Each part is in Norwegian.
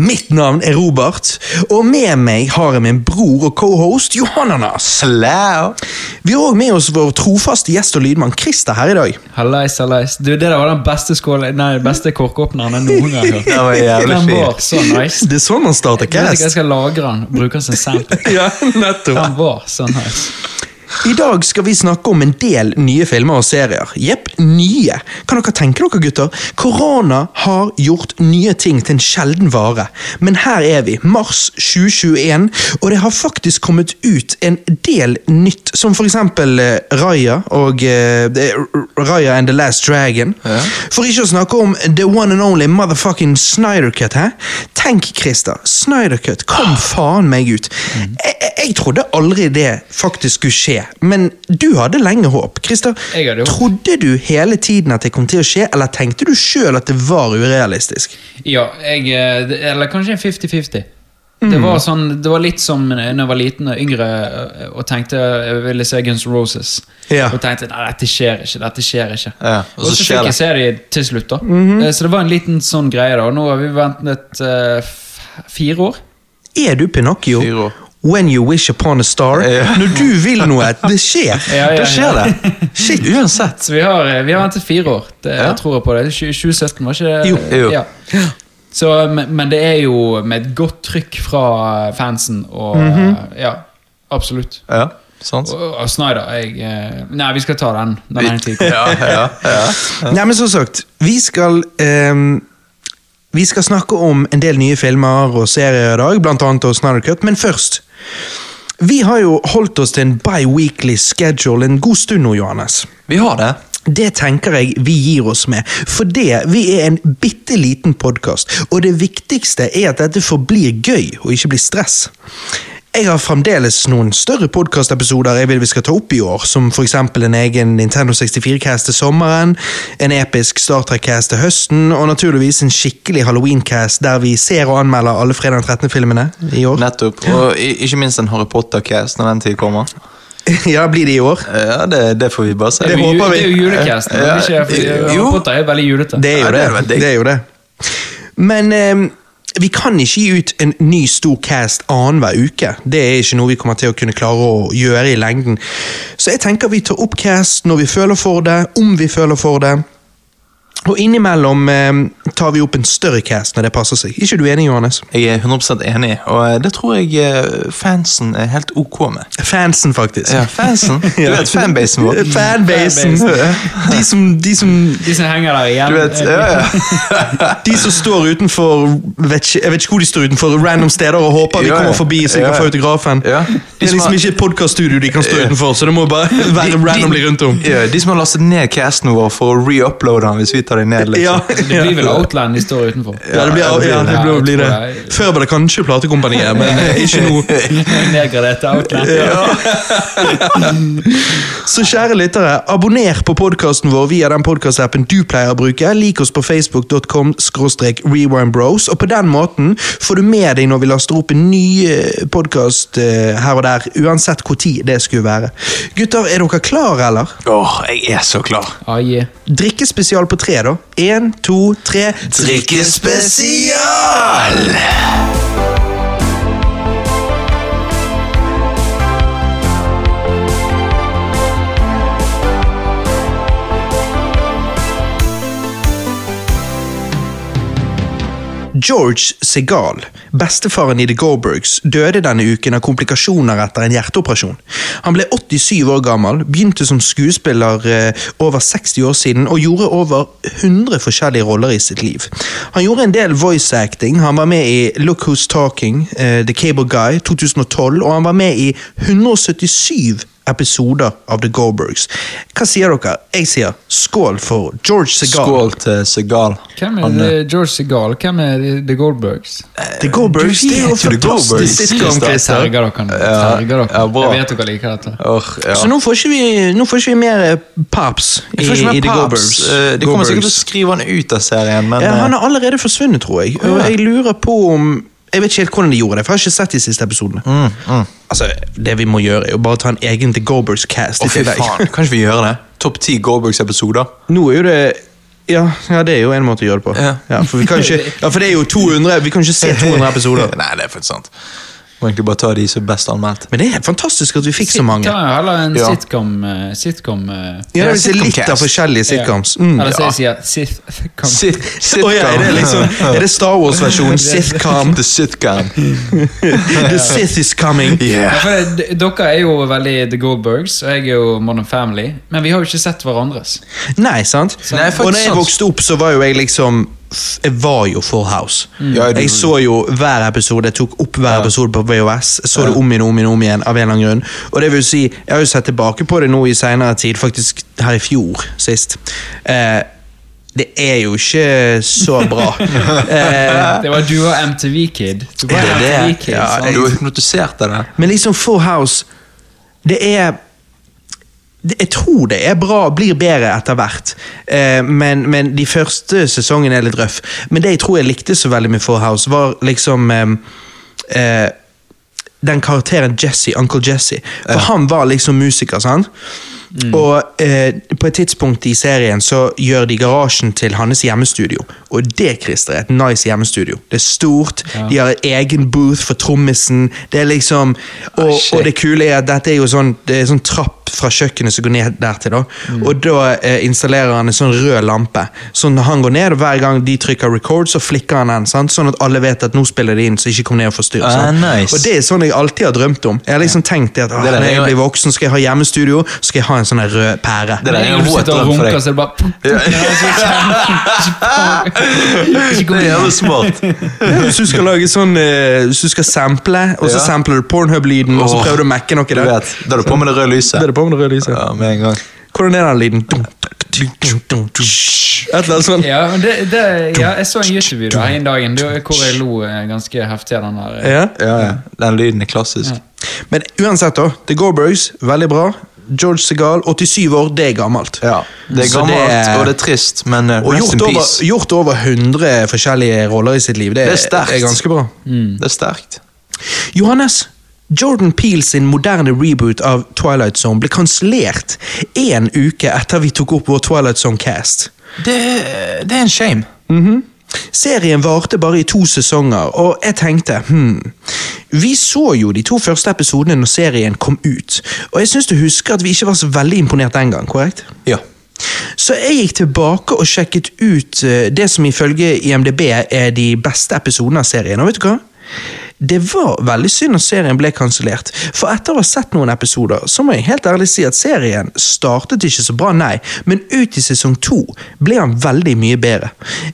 Mitt navn er Robert, og med meg har jeg min bror og cohost Johananas. Slau! Vi har òg med oss vår trofaste gjest og lydmann Christer her i dag. Hallais, hallais. Du, det der var den beste skål... Nei, den beste korkåpneren jeg noen gang har hørt. var jævlig den fin. var så nice. Det er sånn man starter Jeg vet ikke, jeg cast. skal lagre den og bruke den som sample. Ja, nettopp. Den var så nice. I dag skal vi snakke om en del nye filmer og serier. Jepp, nye. Kan dere tenke dere, gutter? Korona har gjort nye ting til en sjelden vare. Men her er vi, mars 2021, og det har faktisk kommet ut en del nytt. Som for eksempel eh, Raya og eh, det er R- Raya and the Last Dragon. For ikke å snakke om the one and only motherfucking Snyder Cut, hæ? Tenk, Christer. Snyder Cut Ah. kom faen meg ut. Mm. Jeg, jeg, jeg trodde aldri det faktisk skulle skje, men du hadde lenge håp. Christer, Jeg hadde håp. trodde du hele tiden at det kom til å skje, eller tenkte du sjøl at det var urealistisk? Ja, jeg eh, det- Eller kanskje en 50-50. Det Mm. var sånn, det var litt som da jeg var liten og yngre eh, og tenkte jeg ville se Guns N' Roses. Ja. Og tenkte nei, dette skjer ikke. dette skjer ikke. Ja, og så og så fikk skjer det. Mhm. jeg se de til slutt, da. Eh, Så det var en liten sånn greie, da. Og nå har vi ventet eh, f- fire år. Er du Pinocchio? Fire år. When you wish upon a star. Ja. Når du vil noe, det skjer. Ja, ja, Da ja. skjer det. Shit, uansett. Så vi har, eh, vi har ventet fire år. Det, Ja. Jeg tror jeg på det. Tjue- 2017, var ikke det? Jo. Jo. Ja. Så, men, men det er jo med et godt trykk fra fansen, og Mhm. Ja, absolutt. Ja, sant. Og, og Snyder, jeg eh, Nei, vi skal ta den. den ene tiden. Ja, ja, ja. Nei, men som sagt, vi skal ehm, Vi skal snakke om en del nye filmer og serier i dag, blant annet hos Snyder Cut, men først Vi har jo holdt oss til en bi-weekly schedule en god stund nå, Johannes. Vi har det. Det tenker jeg vi gir oss med, for det, vi er en bitte liten podkast, og det viktigste er at dette forblir gøy og ikke blir stress. Jeg har fremdeles noen større podkastepisoder jeg vil vi skal ta opp i år, som f.eks. en egen Nintendo 64-cast til sommeren, en episk Star Trek-cast til høsten, og naturligvis en skikkelig Halloween-cast der vi ser og anmelder alle fredag den 13.-filmene i år. Nettopp. Og i- ikke minst en Harry Potter-cast når den tid kommer. ja, blir det i år? Ja, det, det får vi bare se. Det er jo håper ju- vi. det er jo julecasten. Ja, men det er ikke- jo. Harry Potter er veldig julete. Det er jo Ja, det er det. veldig. det, er jo det. Men ehm, vi kan ikke gi ut en ny stor cast annenhver uke. Det er ikke noe vi kommer til å kunne klare å gjøre i lengden. Så jeg tenker vi tar opp cast når vi føler for det, om vi føler for det. Og innimellom ehm, tar vi opp en større cast når det passer seg. Ikke du enig, Johannes? Jeg er 100 enig, og det tror jeg eh, fansen er helt ok med. Fansen, faktisk. Ja, fansen. Du vet fanbasen vår. Fanbasen. De som, de som, De som henger der igjen. Du vet, eh, ja, ja. de som står utenfor vet ikke, Jeg vet ikke hvor de står utenfor random steder og håper vi Ja, ja. kommer forbi så vi Ja, kan ja. få autografen. Ja. Det er liksom ikke et podcaststudio de kan stå utenfor, så det må bare være De- randomly rundt om. Ja, de som har lastet ned casten vår for å reuploade den hvis vi tar den ned. Ja, liksom. Det blir vel Outland de står utenfor. ja, det blir, ja, det blir, blir det. Ja, jeg tror Før var det kanskje platekompaniet, men eh, ikke nå. jeg- Nedgradert til Outland. Så kjære lyttere, abonner på podkasten vår via den podkastappen du pleier å bruke. Lik oss på facebook.com rewindbros, og på den måten får du med deg når vi laster opp en ny podkast her og der, uansett hvor tid det skulle være. Gutter, er dere klare, eller? Åh, jeg er så klar. Ah, yeah. Drikkespesial på tre, da. Én, to, tre. Drikkespesial! George Segal, bestefaren i The Goldbergs, døde denne uken av komplikasjoner etter en hjerteoperasjon. Han ble 87 år gammel, begynte som skuespiller eh, over 60 år siden og gjorde over 100 forskjellige roller i sitt liv. Han gjorde en del voice acting, han var med i Look Who's Talking, eh, The Cable Guy 2012, og han var med i 177 episoder av The Goldbergs. Hva sier dere? Jeg sier skål for George Segal. Skål til Segal. Hvem er Han, det? George Segal? Hvem er det- The Goldbergs? The Goldbergs, Eh, det Du er jo vet jo The Goldbergs, fantastisk sitcom, Christer. Christer. Terger dere nå. Ja, Terger dere. ja, bra. Jeg vet dere liker dette. Åh, ja. Så nå får ikke vi, nå får ikke vi mer eh, paps i, Jeg tror ikke i vi The har Goldbergs. Paps. Eh, De kommer sikkert til å skrive han ut av serien, men ja, eh, Han er allerede forsvunnet, tror jeg. Og jeg lurer på om Jeg vet ikke helt hvordan de gjorde det, for jeg har ikke sett de siste episodene. Mm, Altså, Det vi må gjøre, er jo bare ta en egen The Goldbergs-cast. Å, i fy tillegg. faen. Kan ikke vi gjøre det? Topp ti Goldbergs-episoder? Nå er jo det Ja, ja, det er jo en måte å gjøre det på. Ja. for, vi kan ikke, ja, for det er jo 200 Vi kan ikke se 200 episoder. Nei, det er faktisk sant. Må egentlig bare ta de som er best anmeldt. Men det er helt fantastisk at vi fikk så mange. Ta heller en Ja. sitcom, eh, sitcom eh, Ja, det er litt Sitcomcast. av forskjellige sitcoms. Mm. Eller så jeg sier sitcom. Sit, Å ja, er det liksom Er det Star Wars-versjonen? Sitcom? The sitcom. The Sith is coming. Ja, Yeah. for d- dere er jo veldig The Goldbergs, og jeg er jo Modern Family, men vi har jo ikke sett hverandres. Nei, sant? Nei, faktisk og når jeg sant. vokste opp, så var jo jeg liksom Jeg var jo Full House. Ja, du- Jeg så jo hver episode, jeg tok opp hver episode på VHS. Jeg så det om igjen og om igjen, og om igjen av en eller annen grunn. Og det vil si, jeg har jo sett tilbake på det nå i seinere tid, faktisk her i fjor sist. Eh, det er jo ikke så bra. eh, Det var du og MTV Kid. Du var Er det det? MTV Kid, Ja, sant? du er hypnotisert av det. Men liksom Full House Det er det, jeg tror det er bra, blir bedre etter hvert, eh, men, men de første sesongene er litt røff. Men det jeg tror jeg likte så veldig med Full House, var liksom eh, eh, Den karakteren Jesse, Uncle Jesse. For han var liksom musiker, sant? Mm. Og eh, på et tidspunkt i serien så gjør de garasjen til hans hjemmestudio. Og det Christer, er et nice hjemmestudio. Det er stort, de har egen booth for trommisen. Det er liksom, og, Ah, shit. og det kule er at dette er jo sånn, det er sånn trapp fra kjøkkenet som går ned dertil. da. Mm. Og da eh, installerer han en sånn rød lampe. Så når han går ned, og hver gang de trykker record, så flikker han den. sant? Sånn at alle vet at nå spiller de inn, så ikke kom ned og forstyrr. Ah, sant? nice. Og det er sånn jeg alltid har drømt om. Jeg har liksom tenkt det at «Åh, Det der når er jeg jo- blir voksen, skal jeg ha hjemmestudio, så skal jeg ha en sånn her rød pære. Det der er Når en du våt sitter og drøm for runker, deg. så er det bare Ikke Det gå er inn. jævlig smart. Hvis du skal lage sånn, eh, hvis du skal sample, og så Ja. sampler du pornhub-lyden, og så Åh, prøver du å mekke noe Du der. vet, Da er du på med det røde lyset. Det er det på med det røde lyset. Ja, med en gang. Hvordan er den lyden? Dum, dum, dum, dum, dum. Et eller annet sånt. Ja, men det, det, ja, jeg så en YouTube-video her en dag hvor jeg lo eh, ganske heftig av den der. eh. Ja. Ja, ja. Den lyden er klassisk. Men uansett, da. The Goldbergs, veldig bra. George Segal, 87 år, det er gammelt. Ja, Det er Så gammelt, det er- og det er trist, men eh, Og rest gjort in over, peace. gjort over 100 forskjellige roller i sitt liv. Det, Det er sterkt. er ganske bra. Det er sterkt. Johannes, Jordan Peele sin moderne reboot av Twilight Zone ble kansellert én uke etter vi tok opp vår Twilight Zone-cast. Det, det er en shame. Mhm. Serien varte bare i to sesonger, og jeg tenkte hmm. Vi så jo de to første episodene når serien kom ut, og jeg syns du husker at vi ikke var så veldig imponert den gang, korrekt? Ja. Så jeg gikk tilbake og sjekket ut eh, det som ifølge IMDb er de beste episodene av serien. Og vet du hva? Det var veldig synd at serien ble kansellert, for etter å ha sett noen episoder, så må jeg helt ærlig si at serien startet ikke så bra, nei, men ut i sesong to ble han veldig mye bedre.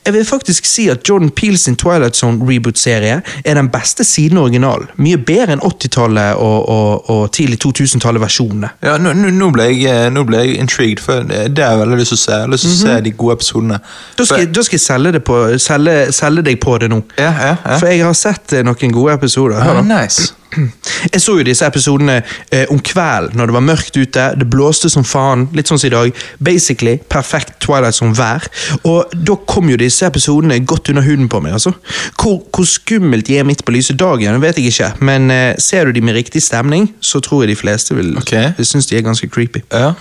Jeg vil faktisk si at Jordan Peele sin Twilight Zone-reboot-serie er den beste siden originalen, mye bedre enn 80-tallet og, og, og tidlig 2000-tallet-versjonene. ja nå, nå, nå, ble jeg, eh, nå ble jeg intrigued, for eh, det det har jeg veldig lyst til å se. Jeg har lyst til å se de gode episodene. Mhm. Da skal, For- jeg- da skal jeg selge, det på, selge, selge deg på det nå. Ja, ja, ja. For jeg har sett eh, noen gode episoder. Hør Ah, da. nice. Jeg så jo disse episodene eh, om kvelden når det var mørkt ute, det blåste som faen. Litt sånn som i dag. Basically perfekt Twilight som vær. Og da kom jo disse episodene godt under huden på meg. altså. Hvor, hvor skummelt de er midt på lyse dagen, det vet jeg ikke. Men eh, ser du de med riktig stemning, så tror jeg de fleste vil Ok. synes de er ganske creepy. Ja.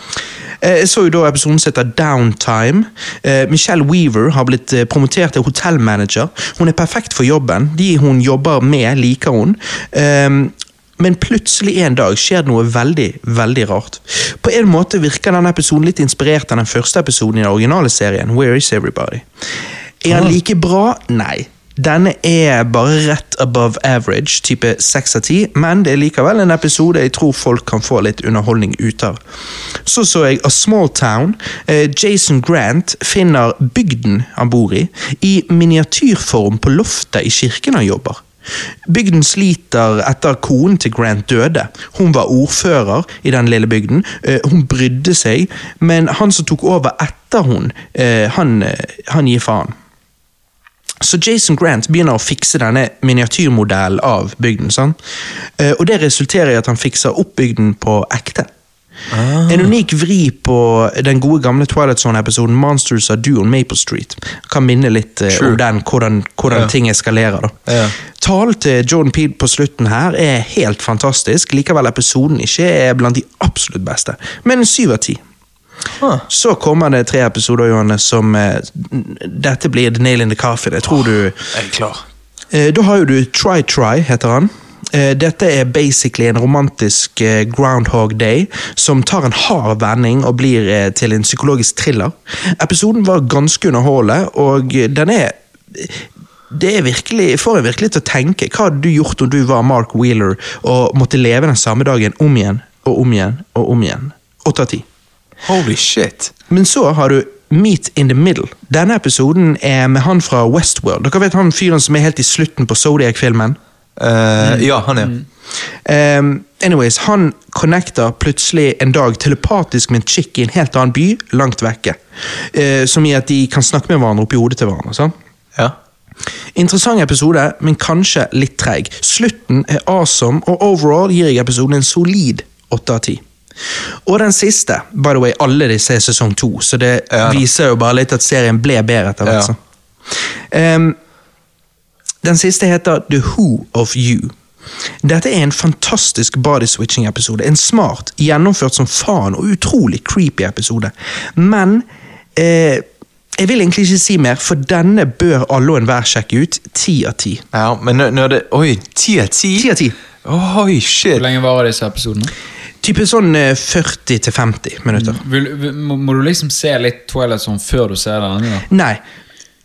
Eh, Jeg så jo da episoden som heter Downtime. Eh, Michelle Weaver har blitt eh, promotert til hotellmanager. Hun er perfekt for jobben. De hun jobber med, liker hun. Ehm, Men plutselig en dag skjer det noe veldig, veldig rart. På en måte virker denne episoden litt inspirert av den første episoden i den originale serien, Where is Everybody? Er han like bra? Nei. Denne er bare rett above average, type 6 av 10, men det er likevel en episode jeg tror folk kan få litt underholdning ut av. Så så jeg A Small Town. Eh, Jason Grant finner bygden han bor i, i miniatyrform på loftet i kirken han jobber. Bygden sliter etter konen til Grant døde. Hun var ordfører i den lille bygden. Eh, Hun brydde seg, men han som tok over etter hun, eh, han, eh, han gir faen. Så Jason Grant begynner å fikse denne miniatyrmodellen av bygden. sant? Eh, Og det resulterer i at han fikser opp bygden på ekte. Ah. En unik vri på den gode gamle Twilight Zone-episoden Monsters av duoen Maple Street. Kan minne litt eh, Sure. om den, hvordan, hvordan Ja. ting eskalerer. da. Ja. Talen til Jordan Peele på slutten her er helt fantastisk. Likevel episoden ikke er blant de absolutt beste, men en syv av ti. Ah. Så kommer det tre episoder Johanne, som eh, Dette blir the nail in the coffin. Jeg tror du Jeg er klar. Eh, Da har jo du Try Try, heter han. Eh, Dette er basically en romantisk eh, Groundhog Day, som tar en hard vending og blir eh, til en psykologisk thriller. Episoden var ganske underholdende, og eh, den er det er virkelig, får en virkelig til å tenke. Hva hadde du gjort om du var Mark Wheeler og måtte leve den samme dagen om igjen og om igjen og om igjen? Åtte av ti. Holy shit. Men så har du Meet in the Middle. Denne episoden er med han fra Westworld. Dere vet han fyren som er helt i slutten på Zodiac-filmen? Mm. Eh, ja, han er. Ehm, anyways, han connecter plutselig en dag telepatisk med en chick i en helt annen by, langt vekke. Eh, som i at de kan snakke med hverandre oppi hodet til hverandre. sant? Ja. Interessant episode, men kanskje litt treig. Slutten er awesome, og overall gir jeg episoden en solid 8 av 10. Og den siste, by the way, alle disse er sesong 2, så det Ja. viser jo bare litt at serien ble bedre etter hvert. Ja. så. Ehm, den siste heter The Who of You. Dette er en fantastisk body switching-episode. En smart, gjennomført som faen og utrolig creepy episode. Men eh, jeg vil egentlig ikke si mer, for denne bør alle og enhver sjekke ut. Ti av ti. ja men nå, nå er det Oi, ti av ti? Ti av ti. Oi, shit. Hvor lenge varer disse episodene? Type sånn eh, 40-50 minutter. Mm. Vil, vil, må, må du liksom se litt Twilight Zone før du ser den andre? Nei.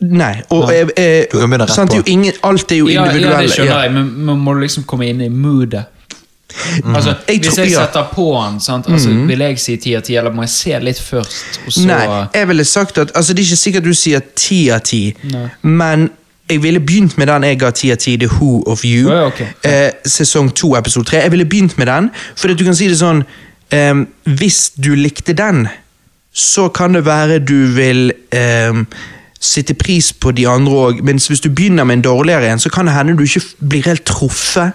Nei. Og eh, eh, Du kan begynne rett sant, det er på. jo ingen, alt er jo Ja, ja, det individuelle. skjønner jeg, men men må du liksom komme inn i moodet? Altså, Mm. Jeg hvis tror- jeg ja. Mm. setter på den, sant? Altså, vil jeg si ti av ti, eller må jeg se litt først? Og så, Nei, jeg ville sagt at altså, Det er ikke sikkert du sier ti av ti, men jeg ville begynt med den jeg ga ti av ti, The Who of You. Ja, ja, ok. eh, sesong to, episode tre. Jeg ville begynt med den, for du kan si det sånn ehm, Hvis du likte den, så kan det være du vil ehm, Sitte pris på de andre òg, mens hvis du begynner med en dårligere en, så kan det hende du ikke f- blir helt truffet.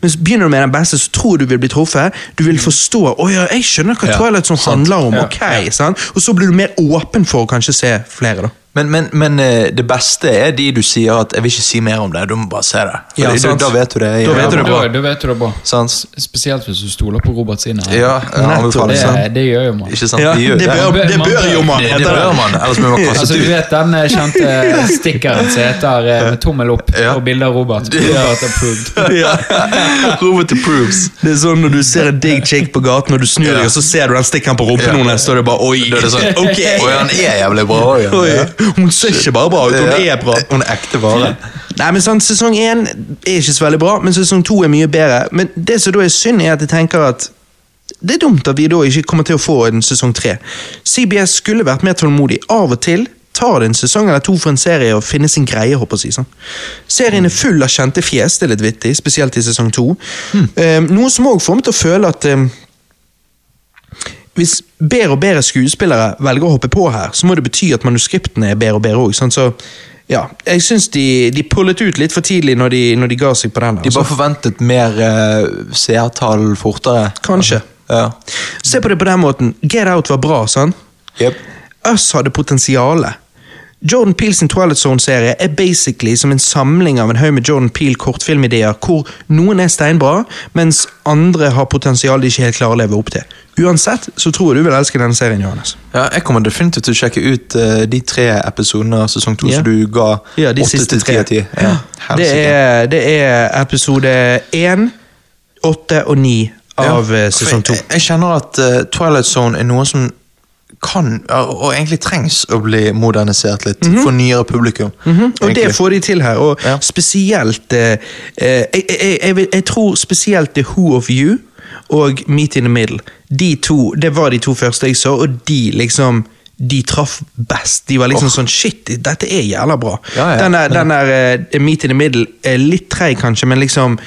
Men så begynner du med den beste, så tror du du vil bli truffet. Du vil forstå Å ja, jeg skjønner hva Ja, Twilight Zone sant. handler om. Ja, ok, sant? Og så blir du mer åpen for å kanskje se flere, da. Men, men, men eh, det beste er de du sier at 'jeg vil ikke si mer om det', du må bare se det. For Ja, det- sant. da, da vet du det. Da ja, vet du det men da, bra. da vet du det bra. Sant? Spesielt hvis du stoler på Robert sine. Ja, jeg Nettopp. anbefaler det, sant. det gjør jo man. Ikke sant? Ja, de gjør det bør- Man det bør jo man, Det, heter det det. bør man, ellers blir man Altså, kastet du ut. vet den eh, kjente stikkeren som heter eh, med tommel opp Ja. og bilde av Robert? Robert approved. Robert approves. Det er sånn når du ser en digg chick på gaten, og du snur deg, og så ser du den stikkeren på rumpen Ja. hennes, så er det bare oi. Da er det sånn Ok. Oi, han er jævlig bra. Oi, han Oi. er. Hun ser ikke bare bra ut, hun Ja. er bra. Hun er ekte vare. Nei, men sant, Sesong én er ikke så veldig bra, men sesong to er mye bedre. Men det som da er synd, er at jeg tenker at det er dumt at vi da ikke kommer til å få en sesong tre. CBS skulle vært mer tålmodig. Av og til tar det en sesong eller to for en serie å finne sin greie. håper jeg å si sånn. Serien er full av kjente fjes, det er litt vittig, spesielt i sesong to. Eh, noe som òg får meg til å føle at eh, hvis bedre og bedre skuespillere velger å hoppe på her, så må det bety at manuskriptene er bedre og bedre òg. Sånn, så, ja, jeg syns de, de pullet ut litt for tidlig når de, når de ga seg på den. De Altså. bare forventet mer eh, seertall fortere. Kanskje. Ja. Se på det på den måten. Get Out var bra, sant? Jep. Us hadde potensiale. Jordan Peels Twilight Zone-serie er basically som en samling av en haug med Jordan Peel kortfilmideer, hvor noen er steinbra, mens andre har potensial de ikke helt klarer å leve opp til. Uansett så tror jeg du vil elske denne serien, Johannes. Ja, jeg kommer definitivt til å sjekke ut eh, de tre episodene av sesong to Ja. som du ga Ja, de åtte siste til ti tre. av ti. Ja, Det helsike. er, det er episode 1, 8 og 9 av Ja, eh, for sesong 2. Jeg, jeg kjenner at eh, Twilight Zone er noe som kan, og og egentlig trengs, å bli modernisert litt for nyere publikum. Mhm. Og det egentlig. får de til her, og Ja. spesielt eh, eh, jeg, jeg, jeg, vil- jeg tror spesielt The Who of You og Meet in the Middle. De to, Det var de to første jeg så, og de liksom de traff best. De var liksom sånn Shit, dette er jævla bra. Ja, ja. Den der, den der eh, Meet in the Middle er litt treig, kanskje, men liksom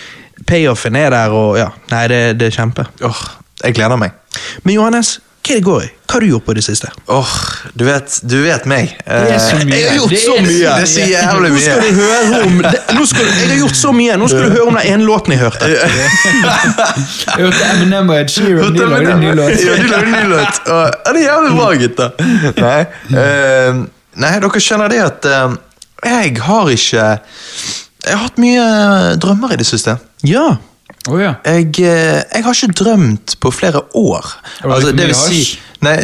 payoffen er der, og ja. Nei, det, det er kjempe. Åh, jeg gleder meg. Men Johannes, hva er det går i? Hva har du gjort på det siste? Åh, du vet, du vet meg. er så Eh, mye. Jeg har gjort Det så er så mye! mye. Det er så jævlig Nå skal du mye. høre om det, nå skal du, Jeg har gjort så mye, nå skal du høre om den ene låten jeg hørte. Jeg hørte Eminem og Ed Sheeran, de lagde en ny låt. Ja, de lagde en ny låt. Og, ja, det er jævlig bra, gutter. Nei, eh, nei, dere skjønner det at eh, jeg har ikke Jeg har hatt mye eh, drømmer i det siste. Ja. Å ja. Jeg, eh, jeg har ikke drømt på flere år. Har du Altså, ikke det vil mye si hasj? Nei,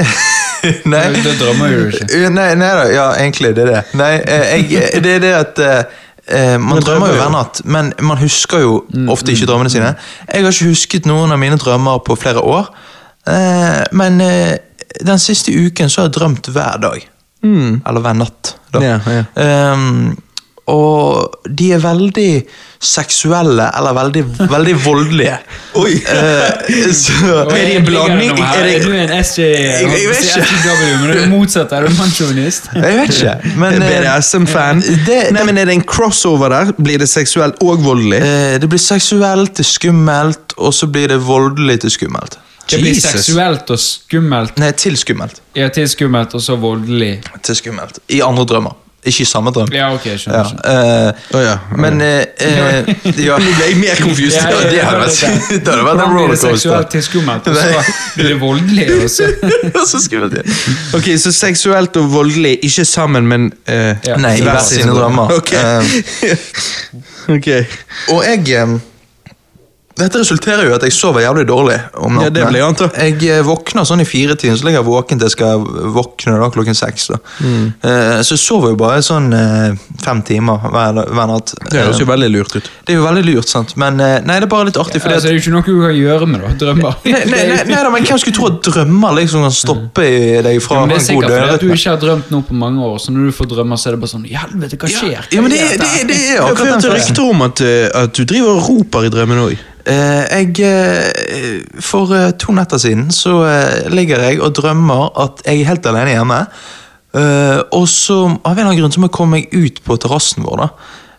Nei. Da- da drømmer jo du Uh, Nei, nei da, ja, egentlig, det er det. Nei, eh, jeg, det er det at eh, eh, man drømmer jo hver natt, men man husker jo Mm, ofte ikke drømmene sine. Jeg har ikke husket noen av mine drømmer på flere år, eh, men eh, den siste uken så har jeg drømt hver dag. Mm. Eller hver natt, da. Ja, ja. Ehm, og de er veldig seksuelle, eller veldig, veldig voldelige. Oi! så, Er Og det en ligger blanding? noe her? Er det- Er du en SJ? Jeg jeg vet ikke. Men du er motsatt, er du mannsjåvinist? jeg vet ikke, men eh, BDSM-fan. det- Nei, men Er det en crossover der? Blir det seksuelt og voldelig? Eh, Det blir seksuelt til skummelt, og så blir det voldelig til skummelt. Det blir Jesus. seksuelt og skummelt. Nei, til skummelt. Ja, til skummelt og så voldelig. Til skummelt. I andre drømmer. Ikke i samme drøm. Ja, ok, jeg Ja, skjønner. skjønner. eh, Å ja, å Men eh, eh, ja. Nå ble jeg mer confused. Ja, det hadde vært, det hadde vært en Hvordan blir det seksuelt rollercoaster. til skummelt, og så blir det voldelig? Og så. Og så skummelt igjen. Ok, Så seksuelt og voldelig, ikke sammen, men eh, Ja. Nei, i hver sine drømmer. Ok. ok. Og jeg eh, Dette resulterer jo i at jeg sover jævlig dårlig om Ja, natten. det vil jeg anta. Jeg, eh, våkner sånn i firetiden, så ligger jeg våken til jeg skal våkne da klokken seks. da. Mm. Eh, så jeg sover jo bare sånn eh, fem timer hver, hver natt. Eh, Det høres jo veldig lurt ut. Det er jo veldig lurt, sant. Men eh, nei, det er bare litt artig. fordi Altså, det at er jo ikke noe du kan gjøre med da, drømmer. Nei, nei, nei, nei da, men Hvem skulle tro at drømmer liksom kan stoppe i deg fra Men det er å ha en god sikkert fordi at du døgnrytme? ikke har drømt noe på mange år, så når du får drømmer, så er det bare sånn I helvete, hva skjer? Hva Ja, men det, er det, dette her? det er Jeg har akkurat hørt den følelsen. rykter om at, eh, at du driver og roper i drømmen òg. Eh, jeg, eh, for eh, to netter siden så eh, ligger jeg og drømmer at jeg er helt alene hjemme. Eh, og så av en eller annen grunn så må jeg komme meg ut på terrassen vår. da.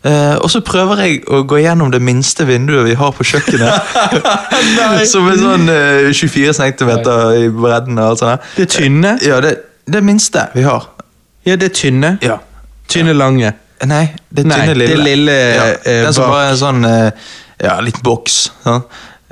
Eh, og så prøver jeg å gå gjennom det minste vinduet vi har på kjøkkenet. som er sånn eh, 24 cm i bredden. og alt sånt. der. Det tynne. Ja, det, det minste vi har. Ja, det tynne. Ja. Tynne lange. Nei, det Nei, tynne lille. det lille, ja, eh, den som bak. bare er en sånn eh, Ja, litt boks. Sånn.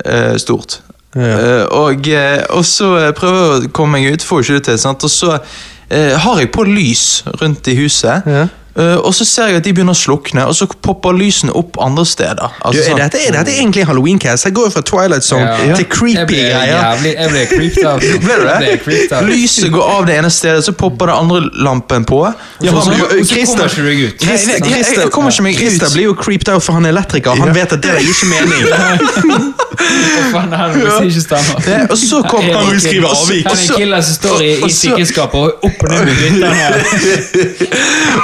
Eh, stort. Ja. Eh, og, eh, og så eh, prøver jeg å komme meg ut, får ikke det til. Sant? Og så eh, har jeg på lys rundt i huset. Ja. eh, og så ser jeg at de begynner å slukne, og så popper lysene opp andre steder. Du, Altså, er, sånn- dette, er dette egentlig en halloween-cast? Jeg går jo fra Twilight Song Ja. til Jeg creepy ble greier. jævlig- Jeg ble creeped out. nå. Ble du Jeg ble creeped det? out. Lyset går av det ene stedet, så popper den andre lampen på. Ja, men Og så- du- Og så kommer Christer- ikke du deg ut. Nei, nei, Christer- jeg- jeg kommer ikke meg ut. Christer blir jo creeped out, for han er elektriker. Han Ja. vet at det er ikke mening. Å, faen, det her er noe som ikke stemmer. Ja, og så kom Er det Han vil ikke- skrive avvik. Han er en killer som står i, Og i så- sikkerhetsskapet og opp og ned med guttene.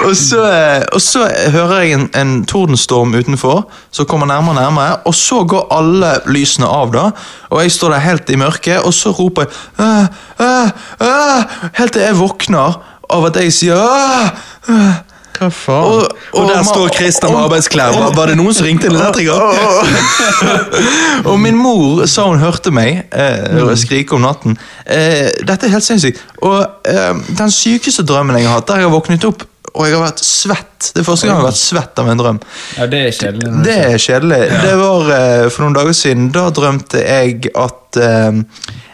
og, så, og så hører jeg en, en tordenstorm utenfor, som kommer nærmere og nærmere. Og så går alle lysene av, da, og jeg står der helt i mørket, og så roper jeg «Åh, åh, åh», Helt til jeg våkner av at jeg sier «Åh, åh». Hva faen? Og- Og, og der ma- står Christer med og- arbeidsklær. Var, var det noen som ringte en elektriker? og min mor sa hun hørte meg eh, skrike om natten. Eh, dette er helt sinnssykt. Og eh, den sykeste drømmen jeg har hatt, der jeg har våknet opp og jeg har vært svett. Det er første gang jeg har vært svett av en drøm. Ja, det er kjedelig. når Det er kjedelig. Det var eh, for noen dager siden. Da drømte jeg at eh,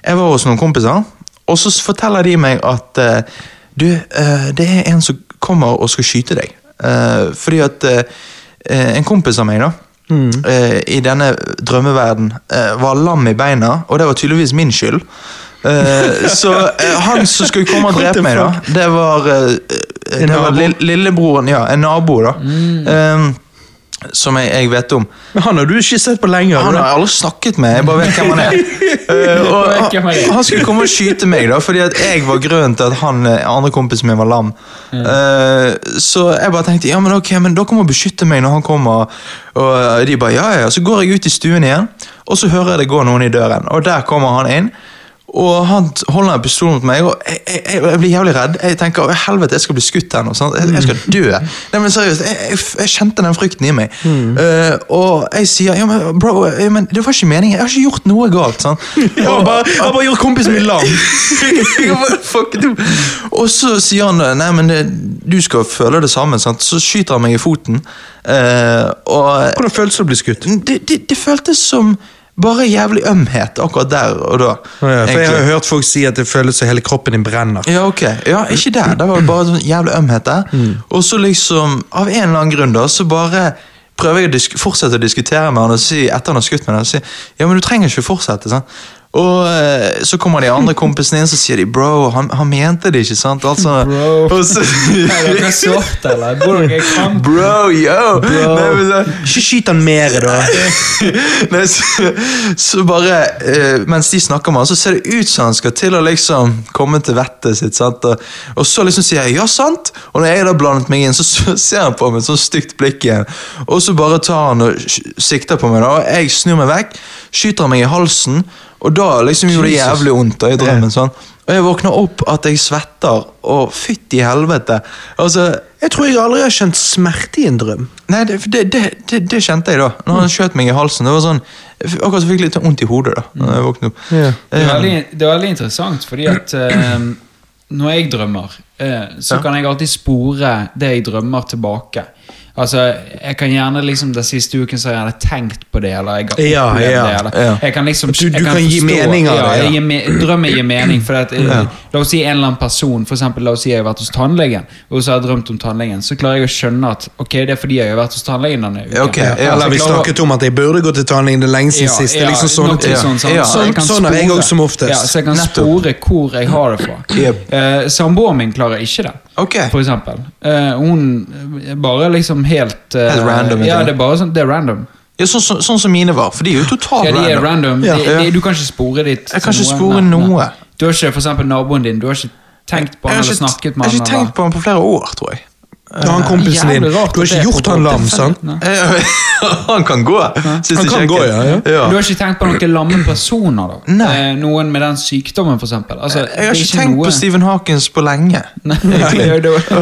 Jeg var hos noen kompiser, og så s- forteller de meg at eh, Du, eh, det er en som kommer og skal skyte deg. Eh, fordi at eh, eh, en kompis av meg, da, Mm. eh, i denne drømmeverden, eh, var lam i beina, og det var tydeligvis min skyld. Eh, så eh, han som skulle komme og What the drepe meg, da, det var, eh, eh, det var nabo? lill- lillebroren Ja, en nabo, da. Mm. Eh, som jeg, jeg vet om. Men han har du ikke sett på lenger. Han du. har jeg aldri snakket med, jeg bare vet hvem han er. Eh, og vet hvem han han, er. han skulle komme og skyte meg, da, fordi at jeg var grunnen til at han eh, andre kompisen min var lam. Eh, så jeg bare tenkte ja, men ok, men dere må beskytte meg når han kommer. Og eh, de bare ja, ja, ja. Så går jeg ut i stuen igjen, og så hører jeg det gå noen i døren. Og der kommer han inn. Og han t- holder en pistol mot meg, og jeg, jeg, jeg jeg blir jævlig redd. Jeg tenker «Å, helvete, jeg skal bli skutt her nå. Sant? Jeg, jeg skal dø. Nei, men seriøst, jeg, jeg, f- jeg kjente den frykten i meg. Mm. Eh, og jeg sier ja, men bro, ja, men det var ikke meningen. Jeg har ikke gjort noe galt. Sant? Han bare, han bare gjort kompisen min lam. Jeg bare, fuck du. Og så sier han Nei, men det, du skal føle det samme. Sant? Så skyter han meg i foten. eh, og Hvordan føles det å bli skutt? det, det, det føltes som bare jævlig ømhet akkurat der og da. Å Ja, for jeg har egentlig. jo hørt folk si at det føles som hele kroppen din brenner. Ja, ok. Ja, ikke der. Det var bare sånn jævlig ømhet der. Og så liksom, av en eller annen grunn, da, så bare prøver jeg å disk fortsette å diskutere med han og si etter han har skutt meg, da, og si ja, men du trenger ikke fortsette. sant? Og eh, så kommer de andre kompisene inn, så sier de 'bro, han, han mente det ikke', sant? Altså, Bro. Og så, Er dere sorte, eller? Bor dere i kamp? Bro, yo! Nei, men så, Ikke skyt han mer, da. Nei, så, så bare eh, Mens de snakker med han, så ser det ut som han skal til å liksom komme til vettet sitt. sant? Og, og så liksom sier jeg 'ja, sant', og når jeg da blandet meg inn, så, så ser han på meg med et sånt stygt blikk igjen. Og så bare tar han og sk- sikter på meg, da, og jeg snur meg vekk, skyter han meg i halsen, og da liksom gjorde det jævlig vondt da, i drømmen. sånn. Og jeg våkner opp at jeg svetter, og fytti helvete. Altså, Jeg tror jeg aldri har kjent smerte i en drøm. Nei, det, for det, det, det, det kjente jeg da. Når Mm. han skjøt meg i halsen. Det var sånn, jeg fikk- Akkurat så fikk jeg litt sånn vondt i hodet da når jeg våknet opp. Det er Eh, veldig, det er veldig interessant, fordi at eh, når jeg drømmer, eh, så Ja. kan jeg alltid spore det jeg drømmer, tilbake. Altså, Jeg kan gjerne liksom den siste uken så har jeg gjerne tenkt på det, eller jeg har opplevd Ja, ja, det. eller ja. Jeg kan liksom, Du- du jeg kan gi mening av ja, det, ja. jeg gir me Drømmen gir mening. For at, eh, La oss si en eller annen person, for eksempel, la oss si jeg har vært hos tannlegen, og så har jeg drømt om tannlegen, så klarer jeg å skjønne at ok, det er fordi jeg har vært hos tannlegen denne uken. Ok, ja. Altså, jeg Eller vi klarer å- snakket om at jeg burde gå til tannlegen det er lenge siden sist. Det er liksom sånne noe ting. Sånn, sånn, Ja, så jeg sånn- kan sånn er jeg spore- også som oftest. Ja, så jeg kan Nettopp. spore hvor jeg har det fra. Jep. Eh, Samboeren min klarer ikke det, Ok. for eksempel. Eh, hun er bare liksom helt eh, Helt random, Ja, ikke? det er bare sånn, det er random. Ja, sånn, sånn, sånn som mine var, for de er jo totalt Ja, de er random. Ah, Ja. De, de, du kan ikke spore ditt Jeg kan til ikke noen, spore nei, nei. noe. Du har ikke for eksempel naboen din, du har ikke tenkt på Jeg han har eller ikke, snakket jeg med har han. ikke tenkt på han på flere år, tror jeg. Du har han kompisen din. Jævlig Du rart har at det ikke er gjort på han lam, tilfellet. sant? Nei. han kan gå. sist Han jeg kan sjekket. gå, ja, ja. Du har ikke tenkt på noen lamme personer, da? Nei. Eh, noen med den sykdommen, for eksempel? Altså, Jeg har det er ikke tenkt på noe- Stephen Hawkins på lenge. Nei, det er jo det. Og,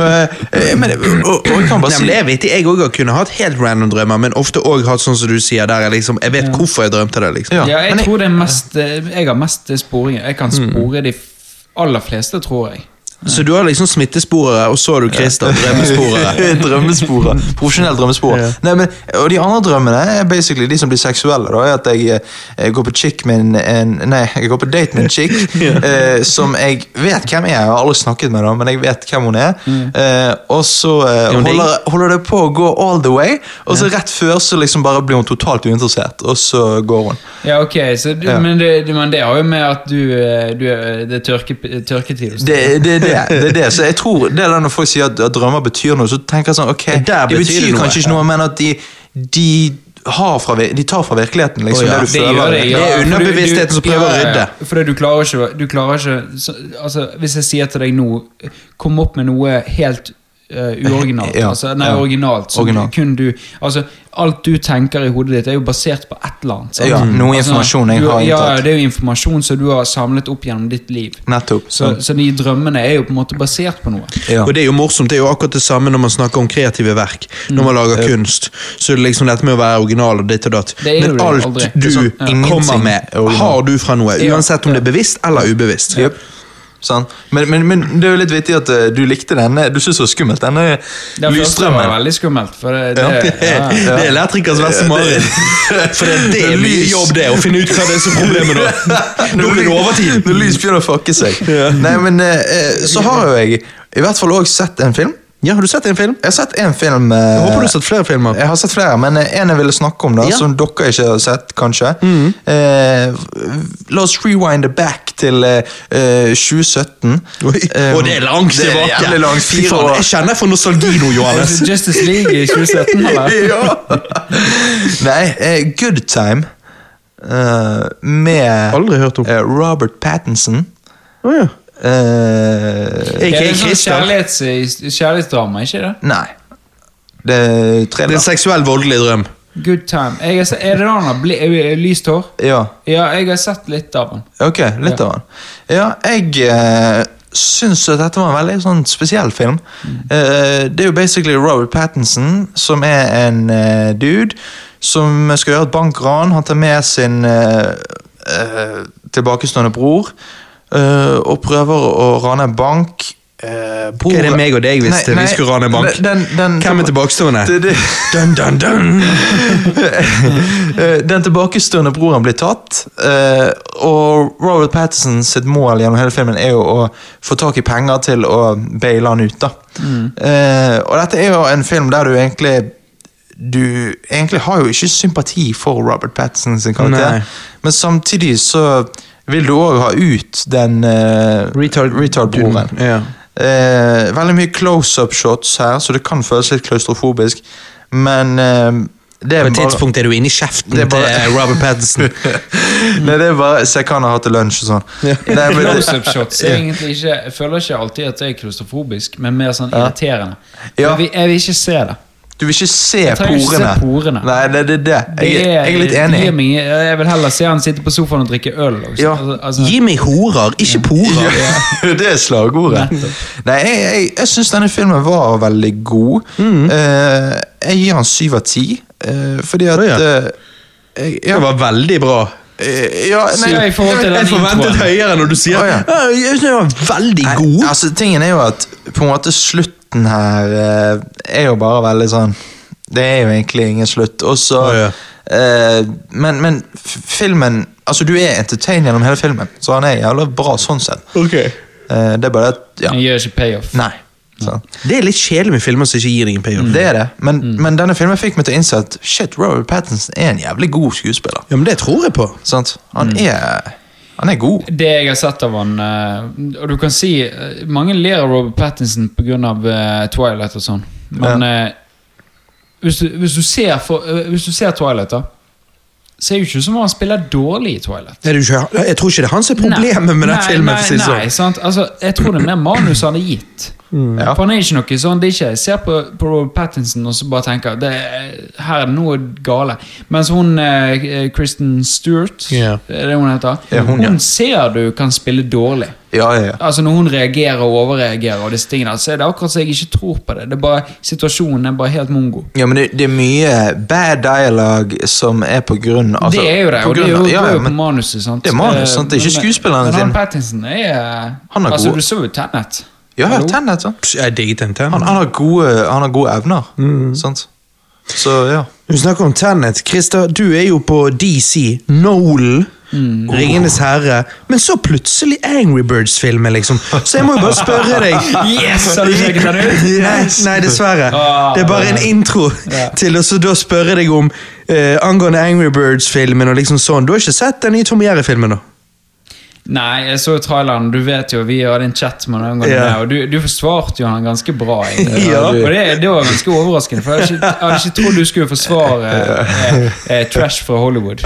eh, men, og, og jeg kan Nei, bare si men det er vittig. Jeg òg har kunnet hatt helt random drømmer, men ofte òg hatt sånn som du sier, der jeg liksom Jeg vet hvorfor jeg drømte det, liksom. Ja, Ja, jeg men jeg- Mm. tror det er mest eh, Jeg har mest eh, sporinger. Jeg kan spore de f- aller fleste, tror jeg. Så du har liksom smittesporere, og så har du Christer, drømmesporere. drømmesporet. Profesjonell drømmesporet. Nei, men, og de andre drømmene er basically de som blir seksuelle. Da, er at jeg, eh, går på chick med en, en Nei, jeg går på date med en chick eh, som jeg vet hvem er. Jeg har aldri snakket med henne, men jeg vet hvem hun er. Eh, og så eh, hun holder, holder det på å gå all the way, og så rett før så liksom bare blir hun totalt uinteressert, og så går hun. Ja, ok, så du, Ja. Men, det, men det har jo med at du, eh, du eh, Det er tørke, tørketid. hos deg. Det, det, er det, det er det. Så jeg tror det er det når folk sier at, at drømmer betyr noe, så tenker jeg sånn ok, Der De betyr betyr det noe. kanskje ikke noe, men at de, de, har fra, vir- de tar fra virkeligheten, liksom. Å, ja. Det du Det føler. gjør det, Det ja. er For du- du- underbevisstheten som prøver å ja, ja, ja. rydde. For det du klarer ikke, du klarer ikke så, altså, Hvis jeg sier til deg nå Kom opp med noe helt eh, uoriginalt. Ja, Altså, nei, ja. originalt. som Original. kun du Altså, alt du tenker i hodet ditt, er jo basert på et eller annet. sant? Ja, noe Altså, informasjon jeg du- har Ja, inntatt. det er jo informasjon som du har samlet opp gjennom ditt liv. Nettopp. Sånn. Så, så de drømmene er jo på en måte basert på noe. ja. Og det er jo morsomt, det er jo akkurat det samme når man snakker om kreative verk. Når man lager kunst, så er det liksom dette med å være original og ditt og datt. er jo Men det alt aldri. du Det er sånn, kommer ingenting med, er original. har du fra noe. Ja. Uansett om det er bevisst eller ubevisst. Jep. Sånn. Men, men, men det er jo litt vittig at eh, du likte denne. Du syntes det var skummelt, denne Det første var lysdrømmen. veldig skummelt. For det, det, ja. Det er elektrikers verste mareritt. For det, det er mye Lys. jobb, det, å finne ut hva det er som er problemet da. Nå blir det overtid. Når lys begynner å fakke seg. Nei, men eh, eh, så har jo jeg i hvert fall òg sett en film. Ja, har du sett en film? Jeg har sett en film eh, Jeg håper du har sett flere filmer. Jeg har sett flere, men eh, en jeg ville snakke om, da, Ja. Mm. som dere ikke har sett, kanskje. Eh, la oss rewinde back til eh, eh, 2017. Oi. Eh, Og Ehm, det er langt det er tilbake. jævlig langt, Fy fire faen, år. Jeg kjenner for nostalgi nå, Johannes. Altså, Justice League i 2017, eller? ja. Nei, eh, Good Time eh, med Aldri hørt om. eh, Robert Pattinson. Å, ja. Eh, Jeg- Det er en Ikke sånn Christer. kjærlighets, kjærlighetsdrama, ikke det? nei. Det er Det er trailer. en seksuell, voldelig drøm. Good time. Jeg har, se- er det den har bli- eh, lyst hår? Ja. Ja, jeg har sett litt av den. Ok, litt Ja. av den. Ja, jeg eh, syns at dette var en veldig sånn spesiell film. Mm. Eh, det er jo basically Robert Pattinson, som er en eh, dude som skal gjøre et bankran. Han tar med sin eh, eh, tilbakestående bror eh, og prøver å rane en bank. Eh, Hva bror- er det meg og deg visste? Nei, Vi nei, skulle rane en bank. Den, den, Hvem er tilbakestående? Det- det- Dun, dun, dun. Eh, Den tilbakestående broren blir tatt, eh, og Robert Pattinson sitt mål gjennom hele filmen er jo å få tak i penger til å baile han ut. da. Eh, Og dette er jo en film der du egentlig du egentlig har jo ikke sympati for Robert Pattinson sin karakter, Nei. men samtidig så vil du òg ha ut den eh, retard-broren. Ja. Eh, veldig mye close-up-shots her, så det kan føles litt klaustrofobisk, men eh, det På er et bare tidspunkt er du inne i kjeften Det er bare- til Robert Pattinson. Nei, det er bare Se hva han har hatt til lunsj og sånn. Nei, men det- Close-up shots er egentlig ikke Jeg føler ikke alltid at det er klaustrofobisk, men mer sånn irriterende. Ja. Jeg, vil, jeg vil ikke se det. Du vil ikke se trenger ikke porene. se porene. Nei, det det er det. det Jeg, jeg er litt det gir enig. meg- Jeg vil heller se han sitte på sofaen og drikke øl. Også. Ja. Altså, altså, Gi meg horer, ikke porer. det er slagordet. Nei, jeg, jeg, jeg syns denne filmen var veldig god. Mm. Eh, jeg gir han syv av ti, eh, fordi at Å, ja. eh, jeg, ja, Det var veldig bra. eh, ja, nei, Syv i forhold til den Jeg forventet introen. høyere når du sier Å, ja. «Ja, jeg synes den var veldig nei, god. Altså, tingen er jo at på en måte slutten her eh, er jo bare veldig sånn Det er jo egentlig ingen slutt. Og så Å, ja. eh, Men, men f- filmen Altså, du er entertained gjennom hele filmen, så han er jævla bra sånn sett. Eh, det er bare at Ja. Han gir ikke payoff. Nei. sant. Det er litt kjedelig med filmer som ikke gir deg en payoff. Det er det, men, Mm. men denne filmen fikk meg til å innse at shit, Robert Pattinson er en jævlig god skuespiller. Ja, men det tror jeg på. Sant? Han Mm. er Han er god. Det jeg har sett av han eh, Og du kan si eh, Mange ler av Robert Pattinson pga. Uh, Twilight og sånn, men eh, hvis, du, hvis, du ser for, eh, hvis du ser Twilight, da ser jo ikke ut som om han spiller dårlig i Twilight. Er det jo ikke, jeg tror ikke det er han som er problemet med den nei, filmen. for å si Nei, det sånn. nei, sant? Altså, jeg tror det er mer manus han har gitt. Mm. Ja. For han er ikke noe sånn, det er ikke Jeg ser på, på Robert Pattinson og så bare tenker det, er- Her er det noe gale. Mens hun eh, Kristen Stewart, Ja. er det hun heter, Ja, hun, ja. ser du kan spille dårlig. Ja, ja, ja. Altså Når hun reagerer og overreagerer, og disse tingene så er det akkurat så jeg ikke tror på det. Det er bare Situasjonen er bare helt mongo. ja men det, det er mye bad dialogue som er på grunn av det er jo det, Altså, på og det er jo, grunn av- det ja, er ja, jo på men, manuset. sant? Det er manus, Eh, sant? Det er ikke men- skuespillerne Men sine. han Pattinson er, Han er Altså, god. du så jo Tenet. ja, ja, Hallo? Tenet, sant? Pss, Jeg digget den Han, Tenet. han, har gode, han har gode evner, sant? Så ja. Du snakker om Tenet. Christer, du er jo på DC. Nolan. Mm. Ringenes herre. Men så plutselig Angry Birds-filmen, liksom. Så jeg må jo bare spørre deg. Yes, har du sjekket den ut? Nei, nei, dessverre. Ah, Det er bare en ja. intro til å så da spørre deg om eh, angående Angry Birds-filmen og liksom sånn. Du har ikke sett den nye Tom Jerry-filmen, da? Ah, Nei, jeg så jo traileren. Du vet jo, vi hadde en chat med noen ganger, Ja. og du, du forsvarte jo han ganske bra. egentlig. Ja. Og det, det var ganske overraskende, for jeg hadde ikke, jeg hadde ikke trodd du skulle forsvare eh, eh, trash fra Hollywood.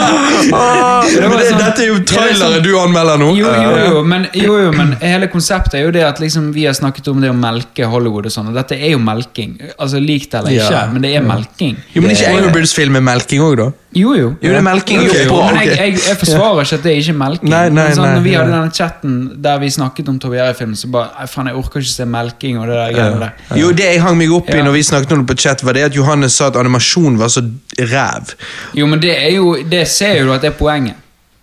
var Men det, sånn- dette er jo det ah, er traileren sånn- du anmelder nå. Eh, Jo, jo, jo, men, jo, jo, men hele konseptet er jo det at liksom, vi har snakket om det å melke Hollywood og sånn, og dette er jo melking. Altså, Lik det eller ikke, Ja. men det er melking. Jo, men ikke Angry Birds-film med melking òg, da? Jo, jo. Jo, det er melking, Jo, ok, jo, bra, men jeg, ok. jeg, jeg forsvarer ikke at det ikke er melking. Nei, nei, men sånn, nei, når vi hadde nei. denne chatten der vi snakket om Tobiære-film, så bare "Nei, Faen, jeg orker ikke se melking og det der greiene der. Jo, det jeg hang meg opp i Ja. når vi snakket om det på chat, var det at Johannes sa at animasjon var så ræv. Jo, men det er jo Det ser jo du at det er poenget.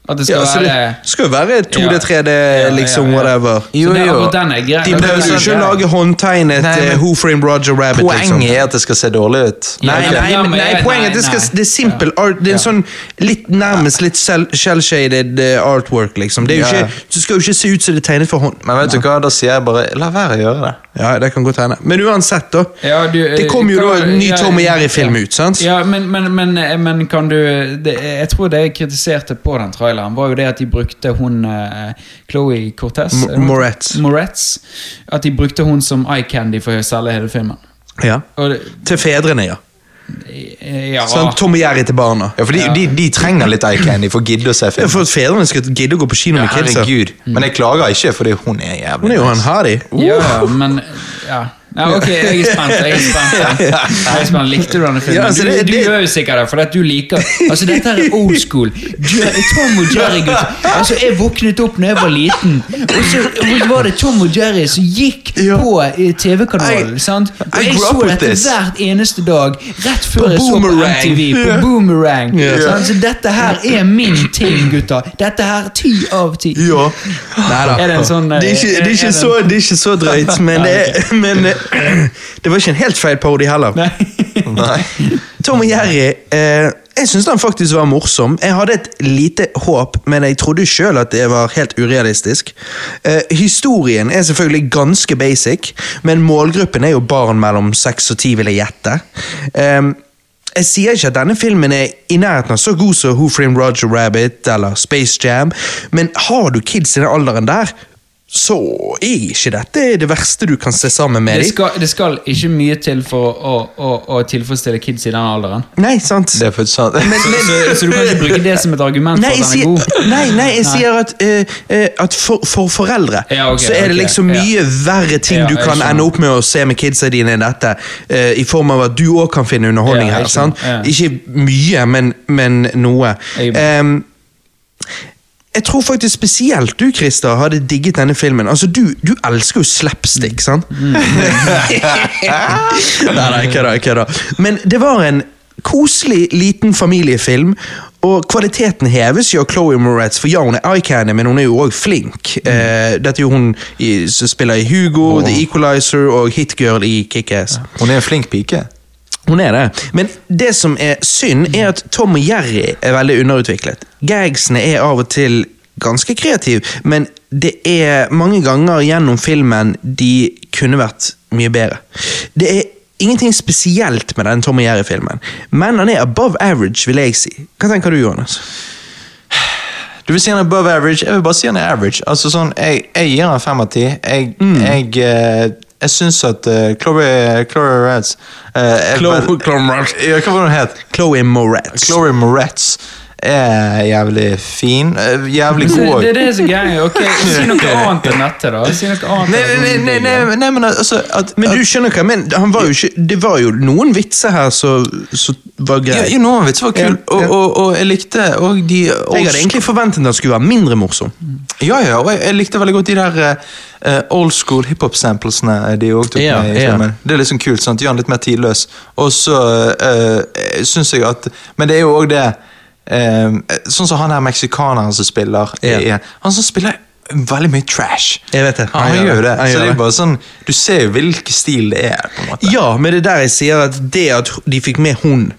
At det skal Ja, så være det skal jo være 2D, Ja. 3D, Ja, ja, liksom, ja. altså, whatever. Jo, Så det, er jo. akkurat den er grei. De Akkurat prøvde den jo er ikke å grei. lage håndtegnet Nei, men- eh, Who Framed Roger Rabbit. liksom. Poenget er at det skal se dårlig ut. Nei, Ja, nei, ja, men- nei, ja, poenget er nei, at det, skal, nei. det er simple art. Det er en sånn litt nærmest litt shell- shell-shaded eh, artwork, liksom. Det, er jo Ja. ikke, det skal jo ikke se ut som det er tegnet for hånd. Men vet du hva, da sier jeg bare la være å gjøre det. Ja, det kan godt hende. Men uansett, da. Ja, du, eh, det kom jo kan- da en ny ja, Tom og Jerry-film ja. ut, sant? Ja, men, men, men, eh, men kan du det, eh, Jeg tror det jeg kritiserte på den traileren, var jo det at de brukte hun eh, Chloé Cortez M- er det hun- Moretz. Moretz. At de brukte hun som eye candy for å selge hele filmen. Ja. Og det, Til fedrene, ja. eh, ja. Sånn, Tom og Jerry til barna. Ja, for de, de, de trenger litt eye candy for å gidde å se Ja, film. For at fedrene skal gidde å gå på kino med kidsa. Herregud. Men jeg klager ikke, fordi hun er jævlig Hun er jo en nice. harry. ja, men ja. ja. Ok, jeg er spent. Jeg er spent. Jeg er spent. Likte du denne filmen? Ja, altså, du, det- du det- gjør jo sikkert det, for at du liker Altså, dette her er old school. Jer- Tom og Jerry, gutter. Altså, jeg våknet opp da jeg var liten, og så var det Tom og Jerry som gikk på eh, TV-kanalen. I- sant? Og I jeg grew up så with dette this. hvert eneste dag, rett før På jeg så på Boomerang. MTV, på Ja. Boomerang. Ja. sant? Så dette her er min ting, gutter. Dette her er ti av ti. Ja. Neida. Er det en sånn, eh, det, er ikke, det, er er ikke det- så, det er ikke så drøyt, men, det, er- men eh, det var ikke en helt feil parodi heller. Nei. Tom og Jerry, eh, jeg syns den faktisk var morsom. Jeg hadde et lite håp, men jeg trodde sjøl at det var helt urealistisk. Eh, historien er selvfølgelig ganske basic, men målgruppen er jo barn mellom seks og ti, vil jeg gjette. Eh, Jeg sier ikke at denne filmen er i nærheten av så god som Who Framed Roger Rabbit eller Space Jam, men har du kids i den alderen der, så er ikke dette det verste du kan se sammen med Det dem. skal, det skal ikke mye til for å, å, å, å tilfredsstille kids i den alderen. Nei, sant? Det er faktisk sånn. sant. Så, så du kan ikke bruke det som et argument Nei, for jeg at den er god. sier, nei, nei, jeg sier at, eh, eh, at for, for foreldre Ja, ok, så er det ok, liksom ja. mye verre ting Ja, du jeg kan skjønner. ende opp med å se med kidsa dine enn dette, eh, i form av at du òg kan finne underholdning Ja, jeg her. sant? skjønner, ja. Ikke mye, men, men noe. Jeg- Ehm, jeg tror faktisk spesielt du, Christer, hadde digget denne filmen. Altså, Du, du elsker jo slapstick, sant? nei, nei, kødda, kødda. Men det var en koselig, liten familiefilm. Og kvaliteten heves jo av Chloé Moretz, for ja, hun er eye-candy, men hun er jo òg flink. Eh, dette er jo hun i, som spiller i Hugo, The Equalizer og Hitgirl i Kickass. Hun er en flink pike. Hun er det. Men det som er synd, er at Tom og Jerry er veldig underutviklet. Gagsene er av og til ganske kreative, men det er mange ganger gjennom filmen de kunne vært mye bedre. Det er ingenting spesielt med den Tom og Jerry-filmen, men han er above average, vil jeg si. Hva tenker du, Johannes? Du vil si han er above average. Jeg vil bare si han er average. Altså sånn, Jeg, jeg gir han fem av ti. Jeg, Mm. jeg, eh, jeg syns at uh, Chloé Reds Chloe- Chloe Moretz. eh, Ja, hva var det hun het? Chloé Moretz. Chloé Moretz er jævlig fin. eh, Jævlig Det, god. Liksom, det er det som er greia. Ok, Si noe annet enn dette, da. Si noe annet Nei, enn nei, nei, nei, nei, men altså at, Men at, du skjønner hva jeg mener. Han var jo ikke, det var jo noen vitser her som som var ja, greie. jo, noen vitser var kul, Ja, ja. Og, og, og jeg likte og de og, Jeg hadde egentlig forventet at han skulle være mindre morsom. Ja, ja, og jeg, jeg likte veldig godt de der eh, old school hiphop-samplesene de også tok Ja, med i ja. filmen. Det er liksom kult, sant? Gjør den litt mer tidløs. Og så uh, syns jeg at Men det er jo òg det eh, Sånn som han her meksikaneren som spiller Ja. i- Han som spiller veldig mye trash. Jeg vet det. Han, Han gjør gjør jo det. det. Han så gjør det det. er bare sånn Du ser jo hvilken stil det er. på en måte Ja, men det er der jeg sier at det at de fikk med hun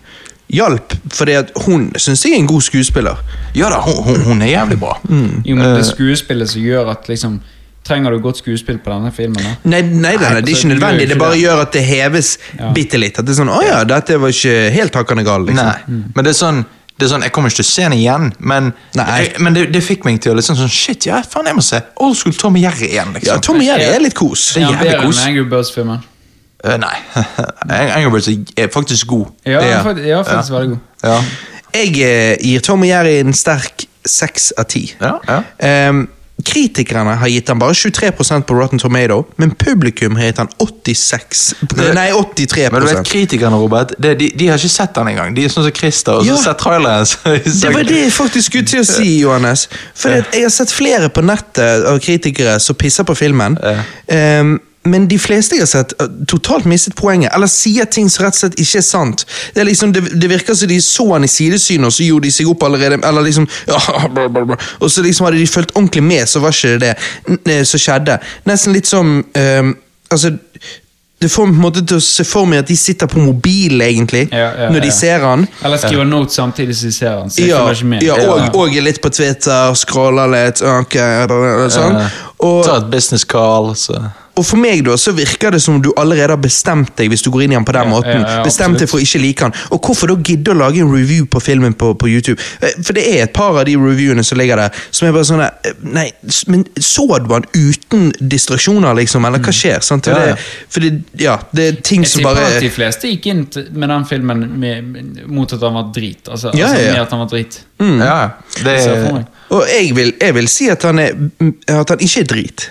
hjalp, for det at hun syns jeg er en god skuespiller. Ja da, hun, hun, hun er jævlig bra. Mm. Jo, men det er skuespillet som gjør at liksom Trenger du godt skuespill på denne filmen? da? Nei, nei, nei, nei, det er altså, ikke du gjør nødvendig, ikke det bare det. gjør at det heves Ja. bitte litt. At det er sånn 'Å ja, dette var ikke helt hakkende gal', liksom. Nei, men det er sånn det er sånn, Jeg kommer ikke til å se den igjen, men, Nei. jeg, men det, det fikk meg til å liksom sånn Shit, ja, faen, jeg må se Old School Tom og Jerry igjen, Ja, liksom. Tom og Jerry er litt kos. Det er Ja, jævlig bedre kos. enn Angry Birds-filmen. Eh, nei. Angry Birds er faktisk god. Ja, Ja. fakt- ja, faktisk veldig god. Ja. Jeg eh, gir Tom og Jerry en sterk seks av ti. Ja, ja. Ehm, kritikerne har gitt han bare 23 på Rotten Tomato, men publikum har gitt han 86 Nei, 83 Men du vet, Kritikerne Robert, det, de, de har ikke sett den engang. De er sånn som Christer. Og så Ja. har sett traileren. Så, Det var det jeg faktisk skulle til å si, Johannes. For jeg har sett flere på nettet av kritikere som pisser på filmen. Ja. Ehm, men de fleste jeg har sett, har totalt mistet poenget. Eller sier ting som rett og slett ikke er sant. Det, er liksom, det, det virker som de så han i sidesynet, og så gjorde de seg opp allerede. Eller liksom, ja, bla, bla, bla. Og så liksom hadde de fulgt ordentlig med, så var ikke det det n- eh, som skjedde. Nesten litt som ehm, Altså, det får meg på en måte til å se for meg at de sitter på mobilen, egentlig, Ja, ja, når de ja. ser han. Eller skriver notes samtidig som de ser den. Så jeg Ja, følger ikke med. ja og, og er litt på Twitter, scroller litt ok, sånn. og, Ta et business call, så og for meg da, så virker det som om du allerede har bestemt deg hvis du går inn i han på den Ja, måten. ja, ja, bestemt deg for å ikke like han. Og hvorfor da gidde å lage en review på filmen på, på YouTube? Eh, For det er et par av de reviewene som ligger der, som er bare sånn der, eh, Nei, s- men så du han uten distraksjoner, liksom? Eller hva skjer? Sant? For, Ja, ja. Det, for det, ja, det er ting Mm. Jeg som tipper bare at de fleste gikk inn t- med den filmen med, mot at han var drit. Altså, Ja, altså ja, ja. med at han var drit. Mm. Ja, det Jeg ser for er meg. Og jeg vil, jeg vil si at han, er, at han ikke er drit.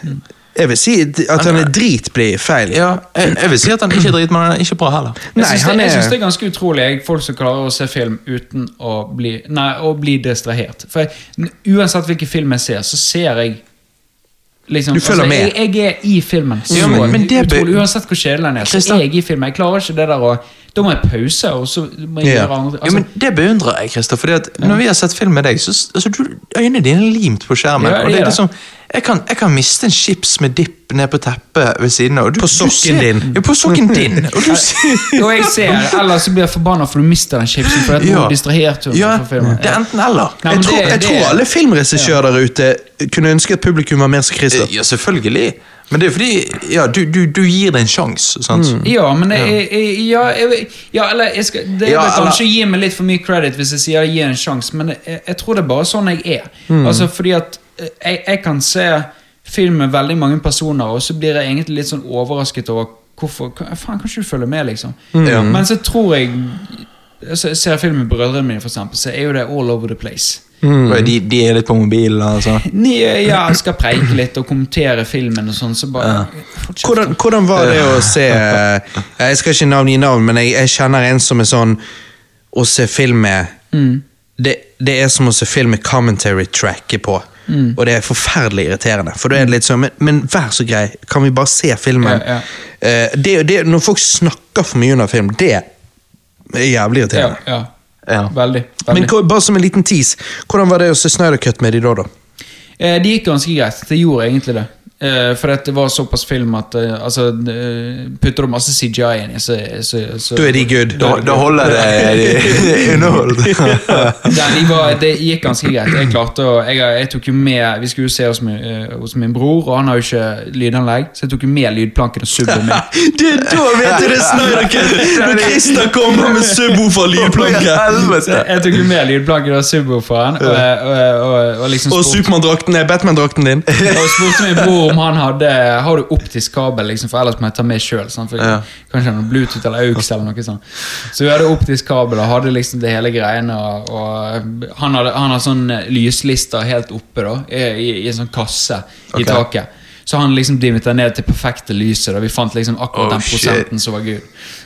Jeg vil si at han er drit blir feil. ja, jeg, jeg vil si at han ikke er drit, men han er ikke bra heller. Jeg Nei, syns han det, jeg er- synes det er ganske utrolig jeg, folk som klarer å se film uten å bli, nei, å bli distrahert. For jeg, n- Uansett hvilken film jeg ser, så ser jeg liksom, Du følger med. Jeg, jeg er i filmen. Så Ja, men- men det- utrolig, uansett hvor kjedelig den er, så Christian- er jeg i filmen. Jeg klarer ikke det der å Da må jeg pause, og så må jeg Ja. gjøre andre Ja, altså, men Det beundrer jeg, Christer. Fordi at når vi har sett film med deg, så s- altså, du, øynene dine er limt på skjermen. Ja, og det ja. er liksom, Jeg kan, jeg kan miste en chips med dipp ned på teppet ved siden av. og du- På du sokken ser- din. Ja, på sokken din. Og du ser Og altså, jeg ser, Ellers så blir jeg forbanna for du mister den chipsen. For at nå Ja. distraherte hun Ja, meg fra filmen. det er enten eller. Nei, Jeg men tror, det- jeg det- tror alle filmregissører der ute kunne ønske at publikum var mer som Christer. Ja, selvfølgelig. Men det er fordi ja, du, du, du gir det en sjanse. sant? Mm. Ja, men jeg, jeg, jeg, ja, jeg, ja, eller jeg skal, Det er Ja, vel kanskje eller- å gi meg litt for mye credit hvis jeg sier gi en sjanse, men jeg, jeg tror det er bare sånn jeg er. Altså fordi at eh, jeg, jeg kan se film med veldig mange personer, og så blir jeg egentlig litt sånn overrasket over hvorfor hva- Faen, kan ikke du følge med, liksom? Ja. Men så tror jeg så Ser jeg film med brødrene mine, for eksempel, så er jo det all over the place. Mm. Og De, de er litt på mobilen. altså. Ni, ja, jeg skal preike litt og kommentere filmen og sånn, så bare Fortsett. Hvordan, hvordan var det å se eh, Jeg skal ikke navngi navn, men jeg, jeg kjenner en som er sånn Å se film med Mm. det, det er som å se film med commentary-tracket på. Mm. Og det er forferdelig irriterende. For da er det litt sånn, men, men vær så grei, kan vi bare se filmen? Ja, Eh, det, det, når folk snakker for mye under film, det er jævlig Ja, irriterende. ja. Ja. Veldig. veldig. Men hva- bare som en liten tease, hvordan var det å se Snyder Cut med de da, da? Eh, det gikk ganske greit. Det gjorde egentlig det. Eh, for at det var såpass film at eh, altså, eh, Putter du masse CGI inn i, så, så, så Da er de good. Da, da holder det det er underholdt. Nei, de var, Det gikk ganske greit. Jeg klarte å jeg, jeg tok jo med Vi skulle jo se hos min, eh, hos min bror, og han har jo ikke lydanlegg, så jeg tok jo med lydplanken og subben min. Det, da vet du det er Snyder Cut! Når Christer kommer med subwoofer-lydplanke! Helvete! Jeg tok jo med lydplanken og subwooferen, og, og, og, og liksom Og spurte- Supermann-drakten er Batman-drakten din. Og spurte min bror om han hadde Har du optisk kabel, liksom, for ellers må jeg ta med sjøl. Ja. Kanskje noe Bluetooth eller AUX eller noe sånt. Så vi hadde optisk kabel og hadde liksom det hele greiene. Og, og han hadde, han hadde sånn lyslister helt oppe da i, i, i en sånn kasse i taket. Så han liksom dimmet ned til perfekte lyset. Da. Vi fant liksom akkurat Oh, den shit. prosenten som var gul.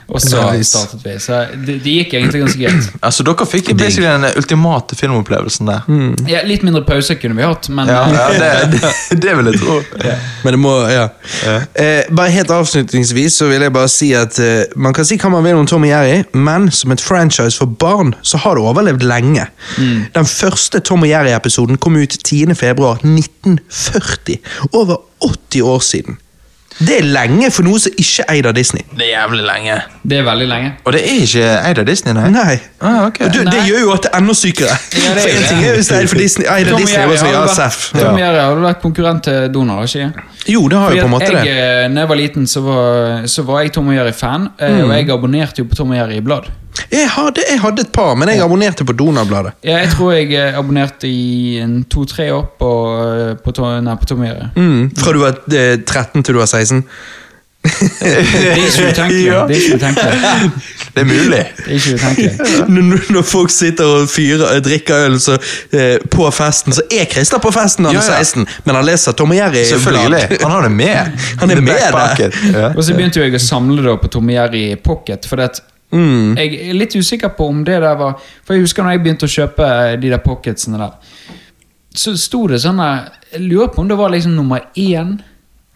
Og så Nice. startet vi. Så det, det gikk egentlig ganske greit. Altså, Dere fikk basically den ultimate filmopplevelsen der. Mm. Ja, litt mindre pause kunne vi hatt, men eh, Ja, ja det, det, det vil jeg tro. Men det må, ja. Eh, bare helt avslutningsvis så vil jeg bare si at eh, man kan si hva man vil om Tom og Jerry, men som et franchise for barn så har det overlevd lenge. Den første Tom og Jerry-episoden kom ut 10. februar 1940. Over 80 år siden. Det er lenge for noe som ikke er eid av Disney. Det er jævlig lenge. det er veldig lenge. Og det er ikke eid av Disney, nei? Nei. Ah, ok. Og du, det Nei. gjør jo at det er enda sykere. Ja, for det er en det. ting er hvis det er eid for Disney, eid av Tom og Disney, Jerry og så ja, hadde vært, Seff. Tom og Jerry hadde vært konkurrent til Donald, ikke Jo, det har Fordi jo på en at måte jeg, det. eh, når jeg var liten, så var, så var jeg Tom og Jerry-fan, eh, Mm. og jeg abonnerte jo på Tom og Jerry i blad. Jeg hadde, jeg hadde et par, men jeg abonnerte på Donald-bladet. Ja, Jeg tror jeg eh, abonnerte i en to-tre år på, eh, på, Tom, nei, på Tom og Jerry. Mm, fra du var eh, 13 til du var 16. Det er ikke utenkelig. Ja. Det er ikke utenkelig. Det er mulig. Det er ikke utenkelig. Når, når- når folk sitter og fyrer og drikker øl så, eh, på festen, så er Christer på festen når han Ja, er ja. 16, men han leser Tom og Jerry. Selvfølgelig. Han har det med. Han er The med back der. pocket. Ja. Og så begynte jo jeg å samle da på Tom og Jerry i pocket. For at Mm. jeg er litt usikker på om det der var For jeg husker når jeg begynte å kjøpe eh, de der pocketsene der, så sto det sånn der Jeg lurer på om det var liksom nummer én.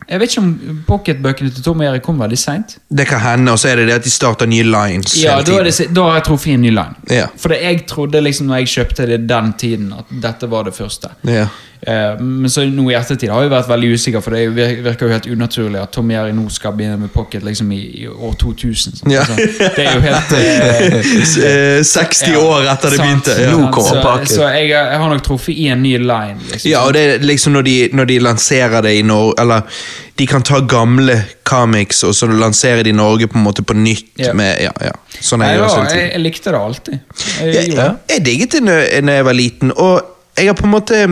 Jeg vet ikke om pocketbøkene til Tom og Jerry kom veldig seint. Det kan hende, og så er det det at de starter nye lines Ja, hele da, er tiden. det, si- da har jeg truffet en ny line. Ja. For det jeg trodde liksom når jeg kjøpte det den tiden, at dette var det første. Ja. Eh, Men så nå i ettertid har jeg vært veldig usikker, for det vir- virker jo helt unaturlig at Tom Jerry nå skal begynne med pocket liksom i, i år 2000. sant? Ja. Altså, det er jo helt eh, S- eh, 60 ja, år etter det sant, begynte. sant. Ja. Nå kommer pocket. Så, så jeg, jeg har nok truffet i en ny line. Liksom. Ja, og det er liksom når de, når de lanserer det i Norge Eller de kan ta gamle comics og så lanserer de Norge på en måte på nytt. Ja. Med, ja, ja. Sånn er Nei, det da, også hele tiden. jeg, jeg likte det alltid. Jeg, Jeg, gjorde det. jeg digget det når når jeg var liten, og jeg har på en måte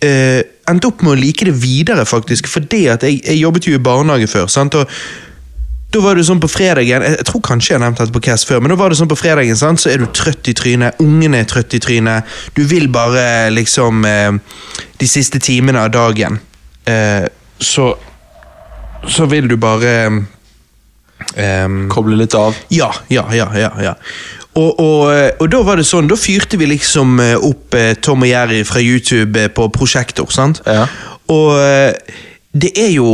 eh, endt opp med å like det videre, faktisk. Fordi at jeg, jeg jobbet jo i barnehage før. sant? Og da var det sånn på fredagen Jeg jeg tror kanskje jeg har nevnt dette på Cass før, men da var det sånn på fredagen, sant? så er du trøtt i trynet, ungene er trøtt i trynet, du vil bare liksom eh, De siste timene av dagen, eh, så Så vil du bare eh, Koble litt av. ja, ja, ja, ja, ja. Og, og, eh, og da var det sånn, da fyrte vi liksom eh, opp eh, Tom og Jerry fra YouTube eh, på prosjektor, sant? Ja. Og eh, det er jo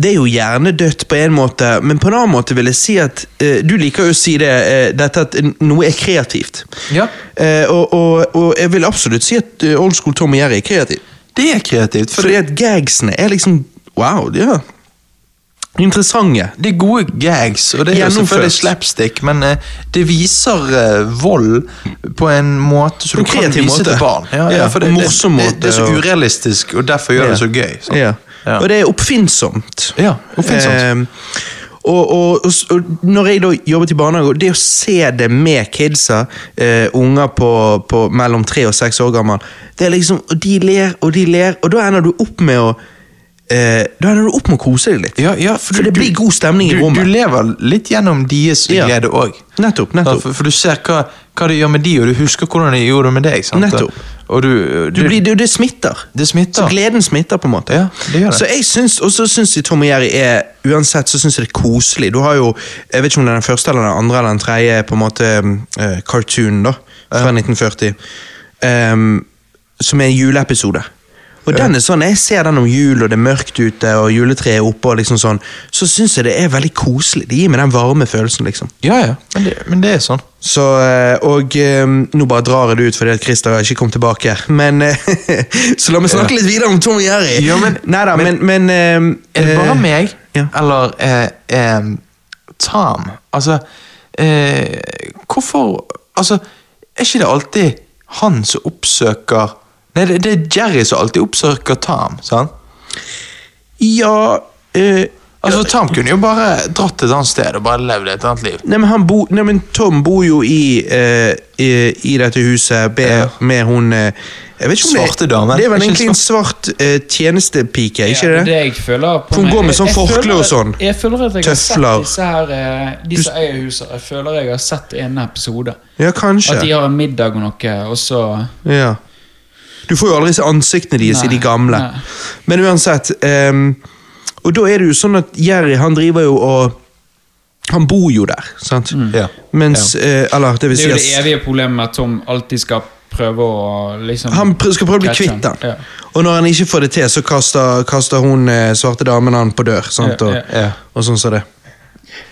det er jo hjernedødt på en måte, men på en annen måte vil jeg si at eh, Du liker jo å si det, eh, dette at noe er kreativt. Ja. Eh, og, og, og jeg vil absolutt si at eh, old school Tom og Jerry er kreativ. Det er kreativt. For Fordi at gagsene er liksom Wow, ja. Interessante. det er gode gags, og det er jo Gjennomført. selvfølgelig slapstick, men eh, det viser eh, vold på en måte som På du en kan kreativ vise måte. til barn. Ja, for det, en det, morsom det, måte, det er så og- urealistisk, og derfor gjør det så gøy. sant? Ja. Ja. Og det er oppfinnsomt. Ja, oppfinnsomt. Ehm, og, og, og, s- og når jeg da jobbet i barnehage, og det å se det med kidsa, eh, unger på, på mellom tre og seks år gammel, det er liksom, og de ler og de ler, og da ender du opp med å eh, da ender du opp med å kose deg litt. Ja, ja, for For du- det blir god stemning i du, rommet. du lever litt gjennom deres Ja. glede òg. Nettopp, nettopp. For, for du ser hva, hva det gjør med de, og du husker hvordan de gjorde det med deg. Sant? Nettopp. Og du, Du blir, det, det smitter. Det smitter. Så gleden smitter, på en måte. Ja, det gjør det. Så jeg syns, Og så syns jeg Tom og Jerry er Uansett så syns jeg det er koselig. Du har jo Jeg vet ikke om det er den første eller den andre eller den tredje på en måte uh, cartoon da fra 1940, ehm, som er en juleepisode. Og den er sånn, Jeg ser den om jul, og det er mørkt ute, og juletreet er oppe, og liksom sånn, så syns jeg det er veldig koselig. Det gir meg den varme følelsen, liksom. Ja, ja. Men det, men det er sånn. Så, eh, og eh, Nå bare drar jeg det ut fordi at Christer har ikke kommet tilbake. Men, eh, så la meg snakke litt videre om Tom og Jerry. Ja, men- Neida, men, men, eh, Er det bare eh, meg, ja. eller eh, eh, Tom? Altså eh, Hvorfor Altså, er ikke det alltid han som oppsøker Nei, det, det er Jerry som alltid oppsøker Tom. sant? Ja eh, Altså, Tom kunne jo bare dratt til et annet sted og bare levd et annet liv. Nei, men, han bo, nei, men Tom bor jo i, eh, i, i dette huset med, Ja. med hun eh, jeg vet ikke om det- Svarte damen. Det er vel Ikke egentlig en svart eh, tjenestepike, ikke Ja, det? det jeg føler på For hun meg- går med jeg- sånn jeg forkle føler- og sånn. Jeg føler at jeg Tøfler. har sett disse her eh, De som eier huset, jeg føler jeg har sett en episode. Ja, kanskje. At de har en middag og noe, og så Ja. Du får jo aldri se ansiktene deres i de Nei, gamle. nei. Men uansett ehm, Og da er det jo sånn at Jerry han driver jo og Han bor jo der, sant? Ja. Mens eh, Eller, det vil Mm. Det er si jo at det evige problemet med at Tom alltid skal prøve å liksom han pr skal prøve å bli catche kvitt han. den. Og når han ikke får det til, så kaster, kaster hun eh, svarte damen han på dør. Sant? Ja, Og, ja, ja. og sånn som det.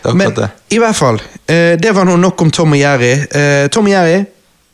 Det er Men akkurat det. i hvert fall, eh, det var noe nok om Tom og Jerry. Eh, Tom og Jerry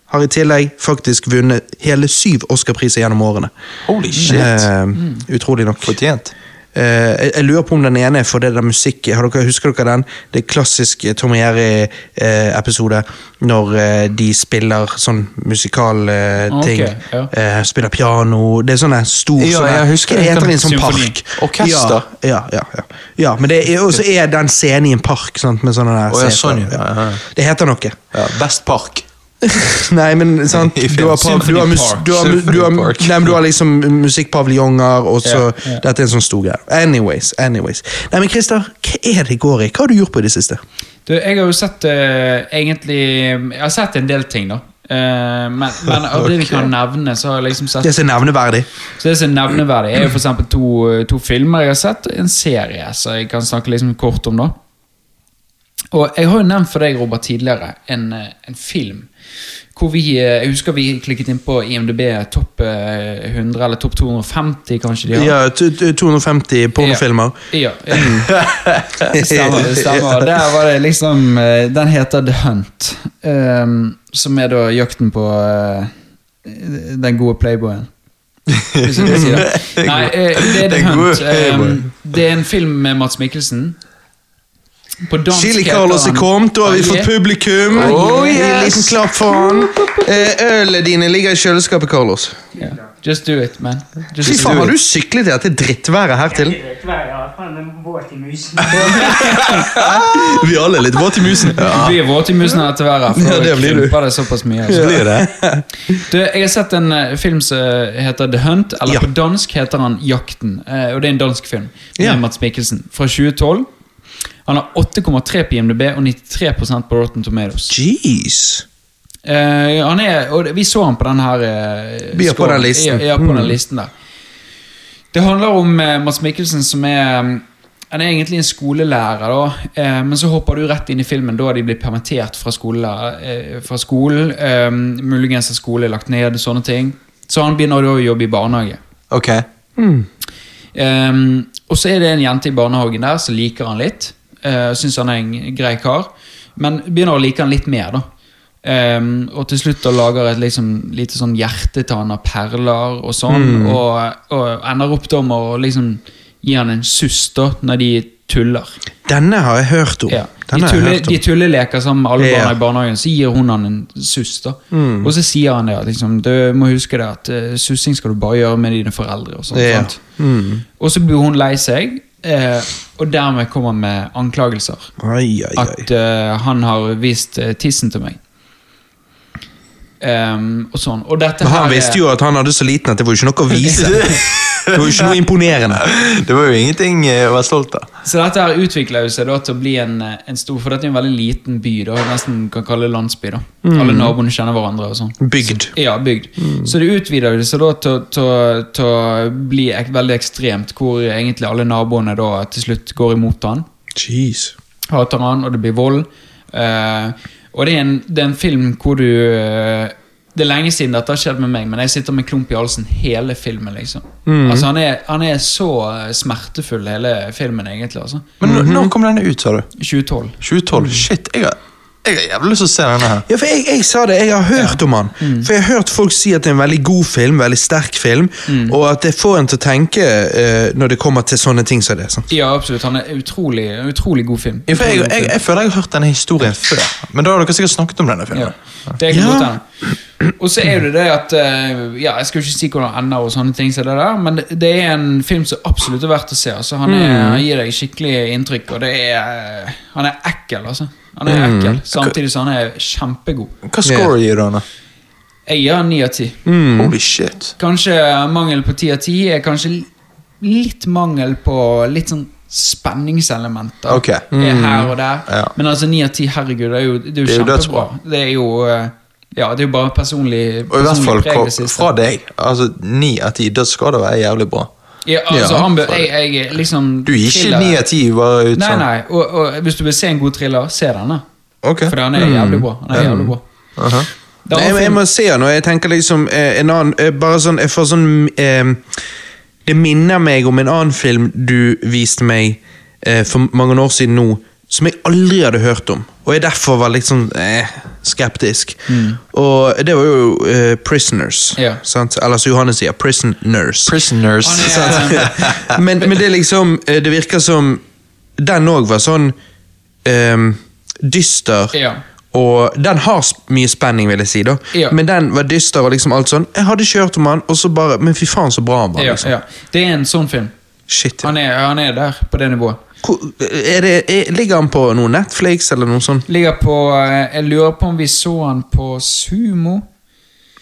har i tillegg faktisk vunnet hele syv Oscar-priser gjennom årene. Holy shit. Mm. Eh, utrolig nok. Fortjent. Eh, jeg, jeg lurer på om den ene er for det der musikk har dere, Husker dere den? Det er klassisk eh, Tom og Jerry-episode når eh, de spiller sånn musikalting. Ah, Ok, ting ja. eh, spiller piano Det er sånne stor Ja, sånne, jeg husker hva det. heter det i en sånn Symfoni. park. Orkester. Ja, ja, ja, ja. ja men det er, og så er den scenen i en park. Sant, med sånne der Å, ja, seter. sånn, ja, ja, ja. Det heter noe. Ja, best park. Nei, men sant I film. Du har, par, du har, mus, Symphony Park. du har, mu- du har, Symphony Park. nei, men du har liksom musikkpaviljonger, og så Ja, ja. Dette er en sånn stor greie. Anyways, anyways. Nei, men Christer, hva er det i går i? Hva har du gjort på i det siste? Du, jeg har jo sett eh, egentlig Jeg har sett en del ting, da. Eh, men, men av det vi kan nevne, så har jeg liksom sett Det som er nevneverdig. Så det som er nevneverdig, er jo for eksempel to, to filmer jeg har sett, og en serie, så jeg kan snakke liksom kort om da. Og jeg har jo nevnt for deg, Robert, tidligere, en, eh, en film hvor vi, eh, jeg husker vi klikket inn på IMDb topp eh, 100, eller topp 250 kanskje de har. Ja, t- t- 250 pornofilmer. Ja, ja. Det stemmer, det stemmer. Der var det liksom eh, Den heter The Hunt. ehm, som er da jakten på eh, den gode playboyen. Hvis jeg kan si det. Nei, eh, det er The Den gode Hunt. playboyen. ehm, det er en film med Mats Mikkelsen. På dansk Chili heter Carlos er han- kommet, da har vi Ah, fått yeah. publikum. Oh, Gi En yes. liten klapp for han. Eh, Ølet dine ligger i kjøleskapet, Carlos. Ja. Just do it, man. Just Fy do faen, it. har du syklet i dette drittværet her til? Jeg vet hva jeg har. Faen, den våt i musen. Vi alle er litt våte i musen. Du blir våt i musen etter været. Ja, For det det blir du. krymper det såpass mye. Altså. Blir det? Du, jeg har sett en eh, film som heter The Hunt, eller Ja. på dansk heter han Jakten. eh, og det er en dansk film med Ja. Mats Mikkelsen fra 2012. Han har 8,3 på IMDb og 93 på Rotten Tomatoes. Jeez. Eh, han er, og det- vi så han på den her eh, Vi er på scoren. den listen. Ja, ja, på Mm. den listen der. Det handler om eh, Mats Mikkelsen som er eh, Han er egentlig en skolelærer, da, eh, men så hopper du rett inn i filmen da de blir permittert fra, skole, eh, fra skolen. Eh, muligens er skole lagt ned, sånne ting. Så han begynner da å jobbe i barnehage. Ok. Ehm, og så er det en jente i barnehagen der som Eh, liker han litt. Uh, Syns han er en grei kar. Men begynner å like han litt mer, da. Ehm, og til slutt da lager et liksom, lite sånn hjertetann av perler og sånn. Mm. Og, og ender opp da med å liksom gi han en suss da, når de tuller. Denne har jeg hørt om. Ja. De, Denne Oh, har jeg tulle, hørt om. de tulleleker sammen med alle Ja. Mm. barna i barnehagen, så gir hun han en suss. da Og så sier han det at liksom, du må huske det at eh, sussing skal du bare gjøre med dine foreldre. Og sånt, Ja. sant? Mm. Mm. Og så blir hun lei seg, eh, og dermed kommer han med anklagelser. Ai, ai, ai. At eh, han har vist eh, tissen til meg. Ehm, og sånn. Og dette Men her han er- visste jo at han hadde så liten at det var jo ikke noe å vise. Det var jo ikke noe imponerende. Det var jo ingenting eh, å være stolt av. Så dette her utvikler jo seg da til å bli en, eh, en stor For dette er en veldig liten by, da, nesten kan kalle det landsby. da Alle naboene kjenner hverandre. og sånn Mm. Bygd. Mm. Ja, bygd. Så det utvider jo seg da til, til, til å bli ek, veldig ekstremt, hvor egentlig alle naboene da til slutt går imot han. Jeez. hater han, og det blir vold. Eh, og det er, en, det er en film hvor du eh, Det er lenge siden dette har skjedd med meg, men jeg sitter med klump i halsen hele filmen. liksom Mm. Altså han er, han er så eh, smertefull, hele filmen, egentlig. altså Men nå- når kom denne ut, sa du? 2012. Mhm. 2012? Shit, jeg har, jeg har jævlig lyst til å se denne her. Ja, for jeg, jeg sa det, jeg har hørt om han. Mm. For jeg har hørt folk si at det er en veldig god film, veldig sterk film, Mm. og at det får en til å tenke eh, når det kommer til sånne ting som det. Sant? Ja, absolutt. Han er utrolig, en utrolig god film. For jeg, jeg, jeg føler jeg har hørt denne historien før, men da har dere sikkert snakket om denne Ja. filmen. Det kan Ja. godt hende. Og så er det det at eh, Ja, jeg skal jo ikke si hvordan han ender, og sånne ting som det der men det- det er en film som absolutt er verdt å se. Altså, han, er, Mm. han gir deg skikkelig inntrykk, og det er eh, Han er ekkel, altså. Han er Mm. ekkel, Samtidig som han er kjempegod. Hva score gir du henne? Jeg gir han ni av ti. Mm. Holy shit. Kanskje mangel på ti av ti er kanskje litt mangel på litt sånn spenningselementer. Ok. Mm. Er her og der. Ja. Men altså ni av ti, herregud, det er jo, det er jo Det er jo kjempebra. Det er jo eh, ja, det er jo bare personlig, Og i hvert personlig fall preg det fra, siste. fra deg. Altså, Ni av ti, da skal det være jævlig bra. Ja, altså, Ja, han bør, fra jeg, jeg er liksom Du gir ikke thriller- ni av ti bare ut Nei, sånn. nei. Og, og hvis du vil se en god thriller, se denne. Ok. Mm. For han er jævlig bra. Han er jævlig bra. Aha. Det er Nei, en men jeg film- må se han, og jeg tenker liksom eh, en annen eh, Bare sånn, jeg får sånn eh, Det minner meg om en annen film du viste meg eh, for mange år siden nå, som jeg aldri hadde hørt om, og jeg derfor var litt sånn eh, skeptisk. Og det var jo eh, Prisoners, Mm. Ja. sant? Eller som Johannes sier, Prisoners. Prisoners. Han sant? er, eh, men, men det er liksom eh, Det virker som den òg var sånn ehm, dyster. Ja. Og den har sp- mye spenning, vil jeg si. da Ja. Men den var dyster og liksom alt sånn. Jeg hadde ikke hørt om han, og så bare Men fy faen, så bra han var. ja, liksom. ja. Det er en sånn film. Shit. Han er, han er der, på det nivået. Hvor- Er det, er, ligger han på noe Netflix eller noe sånt? Ligger på eh, Jeg lurer på om vi så han på Sumo.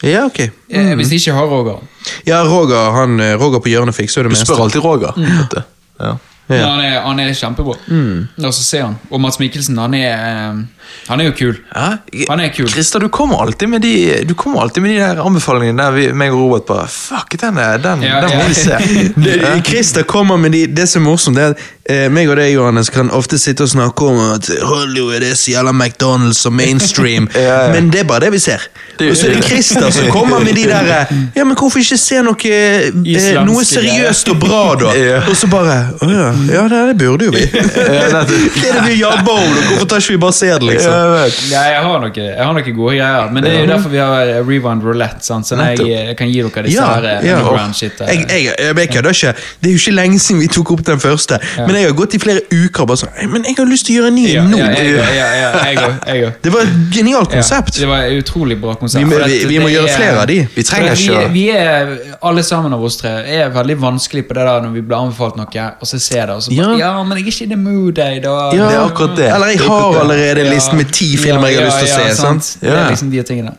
Ja, ok. Eh, Mm. Hvis ikke har Roger. Ja, Roger, han, eh, Roger på hjørnet fikser jo det Du meste. spør alltid Roger. Mm. vet du. Ja. Ja. Mm. Men han er, han er kjempebra. Og så ser han. Og Mads Mikkelsen, han er eh, Han er jo kul. Han er kul. Christer, du kommer alltid med de Du kommer alltid med de der anbefalingene der vi, meg og Robert bare Fuck, den, er, den, Ja, den må ja. vi se. Det- Christer kommer med de, det som er morsomt, det er at eh, meg og deg, Johannes, kan ofte sitte og snakke om at Hollywood er så jævla McDonald's og mainstream, Ja, ja. men det er bare det vi ser. Det- Og så er det Christer som kommer med de der eh, Ja, men hvorfor ikke se noe, eh, Islandske noe seriøst og bra, da? Ja. Og så bare Å ja, ja, det, det burde jo vi. Ja, nettopp. Det er det vi jabber om, da. Hvorfor tar ikke vi bare se det, Ja, liksom? jeg vet. Ja, jeg har noen jeg har noe gode greier, men det er jo derfor vi har eh, Rewind Roulette. Sant? Så jeg, Nettopp. jeg kan gi dere disse Ja, her eh, ja. underground shit eh. der. Jeg, jeg, jeg, jeg kødder ikke. Det er jo ikke lenge siden vi tok opp den første. Men jeg har gått i flere uker og bare sånn «Nei, Men jeg har lyst til å gjøre en ny ja, nå. ja, jeg, ja, ja, ja, jeg òg. Jeg òg. Det var et genialt Ja, konsept. det var et utrolig bra konsept. Vi må- For vi- at vi det må gjøre er- flere av de. Vi trenger For ikke å- at Vi, vi er, alle sammen av oss tre er veldig vanskelig på det der når vi blir anbefalt noe, og så ser jeg det, og så Ja. bare Ja, men jeg er ikke i the mood, jeg, da. Ja. Det er akkurat det. Eller jeg har allerede en Ja. liste med ti filmer jeg har lyst til å se. sant? Det Ja. er liksom de tingene.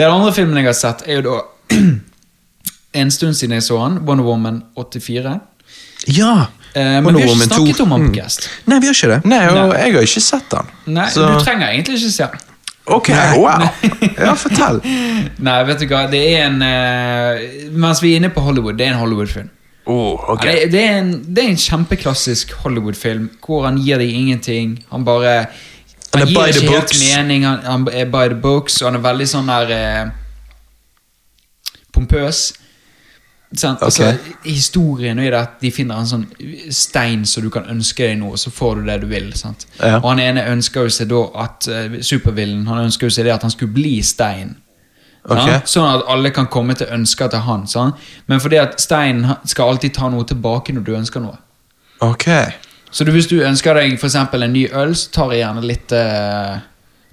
Den andre filmen jeg har sett, er jo da En stund siden jeg så han, Wonder Woman 84. Ja. Eh, men Wonder vi har ikke Woman 2. snakket om han på Guest. Mm. Nei, vi har ikke det. Nei, og jeg har ikke sett den. Nei, Så- du trenger egentlig ikke se han. Ok, wow. Ja, fortell. Nei, vet du hva, det er en eh, Mens vi er inne på Hollywood, det er en Hollywood-film. Oh, ok. Ja, Det, det, er en, det er en kjempeklassisk Hollywood-film hvor han gir deg ingenting. Han bare Han er Han by gir the ikke helt books. mening, han, han er by the books, og han er veldig sånn der eh, pompøs. Sant? Altså, historien er det at de finner en sånn stein som du kan ønske deg noe, så får du det du vil. Sant? Ja. Og han ene ønsker jo seg da at eh, supervillen Han ønsker jo seg det at han skulle bli stein. Ok. Sant? Sånn at alle kan komme til ønsker til han. Sant? Men fordi at steinen ha- skal alltid ta noe tilbake når du ønsker noe. Ok. Så du, hvis du ønsker deg for eksempel en ny øl, så tar jeg gjerne litt, eh,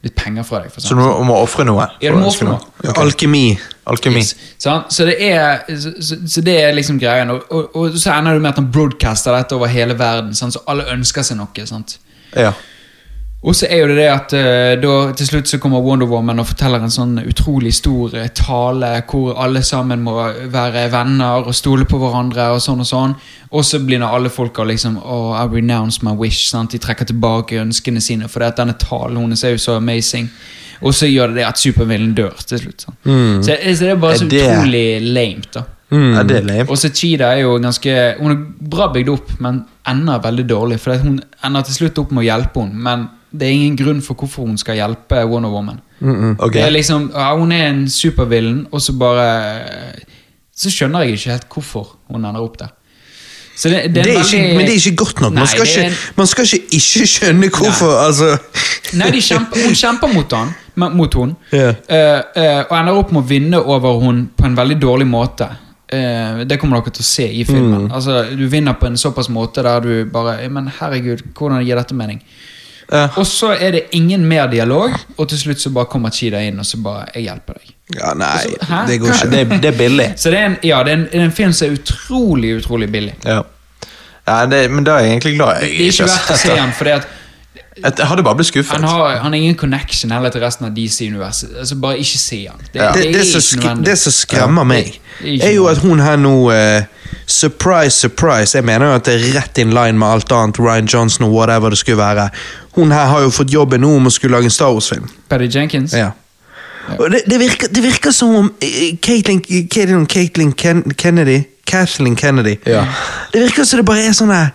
litt penger fra deg. For Så du eksempel. må- må ofre noe? Ja, du må ofre noe. Ok. Alkemi. Alkemi. Yes, sant? Så, det er, så, så, så det er liksom greien. Og, og, og så ender du med at han broadcaster dette over hele verden, sant? så alle ønsker seg noe. sant? Ja. Og så er jo det det at eh, da, til slutt så kommer Wonder Woman og forteller en sånn utrolig stor eh, tale hvor alle sammen må være venner og stole på hverandre og sånn og sånn. Og så begynner alle folka liksom oh, I renounce my wish. sant? De trekker tilbake ønskene sine, for det at denne talen hennes er jo så amazing. Og så gjør det det at supervillen dør til slutt. sant? Så, så det er bare Mm. Er så det- utrolig lame, da. Mm. Ja, det er lame. Mm. Og så Chida er jo ganske Hun er bra bygd opp, men ender veldig dårlig. For hun ender til slutt opp med å hjelpe henne, men det er ingen grunn for hvorfor hun skal hjelpe Wonder Woman. Mm, Ok. Det er liksom, ja, Hun er en supervillen, og så bare Så skjønner jeg ikke helt hvorfor hun ender opp der. Så det, det Det er er en ikke, veldig- men det er ikke godt nok. Man Nei, skal det er ikke, man skal ikke ikke skjønne hvorfor. altså. Nei, de kjemper, hun kjemper mot han men- Mot hun Ja. Eh, eh, Og ender opp med å vinne over hun På en veldig dårlig måte Eh, Det kommer dere til å se i filmen altså, Du vinner på en såpass måte der du bare «Ja, Men herregud, hvordan gir dette mening? Ja. Og så er det ingen mer dialog Og til slutt så bare kommer Chida inn Og så bare, jeg hjelper deg Ja, nei, Hæ? det går Ja, ikke. det, er- det er billig. Så det er en, ja, det er en, det er en film som er utrolig, utrolig billig Ja. ja det, men da er jeg egentlig glad jeg Det er ikke har verdt å sett se det. den Fordi at Jeg- Jeg hadde bare blitt skuffet. han har, han har ingen connection heller til resten av DC-universet Altså bare ikke se han Det, Det, det, som ikke sk- nødvendig. det som skremmer meg, det er ikke er jo at hun her nå eh, Surprise, surprise. Jeg mener jo at det er rett in line med alt annet. Ryan Johnson og whatever det skulle være. Hun her har jo fått jobben nå om å skulle lage en Star Wars-film. Patty Jenkins Ja. Og det, det, virker, det virker som om eh, Caitlyn Caitlyn- Caitlyn Ken, Kennedy Kathleen Kennedy Ja. Det virker som det bare er sånn her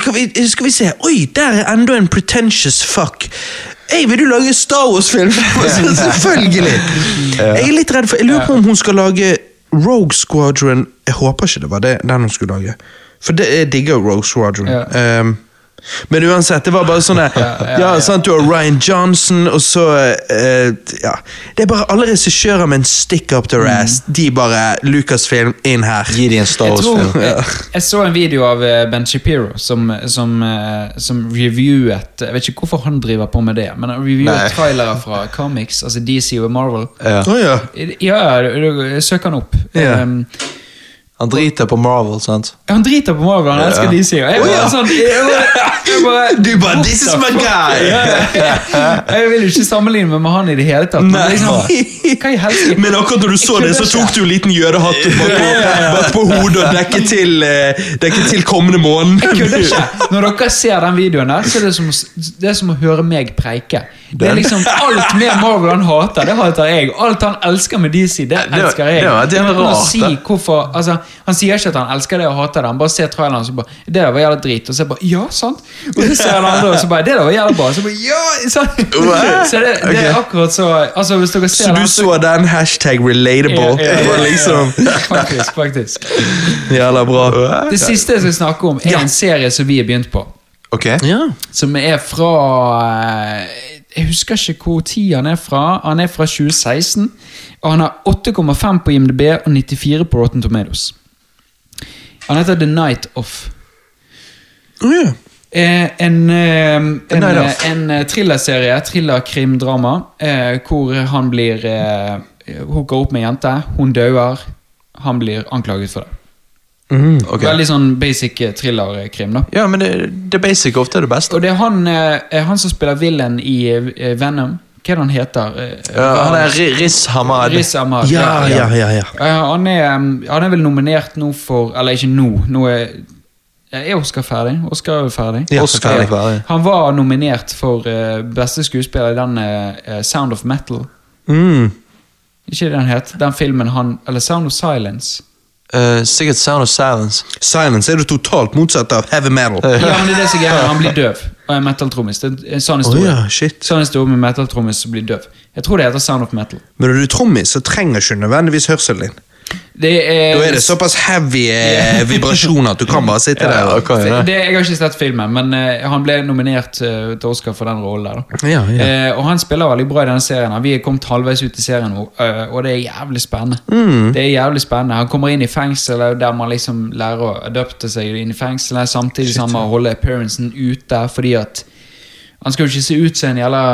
skal vi, skal vi se Oi, der er enda en pretentious fuck. Hei, vil du lage Star Wars-film? Selvfølgelig! Jeg er litt redd for Jeg lurer på om hun skal lage Rogue Squadron Jeg håper ikke det var det, den hun skulle lage. For det, jeg digger Rogue Squadron. Ja. Um, men uansett, det var bare sånn der, Ja, ja, ja, ja. sant, Du har Ryan Johnson, og så eh, ja. Det er bare alle regissører med en stick up their ass. Mm. De bare Lucasfilm inn her. Gi dem en Star Jeg, Wars-film. tror, jeg, jeg så en video av eh, Ben Shapiro som, som, eh, som reviewet Jeg vet ikke hvorfor han driver på med det, men han reviewet Nei. trailere fra comics, altså DC og Marvel. Ja. Å ja. Ja, du- du- søk han opp. Ja. Um, Han driter på Marvel, sant? han driter på Marvel, han elsker Ja. DC. Og jeg Å, bare ja. sånn jeg bare, jeg bare, Du bare what This is the my fuck?» guy! Ja, ja, ja. Jeg vil jo ikke sammenligne meg med han i det hele tatt. Men Nei. liksom, hva i helsike? Men akkurat når du så Jeg det, så kødder tok ikke. du en liten jødehatt bak på, bak på hodet og dekket til, eh, dekket til kommende måned. Jeg kødder ikke. Når dere ser den videoen der, så er det som, å s- det er som å høre meg preike. Det er liksom Alt med Marvel han hater, det hater jeg. Alt han elsker med DC, det det- elsker jeg. det var- det er Uten å rart, si det. hvorfor, altså, han sier ikke at han elsker det og hater det. Han bare ser traileren og så bare Det der var jævla drit. Og så bare Ja, sant? Og så ser han andre og så bare Det der var jævla bra. Og så bare Ja! Sant? Wow. Så det, det er akkurat så Altså, hvis dere ser Så du den, så den hashtag relatable? Ja, ja, ja, Det var ja. liksom Faktisk, faktisk. Jævla bra. Det siste jeg skal snakke om, er en serie som vi har begynt på. Ok. Ja. Som er fra eh, Jeg husker ikke hvor tid han er fra. Han er fra 2016. Og han har 8,5 på IMDb og 94 på Rotten Tomatoes. Han heter The Night Off. Ja. Eh, en eh, en, Night eh, Off. en eh, thrillerserie, thriller-krim-drama, eh, hvor han blir eh, hooka opp med ei jente. Hun dauer. Han blir anklaget for det. ok. Veldig sånn basic eh, thriller-krim. da Ja, men det, det basic ofte er det beste. Og det er han, eh, han som spiller villain i eh, Venom. Hva er det han heter? Eh, Ja, han er Ri- Riz Hamad. Riz Ahmad. Ja, ja, ja, ja. Eh, han, er, eh, han er vel nominert nå for Eller ikke nå. nå er, er Oscar ferdig? Oscar er vel ferdig? Ja, Oscar ferdig. er ferdig. Han var nominert for eh, beste skuespiller i den eh, eh, Sound of Metal. Mm. Ikke det den het? Den filmen han Eller Sound of Silence. Eh, sikkert Sound of Silence. Silence er du totalt motsatt av heavy metal. Ja, men det er det som er greia. Han blir døv og er metal-trommis. Det er en sånn Å historie. ja, shit. Sånn historie med metal-trommis som blir døv. Jeg tror det heter Sound of Metal. Men når du er trommis, så trenger ikke nødvendigvis hørselen din. Det er, Da er det såpass heavy eh, vibrasjoner at du kan bare sitte der. og- hva er det, det? Jeg har ikke sett filmen, men eh, han ble nominert eh, til Oscar for den rollen der. da. Ja, ja. Eh, og han spiller veldig bra i denne serien. her. Vi er kommet halvveis ut i serien nå, eh, og det er jævlig spennende. Mm. Det er jævlig spennende. Han kommer inn i fengselet, der man liksom lærer å adapte seg inn i fengselet, samtidig som man holder appearancen ute, fordi at han skal jo ikke se ut som en jævla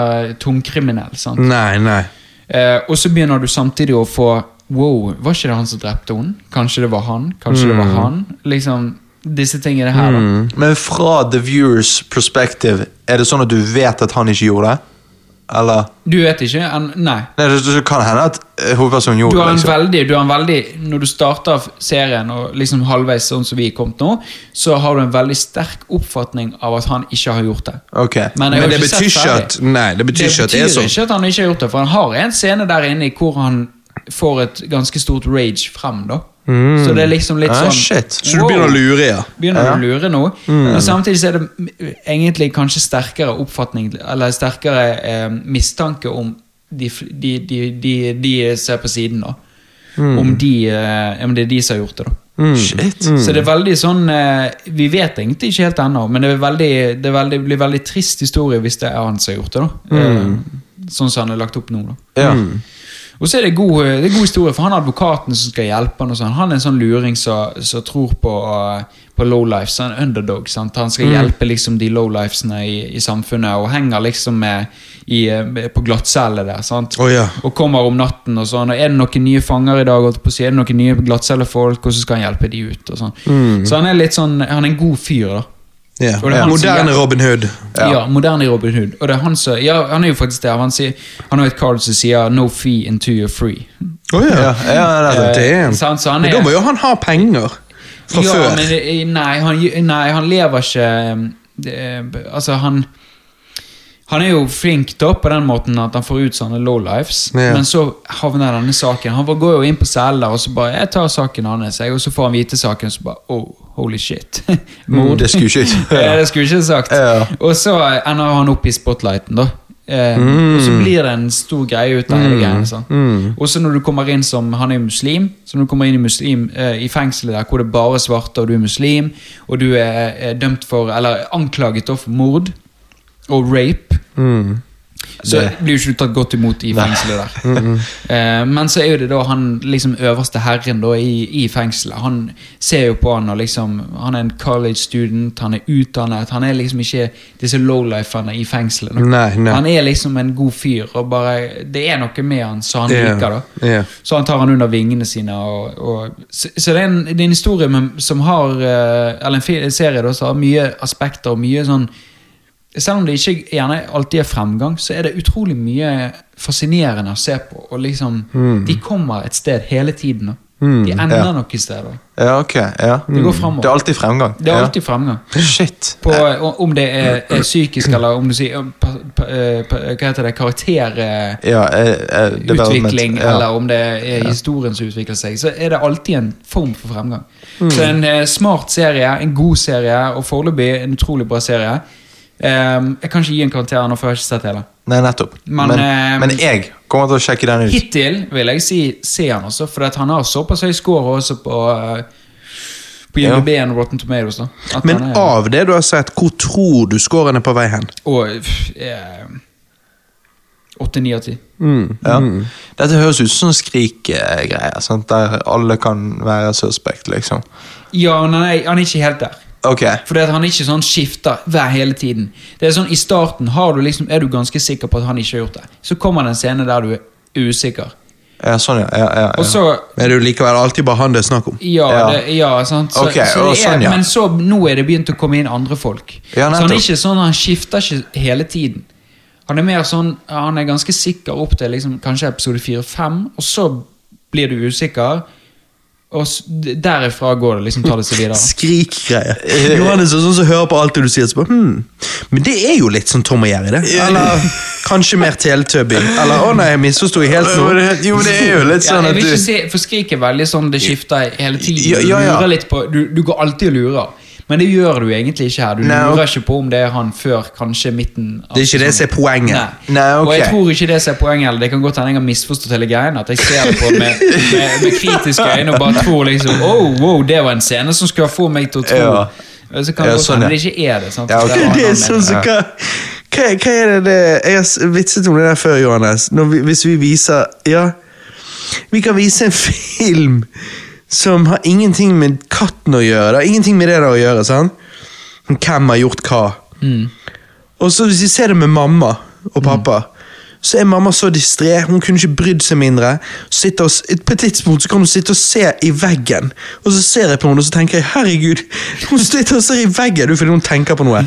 tungkriminell. sant? Nei, nei. Eh, og så begynner du samtidig å få Wow, var ikke det han som drepte henne? Kanskje det var han? Kanskje det var Mm. han? Liksom, disse tingene her, da. Men fra the viewers perspective, er det sånn at du vet at han ikke gjorde det? Eller? Du vet ikke? En, nei. Nei, det, det kan hende at eh, hovedpersonen Du gjorde har det. en Liksom. veldig, du har en veldig Når du starter av serien, og liksom halvveis sånn som vi er kommet nå, så har du en veldig sterk oppfatning av at han ikke har gjort det. Ok. Men jeg Men har det ikke sett betyr ikke ferdig. at Nei, det betyr ikke at det er sånn. ikke at han ikke har gjort det, for han har en scene der inne hvor han får et ganske stort rage frem, da. Mm. Så det er liksom litt Ah, sånn shit. Så du begynner å lure, ja. begynner du å lure nå. Men samtidig så er det m- egentlig kanskje sterkere oppfatning Eller sterkere eh, mistanke om de, f- de, de, de, de ser på siden, da. Om, de, eh, om det er de som har gjort det, da. Shit. Så det er veldig sånn eh, Vi vet egentlig ikke helt ennå, men det, er veldig, det, er veldig, blir veldig trist historie hvis det er han som har gjort det. da eh, Sånn som han er lagt opp nå. da Ja. og så er det, god, eh, det er god historie, for han er advokaten som skal hjelpe han. og sånn. Han er en sånn luring som som tror på, eh, på lowlife, så han er underdog. sant? Han Mm. skal hjelpe liksom de lowlifesene i, i samfunnet, og henger liksom med, i, eh, med- på glattcelle der. sant? Å, ja. Og kommer om natten og sånn. Og er det noen nye fanger i dag, holdt jeg på å si, er det noen nye glattcellefolk, og så skal han hjelpe de ut. og sånn. Mm. Så han er litt sånn, han er en god fyr, da. ja. Og det er han som Moderne gjør- Robin Hood. Ja. moderne Robin Hood. Og det er han som, ja, han er jo faktisk det. Han, sier, han har et card som sier 'no fee until you're free'. Å Ja, ja, det Eh, er det. Altså, Det er sant, så han Men er- Da må jo han ha penger fra sånn, ja, før. Men, eh, nei, han, nei, han lever ikke eh, det- Altså, han Han er jo flink da på den måten at han får ut sånne lowlifes, Ja. men så havner denne saken. Han går jo inn på celler og så bare 'Jeg tar saken hans', jeg, og så får han vite saken, og så bare 'Oh, holy shit'. Mord. Mm, Det skulle ikke Eh, det skulle jeg ikke sagt. Ja. Og så eh, ender han opp i spotlighten, da. Eh, Og så blir det en stor greie ut av hele greia. sant? Og så når du kommer inn som Han er jo muslim, så når du kommer inn i, muslim, eh, i fengselet der hvor det bare er svarte, og du er muslim, og du er, er dømt for Eller anklaget da for mord og rape Mm. så Det- blir jo ikke du tatt godt imot i fengselet der. Eh, men så er jo det da han liksom øverste herren da i, i fengselet. Han ser jo på han og liksom Han er en college student, han er utdannet, han er liksom ikke disse lowliferne i fengselet. da. Nei, nei. Han er liksom en god fyr, og bare Det er noe med han som han Ja, liker, da. ja. Så han tar han under vingene sine. Og, og, så så det, er en, det er en historie men- som har eh, Eller en fi- en serie da, som har mye aspekter og mye sånn Selv om det ikke gjerne alltid er fremgang, så er det utrolig mye fascinerende å se på. Og liksom, De kommer et sted hele tiden. Da. de ender Mm. ja. noe sted. Da. Ja, ok. Ja. Mm. Det går fremover. Det er alltid fremgang. Det er alltid fremgang. ja. Shit. På, o- om det er, er psykisk, eller om du sier eh, pa, pa, eh, pa, Hva heter det? Karakter... eh, Ja, eh, eh, development. utvikling, ja. eller om det er historien som utvikler seg, så er det alltid en form for fremgang. Mm. Så en eh, smart serie, en god serie, og foreløpig en utrolig bra serie. Ehm, jeg kan ikke gi en karakter nå, for jeg har ikke sett det hele. Nei, nettopp. Men, Men, men, eh, jeg kommer til å sjekke den ut. Hittil vil jeg si se han også, for at han har såpass høy score også på eh, På Ja. IMDb og Rotten Tomatoes. da At Men han er- av det du har sett, hvor tror du scoren er på vei hen? Og pff, eh, Åtte, ni av ti. Mm. Ja. Mm. Dette høres ut som skrikgreier, sant? der alle kan være suspect, liksom. Ja, men han er- han er ikke helt der. Ok. Fordi at han ikke sånn skifter hver hele tiden. Det er sånn, I starten har du liksom, er du ganske sikker på at han ikke har gjort det. Så kommer det en scene der du er usikker. Ja, sånn, ja. ja, ja, Og ja. så Men det er jo likevel alltid bare han det er snakk om. ja, Ja. Det, ja, sant. Så, Ok, så det og er, sånn, ja. Men så nå er det begynt å komme inn andre folk. Ja, så han er nettopp. ikke sånn, han skifter ikke hele tiden. Han er mer sånn, han er ganske sikker opp til liksom, kanskje episode 4-5, og så blir du usikker. Og s- derifra går det liksom, tar det seg videre. Skrikgreier. Johannes er sånn som hører på alt det du sier. Så bare, hmm. Men det er jo litt sånn Tom og Jerry, det. Eller kanskje mer Teletubby. Eller å nei, jeg misforsto jeg helt Jo, nå. det- Jo, men det er jo litt Ja, sånn jeg at vil du ikke se, for skrik er veldig sånn Det skifter hele tiden. Ja, ja, ja. Du, lurer litt på, du, du går alltid og lurer. Men det gjør du egentlig ikke her. Du Nei, lurer ok. ikke på om det er han før kanskje midten. av Det er ikke det som er sesongen. poenget. Nei. Nei, ok. Og jeg tror ikke det som er poenget. Eller det kan godt hende jeg har misforstått hele greien. At jeg ser det på med, med, med kritiske øyne og bare tror liksom oh, wow, det var en scene som skulle få meg til å tro Ja. Så kan det Ja, godt sånn, hende ja. det ikke er det. Sant? Ja, ok. var en Det er annen sånn som hva, hva, hva er det, det Jeg har s- vitset om det der før, Johannes. Når vi, hvis vi viser Ja, vi kan vise en film som har ingenting med katten å gjøre. Det har ingenting med det der å gjøre, sant? Hvem har gjort hva? Mm. Og så hvis vi ser det med mamma og pappa Så er mamma så distré, hun kunne ikke brydd seg mindre. Sitter Og, s- på et tidspunkt så kan hun sitte og se i veggen, og så ser jeg på henne og så tenker jeg, herregud, hun sitter og ser i veggen du, fordi hun tenker på noe.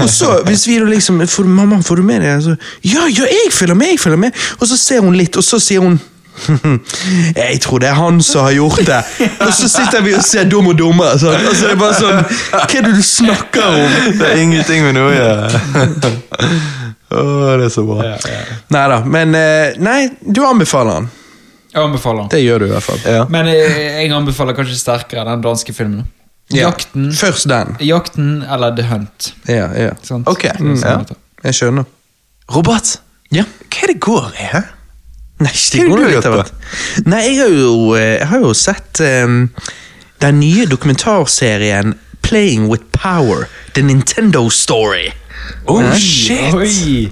Og så, hvis vi da liksom får, Mamma, får du med det? Så, ja, ja, jeg følger med, jeg følger med. Og så ser hun litt, og så sier hun jeg tror det er han som har gjort det. Og så sitter vi og ser dum og dummere. Sånn. Og så er det bare sånn Hva er det du snakker om? Det er ingenting med noe å gjøre. Å, det er så bra. Nei da, men eh, Nei, du anbefaler han. Jeg anbefaler den. Det gjør du i hvert fall. Ja. Men eh, jeg anbefaler kanskje sterkere den danske filmen. Ja. Jakten, Først den. jakten eller The Hunt. Ja, ja. Mm. Sant? Ok, Det er sånn ja. det heter. Jeg skjønner. Robert, Ja. hva er det går i? Hæ? Nei, det er det går du litt av gjør hvert. Nei, jeg har jo, eh, jeg har jo sett eh, den nye dokumentarserien Playing with Power. The Nintendo Story. Oh, shit! Oi.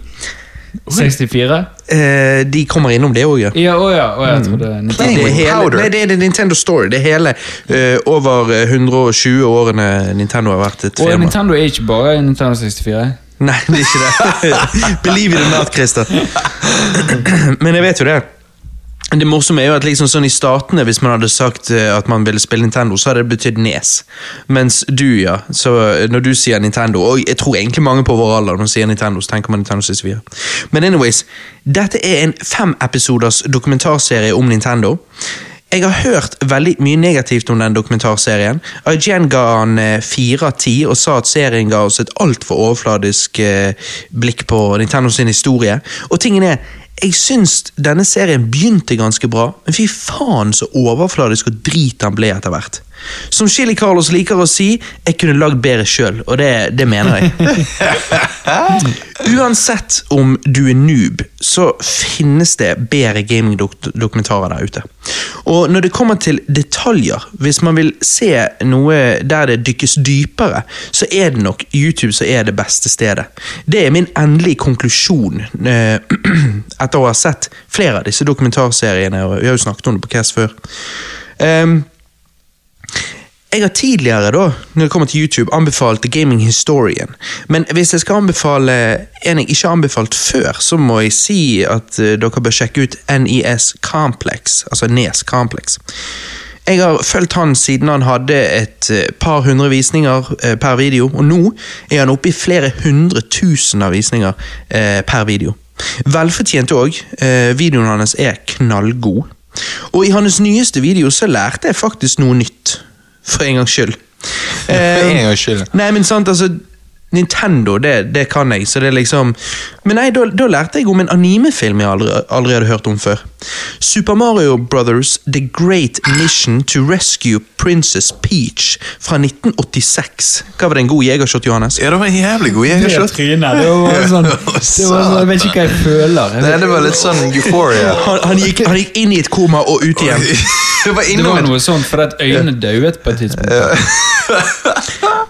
64? Eh, de kommer innom det òg, ja. Ja, å ja. Å, jeg trodde Det Mm. Playing er, with hele, powder. nei, det er det Nintendo Story. Det er hele eh, over eh, 120 årene Nintendo har vært et Og firma. Nintendo er ikke bare Nintendo 64. Nei, det er ikke det. Believe it or not, Christer. Men jeg vet jo det. Det morsomme er jo at liksom sånn i statene, hvis man hadde sagt eh, at man ville spille Nintendo, så hadde det betydd nes. Mens du, ja. Så eh, når du sier Nintendo, og jeg tror egentlig mange på vår alder når de sier Nintendo, så tenker man Nintendo 64. Men anyways, dette er en femepisoders dokumentarserie om Nintendo. Jeg har hørt veldig mye negativt om den dokumentarserien. IGN ga han eh, fire av ti og sa at serien ga oss et altfor overfladisk eh, blikk på Nintendo sin historie. Og tingen er, jeg syns denne serien begynte ganske bra, men fy faen så overfladisk og drit han ble etter hvert. Som Chili Carlos liker å si, jeg kunne lagd bedre sjøl, og det, det mener jeg. Uansett om du er noob, så finnes det bedre gamingdokumentarer der ute. Og når det kommer til detaljer, hvis man vil se noe der det dykkes dypere, så er det nok YouTube som er det beste stedet. Det er min endelige konklusjon eh, etter å ha sett flere av disse dokumentarseriene, og vi har jo snakket om det på Cast før. Ehm, jeg har tidligere, da, når det kommer til YouTube, anbefalt The Gaming Historian. Men hvis jeg skal anbefale en jeg ikke har anbefalt før, så må jeg si at eh, dere bør sjekke ut NES Complex. Altså Nes Complex. Jeg har fulgt han siden han hadde et eh, par hundre visninger eh, per video, og nå er han oppe i flere hundre tusen av visninger eh, per video. Velfortjent òg. Eh, videoen hans er knallgod. Og i hans nyeste video så lærte jeg faktisk noe nytt. For en gangs skyld. For en Eh, gangs skyld. Nei, men sant, altså Nintendo, det, det kan jeg, så det er liksom Men nei, da, da lærte jeg om en animefilm jeg aldri, aldri hadde hørt om før. Super Mario Brothers The Great Mission to Rescue Princess Peach fra 1986. Hva var det, en god jegershot, Johannes? Ja, det var en jævlig god jegershot. trynet. Det var sånn, det var sånn Jeg vet ikke hva jeg føler. Jeg Nei, vet, det var litt sånn euphoria. Han, han, gikk, han gikk inn i et koma og ut igjen. Det var det innom var et noe sånt fordi at øynene dauet på et tidspunkt.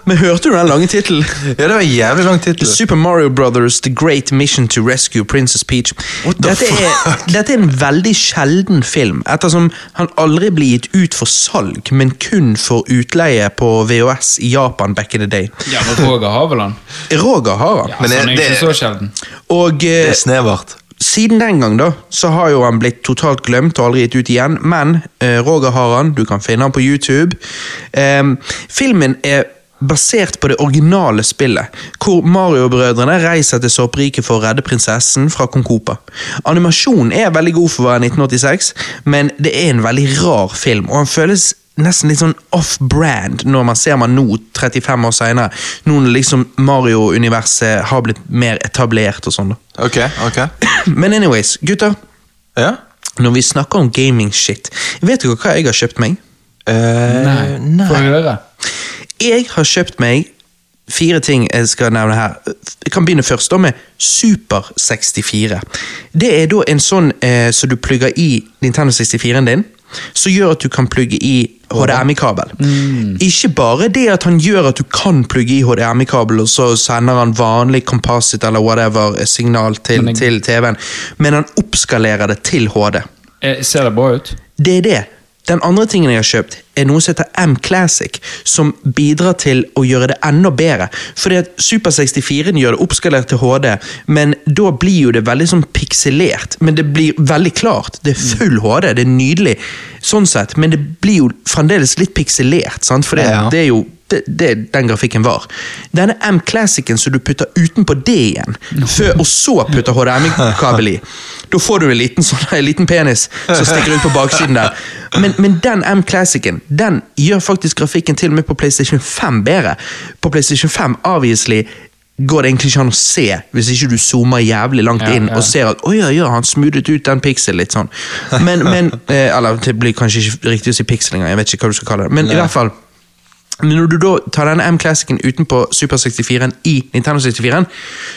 Men hørte du den lange tittelen? Ja, det var en jævlig lang tittel. Super Mario Brothers The Great Mission to Rescue Princess Peach. Dette er, dette er en veldig sjelden film, ettersom han aldri ble gitt ut for salg, men kun for utleie på VHS i Japan back in the day. Ja, men Roger Haveland. Roger har han. Ja, Men så det- Altså, han er det- Sånn, ikke så sjelden. Og eh, Det er snevert. siden den gang da, så har jo han blitt totalt glemt og aldri gitt ut igjen, men eh, Roger har han, du kan finne han på YouTube. Em, filmen er basert på det originale spillet, hvor Mario-brødrene reiser til Soppriket for å redde prinsessen fra Konkopa. Animasjonen er veldig god for å være 1986, men det er en veldig rar film, og han føles nesten litt sånn off-brand når man ser man nå, 35 år senere, nå når liksom Mario-universet har blitt mer etablert og sånn da. Ok, ok. Men anyways, gutter. Ja? Når vi snakker om gaming shit, vet dere hva jeg har kjøpt meg? Eh, Nei. Få høre. Jeg har kjøpt meg fire ting jeg skal nevne her. Jeg kan begynne først da med Super 64. Det er da en sånn eh, som du plugger i Nintendo 64-en din, som gjør at du kan plugge i HDMI-kabel. Mm. Ikke bare det at han gjør at du kan plugge i HDMI-kabel, og så sender han vanlig composite eller whatever eh, signal til, Men jeg- til TV-en, men han oppskalerer det til HD. Eh, Ser det bra ut? Det er det. Den andre tingen jeg har kjøpt, er noe som heter M Classic, som bidrar til å gjøre det enda bedre. Fordi at Super 64-en gjør det oppskalert til HD, men da blir jo det veldig sånn pikselert. Men det blir veldig klart. Det Mm. er full HD, det er nydelig, sånn sett. Men det blir jo fremdeles litt pikselert, sant? for det, Ja. det er jo det, det den grafikken var. Denne M-classicen som du putter utenpå det igjen, før, og så putter HDMI-kabel i, da får du en liten, sånn, en liten penis som stikker ut på baksiden der. Men, men den M-classicen den gjør faktisk grafikken til og med på PlayStation 5 bedre. På PlayStation 5 obviously går det egentlig ikke an å se hvis ikke du zoomer jævlig langt Ja, inn ja. og ser at «Oi, ja, ja, han smoothet ut den pixel litt sånn. Men, men eh, Eller det blir kanskje ikke riktig å si pixel engang, jeg vet ikke hva du skal kalle det. Men i hvert fall men når du da tar denne M-classicen utenpå Super 64-en i Nintendo 64-en,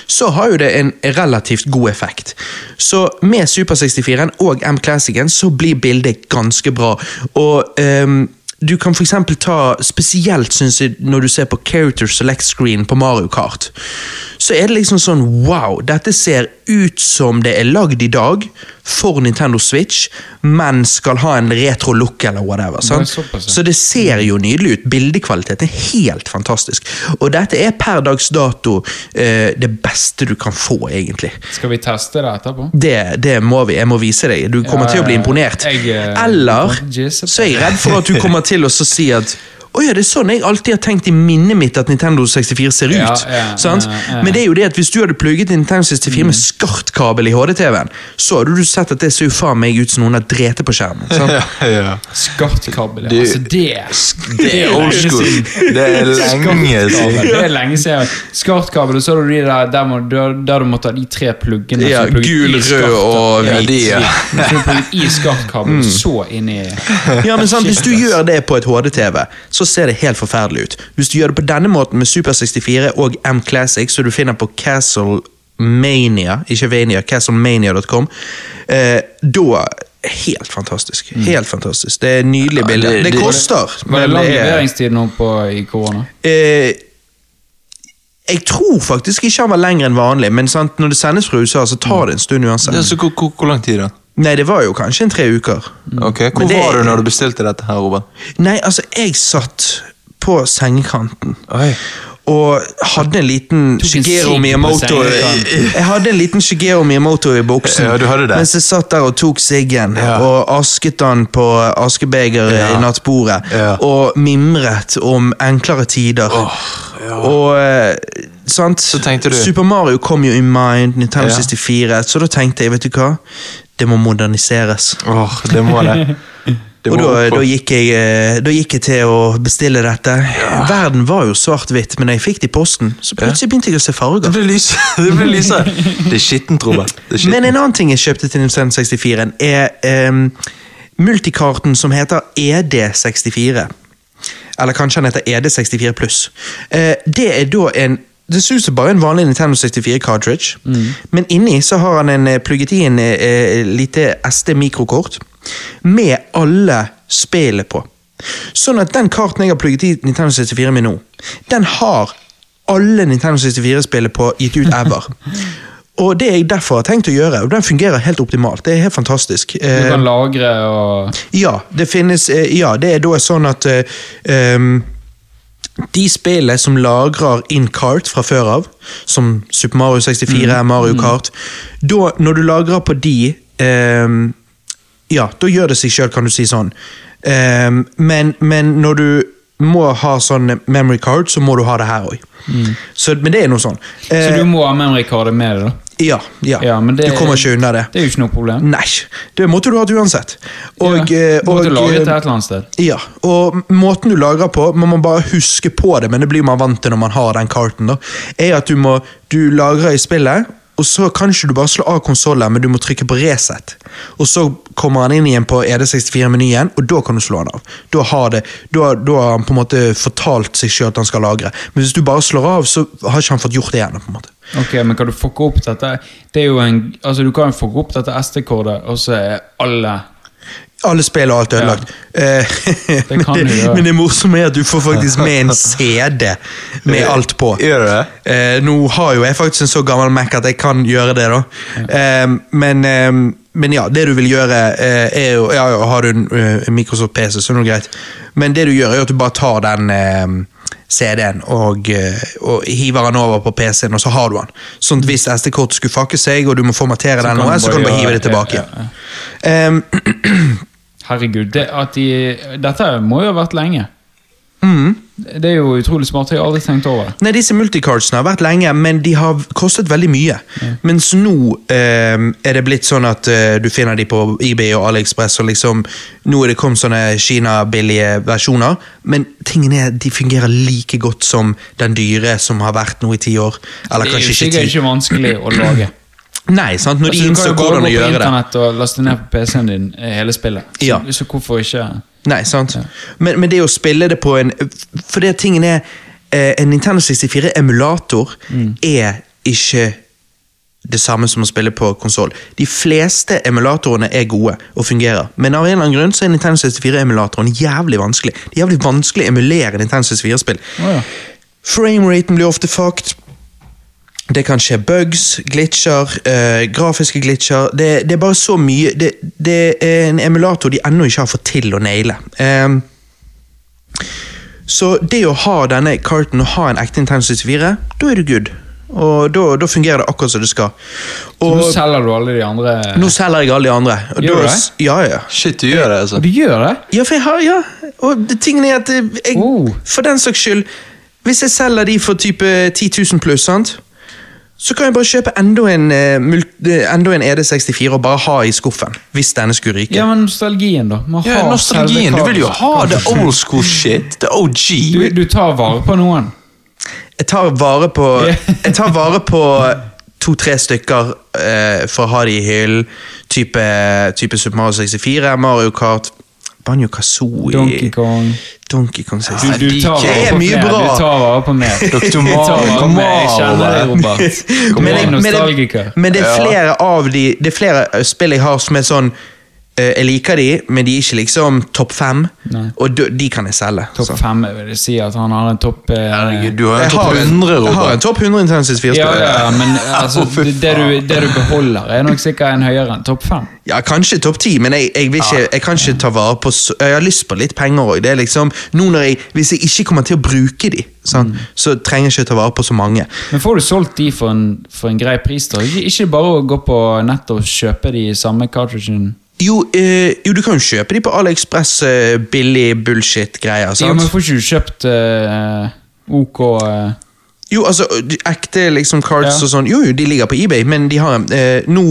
så har jo det en relativt god effekt. Så med Super 64-en og M-classicen så blir bildet ganske bra. Og ehm, du kan f.eks. ta Spesielt synes jeg når du ser på character select screen på Mario Kart, så er det liksom sånn wow, dette ser ut som det er lagd i dag for Nintendo Switch, men skal ha en retro-look eller whatever. sant? såpass, ja. Så det ser jo nydelig ut. Bildekvaliteten er helt fantastisk. Og dette er per dags dato eh, det beste du kan få, egentlig. Skal vi teste det etterpå? Det, det må vi. Jeg må vise deg. Du kommer Ja, til å bli ja, ja. imponert. Jeg, eh, Eller Jesus. så er jeg redd for at du kommer til å så si at å ja, det er sånn jeg alltid har tenkt i minnet mitt at Nintendo 64 ser ut. Ja, ja, sant? ja, ja. Mm. Men det er jo det at hvis du hadde plugget Nintendo 64 med skartkabel i HD-TV-en, så hadde du sett at det ser jo faen meg ut som noen har drete på skjermen. Sant? ja. Skartkabel, ja. Du- altså det Det er old school. Det er Skartkabel, lenge siden. Det er lenge siden. Skartkabel, og så har du de der der, må, der, der du måtte ha de tre pluggene. som Ja, plugger i gul, skartkabel. rød og Mm. Ja, de, ja. Så du plugger I skartkabelen, så inn i Ja, men sant, Hvis du gjør det på et HD-TV, så ser det helt forferdelig ut. Hvis du gjør det på denne måten med Super 64 og M Classic, som du finner på Castlemania, ikke Vania, castlemania.com, eh, da Helt fantastisk. Helt fantastisk. Det er nydelig bilde. det- det, det- koster, altså. Var det men lang det er leveringstid nå på, i korona? eh, Jeg tror faktisk ikke han var lenger enn vanlig, men sant, når det sendes fra USA, så tar det en stund Det er uansett. så, hvor, hvor, hvor lang tid, da? Nei, det var jo kanskje en tre uker. Mm. Ok, Hvor Men det- var du når du bestilte dette, her, Robert? Nei, altså, jeg satt på sengekanten. Oi. Og hadde en liten en Shigeru sigg på Miyamoto sengekanten. Jeg hadde en liten Shigeru Miyamoto i buksen Ja, du hadde det. mens jeg satt der og tok siggen. Ja. Og asket han på askebegeret Ja. i nattbordet. Ja. Og mimret om enklere tider. Og eh, sant? Så tenkte du- Super Mario kom jo i mind, Nintendo Ja. 64, så da tenkte jeg, vet du hva? Det må moderniseres. Åh, det må det. det Og må da, opp på- da, gikk jeg, eh, da gikk jeg til å bestille dette. Verden var jo svart-hvitt, men da jeg fikk det i posten, så plutselig begynte jeg å se Det farger. blir lys. Det blir lysere. Det er skittent, Robert. Det er skittent. Men en annen ting jeg kjøpte til Nintendo 64-en, er em, multikarten som heter ED64. Eller kanskje den heter ED64 pluss. Eh, det er da en det ser ut som bare en vanlig Nintendo 64-cartridge, Mm. men inni så har han en, eh, plugget i en eh, eh, lite SD-mikrokort med alle spillene på. Sånn at den karten jeg har plugget i Nintendo 64 min nå, den har alle Nintendo 64-spillene på gitt ut ever. og det jeg derfor har tenkt å gjøre, og den fungerer helt optimalt, det er helt fantastisk. Du Eh, kan lagre og ja, det finnes eh, Ja, det er da sånn at eh, ehm, de spillene som lagrer in kart fra før av, som Super Mario 64, Mm. Mario Kart da, Når du lagrer på de ehm, Ja, da gjør det seg sjøl, kan du si sånn. Ehm, men, men når du må ha sånn memory card, så må du ha det her òg. Men det er noe sånn. Mm. Så Eh, du må ha memory-kartet med deg, da? ja, ja. Ja, men det- du kommer ikke unna det. Det er jo ikke noe problem. Nei, det måtte du hatt uansett. Og, ja. eh, Du måtte og, lagre eh, til et eller annet sted. ja, og måten du lagrer på, må man bare huske på det, men det blir man vant til når man har den karten, da, er at du må du lagrer i spillet, Og så kan ikke du bare slå av konsollen, men du må trykke på reset. Og så kommer han inn igjen på E ED64-menyen, og da kan du slå han av. Da har, det, da, da har han på en måte fortalt seg selv at han skal lagre. Men hvis du bare slår av, så har ikke han fått gjort det igjen. på en måte. Ok, men kan du fucke opp dette? Det er jo en, altså Du kan jo fucke opp dette SD-kortet, og så er alle Alle spill og alt er ødelagt. Eh, men, kan du det, gjøre. men det morsomme er at du får faktisk med en CD med alt på. Gjør du det? Eh, nå har jo jeg faktisk en så gammel Mac at jeg kan gjøre det, da. Eh, men, eh, men ja, det du vil gjøre, eh, er jo Ja, ja har du en eh, Microsoft PC, så er det greit. Men det du gjør, er jo at du bare tar den eh, CD-en og, eh, og hiver den over på PC-en, og så har du den. Sånn at hvis SD-kortet skulle fakke seg, og du må formatere den, kan nå, du så kan du bare bare hive gjøre- det tilbake. ja, igjen. Ehm, Herregud, det at de, dette må jo ha vært lenge. Mm. Det er jo utrolig smart. Jeg har aldri tenkt over det. Nei, disse multicardsene har vært lenge, men de har kostet veldig mye. Mens nå eh, er det blitt sånn at eh, du finner de på eBay og AliExpress, og liksom Nå er det kommet sånne Kina-billige versjoner, men tingene er, de fungerer like godt som den dyre som har vært nå i ti år. Eller det er jo kanskje sikkert ikke ti. ikke vanskelig å lage. Nei, sant? Når de Altså, innså du hvordan kan jo bare å gå på gjøre det. internett og laste ned på PC-en din eh, hele spillet. Så, Ja. så hvorfor ikke Nei, sant? Men, men det å spille det på en For det tingen er eh, En Nintendo 64-emulator Mm. er ikke det samme som å spille på konsoll. De fleste emulatorene er gode og fungerer, men av en eller annen grunn så er Nintendo 64-emulatoren jævlig vanskelig. Det er jævlig vanskelig å emulere Nintendo 64-spill. Å ja. Frameraten blir ofte fucked. Det kan skje bugs, glitcher, eh, grafiske glitcher. Det, det er bare så mye det, det er en emulator de ennå ikke har fått til å naile. Ehm, så det å ha denne carten og ha en ekte Nintendo 64, da er du good. Og da, da fungerer det akkurat som det skal. Og Nå selger du alle de andre nå selger jeg alle de andre. Og Gjør da, du det? ja, ja. Shit, du gjør det, altså. Du gjør det? Ja, for jeg har, ja. Og det, tingen er at eh, jeg, Oh. For den saks skyld, hvis jeg selger de for type 10 000 pluss, sant? så kan jeg bare kjøpe enda en, eh, mult- eh, enda en ED64 og bare ha i skuffen. Hvis denne skulle ryke. Ja, men nostalgien, da. Man Ja, har nostalgien. selve Du vil jo kabelen. ha the old school shit. The du, OG. du tar vare på noen. Jeg tar vare på Ja. Jeg tar vare på eh, to-tre stykker eh, for å ha de i hyllen. Type, type Super Mario 64, Mario Kart, Banjo Kazooie Donkey Kong. Donkey Kong 64. Du, du tar Altså, Det vare er på mye mer. bra. Du tar vare på mer. Dr. Du tar vare på Mario. mer. Jeg kjenner deg, Mario. Robert. Du Men er det, men, nostalgiker. det, men det er flere av de Det er flere eh, spill jeg har som er sånn eh, Jeg liker de, men de er ikke liksom topp fem. Nei. Og de, de kan jeg selge. Topp så. fem, jeg vil jeg si at han har en topp eh, Herregud, du har jo Jeg har tatt en, 100, jeg har en Robert. topp 100 Intensive 4 ja, spillere. ja, men altså, Å, fy det, det du, det du beholder, er nok sikkert en høyere enn topp fem. Ja, kanskje topp 10, men jeg, jeg, vil ikke, jeg kan ikke ta vare på så- Jeg har lyst på litt penger òg. Liksom, nå når jeg- hvis jeg ikke kommer til å bruke de, sant, Mm. så trenger jeg ikke ta vare på så mange. Men får du solgt de for en, for en grei pris, da? Ikke ikke bare å gå på nettet og kjøpe de samme cartridgen. Jo, eh, jo, du kan jo kjøpe de på AliExpress, eh, billig bullshit-greier. Ja, sant? men får ikke du kjøpt eh, OK eh, Jo, altså, de ekte liksom cards Ja. og sånn, jo, jo, de ligger på eBay, men de har eh, nå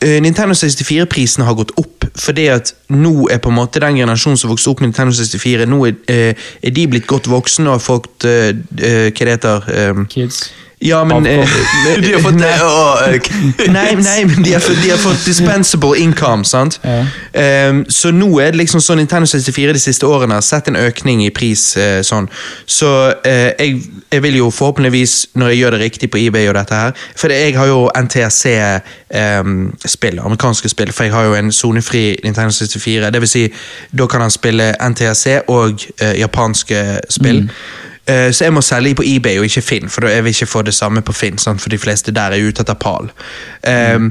eh, Nintendo 64-prisene har gått opp, fordi at nå er på en måte den generasjonen som vokste opp med Nintendo 64, nå er, eh, er de blitt godt voksne og har fått eh, eh, Hva det heter eh, Kids? Ja, men eh, Du har fått det. å, eh, ok. Nei, nei, men de har, fått- de har fått dispensable income, sant? Ja. Ehm, så nå er det liksom sånn Nintendo 64 de siste årene har sett en økning i pris. eh, sånn. Så eh, jeg, jeg vil jo forhåpentligvis, når jeg gjør det riktig på eBay og dette her For det- jeg har jo NTSC-spill, amerikanske ehm, spill, for jeg har jo en sonefri Nintendo 64. Det vil si, da kan han spille NTSC og eh, japanske spill. Mm. Eh, Så jeg må selge på eBay og ikke Finn, for da jeg vil ikke få det samme på Finn. Sant? For de fleste der er ute etter pal. Ehm,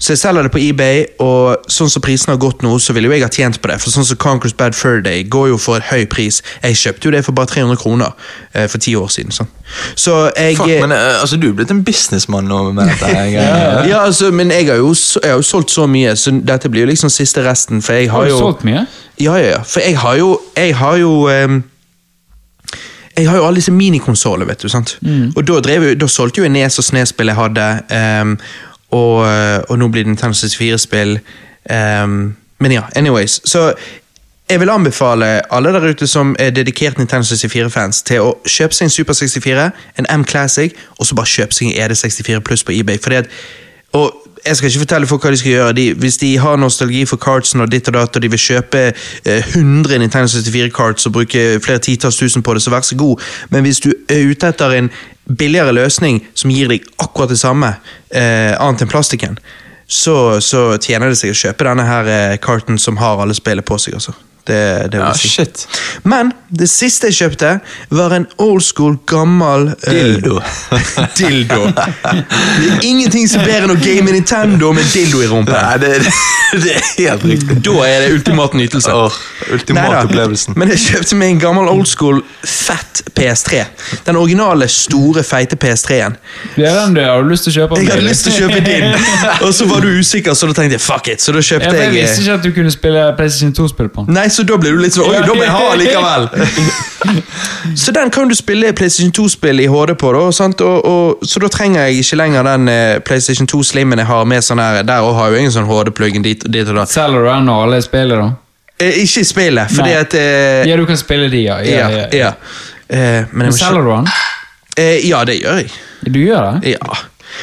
Så jeg selger det på eBay, og sånn som prisene har gått nå, så ville jo jeg ha tjent på det. For sånn som Conquest Bad Fur Day går jo for en høy pris. Jeg kjøpte jo det for bare 300 kroner eh, for ti år siden. Sant? Så jeg Fuck, men eh, altså, du er blitt en businessmann nå med dette her. greiene. ja, altså, men jeg har, jo, s- jeg har jo solgt så mye, så dette blir jo liksom siste resten. For jeg har Har du jo solgt mye? Ja, ja, ja. For jeg har jo Jeg har jo ehm, jeg har jo alle disse minikonsoler, vet du. sant? Og da, drev, jeg- da solgte jo jeg Nes og Snes-spill jeg hadde, ehm, og, og nå blir det Nintendo 64-spill. ehm, men ja, anyways. Så Jeg vil anbefale alle der ute som er dedikert Nintendo 64-fans, til å kjøpe seg en Super 64, en M Classic, og så bare kjøpe seg en E ED64 Pluss på eBay. Fordi at, og jeg skal ikke fortelle folk hva de skal gjøre. De, hvis de har nostalgi for cardsen og ditt og datt, og de vil kjøpe eh, 100 Nintendo 64-cards og bruke flere titalls tusen på det, så vær så god. Men hvis du er ute etter en billigere løsning som gir deg akkurat det samme, eh, annet enn plastikken, så, så tjener det seg å kjøpe denne her eh, carten som har alle spillet på seg, altså. Det, det vil Ja, jeg si. shit. Men det siste jeg kjøpte, var en old school, gammel eh, Dildo. dildo. Det er ingenting som er bedre enn å game Nintendo med dildo i rumpen. Nei, det, det er helt riktig. Da er det ultimat nytelse. Åh, ultimate Neida, opplevelsen. Men jeg kjøpte meg en gammel old school fett PS3. Den originale, store, feite PS3-en. Det er den du har lyst til å kjøpe. Jeg hadde lyst til å kjøpe din, og så var du usikker, så da tenkte jeg fuck it. Så da Ja, kjøpte for jeg jeg visste eh, ikke at du kunne spille PlayStation 2-spill på den. Nei, så da ble du litt sånn Oi, da må jeg ha likevel! så den kan du spille PlayStation 2-spill i HD på, da, sant? Og, og, så da trenger jeg ikke lenger den eh, PlayStation 2-slimmen jeg har med sånn her. Der og har jeg jo ingen sånn HD-pluggen dit, dit og da. Selger du den og alle spiller, da? Eh, ikke i spillet, fordi Nei. at eh, Ja, du kan spille de, ja. ja, Ja, ja, ja. Eh, men jeg Men må selger ikke du den? eh, Ja, det gjør jeg. Du gjør det? Ja.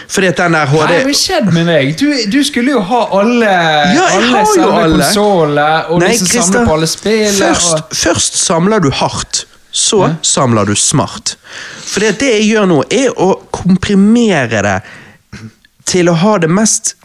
Fordi at den der Hva HD har skjedd med deg? Du, du skulle jo ha alle Ja, jeg alle har jo selve alle. konsoler, og liksom samle Christer, på alle spill. Først, Og... først samler du hardt, så samler du smart. For det, det jeg gjør nå, er å komprimere det til å ha det mest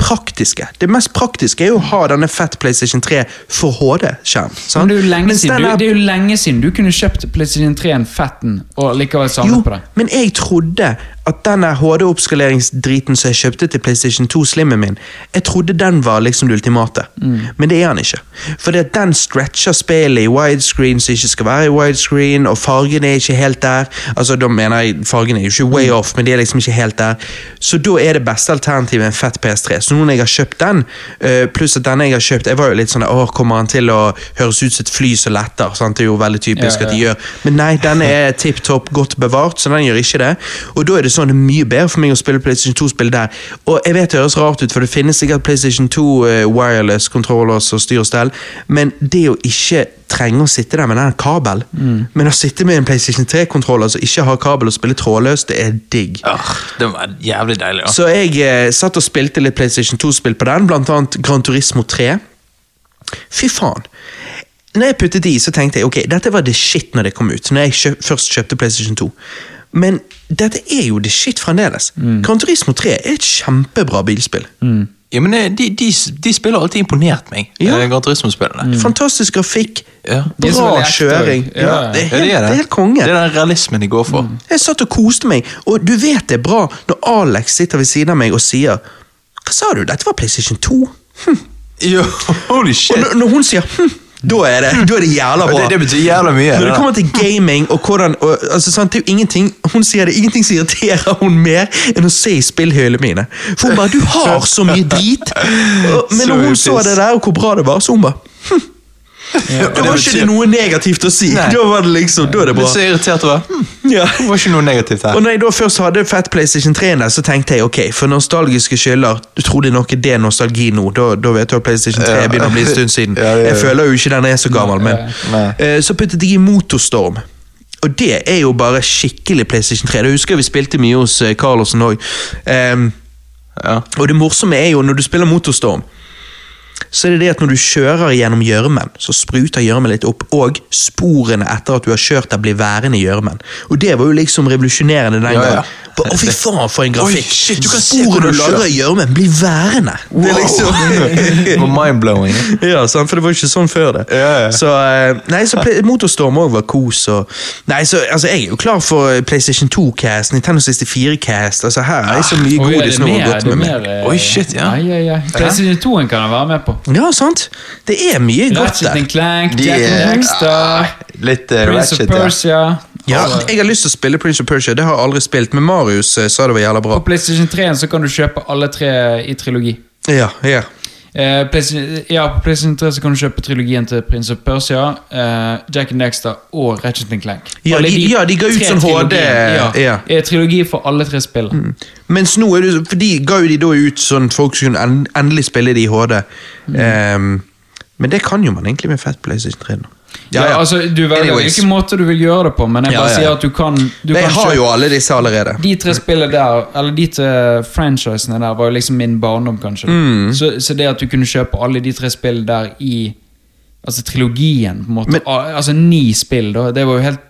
praktiske. Det mest praktiske er jo å ha denne fett PlayStation 3 for HD-skjerm. sant? Men det, er jo lenge Mens siden, den du, her- det er jo lenge siden du kunne kjøpt PlayStation 3-en fetten og likevel samlet på det. men jeg trodde at den HD-oppskaleringsdriten som jeg kjøpte til PlayStation 2 Slimmen min, jeg trodde den var liksom det ultimate. Mm. Men det er han ikke. For det at den stretcher spillet i widescreen som ikke skal være i widescreen, og fargene er ikke helt der. Altså, da mener jeg fargene er jo ikke Mm. way off, men de er liksom ikke helt der. Så da er det beste alternativet en fett PS3. Så nå når jeg har kjøpt den, eh, pluss at denne jeg har kjøpt, jeg var jo litt sånn åh, kommer han til å høres ut som et fly som letter? Sant? Det er jo veldig typisk Ja, at de ja. gjør. Men nei, den er tipp topp godt bevart, så den gjør ikke det. Og da er det sånn det er mye bedre for meg å spille PlayStation 2-spill der. Og jeg vet det høres rart ut, for det finnes sikkert PlayStation 2 eh, wireless controllers og styr og stell, men det å ikke trenge å sitte der med den kabel, men å sitte med en PlayStation 3-kontroller som ikke har kabel og spille trådløst, det er digg. Åh, det var jævlig deilig, altså. da. Så jeg eh, satt og spilte litt PlayStation 2-spill på den, blant annet Gran Turismo 3. Fy faen. Når jeg puttet i, så tenkte jeg ok, dette var the shit når det kom ut. Når jeg kjøp, først kjøpte PlayStation 2. Men dette er jo the shit fremdeles. Gran Turismo 3 er et kjempebra bilspill. Ja, men eh, de, de, de spiller alltid imponert meg, Ja. eh, Gran Turismo-spillene. Fantastisk grafikk, Ja. er så bra veldig ekte, kjøring. ja, ja. det, er Ja, helt, de det er helt Det konge. er den realismen de går for. Jeg satt og koste meg, og du vet det er bra når Alex sitter ved siden av meg og sier Hva sa du, dette var PlayStation 2? Jo, holy shit! Og når, når hun sier hm, da er det, da er det jævla bra. Det, det betyr jævla mye. Når det det der. kommer til gaming og hvordan og, altså, sant, det er jo ingenting, Hun sier det, ingenting som irriterer hun mer enn å se i spillhyllene mine. For hun bare 'Du har så mye drit!' Og, men når hun så det der, og hvor bra det var, så hun bare hm. Da det var ikke betyr- det noe negativt å si. Nei. Da var det liksom, da er det Litt bra. så irritert over. Hm, Ja. det var ikke noe negativt her. Og når jeg da først hadde Fat PlayStation 3 der, så tenkte jeg ok, for nostalgiske skylder Du trodde nok det er nostalgi nå. Da, da vet du at PlayStation 3 Ja. begynner å bli en stund siden. Ja, ja, ja. Jeg føler jo ikke den er så gammel, men Nei. Eh, Så puttet jeg i Motorstorm. Og det er jo bare skikkelig PlayStation 3. Det husker jeg vi spilte mye hos eh, Carlsen òg. Ja. Og det morsomme er jo, når du spiller Motorstorm, så er det det at når du kjører gjennom gjørmen, så spruter gjørmen litt opp, og sporene etter at du har kjørt der, blir værende i gjørmen. Og det var jo liksom revolusjonerende den Ja, ja. gangen. Ba- Å, fy faen, for en grafikk! Oi, shit, du kan se hvor Sporene du du lager i gjørmen, blir værende! Det er liksom Det var mind-blowing. Ja, sant, for det var jo ikke sånn før det. Ja, ja. Så, eh, nei, så ple- Motorstorm òg var kos. Og, nei, så, altså, jeg er jo klar for eh, PlayStation 2-cast, Nintendo 64-cast. Altså, her er jeg så mye Oi, er godis det nå og mer- godt er det med meg. mer, eh, Oi, shit, ja. Ai, ai, ai. PlayStation 2-en kan jeg være med på. Ja, sant? Det er mye godt Ratchet der. Ah, and Clank, De Jack er- and Daxter, Litt eh, Prince of ratchet, ja. Persia Ja, Og- jeg har lyst til å spille Prince of Persia, det har jeg aldri spilt, men Marius eh, sa det var jævla bra. På PlayStation 3-en så kan du kjøpe alle tre i trilogi. Ja, ja. Eh, PlayStation, ja, på PlayStation 3 så kan du kjøpe trilogien til Prince of Persia, eh, Jack and Dexter og Ratchet and Clank. Ja, Alle de- ja, de ga ut tre sånn HD, trilogiene, ja. Mm. Ja, eh, Trilogi for alle tre spill. Mens nå er det, for de ga jo de da ut sånn at folk skulle en- endelig spille det i HD. Ehm, Men det kan jo man egentlig med Fat PlayStation 3. nå. Ja, altså, du velger Anyways. hvilken måte du vil gjøre det på, men jeg Ja, bare ja, ja. sier at du kan du Jeg kan har kjøpe- jo alle disse allerede. De tre spillene der, eller de tre franchisene der, var jo liksom min barndom, kanskje. Mm. Så, så det at du kunne kjøpe alle de tre spillene der i Altså trilogien, på en måte. Men- Al- altså ni spill, da. Det var jo helt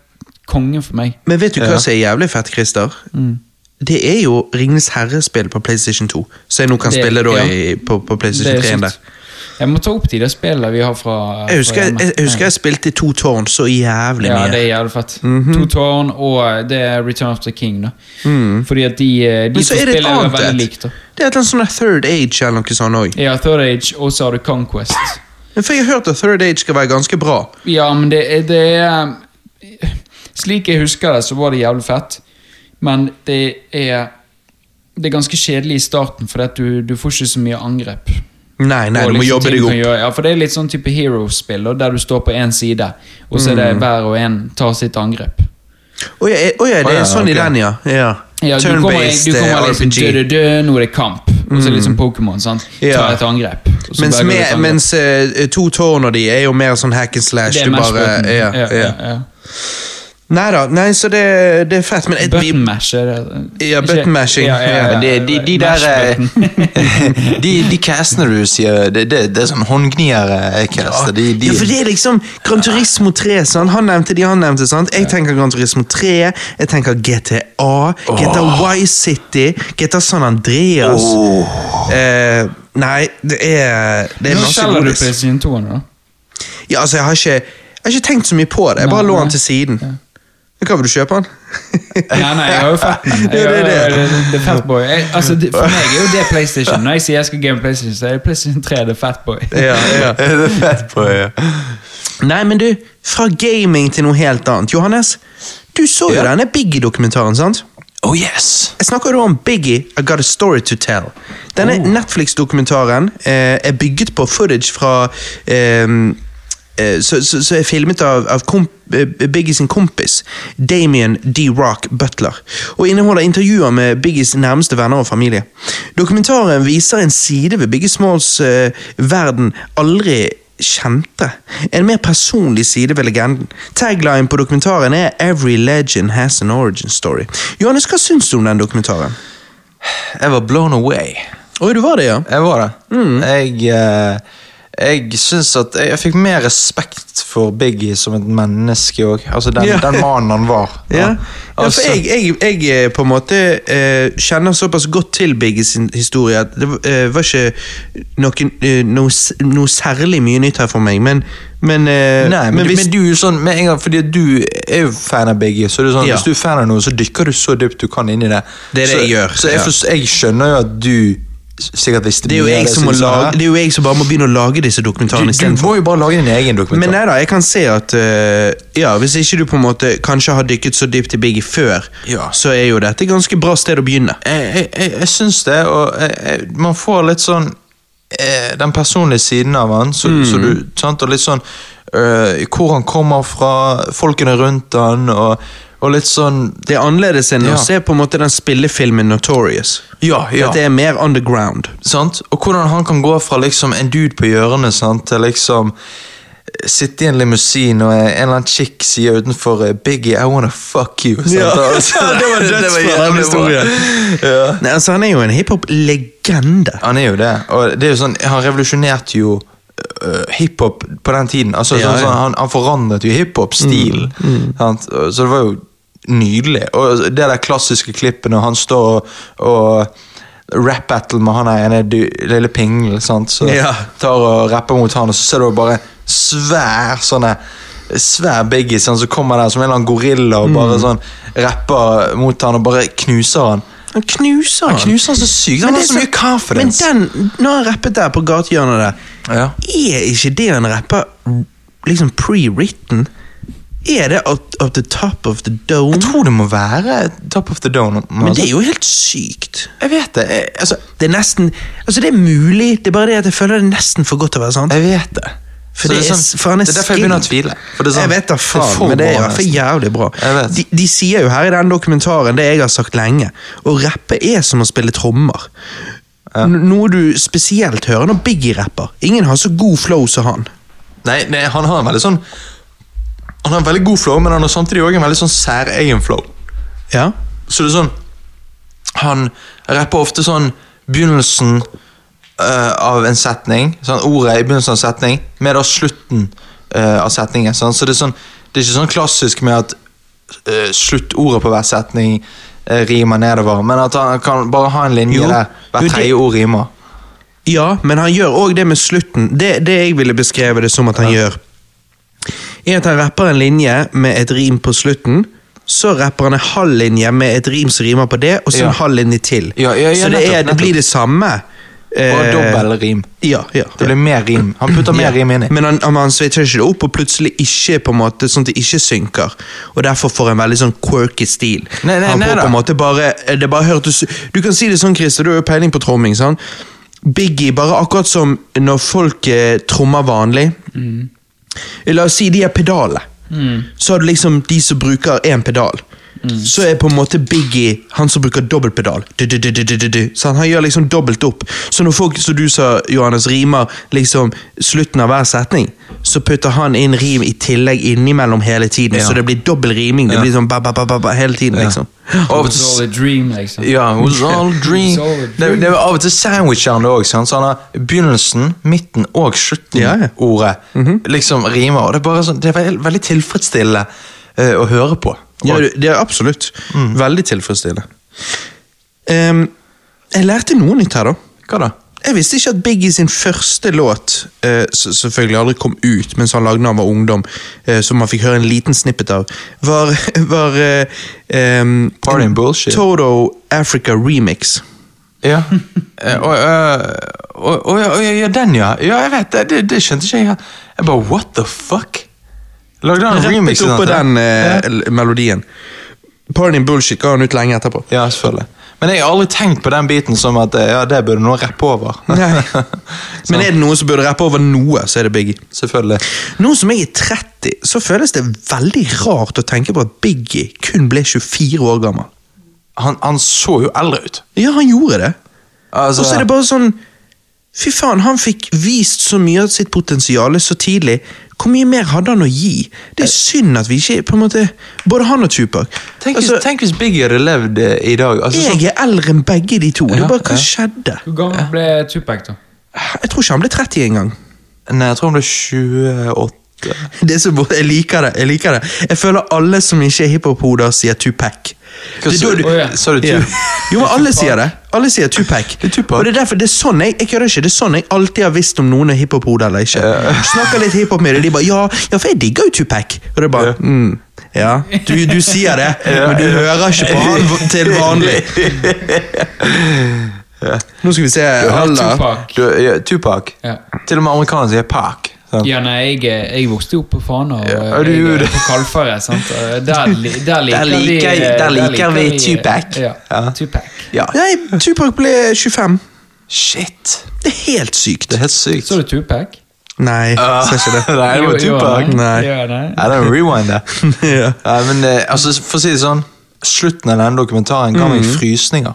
konge for meg. Men vet du hva som er jævlig fett, Christer? Det er jo Ringenes herre-spill på PlayStation 2, så jeg nå kan Det- spille da ja. i, på, på Det PlayStation 3. er sykt. Der. Jeg må ta opp de der spillene vi har fra Jeg husker fra jeg, hjemme. jeg, husker jeg spilte i To Tårn så jævlig Ja, mye. det Mhm. er jævlig fett. To tårn og eh, det er Return of the King, da. Fordi at de, eh, de Mm. Men så to er det et spillene er annet veldig et. likt, da. Det er et eller annet sånn Third Age eller noe sånt òg. Ja, Third Age, og så har du Conquest. For jeg har hørt at Third Age skal være ganske bra. Ja, men det, er- det er eh, Slik jeg husker det, så var det jævlig fett. Men det er Det er ganske kjedelig i starten, for at du, du får ikke så mye angrep. Nei, nei, Og du må liksom jobbe ting deg du kan opp. gjøre- Ja, for det er litt sånn type hero-spill, og der du står på én side, og så Mm. er det hver og en tar sitt angrep. Å ja, å ja, det Å ja, er sånn i ok. den, ja. ja. Ja, du kommer, du Turn-based eh, kommer liksom dø, dø, RPG. dø, nå er det kamp. Og så er det liksom Pokémon. sant? Mm. Ja. Ta et angrep. og så Mens, bare går det et med, angrep. mens eh, To Tårn og de er jo mer sånn hack and slash. det er Du mash bare button. ja, ja. ja. Nei da, nei, så det, det er fett. Men et, vi, Button mash er det. Ja, Ikke- button mashing. Ja, De, de, de der Mash eh, button. De, de castene du sier, det, det, det er sånn håndgnier-caster. De, de, Ja, for det er liksom Gran Turismo 3, sant? Han nevnte de han nevnte, sant? Jeg tenker Gran Turismo 3, jeg tenker GTA, GTA Vice City, GTA San Andreas. Eh, nei, det er Det er Nå masse selger du godis. PlayStation 2 nå, da. Ja, altså, jeg har ikke Jeg har ikke tenkt så mye på det. Jeg bare Nei, lå nei. den til siden. Hva vil du kjøpe den? Nei, nei, jeg har jo fett men Ja, jeg det er har- det. det er Fatboy. Jeg- Altså, det- for meg er jo det PlayStation. Når jeg sier jeg skal game PlayStation, så er det PlayStation 3 det er Fatboy. Ja, ja. det er fett på ja. Nei, men du, fra gaming til noe helt annet. Johannes, du så jo Ja. denne Biggie-dokumentaren, sant? Oh yes! Jeg snakker da om Biggie, I Got a Story to Tell. Denne Netflix-dokumentaren eh, er bygget på footage fra eh, eh, så, så, så er filmet av, av komp, eh, Biggie sin kompis, Damien D. Rock Butler, og inneholder intervjuer med Biggies nærmeste venner og familie. Dokumentaren viser en side ved Biggie Smalls eh, verden aldri kjente. En mer personlig side ved legenden. Tagline på dokumentaren er 'Every legend has an origin story'. Johannes, hva syns du om den dokumentaren? Jeg var blown away. Oi, du var det, ja? Jeg var det. Mm. Jeg, eh, jeg syns at jeg, jeg fikk mer respekt for Biggie som et menneske òg. Altså den, Ja. den mannen han var. Ja, ja Altså, for jeg, jeg, jeg eh, på en måte eh, kjenner såpass godt til Biggie sin historie at det eh, var ikke noe, eh, noe, s- noe særlig mye nytt her for meg, men men, eh, Nei, men, men du- hvis- men du er jo sånn med en gang, Fordi du er jo fan av Biggie. Så er det sånn, Ja. Hvis du er fan av noe, så dykker du så dypt du kan inn i det. Det er det så, jeg gjør, Så jeg, ja. forst- jeg skjønner jo at du s- sikkert visste det er, jo mye av jeg som må så lage, sånn, det er jo jeg som bare må begynne å lage disse dokumentarene du, du istedenfor. må jo bare lage din egen Men dokumentar. nei da, jeg kan se at eh, Ja, hvis ikke du på en måte kanskje har dykket så dypt i Biggie før, Ja. så er jo dette et ganske bra sted å begynne. jeg, jeg, jeg, jeg syns det, og jeg, jeg, man får litt sånn eh, Den personlige siden av han, så, så du, sant, og litt sånn eh, Hvor han kommer fra, folkene rundt han, og, og litt sånn Det er annerledes enn Ja. å se på en måte den spillefilmen Notorious. Ja, ja. Dette er mer underground. sant? Og hvordan han kan gå fra liksom en dude på hjørnet sant? til liksom eh, Sitte i en limousin, og eh, en eller annen chick sier utenfor eh, 'Biggie, I wanna fuck you'. sant? Ja. Og så- Ja, det var dødsbra, den jævlig bra. historien. Ja. Nei, altså, han er jo en hiphop-legende. Han er jo det, og det er jo sånn, han revolusjonerte jo øh, hiphop på den tiden. Altså, Ja, sånn, ja. Mm, sånn, han, han forandret jo hiphop-stilen. sant? Og Så det var jo nydelig. Og det der klassiske klippet når han står og, og rap-battle med han ene du- lille pingelen, sant? så Ja. tar og rapper mot han, og så ser du bare svær sånne Svær Biggie sant, som kommer der som en eller annen gorilla og Mm. bare sånn rapper mot han og bare knuser han. Han knuser han. Han knuser han så sykt. Han Men har det er så mye confidence. Men den, når han rappet der på gatehjørnet der, Ja. er ikke det han rapper liksom pre-written? Er det up, up the top of the dome? Jeg tror det må være Top of the Dome. Men det er jo helt sykt. Altså. Jeg vet det. Jeg, altså, Det er nesten Altså, det er mulig, det er bare det at jeg føler det er nesten for godt til å være sant. jeg vet det. For Så det er s- for han er det er derfor jeg begynner å skilled. tvile. For det er sånn, jeg vet da faen, for men det er i bra, hvert fall nesten. jævlig bra. Jeg vet. De, de sier jo her i den dokumentaren det jeg har sagt lenge, å rappe er som å spille trommer. Ja. N- Noe du spesielt hører når Biggie rapper. Ingen har så god flow som han. Nei, nei, han har en veldig sånn Han har en veldig god flow, men han har samtidig også en veldig sånn særegen flow. Ja, Så det er sånn Han rapper ofte sånn begynnelsen eh, av en setning, sånn ordet i begynnelsen av en setning, med da slutten eh, av setningen. Sånn. Så det er sånn Det er ikke sånn klassisk med at eh, sluttordet på hver setning eh, rimer nedover, men at han kan bare ha en linje Jo. der Jo, hvert det- tredje ord rimer. ja men han gjør òg det med slutten. Det, det jeg ville beskreve det som at han gjør, er at han rapper en linje med et rim på slutten. Så rapper han en halv linje med et rim som rimer på det, og så en Ja. halv linje til. Ja, ja, ja, så det, nettopp, er, det nettopp. blir det samme. Og Eh, dobbel rim. Ja, ja, Det ja. blir mer rim. Han putter mer rim inni. Men han, han, han switcher ikke det opp, og plutselig ikke på en måte, sånn at det ikke synker. Og derfor får en veldig sånn quirky stil. Nei, nei, han nei får på da. en måte bare, eh, det bare hørtes, Du kan si det sånn, Christer, du har jo peiling på tromming. sant? Biggie, bare akkurat som når folk eh, trommer vanlig. Mm. La oss si de er pedalene. Så har du liksom de som bruker én pedal. Mm. Så er på en måte Biggie han som bruker dobbeltpedal. Du, du, du, du, du, du, du. Så han gjør liksom dobbelt opp. Så når folk, som du sa, Johannes, rimer liksom slutten av hver setning, så putter han inn rim i tillegg innimellom hele tiden. Ja. Så det blir dobbel riming. Det Ja. blir sånn ba, ba, ba, ba, ba, hele tiden, liksom. Og- It's all a dream, liksom. Ja, it was all a dream. It was all a Det, dream. det er jo av og til sandwicher han det òg. Så han har begynnelsen, midten Ja, og ja. Mhm. slutten-ordet liksom rimer. Og det er bare sånn, det er veldig, veldig tilfredsstillende eh, å høre på. Ja, Og- du- det er absolutt. Mm. Veldig tilfredsstillende. Ehm, jeg lærte noe nytt her, da. Hva da? Jeg visste ikke at Biggie sin første låt eh, s- selvfølgelig aldri kom ut, mens han lagde da han var ungdom, eh, som man fikk høre en liten snippet av, var, var eh, ehm, Party and en bullshit. Toto Africa remix. Ja. Eh, og- eh, og- og- ja, og- ja, ja, den, ja. Ja, jeg vet det. Det, det skjønte ikke jeg. helt. Jeg bare what the fuck? Lagde han en Ah, remix Rappet i oppå dette? den eh, Ja. l- melodien. Party and bullshit ga han ut lenge etterpå. Ja, selvfølgelig. Men jeg har aldri tenkt på den biten som at eh, ja, det burde noen rappe over. Nei. Men er det noen som burde rappe over noe, så er det Biggie. Selvfølgelig. Nå som jeg er 30, så føles det veldig rart å tenke på at Biggie kun ble 24 år gammel. Han, han så jo eldre ut. Ja, han gjorde det. Altså- Og så er det bare sånn Fy faen, han fikk vist så mye av sitt potensial så tidlig. Hvor mye mer hadde han å gi? Det er synd at vi ikke på en måte, Både han og Tupac. Tenk, altså, hvis, tenk hvis Biggie hadde levd eh, i dag. Altså, sånn, jeg er eldre enn begge de to. Det Ja, er bare, ja. Hva skjedde? Hvor gammel ble Tupac, da? Jeg tror ikke han ble 30 engang. sånn- nei, jeg tror han ble 28. Det er så bra. Jeg liker det. Jeg liker det. Jeg føler alle som ikke er hiphop-hoder, sier Tupac. Hva Det er sa da du? du- Å, ja. Sa du Ja. tu? Jo, men alle sier det. Alle sier Tupac. Det er Tupac. Og det er derfor, det er sånn jeg, jeg kødder ikke, det er sånn jeg alltid har visst om noen er hiphop-hode eller ikke. Snakker litt hiphop med dem, de bare ja, ja, for jeg digger jo Tupac. Og det er bare Ja. mm, ja, du, du sier det, men du hører ikke på han v- til vanlig. Nå skal vi se alder. Tupac. Du, ja, Tupac. Ja. Til og med amerikanere sier Pac. sant? Ja, nei, jeg, jeg vokste jo opp på Fana og Ja, du jeg, gjorde er på Kalfaret. sant? Og Der, li- der liker, vi- liker- der liker vi vi- eh, Tupac. Ja, Ja. Tupac. Ja. Nei, Tupac ble 25. Shit. Det er helt sykt. Det er helt sykt. Ah, Så du Tupac? Nei, ser ikke det. nei, det Jo, var jo, Tupac. nei. Jo, nei. Ja, det er en rewind, det. Ja. Nei, men eh, altså, for å si det sånn, slutten av denne dokumentaren ga meg frysninger.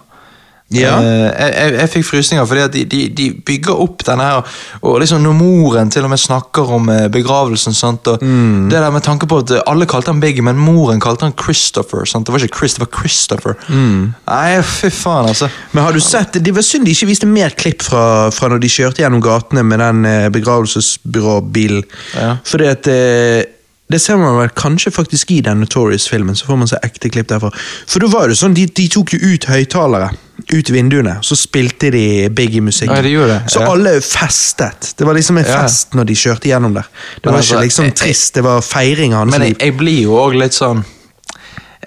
Ja. Eh, Jeg, jeg, jeg fikk frysninger fordi at de, de, de bygger opp den her, og liksom når moren til og med snakker om eh, begravelsen sant? Og Det der med tanke på at eh, alle kalte han Biggie, men moren kalte han Christopher. Sant? Det var ikke Chris, det var Christopher. Nei, fy faen, altså. Men har du sett, Det var synd de ikke viste mer klipp fra, fra når de kjørte gjennom gatene med den eh, begravelsesbyråbilen. Ja. Fordi at eh, Det ser man vel kanskje faktisk i den Notorious-filmen. så får man se ekte klipp derfra. For da var det sånn, De, de tok jo ut høyttalere ut vinduene, så spilte de Biggie-musikk. Ja, de gjorde det, Så ja. alle festet. Det var liksom en Ja. fest når de kjørte gjennom der. Det Men var altså, ikke liksom jeg- jeg- trist, det var feiring av hans Men jeg, liv. jeg blir jo òg litt sånn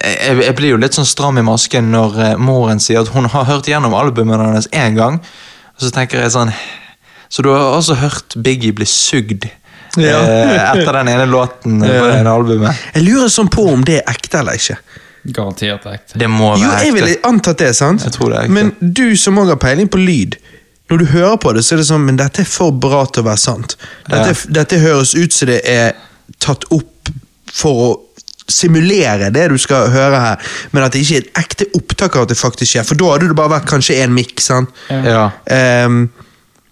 jeg, jeg blir jo litt sånn stram i masken når eh, moren sier at hun har hørt gjennom albumet hennes én gang. Og så tenker jeg sånn Så du har også hørt Biggie bli sugd Ja. eh, etter den ene låten eh, på det ene albumet? Jeg lurer sånn på om det er ekte eller ikke. Garantert ekte. Det må Jo, være jeg ville antatt det, sant? Jeg tror det er ekte. Men du som også har peiling på lyd, når du hører på det, så er det sånn Men dette er for bra til å være sant. Dette, dette høres ut som det er tatt opp for å simulere det du skal høre her, men at det ikke er et ekte opptak av at det faktisk skjer. For da hadde det bare vært kanskje én mikk, sant? Ja. Ehm,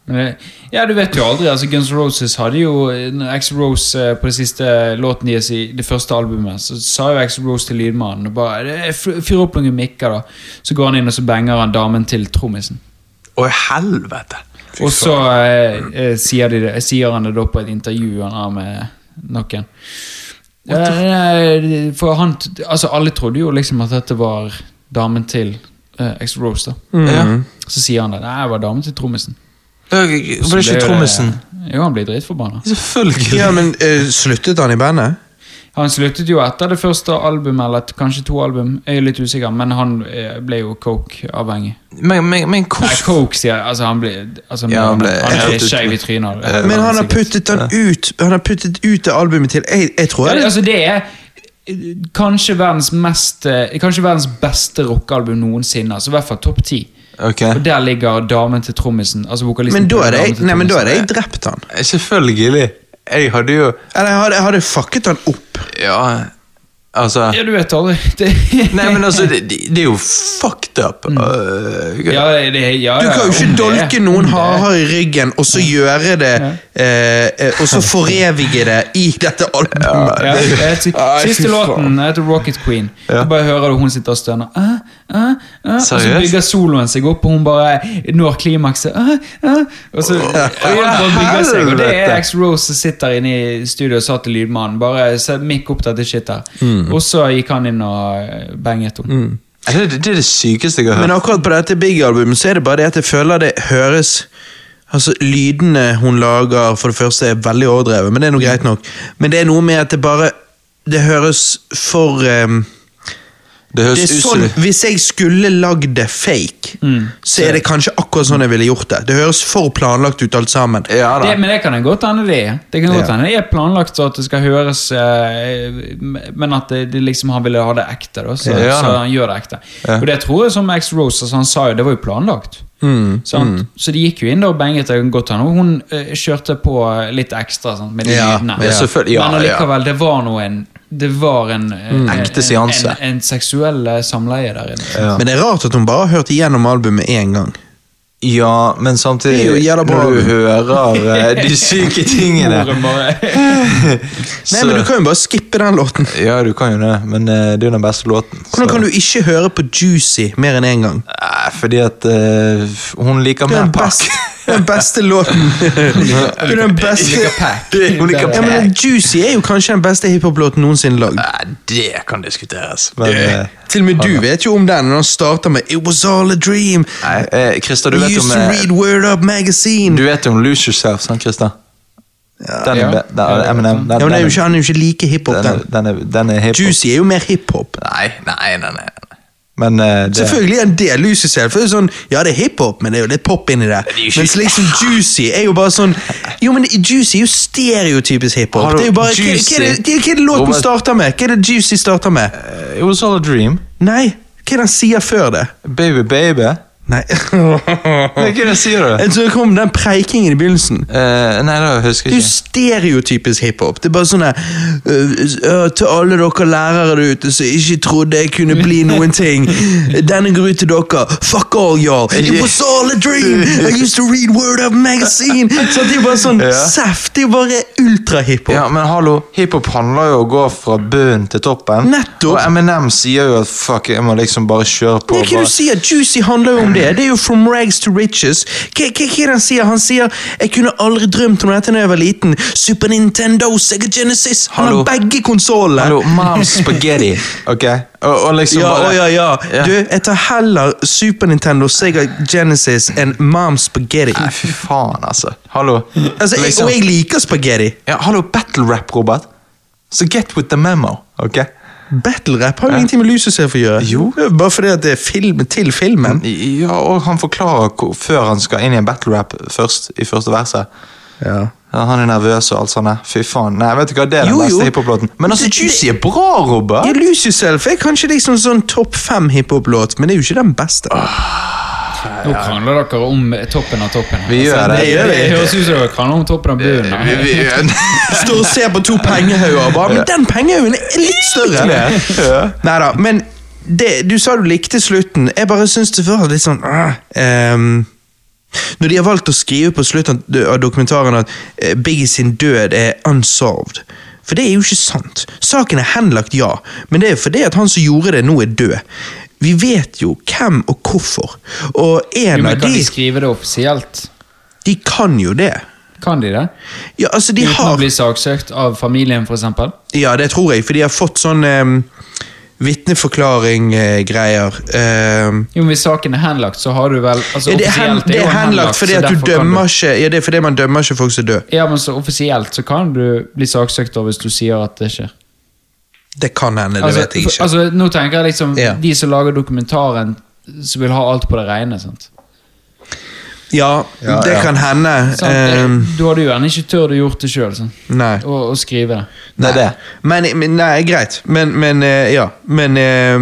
Men det- Ja, du vet jo aldri. altså Guns N' Roses hadde jo X Rose eh, på det siste låten deres i det første albumet. Så sa jo X Rose til lydmannen og bare "Det er f- Fyr opp noen mikker, da. Så går han inn og så banger han damen til trommisen. Å, helvete! Og så eh, eh, sier, de det, sier han det da på et intervju han har med noen. Eh, for han t- Altså, alle trodde jo liksom at dette var damen til eh, X Rose, da. mm. Ja. Så sier han det. Nei, det var damen til trommisen. Det var Så ikke ble jo det- trommisen. Jo, han blir dritforbanna. Selvfølgelig. ja, men eh, sluttet han i bandet? Han sluttet jo etter det første albumet, eller et- kanskje to album. Jeg er litt usikker, men han eh, ble jo coke-avhengig. Men, men, men Nei, hvorfor coke, sier jeg. Altså, han ble, altså, Ja, han han, ble er helt skeiv i ut- trynet. Men han har sikkert. puttet han ut Han har puttet ut det albumet til Jeg, jeg tror Ja, det- jeg, altså, det er eh, kanskje verdens mest eh, Kanskje verdens beste rockealbum noensinne. Altså, I hvert fall topp ti. Ok, Og der ligger damen til trommisen. Altså vokalisten Men da til hadde damen jeg, til nei, men da trommisen. hadde jeg drept han. selvfølgelig. Jeg hadde jo Eller jeg hadde, jeg hadde fucket han opp. Ja, altså Ja, du vet aldri. Det, Nei, men altså, det, det det er jo fucked up. Mm. Øh, ja, det, ja, Du ja, kan jo om ikke det- dolke om noen det- hardere i ryggen og så gjøre det eh, eh, Og så forevige det i dette albumet. Ja, det er helt sykt. Nei, fy Siste faen. låten heter Rocket Queen. Du bare hører du hun sitter og stønner. «Æ, æ, æ», og så Seriøst? bygger soloen seg opp, og hun bare når klimakset. «Æ, æ», Og så og alt bare bygger seg, og det er Helvete. X Rose som sitter inne i studio og sa til lydmannen Bare sett mikk opp dette shit her. Mm. Og så gikk han inn og eh, banget henne. Er Altså, det, det er det sykeste jeg har Men hørt. akkurat på dette Big-albumet så er det bare det at jeg føler det høres Altså, Lydene hun lager, for det første er veldig overdrevet, men det er noe greit nok. Men det er noe med at det bare Det høres for eh, Det Det høres er ut som sånn, hvis jeg skulle lagd det fake, Mm. så er det kanskje akkurat sånn jeg ville gjort det. Det høres for planlagt ut alt sammen. Ja da. Det, men det kan jeg godt hende det er. Det kan godt Ja. hende det er planlagt så at det skal høres eh, Men at det, det liksom han ville ha det ekte, da, så, Ja. så han gjør det ekte. Og det tror jeg som Max Rose altså, han sa jo, det var jo planlagt. Mm, Sant? Så de gikk jo inn der og banget det godt henne. Og hun eh, kjørte på litt ekstra sant, med de Ja, lydene. ja, selvfølgelig. Ja, Mm. men allikevel, det var nå en det var en, eh, Ekte en, seanse. en, en seksuell eh, samleie der inne. Ja. Men det er rart at hun bare har hørt igjennom albumet én gang. Ja, men Det er jo samtidig, jævla bra. når du hører eh, de syke tingene, Moren bare Nei, så men Du kan jo bare skippe den låten. Ja, du kan jo det, men eh, det er jo den beste låten. så- Hvordan kan du ikke høre på Juicy mer enn én gang? Nei, fordi at eh, hun liker Det er den mer pakk. beste, den beste låten. Det er den beste Hun liker Ja, men pakk. den Juicy er jo kanskje den beste hiphop-låten noensinne lagd. Nei, det kan diskuteres, men eh, Til og med du vet jo om den når han starter med It was all a dream. Nei, eh, Christer, du You vet used om to eh, read Word Up Magazine. Du vet om Lose Yourself, sant, Christer? Den Ja. er be- den er Eminem. Den, Ja, men det er den jo er- ikke, han er jo ikke like hiphop, den den. er- den er- den er hiphop. Juicy er jo mer hiphop. Nei, nei, nei. nei. Men eh, det Selvfølgelig er en del Lucy selv. For det er sånn, ja, det er hiphop, men det er jo litt pop inni det. er jo ikke- Mens liksom Juicy er jo bare sånn Jo, men Juicy er jo stereotypisk hiphop. Har du- Det er jo bare, hva, Juicy? hva, er det- hva, hva er det låten Robert- starter med? Hva er det Juicy starter med? It was all a dream. Nei, hva er det han sier før det? Baby, baby. Nei Hva er det jeg sier du? Så kom den preikingen i begynnelsen. Eh, nei, det husker Det er jeg jo ikke. stereotypisk hiphop. Det er bare sånn der, «Øh, øh, Til alle dere lærere der ute som ikke trodde jeg kunne bli noen ting. Denne går ut til dere. Fuck all y'all. It was all a dream. I used to read Word of Magazine. Så det er jo bare sånn Ja. saft. Det er jo bare ultrahiphop. Ja, men hallo, hiphop handler jo om å gå fra bunnen til toppen. Nettopp. Og Eminem sier jo at fuck, jeg må liksom bare kjøre på. Men hva bare- du sier? Juicy handler jo om det. Det er jo from rags to riches. Hva hva- hva er det han sier? Han sier 'Jeg kunne aldri drømt om dette da jeg var liten'. Super Nintendo, Sega Genesis. Han Hallo. har begge konsollene. Hallo, mom's spaghetti. Ok? Og, og liksom Ja, bare å, ja, ja. Ja. Du, jeg tar heller Super Nintendo, Sega Genesis enn Mom Spaghetti. Nei, fy faen, altså. Hallo. Altså, jeg, Liksom- og jeg liker spaghetti. Ja, hallo, battle rap, Robert. Så get with the memo, ok? Battle-rap har jo ingenting med lus og selfie å gjøre. Jo. Det er Bare fordi at det er film til filmen. Ja, og han forklarer hvor, før han skal inn i en battle rap først, i første verset. Ja. Ja, han er nervøs og alt sånt. der. Fy faen. Nei, vet du hva, det er den Jo, jo. beste hiphop-låten. Men altså, Det- det- Juicy er bra, Robert! Ja, Lose Yourself er kanskje liksom sånn topp fem hiphop-låt, men det er jo ikke den beste. Nå krangler dere om toppen av toppen. Vi gjør det. det gjør vi. høres ut som dere krangler om toppen av bunnen. Vi- vi- Står og ser på to pengehauger og bare Men den pengehaugen er litt større! Ja. Neida, men det, du sa du likte slutten. Jeg bare syns det var litt sånn ah, ehm, Når de har valgt å skrive på slutten av dokumentaren at eh, Biggie sin død er unsolved For det er jo ikke sant. Saken er henlagt, ja, men det er fordi at han som gjorde det, nå er død. Vi vet jo hvem og hvorfor, og Jo, en men av kan de de skrive det offisielt? De kan jo det. Kan de det? Ja, altså, de Uten å har bli saksøkt av familien, for eksempel? Ja, det tror jeg, for de har fått sånn eh, um, vitneforklaring-greier. Ehm, Jo, men Hvis saken er henlagt, så har du vel altså, Ja, det, er hen, offisielt det jo er den henlagt fordi så at derfor du kan dømmer ikke Ja, det er fordi man dømmer ikke folk som dør. Ja, men så Offisielt så kan du bli saksøkt av hvis du sier at det skjer. Det kan hende, det vet jeg for- ikke. altså, nå tenker jeg liksom Ja. De som lager dokumentaren, som vil ha alt på det rene. sant? Ja, det kan hende. Sant? ehm, Eh, da hadde du gjerne ikke turt å gjort det sjøl, sånn. nei. Å å skrive det. Nei, det. Men, men Nei, greit. Men, men eh, ja. Men, eh,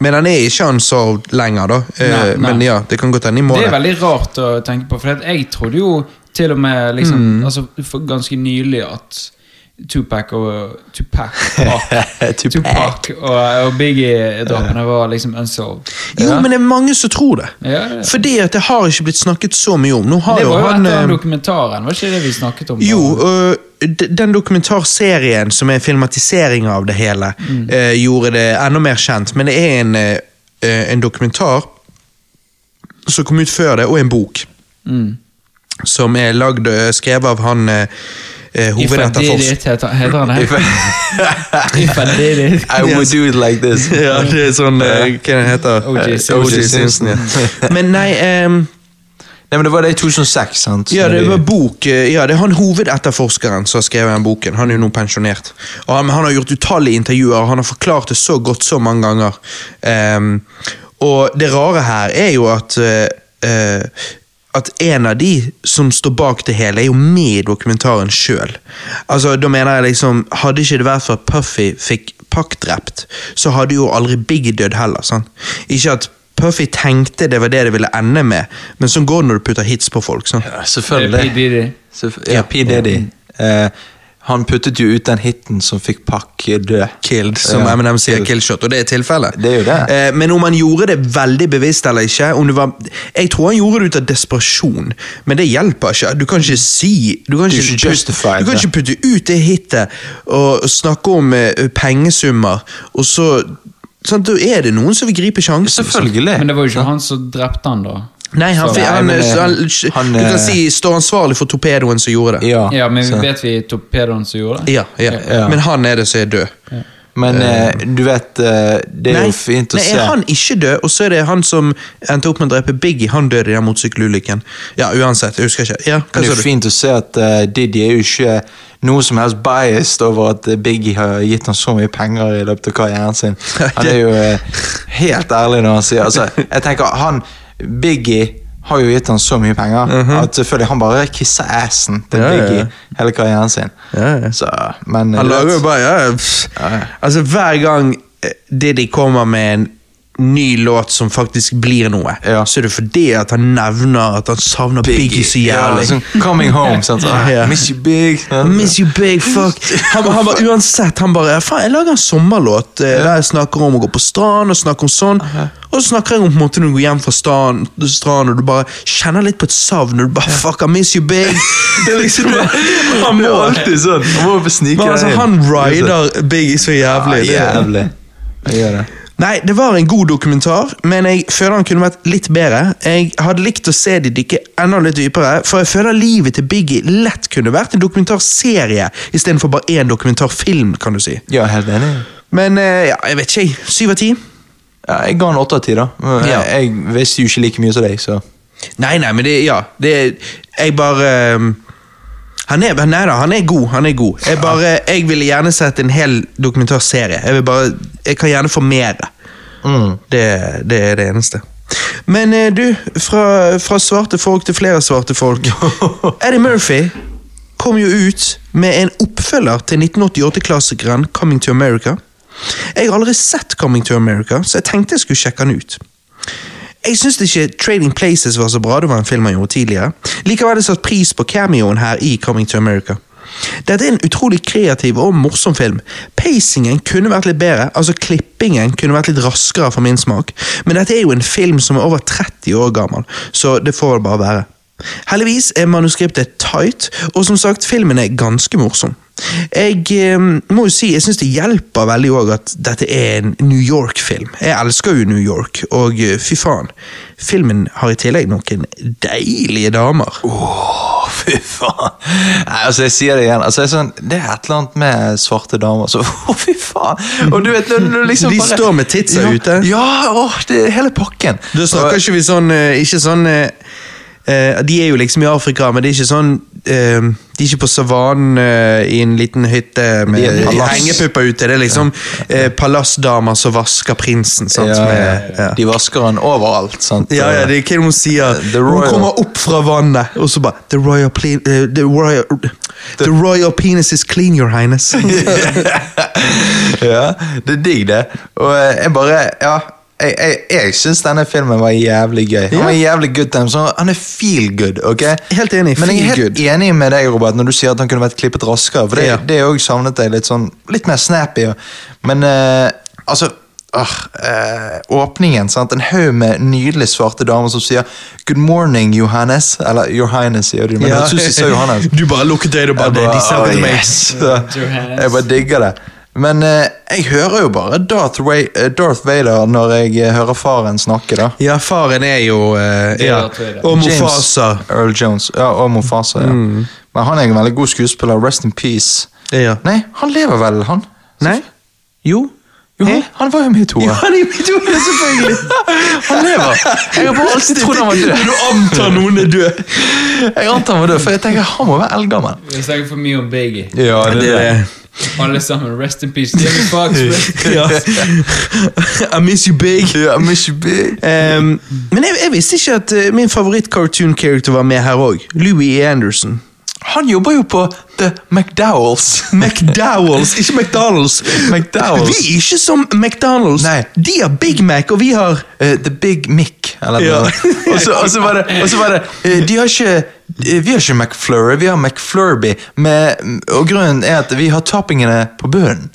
men han er ikke unsolved lenger, da. Eh, Nei, nei. Men ja, det kan godt hende i Det er morgen. veldig rart å tenke på, for at jeg trodde jo til og med liksom, Mm. altså, for ganske nylig at Tupac og Tupac, Tupac. Tupac og, og Biggie-drapene var liksom unsolved. Jo, men det er mange som tror det. Ja, det- Fordi at det har ikke blitt snakket så mye om. Nå har Det jo var jo han etter den eh, dokumentaren, var ikke det vi snakket om? da? Jo, øh, d- den dokumentarserien som er filmatisering av det hele, øh, gjorde det enda mer kjent, men det er en, øh, øh, en dokumentar som kom ut før det, og en bok. Mm. Som er lagd, øh, skrevet av han øh, øh, If I did hovedetterforsker. it, heter, heter han det? If I did it. I would do it like this. Ja, det er sånn øh, Hva den heter O.J. Simpson. O.J. Simpson, ja. Men nei ehm, Nei, men Det var det i 2006, sant? Ja, Når det de- var bok. eh, Ja, det er han hovedetterforskeren som har skrevet den boken. Han er jo nå pensjonert. Og han, han har gjort utallige intervjuer, han har forklart det så godt så mange ganger. Ehm, og det rare her er jo at eh, eh, at en av de som står bak det hele, er jo med i dokumentaren sjøl. Altså, da mener jeg liksom Hadde ikke det vært for at Puffy fikk Pack drept, så hadde jo aldri Biggie dødd heller. sant? Ikke at Puffy tenkte det var det det ville ende med, men sånn går det når du putter hits på folk. sant? Ja, Det er P. Selvfølgelig. Diddy. Selvf- Ja, P. Diddy. Eh, han puttet jo ut den hiten som fikk Pakke død. killed, som Ja, Eminem sier killed. killshot, og det er tilfellet. Det er jo det. Eh, men om han gjorde det veldig bevisst eller ikke om det var, Jeg tror han gjorde det ut av desperasjon, men det hjelper ikke. Du kan ikke si Du kan Du ikke, kan ikke justify du kan det. ikke putte ut det hitet og snakke om eh, pengesummer, og så sant, Da er det noen som vil gripe sjansen. liksom. Selvfølgelig. Men det var jo ikke han som drepte han, da. Nei, han, Så- fi- han, Nei, men, så han, eh, han, Du kan eh, si står ansvarlig for torpedoen som gjorde det. Ja, Ja, men så- vet vi torpedoen som gjorde det? Ja, ja. Ja. Men han er det som er død. Men eh, du vet, eh, det er jo fint å nei, se. er han ikke død, og så er det han som endte opp med å drepe Biggie, han døde i den motorsykkelulykken. Ja, uansett, jeg husker ikke. Ja, hva Men det sa er jo du? fint å se at eh, Diddy er jo ikke noe som helst biased over at eh, Biggie har gitt ham så mye penger i løpet av karrieren sin. Han er jo eh, helt ærlig når han sier altså, Jeg tenker han, Biggie har jo gitt ham så mye penger at selvfølgelig han bare kisser assen til Mhm. Ja, ja, ja. Biggie hele karrieren sin. Ja, ja. Så, men eh, Han du vet- lager jo bare ja, pff. Ja, ja. Altså, hver gang eh, Diddy kommer med en ny låt som faktisk blir noe, Ja. så er det fordi at han nevner at han savner Biggie, så Ja, jævlig. sånn coming home. Sant? Så, Ja. Miss you big. I Miss you big fuck Han, han bare, Uansett, han bare Faen, jeg lager en sommerlåt eh, der jeg snakker om å gå på strand og snakker om sånn. Og så snakker jeg om på en måte når du går hjem fra strand, strand og du bare kjenner litt på et savn. Og du bare fuck, I miss you big. Det er liksom Han må alltid sånn. Han må bare snike Men deg altså, inn. han rider Biggie så jævlig. det- Ja, jævlig. Jeg gjør det. Nei, det var en god dokumentar, men jeg føler han kunne vært litt bedre. Jeg hadde likt å se de dykke enda litt dypere, for jeg føler livet til Biggie lett kunne vært en dokumentarserie istedenfor bare én dokumentarfilm, kan du si. Ja, helt enig. Men eh, ja, jeg vet ikke, jeg. Syv av ti? Ja, jeg ga han åtte av ti, da. Men Ja. Jeg, jeg visste jo ikke like mye som deg, så Nei, nei, men det Ja, det Jeg bare ehm, han er, nei da, han er god. han er god. Jeg bare, eh, jeg ville gjerne sett en hel dokumentarserie. Jeg vil bare, jeg kan gjerne få mer. Det, det er det eneste. Men eh, du, fra, fra svarte folk til flere svarte folk. Eddie Murphy kom jo ut med en oppfølger til 1988-klassikeren Coming to America. Jeg har aldri sett Coming to America, så jeg tenkte jeg skulle sjekke den ut. Jeg syns ikke Trading Places var så bra, det var en film han gjorde tidligere. Likevel har jeg satt pris på cameoen her i Coming to America. Dette er en utrolig kreativ og morsom film. Pacingen kunne vært litt bedre, altså klippingen kunne vært litt raskere for min smak, men dette er jo en film som er over 30 år gammel, så det får det bare være. Heldigvis er manuskriptet tight, og som sagt, filmen er ganske morsom. Jeg eh, må jo si, jeg syns det hjelper veldig òg at dette er en New York-film. Jeg elsker jo New York, og eh, fy faen. Filmen har i tillegg noen deilige damer. Oh, Åh, fy faen. Nei, altså, jeg sier det igjen. Altså, jeg er sånn, det er et eller annet med svarte damer. Så, åh, fy faen. Og du vet, når, når du liksom De bare, står med titsa ja, ute. Ja, åh, det er hele pakken. Da snakker ikke vi sånn eh, Ikke sånn eh, eh, De er jo liksom i Afrika, men det er ikke sånn eh, De er ikke på savannen eh, i en liten hytte med De er i palass. hengepupper ute. Det er liksom eh, palassdamer som vasker prinsen. Sant, ja, som ja, er, ja. De vasker den overalt, sant? Ja, ja, det er hva hun sier. The Hun Royal. kommer opp fra vannet, og så bare The royal, ple- eh, the royal, the royal penis is clean, your highness. ja, det er digg det. Og eh, jeg bare, ja, jeg, jeg, jeg synes denne filmen var jævlig gøy. Han var jævlig good time, så han er feel good, ok? Helt enig, Men jeg feel er helt good. enig med deg, Robert, når du sier at han kunne vært klippet raskere, for det, Ja. det er jo også savnet deg litt sånn, litt mer snappy. og- Men, eh, altså... ah, eh, åpningen, sant? En haug med nydelig svarte damer som sier Good morning, Johannes Eller, Your Highness, sier du Men Ja. jeg synes de sa Johannes Du bare lukket øynene og bare "Det- jeg De selger «Å, til meg. yes!» Så Jeg bare digger det. Men eh, jeg hører jo bare Darth, Wa- eh, Darth Vader når jeg eh, hører faren snakke, da. Ja, faren er jo eh, Det ja. er det. Og James Mofasa. Earl Jones. Ja, og Mofasa, ja. Men han er en veldig god skuespiller. Rest in peace. Ja. Nei, han lever vel, han? Nei? Jo? Jo, han, Hæ? han var jo med i toa. han er mitt hode, selvfølgelig! Han lever! Jeg har bare alltid trodd han var død. Du antar noen er død. Jeg antar han var død, for jeg tenker han må være eldgammel. Vi snakker for mye om Biggie. Ja, Det er det. Alle sammen, rest in peace. Jamie Foxx, rest Ja. I miss you big. Ja, men ikke big. Ehm, men jeg, jeg visste ikke at eh, min favoritt-cartoon-character var med her òg. Louis E. Anderson. Han jobber jo på The McDowells. McDowells, ikke McDonald's. McDowells. Vi er ikke som McDonald's. Nei. De har Big Mac, og vi har Eh, The Big Mick. Eller Ja. noe. og, så, og så var det, og så var det eh, De har ikke eh, Vi har ikke McFlurry, vi har McFlurby. Med, og grunnen er at vi har toppingene på bunnen.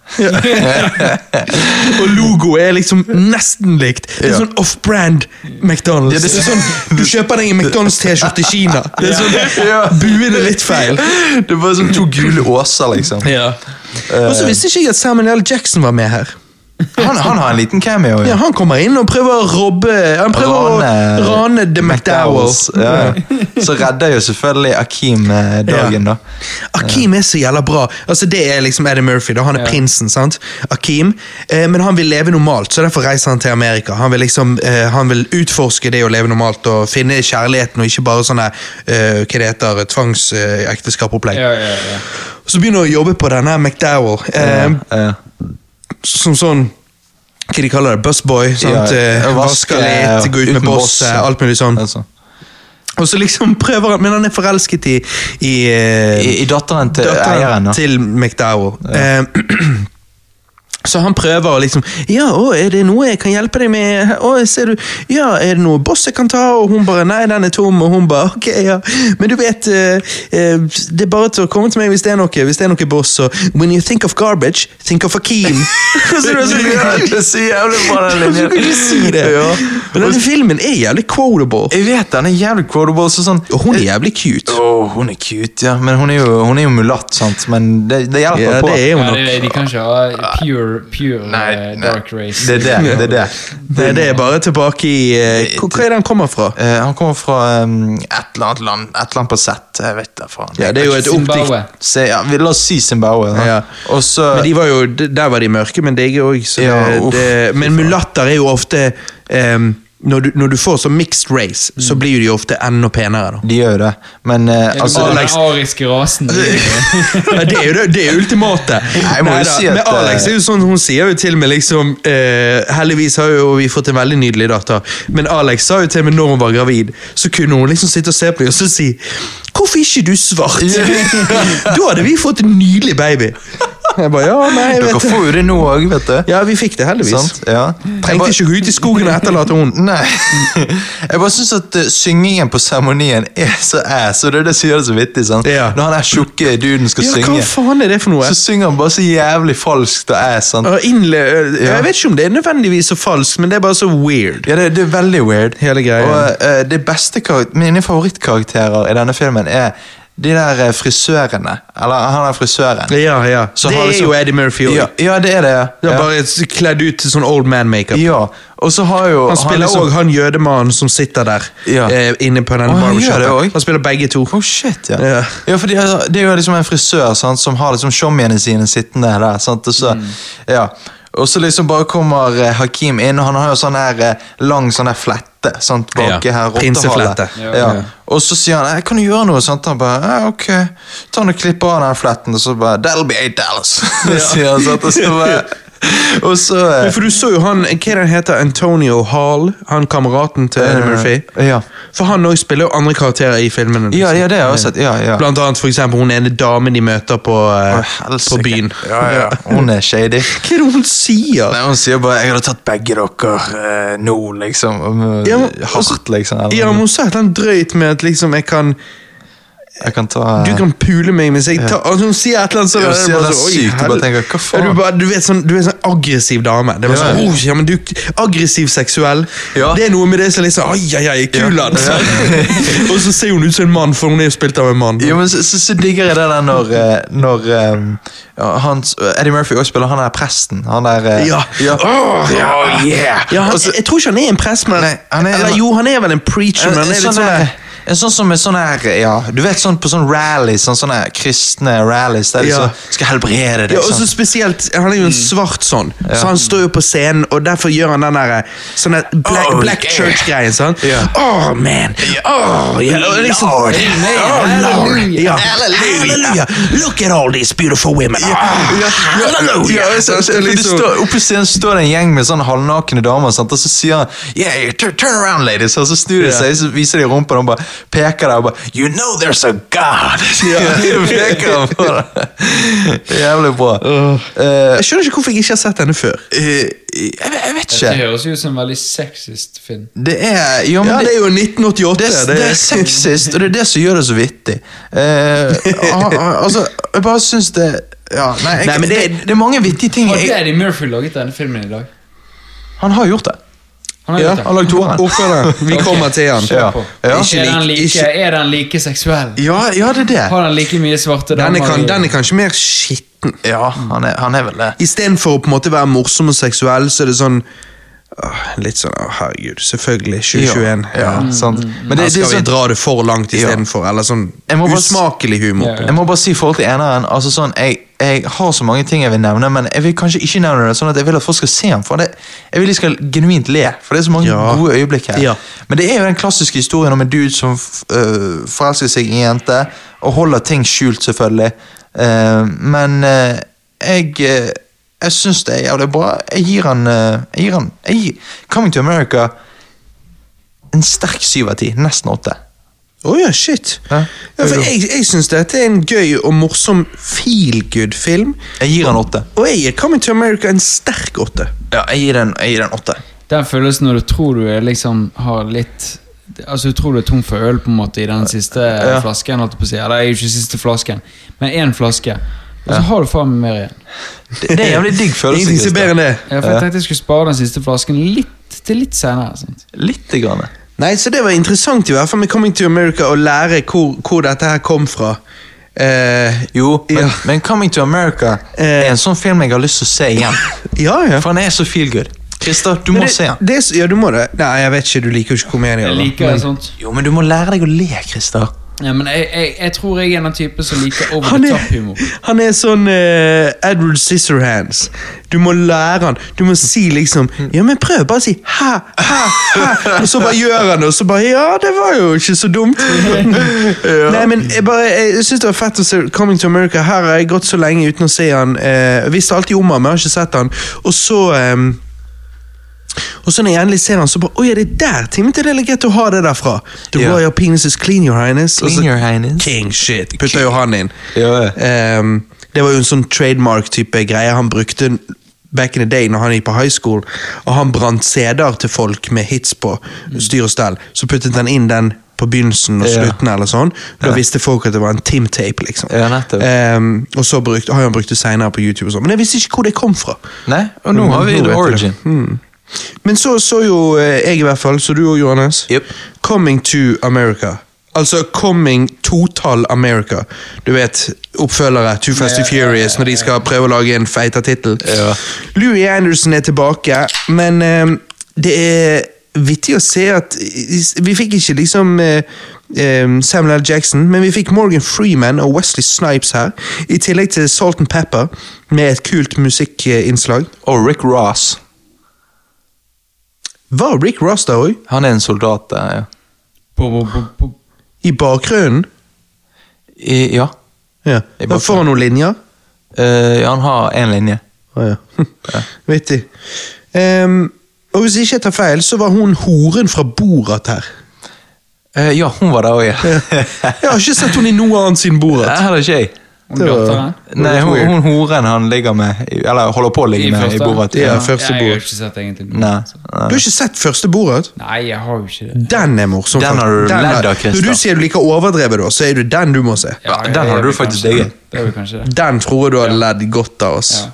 Og logo er liksom nesten likt. Det er Ja. sånn off-brand McDonald's. Ja, det det er er sånn, du kjøper deg en McDonald's-T-skjorte i Kina. Det er sånn, Ja. Buen er litt feil. Det var som to gule åser, liksom. Og så visste ikke jeg at Samuel L. Jackson var med her. Han, han har en liten cameo. Ja, Ja. Han kommer inn og prøver å robbe Han prøver å rane The McDowells. McDowells. Ja. ja. Så redder jo selvfølgelig Akeem eh, dagen, Ja. da. Akeem er så jævla bra. Altså Det er liksom Eddie Murphy. da Han er Ja. prinsen. sant? Akeem. Eh, men han vil leve normalt, så derfor reiser han til Amerika. Han vil liksom eh, Han vil utforske det å leve normalt og finne kjærligheten, og ikke bare sånne eh, hva det heter, tvangsekteskapsopplegg. Ja, ja, ja. Så begynner han å jobbe på denne McDowell, eh, Ja. som sånn hva de kaller det, busboy. sant? Eh, vasker litt, går ut med bosset, alt mulig sånn. Altså. Og så liksom prøver han, Men han er forelsket i, i, eh, I, I datteren til eieren. datteren da. til McDowell. Eh, så han prøver å liksom Ja, å, er det noe jeg kan hjelpe deg med? Å, ser du, ja, er det noe boss jeg kan ta? Og hun bare Nei, den er tom. Og hun bare Ok, ja. Men du vet, eh, eh, det er bare til å komme til meg hvis det er noe. Hvis det er noe boss, så When you think of garbage, think of Akeem. Og så er det sånn, Ja, det er så jævlig bra, den Du linjen. kan ikke si det. Ja. Men denne filmen er jævlig quotable. Jeg vet den er jævlig quotable. Så sånn, Og hun er jævlig cute. Åh, hun er cute, ja. Men hun er jo, hun er jo mulatt, sant. Men det, det hjelper Ja, på. det er hun Ja, nok. det, de kan ikke ha pure, pure Nei, eh, nei. dark race. Det er det. det, er det. Nei, det er bare tilbake i eh, Hvor hva er det han kommer fra? Eh, han kommer fra um, et eller annet land, et eller annet på sett. Jeg vet da faen. Ja, det er jo et Zimbabwe. oppdikt. Se, ja, vi, la oss si Zimbabwe. da. Ja. Og så Men de var jo, d- der var de mørke, men digge òg. Ja, uff, men mulatter er jo ofte em, når, du, når du får så mixed race, så blir jo de ofte enda penere. da. De gjør jo det. Men eh, altså den Alex- ariske rasen. Ja, det er jo det, det er ultimate. jeg må jo si at, eh, men Alex er jo sånn, hun sier jo til meg liksom eh, Heldigvis har jo vi fått en veldig nydelig datter, men Alex sa jo til meg når hun var gravid, så kunne hun liksom sitte og se på meg og så si Hvorfor er ikke du svart? da hadde vi fått en nydelig baby. Jeg bare, ja, nei, jeg Dere vet det. får jo det nå òg, vet du. Ja, vi fikk det heldigvis. Sant? Ja. Jeg Trengte bare- ikke gå ut i skogen og etterlate hunden. Nei. Jeg bare syns at eh, syngingen på seremonien er så ass, og det er det som gjør det så vittig. sant? Ja. Når han der tjukke duden skal Ja, hva synge, faen er det for noe? så synger han bare så jævlig falskt og ass. sant? Og innle... Ja. Jeg vet ikke om det er nødvendigvis så falskt, men det er bare så weird. Ja, det, det er veldig weird. Hele greia. Og eh, det beste karak- Mine favorittkarakterer i denne filmen er de der eh, frisørene. Eller han er frisøren. Ja, ja. Så det har er liksom- jo Eddie Murphy. også. Ja, ja, det er det. ja. Ja, Ja. Bare s- kledd ut til sånn old man-makeup. ja. Og så har jo Han spiller òg liksom- han, jødemannen som sitter der Ja. eh, inne på den Å, han gjør det barbershopen. også? Han spiller begge to. Oh shit, ja. Ja. Ja, for det er, det er jo liksom en frisør sant, som har liksom showmiene sine sittende der. sant, Mm. Og så, ja. og så liksom bare kommer eh, Hakim inn, og han har jo sånn her eh, lang sånn her flette sant, bak Ja, her. prinseflette. rottehalet. Ja. Ja. Og så sier han «Eh, 'kan du gjøre noe?' sant, Han bare «Eh, 'ok, ta han og klipp av den fletten', og så bare 'that'll be eight dollars'. sier han sant, og så bare, og så eh, Ja, For du så jo han, hva er det han heter, Antonio Hall, han kameraten til Eddie Murphy. eh, Ja. For han òg spiller jo andre karakterer i filmene. ja, liksom. ja, det har jeg også sett. Ja, ja. Blant annet for eksempel, hun ene damen de møter på, eh, Å, helsike. på byen. Ja, ja. Hun er shady. Hva er det hun sier? Nei, Hun sier bare 'jeg hadde tatt begge dere eh, nå', liksom. om, eh, Ja, men- altså, Hardt, liksom. Eller, Ja, men Hun sa et eller annet drøyt med at liksom, jeg kan, jeg kan ta du kan pule meg mens jeg tar altså, Hun sier et eller annet så Ja, hun er det bare sier det så, er oi, sykt, du bare hel- tenker, hva faen? Ja, du, bare, du, vet, sånn, du er en sånn aggressiv dame. Det er bare Ja. sånn, oh, ja, men du, Aggressiv seksuell. Ja. Det er noe med det som er liksom Ai, ai, ai, kul, Ja. altså. Og så ser hun ut som en mann, for hun er jo spilt av en mann. Jo, eh, men så, så, så digger jeg det der når, eh, når eh, ja, hans, Eddie Murphy også spiller han der presten. Han der eh, Ja. ja. Åh, Oh, yeah. Ja, han, Og så- jeg tror ikke han er en prest, men Nei, han er- Eller jo, han er vel en preacher, en, men han en, er litt sånn sånn der, en sånn som er sånn her Ja, du vet sånn på sånn rallies, sånn, sånne kristne rallies der de Ja. så skal helbrede deg. ja, og så sånn. Mm. spesielt, Han er jo en svart sånn, så han står jo på scenen, og derfor gjør han den der sånn der black, Oh, black yeah. church-greien. sånn. Ja. Oh, man! Oh, yeah. og liksom, Lord. Amen. Amen. Oh, Lord. Ja. Halleluja. Halleluja! Look at all these beautiful women! Oh, halleluja! Ja, Så så, så, for de liksom- står, oppe i scenen står det en gjeng med sånn halvnakne damer, sant? og så sier han yeah, you turn, turn around, ladies, og så snur de seg, så viser de rumpen og bare peker der og bare You know there's a God! peker han på det. Jævlig bra. Eh, Jeg skjønner ikke hvorfor jeg ikke har sett henne før. eh, jeg, vet- jeg vet Det ikke. høres jo ut som en veldig sexist film. Det er jo, men Ja, Det er jo 1988. det, det, er sexist, og det er det som gjør det så vittig. Eh, ah, ah, altså, jeg bare syns det ja, nei, jeg, Nei, men det, det- det, er mange vittige ting. Har Jeg, Eddie Murphy laget denne filmen i dag? han har gjort det. Han har Ja, gjort det. han har lagd toeren. Ordfører, vi Ok. kommer til han. Ja. Ja. Ikke Er, den lik- like, ikke- er den like seksuell? Ja, ja, det er det. Har den like mye svarte Den damer? er, kan, i- den er kanskje mer skitten. Ja, han er, han er vel det. Istedenfor å på en måte være morsom og seksuell, så er det sånn åh, Litt sånn åh, herregud, selvfølgelig. 2021. Ja, ja, sant. Men det, Her det er skal vi sånn, dra det for langt istedenfor. Eller sånn Jeg må bare s- usmakelig humor. Ja. jeg må bare si i forhold til eneren altså sånn, jeg, jeg har så mange ting jeg vil nevne, men jeg vil kanskje ikke nevne det. sånn at Jeg vil at folk skal se den. For det, jeg vil de skal genuint le, for det er så mange Ja. gode øyeblikk her. Ja. Men det er jo den klassiske historien om en dude som f- øh, forelsker seg i en jente, og holder ting skjult, selvfølgelig. Eh, men eh, jeg eh, jeg syns det er jævlig bra. Jeg gir han, eh, jeg gir han jeg gir, Coming to America en sterk syv av ti. Nesten åtte. Å ja, shit. Hæ? Ja, for jeg jeg syns dette er en gøy og morsom feelgood-film. Jeg gir han åtte. Og jeg gir Coming to America en sterk åtte. Ja, jeg gir den, jeg gir den åtte. Den følelsen når du tror du er liksom har litt Altså Du tror du er tom for øl på en måte i den siste flasken. Holdt jeg på å si. Eller det er jo ikke siste flasken, men én flaske. Og så har du faen meg mer igjen. Det, det er en jævlig digg følelse. Ingenting som er Christer. bedre enn det. Ja, for Jeg tenkte jeg skulle spare den siste flasken litt til litt senere. Sant? Litt. Grann. Nei, så det var interessant i hvert fall med Coming to America å lære hvor, hvor dette her kom fra. Eh, Jo, men, Ja. men 'Coming to America' Eh. er en sånn film jeg har lyst til å se igjen. ja, ja. For han er så feel good. Christer, du må Men det, se han. Det, er s- ja, du må det. Nei, jeg vet ikke, du liker jo ikke komedier. Jeg da. liker Men- sånt. Jo, men du må lære deg å le, Christer. Ja, men jeg, jeg, jeg tror jeg er den type som liker over Han the er, top-humor. han er sånn eh, Edward Scissorhands. Du må lære han. Du må si liksom Ja, men prøv bare å si hæ, hæ, hæ. Og så bare gjør han det, og så bare Ja, det var jo ikke så dumt. Nei, men jeg bare Jeg syns det var fett å se Coming to America. Her har jeg gått så lenge uten å se han. Eh, visste alltid om han, men jeg har ikke sett han. Og så eh, Og så når jeg endelig ser han, så bare Å ja, det er der timen til det er greit å ha det derfra. The Ja. Royal Altså- Penis is clean, your highness. Og så- Clean your highness. King shit. Putter jo han inn. Ja. Ehm, Det var jo en sånn trademark-type greie han brukte back in the day når han gikk på high school, og han brant CD-er til folk med hits på styr og stell. Så puttet han inn den på begynnelsen og Mm. Ja. slutten, eller sånn. Da Ja. visste folk at det var en Tim Tape, liksom. Ja, nettopp. Ehm, og så brukt, har han brukt det senere på YouTube, og sånn. men jeg visste ikke hvor det kom fra. Nei, og nå har vi Nå vet The jeg Origin. Hmm. Men så så jo eh, jeg i hvert fall, så du og Johannes, Jep. Coming to America. Altså Coming Total America. Du vet, oppfølgere, Too Fast and Furious, når de skal prøve å lage en feita tittel. Ja. Louis Anderson er tilbake, men eh, det er vittig å se at i- Vi fikk ikke liksom eh, eh, Samuel L. Jackson, men vi fikk Morgan Freeman og Wesley Snipes her. I tillegg til Salt and Pepper, med et kult musikkinnslag. Og Rick Ross. Var Rick Ross der òg? Han er en soldat der, ja. Bo, bo, bo, bo. I bakgrunnen? I, ja. Ja. I Da får han noen linjer. Eh, han har én linje. Å, ja. Vittig. Ehm, og hvis ikke jeg tar feil, så var hun horen fra Borat her. Eh, ja, hun var der òg, ja. Jeg har ikke sett hun i noe annet siden Nei, Borat. heller ikke jeg. Om Det var- datteren? Nei, hun, weird. hun horen han ligger med, i- eller holder på å ligge I med i første? Borat. Ja, første Nei, Jeg Borat. har ikke sett egentlig Nei, nei. Du har ikke sett første Borat? Nei, jeg har jo ikke det. Den er morsom. Den har faktisk. du Den er- ledd av, Christer. Når du sier du liker overdrevet, da, så er det den du må se. Ja, den har du faktisk digget. Det er vel kanskje det. Den tror jeg du har ledd godt av oss. Ja.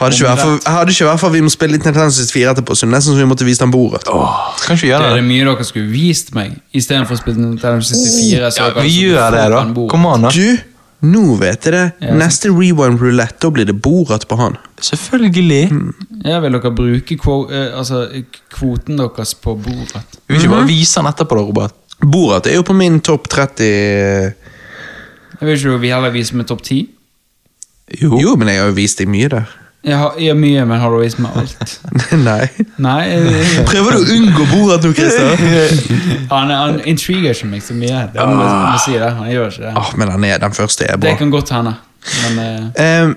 Hadde ikke vært for, hadde ikke vært for vi må spille litt Intensive 4 etterpå, så det er nesten som vi måtte vise den Borat. Åh, kanskje vi gjør Det er det det? mye dere skulle vist meg, istedenfor å spille Oh. Nintendo 64. Så Ja, jeg kan vi sitte gjør det, da. foran bordet. Kom an, da. Du, nå vet jeg det. Ja. Neste Rewind Roulette, da blir det Borat på han. Selvfølgelig. Ja, vil dere bruke kvo, eh, altså, kvoten deres på bordet? Vi vil ikke Mhm. bare vise han etterpå, da, Robert. Borat er jo på min topp 30 Jeg vil ikke vi heller vise med topp 10. Jo. men jeg har jo vist deg mye der. Jeg har jeg har mye, men har du vist meg alt? Nei. Nei, jeg, Prøver du å unngå Borat nå, Christer? han, han intriger ikke meg så mye. Det må jeg må si det. Han gjør ikke det. Åh, men han er, den første er Det bra. kan godt hende. Men eh, Ehm,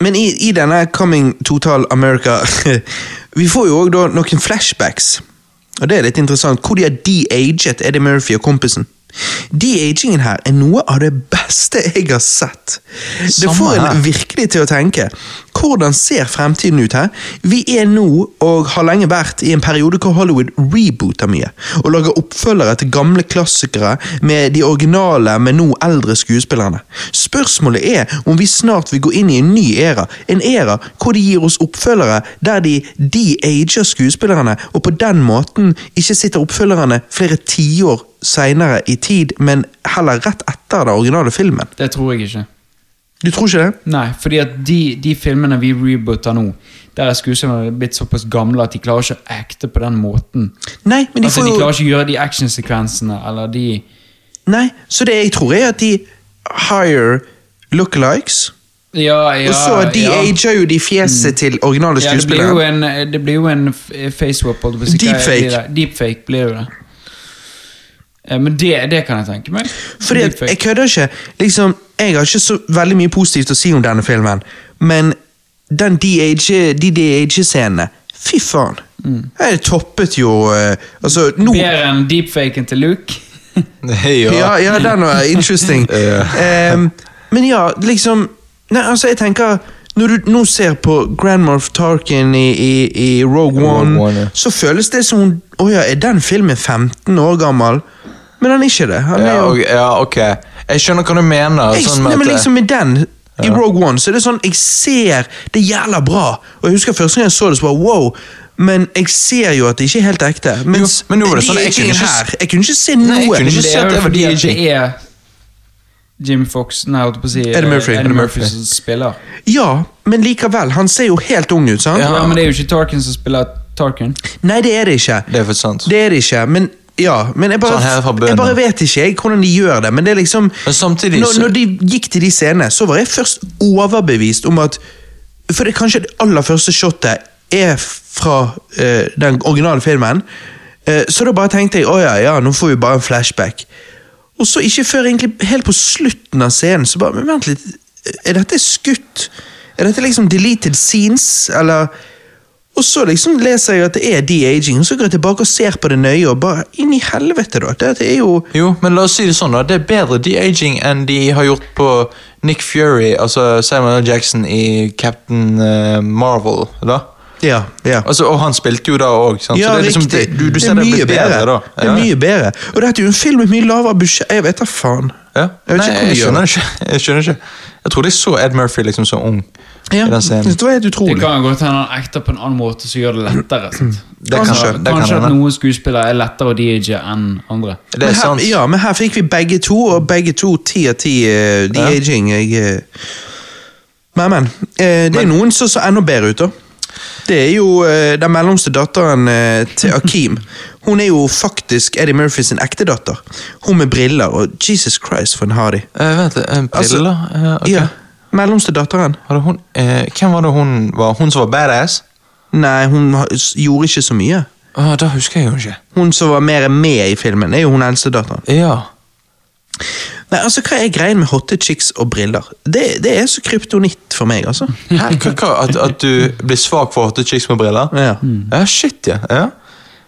men i, i denne Coming Total America Vi får jo òg da noen flashbacks. Og det er litt interessant. Hvor de har de-aget Eddie Murphy og kompisen. De-agingen her er noe av det beste jeg har sett. Det Samme får en her. virkelig til å tenke. Hvordan ser fremtiden ut her? Vi er nå, og har lenge vært, i en periode hvor Hollywood rebooter mye. Og lager oppfølgere til gamle klassikere med de originale, men nå eldre skuespillerne. Spørsmålet er om vi snart vil gå inn i en ny æra. En æra hvor de gir oss oppfølgere der de de-ager skuespillerne, og på den måten ikke sitter oppfølgerne flere tiår seinere i tid, men heller rett etter den originale filmen. det tror jeg ikke. Du tror ikke det? Nei, fordi at de, de filmene vi rebooter nå, der er skuespillerne blitt såpass gamle at de klarer ikke å acte på den måten. Nei, men de altså, får de jo... klarer ikke å gjøre de actionsekvensene eller de Nei, så det jeg tror er at de hire lookalikes, Ja, ja, og så de ja. Mm. ager jo de fjeset til originale Ja, det blir jo skuespillere. en, eh, det blir jo en f- facewap. holdt jeg på å si. Hva Deepfake. blir det? Deepfake blir jo det. Eh, Men det, det kan jeg tenke meg. Fordi at, Deepfake. jeg kødder ikke. Liksom, jeg har ikke så veldig mye positivt å si om denne filmen, men den de-age- de de-age-scenene, fy faen. Mm. Det toppet jo eh, Altså, nå Bedre enn deepfaken til Luke. ja. Ja, ja den var interesting. Ehm, men ja, liksom Nei, altså, jeg tenker Når du nå ser på Grandmorph Tarkin i, i, i Rogue Rogue One, One, ja. så føles det som hun Å ja, er den filmen 15 år gammel? Men han er ikke det. Han er Ja, jo ok- ja, ok. Jeg skjønner hva du mener. jeg, Sånn med nei, at men det- liksom i den, i Rogue One, så er det sånn Jeg ser det gjelder bra. Og jeg husker første gang jeg så det, så bare wow. Men jeg ser jo at det ikke er helt ekte. Mens men nå var det de sånn, er jeg ikke kunne ikke s- her. Jeg kunne ikke se noe. Nei, jeg kunne Men ikke det si er at jo det var fordi at DJ. det er Jim Fox Nei, jeg holdt på å si eh, Eddie Murphy. Eddie Eddie Murphy Murphy. som spiller. Ja, men likevel. Han ser jo helt ung ut, sant? Ja, Men det er jo ikke Tarkin som spiller Tarkin. Nei, det er det ikke. Det er faktisk sant. Det er det ikke, men ja, men jeg bare, Sånn her fra bønnen. jeg bare vet ikke jeg hvordan de gjør det. Men det er liksom Men samtidig når, så- når de gikk til de scenene, så var jeg først overbevist om at For det er kanskje det aller første shotet er fra eh, den originale filmen. Eh, så da bare tenkte jeg å ja, ja, nå får vi bare en flashback. Og så ikke før egentlig helt på slutten av scenen, så bare Men vent litt, er dette skutt? Er dette liksom deleted scenes, eller og så liksom leser jeg at det er de-aging, og så går jeg tilbake og ser på det nøye, og bare inn i helvete, da. Det, det er jo Jo, men la oss si det sånn, da. Det er bedre de-aging enn de har gjort på Nick Fury, altså Simon L. Jackson i Captain eh, Marvel. da. Ja, ja. Altså, og han spilte jo da òg, sant? Ja, så det er liksom, riktig. det, du, du det ser er det mye er blitt bedre, da. Det er mye bedre. Og dette er jo en film med mye lavere budsjett. Jeg vet da faen. Ja. Jeg vet Nei, ikke hvor jeg de gjør skjønner det ikke. Jeg skjønner ikke. Jeg trodde jeg så Ed Murphy liksom så ung Ja, i den scenen. det var helt Det utrolig. kan jo godt hende han ekter på en annen måte som gjør det lettere. Sant? Det kan Altså, skje, det kan kanskje at hende. noen skuespillere er lettere å dirige enn andre. Det Men er her, sant. Ja, men her fikk vi begge to, og begge to ti av ti eh, de-aging. Jeg, eh. Men, men. eh, det er noen som ser enda bedre ut, da. Det er jo eh, den mellomste datteren eh, til Akeem. Hun er jo faktisk Eddie Murphy sin ekte datter. Hun med briller, og Jesus Christ, for en hardy. Eh, vent, en Altså, briller? Eh, ok. Ja, mellomste datteren. Var det hun, eh, hvem var det hun var? Hun som var badass? Nei, hun ha- s- gjorde ikke så mye. Ah, da husker jeg jo ikke. Hun som var mer med i filmen, er jo hun eldste datteren. Ja. Nei, altså, Hva er greien med hotte chicks og briller? Det, det er så kryptonitt for meg, altså. Hæ, hva, hva, at, at du blir svak for hotte chicks med briller? Ja. Mm. Ja, shit, ja. ja.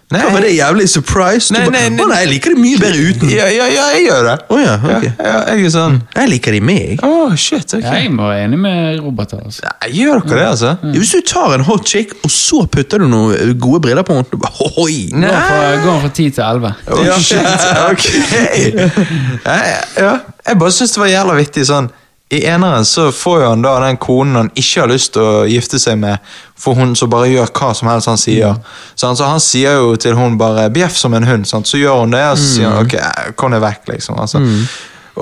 Nei, Ja, men det er jævlig surprise. Nei, Du bare, nei, nei. Å nei, jeg liker de mye bedre uten. ja, ja, ja, jeg gjør det. Å ja, ok. ja, ja, jeg er sånn Jeg liker de med, jeg. Å, shit, ok. Jeg må være enig med Robert. her, Altså. Nei, gjør dere det, altså? Hvis du tar en hot chick, og så putter du noen eh, gode briller på henne du bare, Hoi! Går fra, går fra 10 til 11. Oh, shit, ok. Nei, ja. Jeg bare syns det var jævla vittig sånn I eneren så får jo han da den konen han ikke har lyst til å gifte seg med, for hun som bare gjør hva som helst han sier. Så han, så han sier jo til hun bare 'bjeff som en hund', sant? så gjør hun det, og så Mm. sier han 'ok, kom deg vekk', liksom. Altså.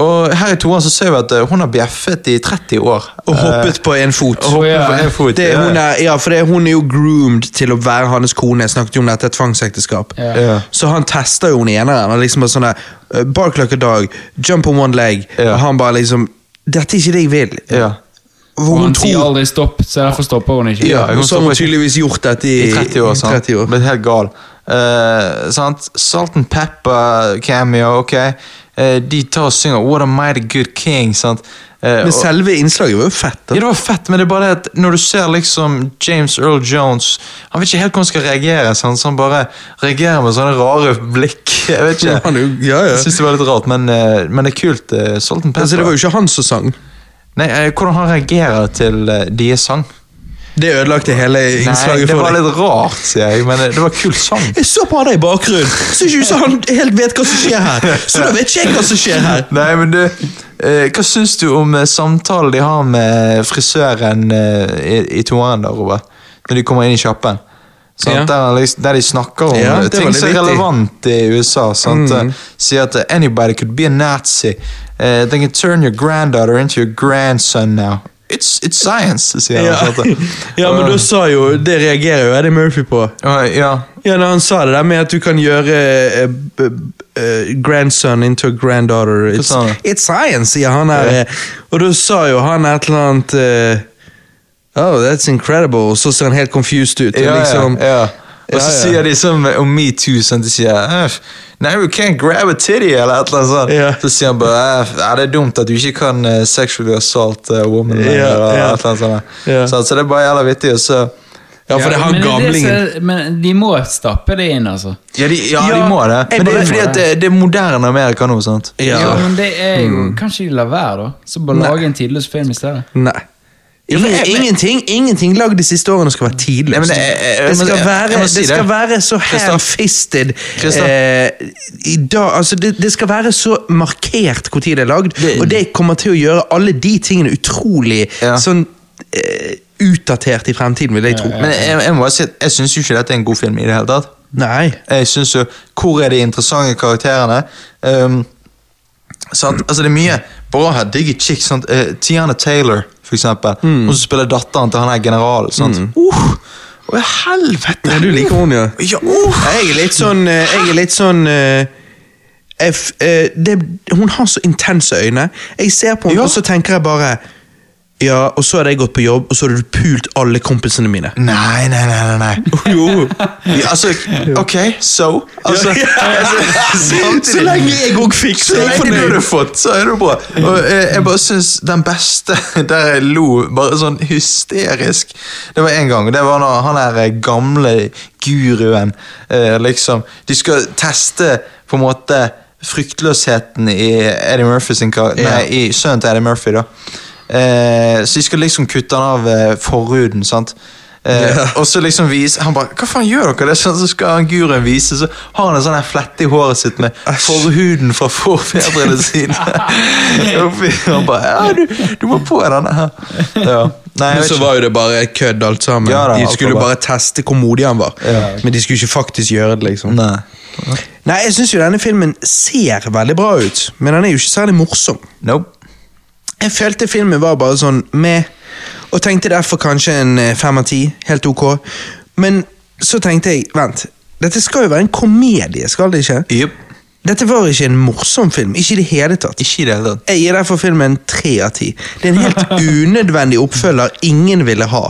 Og her i toeren så ser vi at eh, hun har bjeffet i 30 år. Og hoppet på en fot. Og hoppet Ja. på en fot. Det, ja. hun er, ja, for det, hun er jo groomed til å være hans kone. Jeg snakket jo om dette, et tvangsekteskap. Ja. Ja. Så han tester jo henne i eneren. Og liksom bare sånn der, eh, Bark like a dog, jump on one leg. Ja. Og han bare liksom Dette er ikke det jeg vil. Ja. Hvor Og hun han sier tror aldri stopp, så derfor stopper hun ikke. ja, Ja, hun og Så har hun stopper ikke. tydeligvis gjort dette i, I 30 år, sant? 30 år. Blitt helt gal. Eh, sant? Salt and Pepper cameo, ok. Eh, de tar og synger What a mighty good king, sant. Eh, Men og- selve innslaget var jo fett. da. ja, det var fett, men det er bare det at når du ser liksom James Earl Jones Han vet ikke helt hvordan han skal reagere, sant? så han bare reagerer med sånne rare blikk. Jeg vet ikke. Han er jo- ja, ja. Jeg synes det var litt rart, men, eh, men det er kult. eh, Salt and Pepper. Altså, det var jo ikke han som sang. Nei, eh, hvordan han reagerer til eh, deres sang. Det ødelagte hele Nei, innslaget det for var deg. litt rart, sier jeg, men eh, det var kult sang. Jeg så på han der i bakgrunnen. Så ikke ut som han helt vet hva som skjer her. Så da vet ikke jeg hva som skjer her. Nei, men du, eh, hva syns du om eh, samtalen de har med frisøren eh, i, i toeren, da, Robert? Når de kommer inn i kjappen. Sant? Ja. Der, han liksom- der de snakker om Ja, eh, det var ting litt som er vittig. relevant i USA. Sant? Mm. Eh, Sier at eh, 'anybody could be a Nazi'. Eh, 'They can turn your granddaughter into your grandson now'. It's, it's science, sier Ja. han. sant? Eh, ja, men da sa jo Det reagerer jo Eddie Murphy på. Og, ja. Ja, når han sa det der med at du kan gjøre eh, b- b- eh, grandson into a granddaughter It's, sa han? it's science, sier han her. eh, Og da sa jo han et eller annet eh, Oh, that's incredible. Og så ser han helt confused ut. og Ja, liksom, ja, ja. Og så Ja, ja. sier de sånn med- om metoo, sånn de sier "Æff, Now you can't grab a titty, eller et eller annet sånt. Ja. Så sier han bare "Æff, ja, det er dumt at du ikke kan eh, sexually assault a woman. Ja, lenger," eller ja. et eller annet sånt. Ja. Så, så det er bare jævla vittig. Og så Ja, for det er han men gamlingen. som- men de må stappe det inn, altså. Ja, de, ja, Ja, de må det. jeg Men det bare- er fordi at det, det er moderne Amerika nå, sant? Ja. Ja, men det er jo Kanskje de lar være, da? Så bare Nei. lage en tidløs film i stedet. Nei. Ingen, ingenting ingenting lagd de siste årene skal være Nei, men tidløst. jeg- jeg- jeg Det skal må- jeg- jeg være, må det si skal det. være så Kristian. ham-fisted Kristian. eh, i dag, altså det, det skal være så markert når det er lagd, Det- og det kommer til å gjøre alle de tingene utrolig Ja. sånn eh, utdatert i fremtiden, vil jeg tro. Men jeg, jeg må bare si at jeg syns jo ikke dette er en god film i det hele tatt. Nei. Jeg synes jo, Hvor er de interessante karakterene? Ehm, sant? Altså, det er mye bra her. Digge chicks. Sant? Eh, Tiana Taylor, for eksempel. Hun som spiller datteren til han her generalen. Sant? Uh, å, helvete! Ja, du liker hun, ja. Ja, uh. Jeg er litt sånn eh, Jeg er litt sånn eh, jeg f, eh, det, Hun har så intense øyne. Jeg ser på henne, Ja. og så tenker jeg bare Ja, og så hadde jeg gått på jobb, og så hadde du pult alle kompisene mine. Nei, nei, nei. nei, nei. Jo. Ja, altså, ok, so? Altså, så lenge jeg òg fikser Så jeg er lenge du fornøyd. har fått, så er det bra. Og eh, jeg, jeg bare syns den beste der jeg lo, bare sånn hysterisk Det var en gang, og det var når han der eh, gamle guruen eh, liksom De skal teste på en måte fryktløsheten i Eddie Murphy sin kar Ja. Nei, i sønnen til Eddie Murphy, da. Eh, så de skal liksom kutte han av eh, forhuden, sant. Eh, Ja. Og så liksom vise Han bare 'Hva faen gjør dere?' det er sånn, Så skal han guruen vise, så har han en sånn her flette i håret sitt med forhuden fra forfedrene sine. Oppi, han bare 'Ja, du, du må på denne her'. Ja. Nei, jeg Men vet så ikke. var jo det bare kødd alt sammen. Ja da, alt de var skulle bare- bare teste hvor modig han var. Men de skulle ikke faktisk gjøre det, liksom. Nei, Nei. jeg syns jo denne filmen ser veldig bra ut, men den er jo ikke særlig morsom. Nope. Jeg følte filmen var bare sånn med, og tenkte derfor kanskje en eh, fem av ti. Helt ok. Men så tenkte jeg, vent. Dette skal jo være en komedie, skal det ikke? Yep. Dette var ikke en morsom film. Ikke i det hele tatt. Ikke i det hele tatt. Jeg gir derfor filmen tre av ti. Det er en helt unødvendig oppfølger ingen ville ha.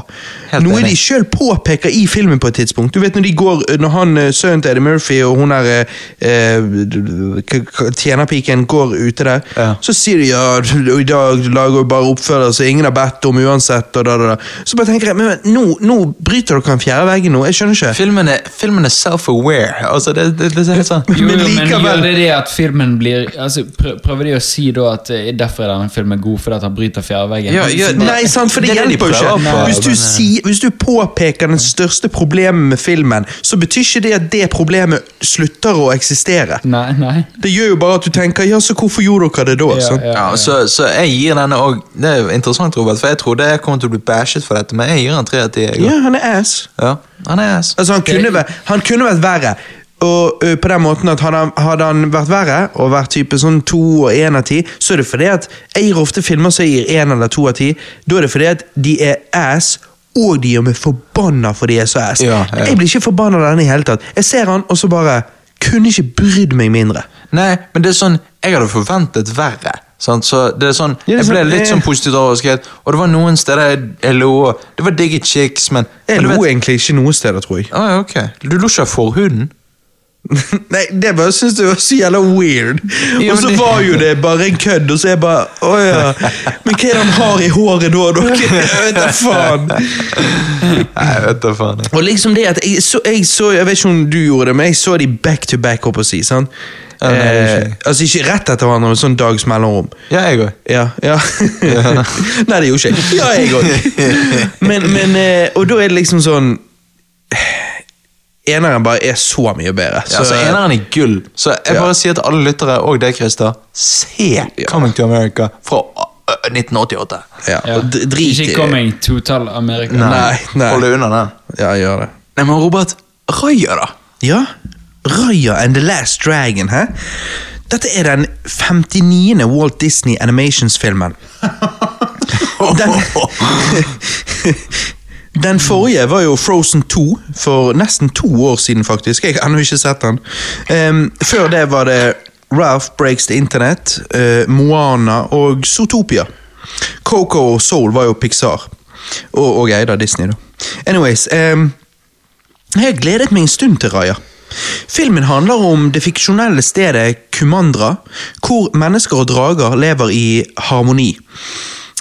Helt Noe enig. de sjøl påpeker i filmen på et tidspunkt. Du vet når de går, når han, eh, sønnen til Eddie Murphy og hun der eh, k- k- tjenerpiken går ute der, Ja. så sier de ja, i dag lager vi bare oppfølger som ingen har bedt om uansett, og da, da, da. Så bare tenker jeg, men nå, nå bryter dere den fjerde veggen nå, jeg skjønner ikke. Filmen er, filmen er self-aware. Altså, det, det, det er helt sånn Jo, Men jo, men likevel- gjør det det at filmen blir altså, prø- Prøver de å si da at eh, derfor er denne filmen god, fordi at han bryter Liksom. fjerdeveggen? Ja, ja, det- Nei, sant, for det, det er det de hjelper jo prøver ikke. på. Hvis du, Men, eh, si, hvis du påpeker den største problemet med filmen, så betyr ikke det at det problemet slutter å eksistere. Nei, nei. Det gjør jo bare at du tenker ja, så hvorfor gjorde dere det da? Ja, sant? ja. Ja, altså, så, så jeg gir denne òg Det er jo interessant, Robert, for jeg trodde jeg kom til å bli bashet for dette, men jeg gir den tre av ti. jeg også. Ja, han er ass. Ja, han er ass. Altså, han kunne, væ- han kunne vært verre. Og ø, på den måten at hadde han, hadde han vært verre, og vært type sånn to og én av ti, så er det fordi at jeg gir ofte filmer som jeg gir én eller to av ti. Da er det fordi at de er ass, og de gjør meg forbanna for de er så ass. Ja, ja. Jeg blir ikke forbanna av den i hele tatt. Jeg ser han, og så bare Kunne ikke brydd meg mindre. Nei, men det er sånn Jeg hadde forventet verre. Sant? Så det er sånn Ja, det er Jeg ble sånn, litt eh. sånn positivt overrasket, og det var noen steder jeg, jeg lo. Det var digge chicks, men Jeg men du lo vet- egentlig ikke noen steder, tror jeg. Å, ja, ok. Du lo ikke av forhuden? Nei, Det bare syns jeg var så jævla weird. Ja, og men så det- var jo det bare en kødd, og så er jeg bare Å ja. Men hva er det han har i håret da, dere? Jeg vet da faen. Nei, jeg vet da faen. jeg. Og liksom det at jeg så, jeg så Jeg vet ikke om du gjorde det, men jeg så de back to back, opp å si. sant? Ja, nei, det er eh, ikke. altså ikke rett etter hverandre, men sånn dags mellomrom. Ja, jeg òg. Ja, ja. Nei, det gjorde ikke jeg. Ja, jeg òg. Men, men eh, Og da er det liksom sånn Eneren bare er så eh, mye bedre. Ja, altså, eneren er gull. Så jeg Ja. bare sier til alle lyttere, og deg, Christer, se Coming to America fra øh, 1988. ja, Ja. og d- Drit i Ikke coming totall Amerika. Nei, nei. Hold deg unna den. Ja, gjør det. Nei, men Robert, Raja, da? Ja, Raya and the Last Dragon, hæ? Dette er den 59. Walt Disney Animations-filmen. Den, den forrige var jo Frozen 2, for nesten to år siden faktisk. Jeg har ennå ikke sett den. Ehm, før det var det Ralph Breaks the Internet, eh, Moana og Zootopia. Coco og Soul var jo Pixar. Og, og eid av Disney, da. Anyways, ehm, jeg har gledet meg en stund til Raja. Filmen handler om det fiksjonelle stedet Kumandra, hvor mennesker og drager lever i harmoni.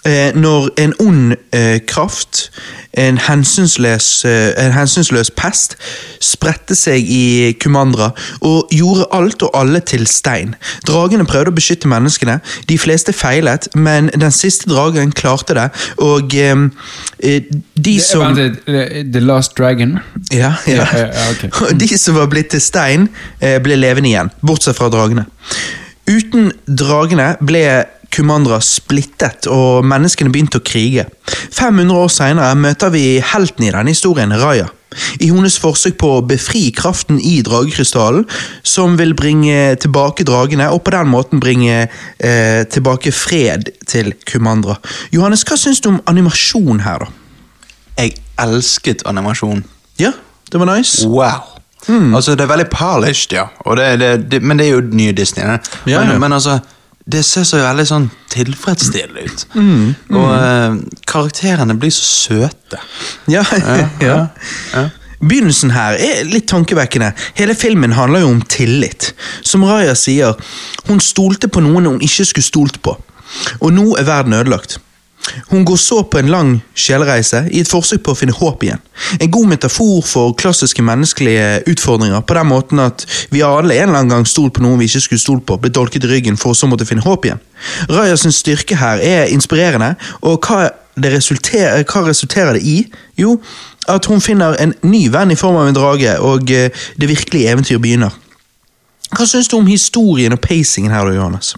Eh, når en ond eh, kraft, en hensynsløs, eh, en hensynsløs pest, spredte seg i Kumandra og gjorde alt og alle til stein. Dragene prøvde å beskytte menneskene, de fleste feilet, men den siste dragen klarte det, og eh, eh, de Det- som Vent litt, The- The Last Dragon. ja, ja. Ja, ja, ok. Og de som var blitt til stein, eh, ble levende igjen, bortsett fra dragene. Uten dragene ble Kumandra splittet, og menneskene begynte å krige. 500 år senere møter vi helten i denne historien, Raja. I hennes forsøk på å befri kraften i dragekrystallen, som vil bringe tilbake dragene, og på den måten bringe eh, tilbake fred til Kumandra. Johannes, hva syns du om animasjon her, da? Jeg elsket animasjon. Ja, det var nice. Wow. Mm. Altså, det er veldig polished, ja. Og det, det, det, men det er jo den nye Disney. det. Ja, men, ja. men altså, det ser så veldig sånn tilfredsstillende ut. Mm, Og eh, karakterene blir så søte. Ja, ja. Begynnelsen her er litt tankevekkende. Hele filmen handler jo om tillit. Som Raja sier, hun stolte på noen hun ikke skulle stolt på. Og nå er verden ødelagt. Hun går så på en lang sjelereise i et forsøk på å finne håp igjen. En god metafor for klassiske menneskelige utfordringer, på den måten at vi har alle en eller annen gang stolt på noen vi ikke skulle stolt på, blitt dolket i ryggen for så å måtte finne håp igjen. Raja sin styrke her er inspirerende, og hva, det resulterer, hva resulterer det i? Jo, at hun finner en ny venn i form av en drage, og eh, det virkelige eventyr begynner. Hva syns du om historien og pacingen her, da, Johannes?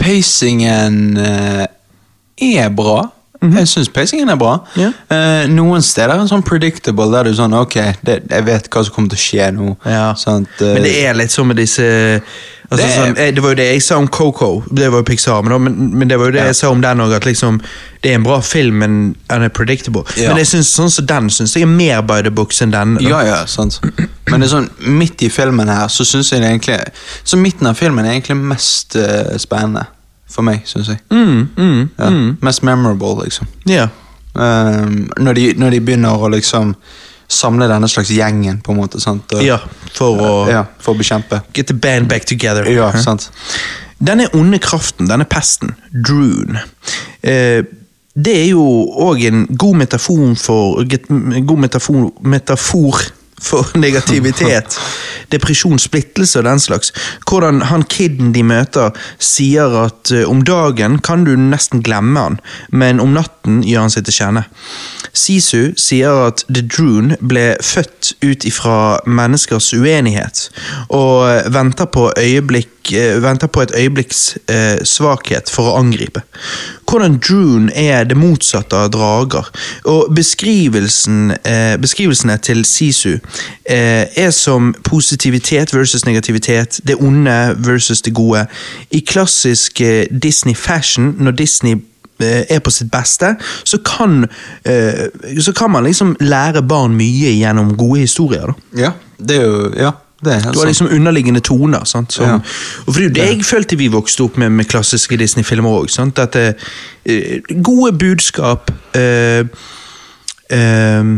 Pacingen eh, er bra. Jeg syns pacingen er bra. Mhm. Ja. Eh, noen steder er den sånn predictable, der du sånn Ok, det, jeg vet hva som kommer til å skje nå. Ja. Sant? Eh, Men det er litt sånn med disse altså, Det det, er- sånn, eh, det var jo det jeg sa om Coco, det var jo Pixar, men, da- men, men det var jo det jeg sa om den òg, at liksom, det er en bra film, men den er predictable. Ja. Men jeg synes, sånn som den syns jeg er mer by the books enn denne. da. Ja, ja, sant. Men det er sånn, midt i filmen her, så syns jeg det egentlig Så midten av filmen er egentlig mest eh, spennende. For meg, syns jeg. Mm, mm, Ja. Mest memorable, liksom. ja. Ehm, når, de, når de begynner å liksom samle denne slags gjengen, på en måte. sant? Og, ja, for å ja, for å bekjempe. get the band back together. Ja, sant. Denne onde kraften, denne pesten, droon, eh, det er jo òg en god metafor for get- m- God metafor, metafor for negativitet, depresjon, splittelse og den slags. Hvordan han kiden de møter, sier at eh, om dagen kan du nesten glemme han, men om natten gjør han seg til kjenne. Sisu sier at The Droon ble født ut ifra menneskers uenighet, og venter på, øyeblikk, eh, venter på et øyeblikks eh, svakhet for å angripe. Hvordan Droon er det motsatte av drager, og beskrivelsen, eh, beskrivelsene til Sisu eh, er som positivitet versus negativitet, det onde versus det gode. I klassisk eh, Disney-fashion, når Disney eh, er på sitt beste, så kan, eh, så kan man liksom lære barn mye gjennom gode historier. Da. Ja, det er jo Ja, det er Du helt har sant. liksom underliggende toner. sant? Som, Sånn. Ja. Og for det er jo det jeg følte vi vokste opp med med klassiske Disney-filmer òg. At det, eh, gode budskap eh, eh,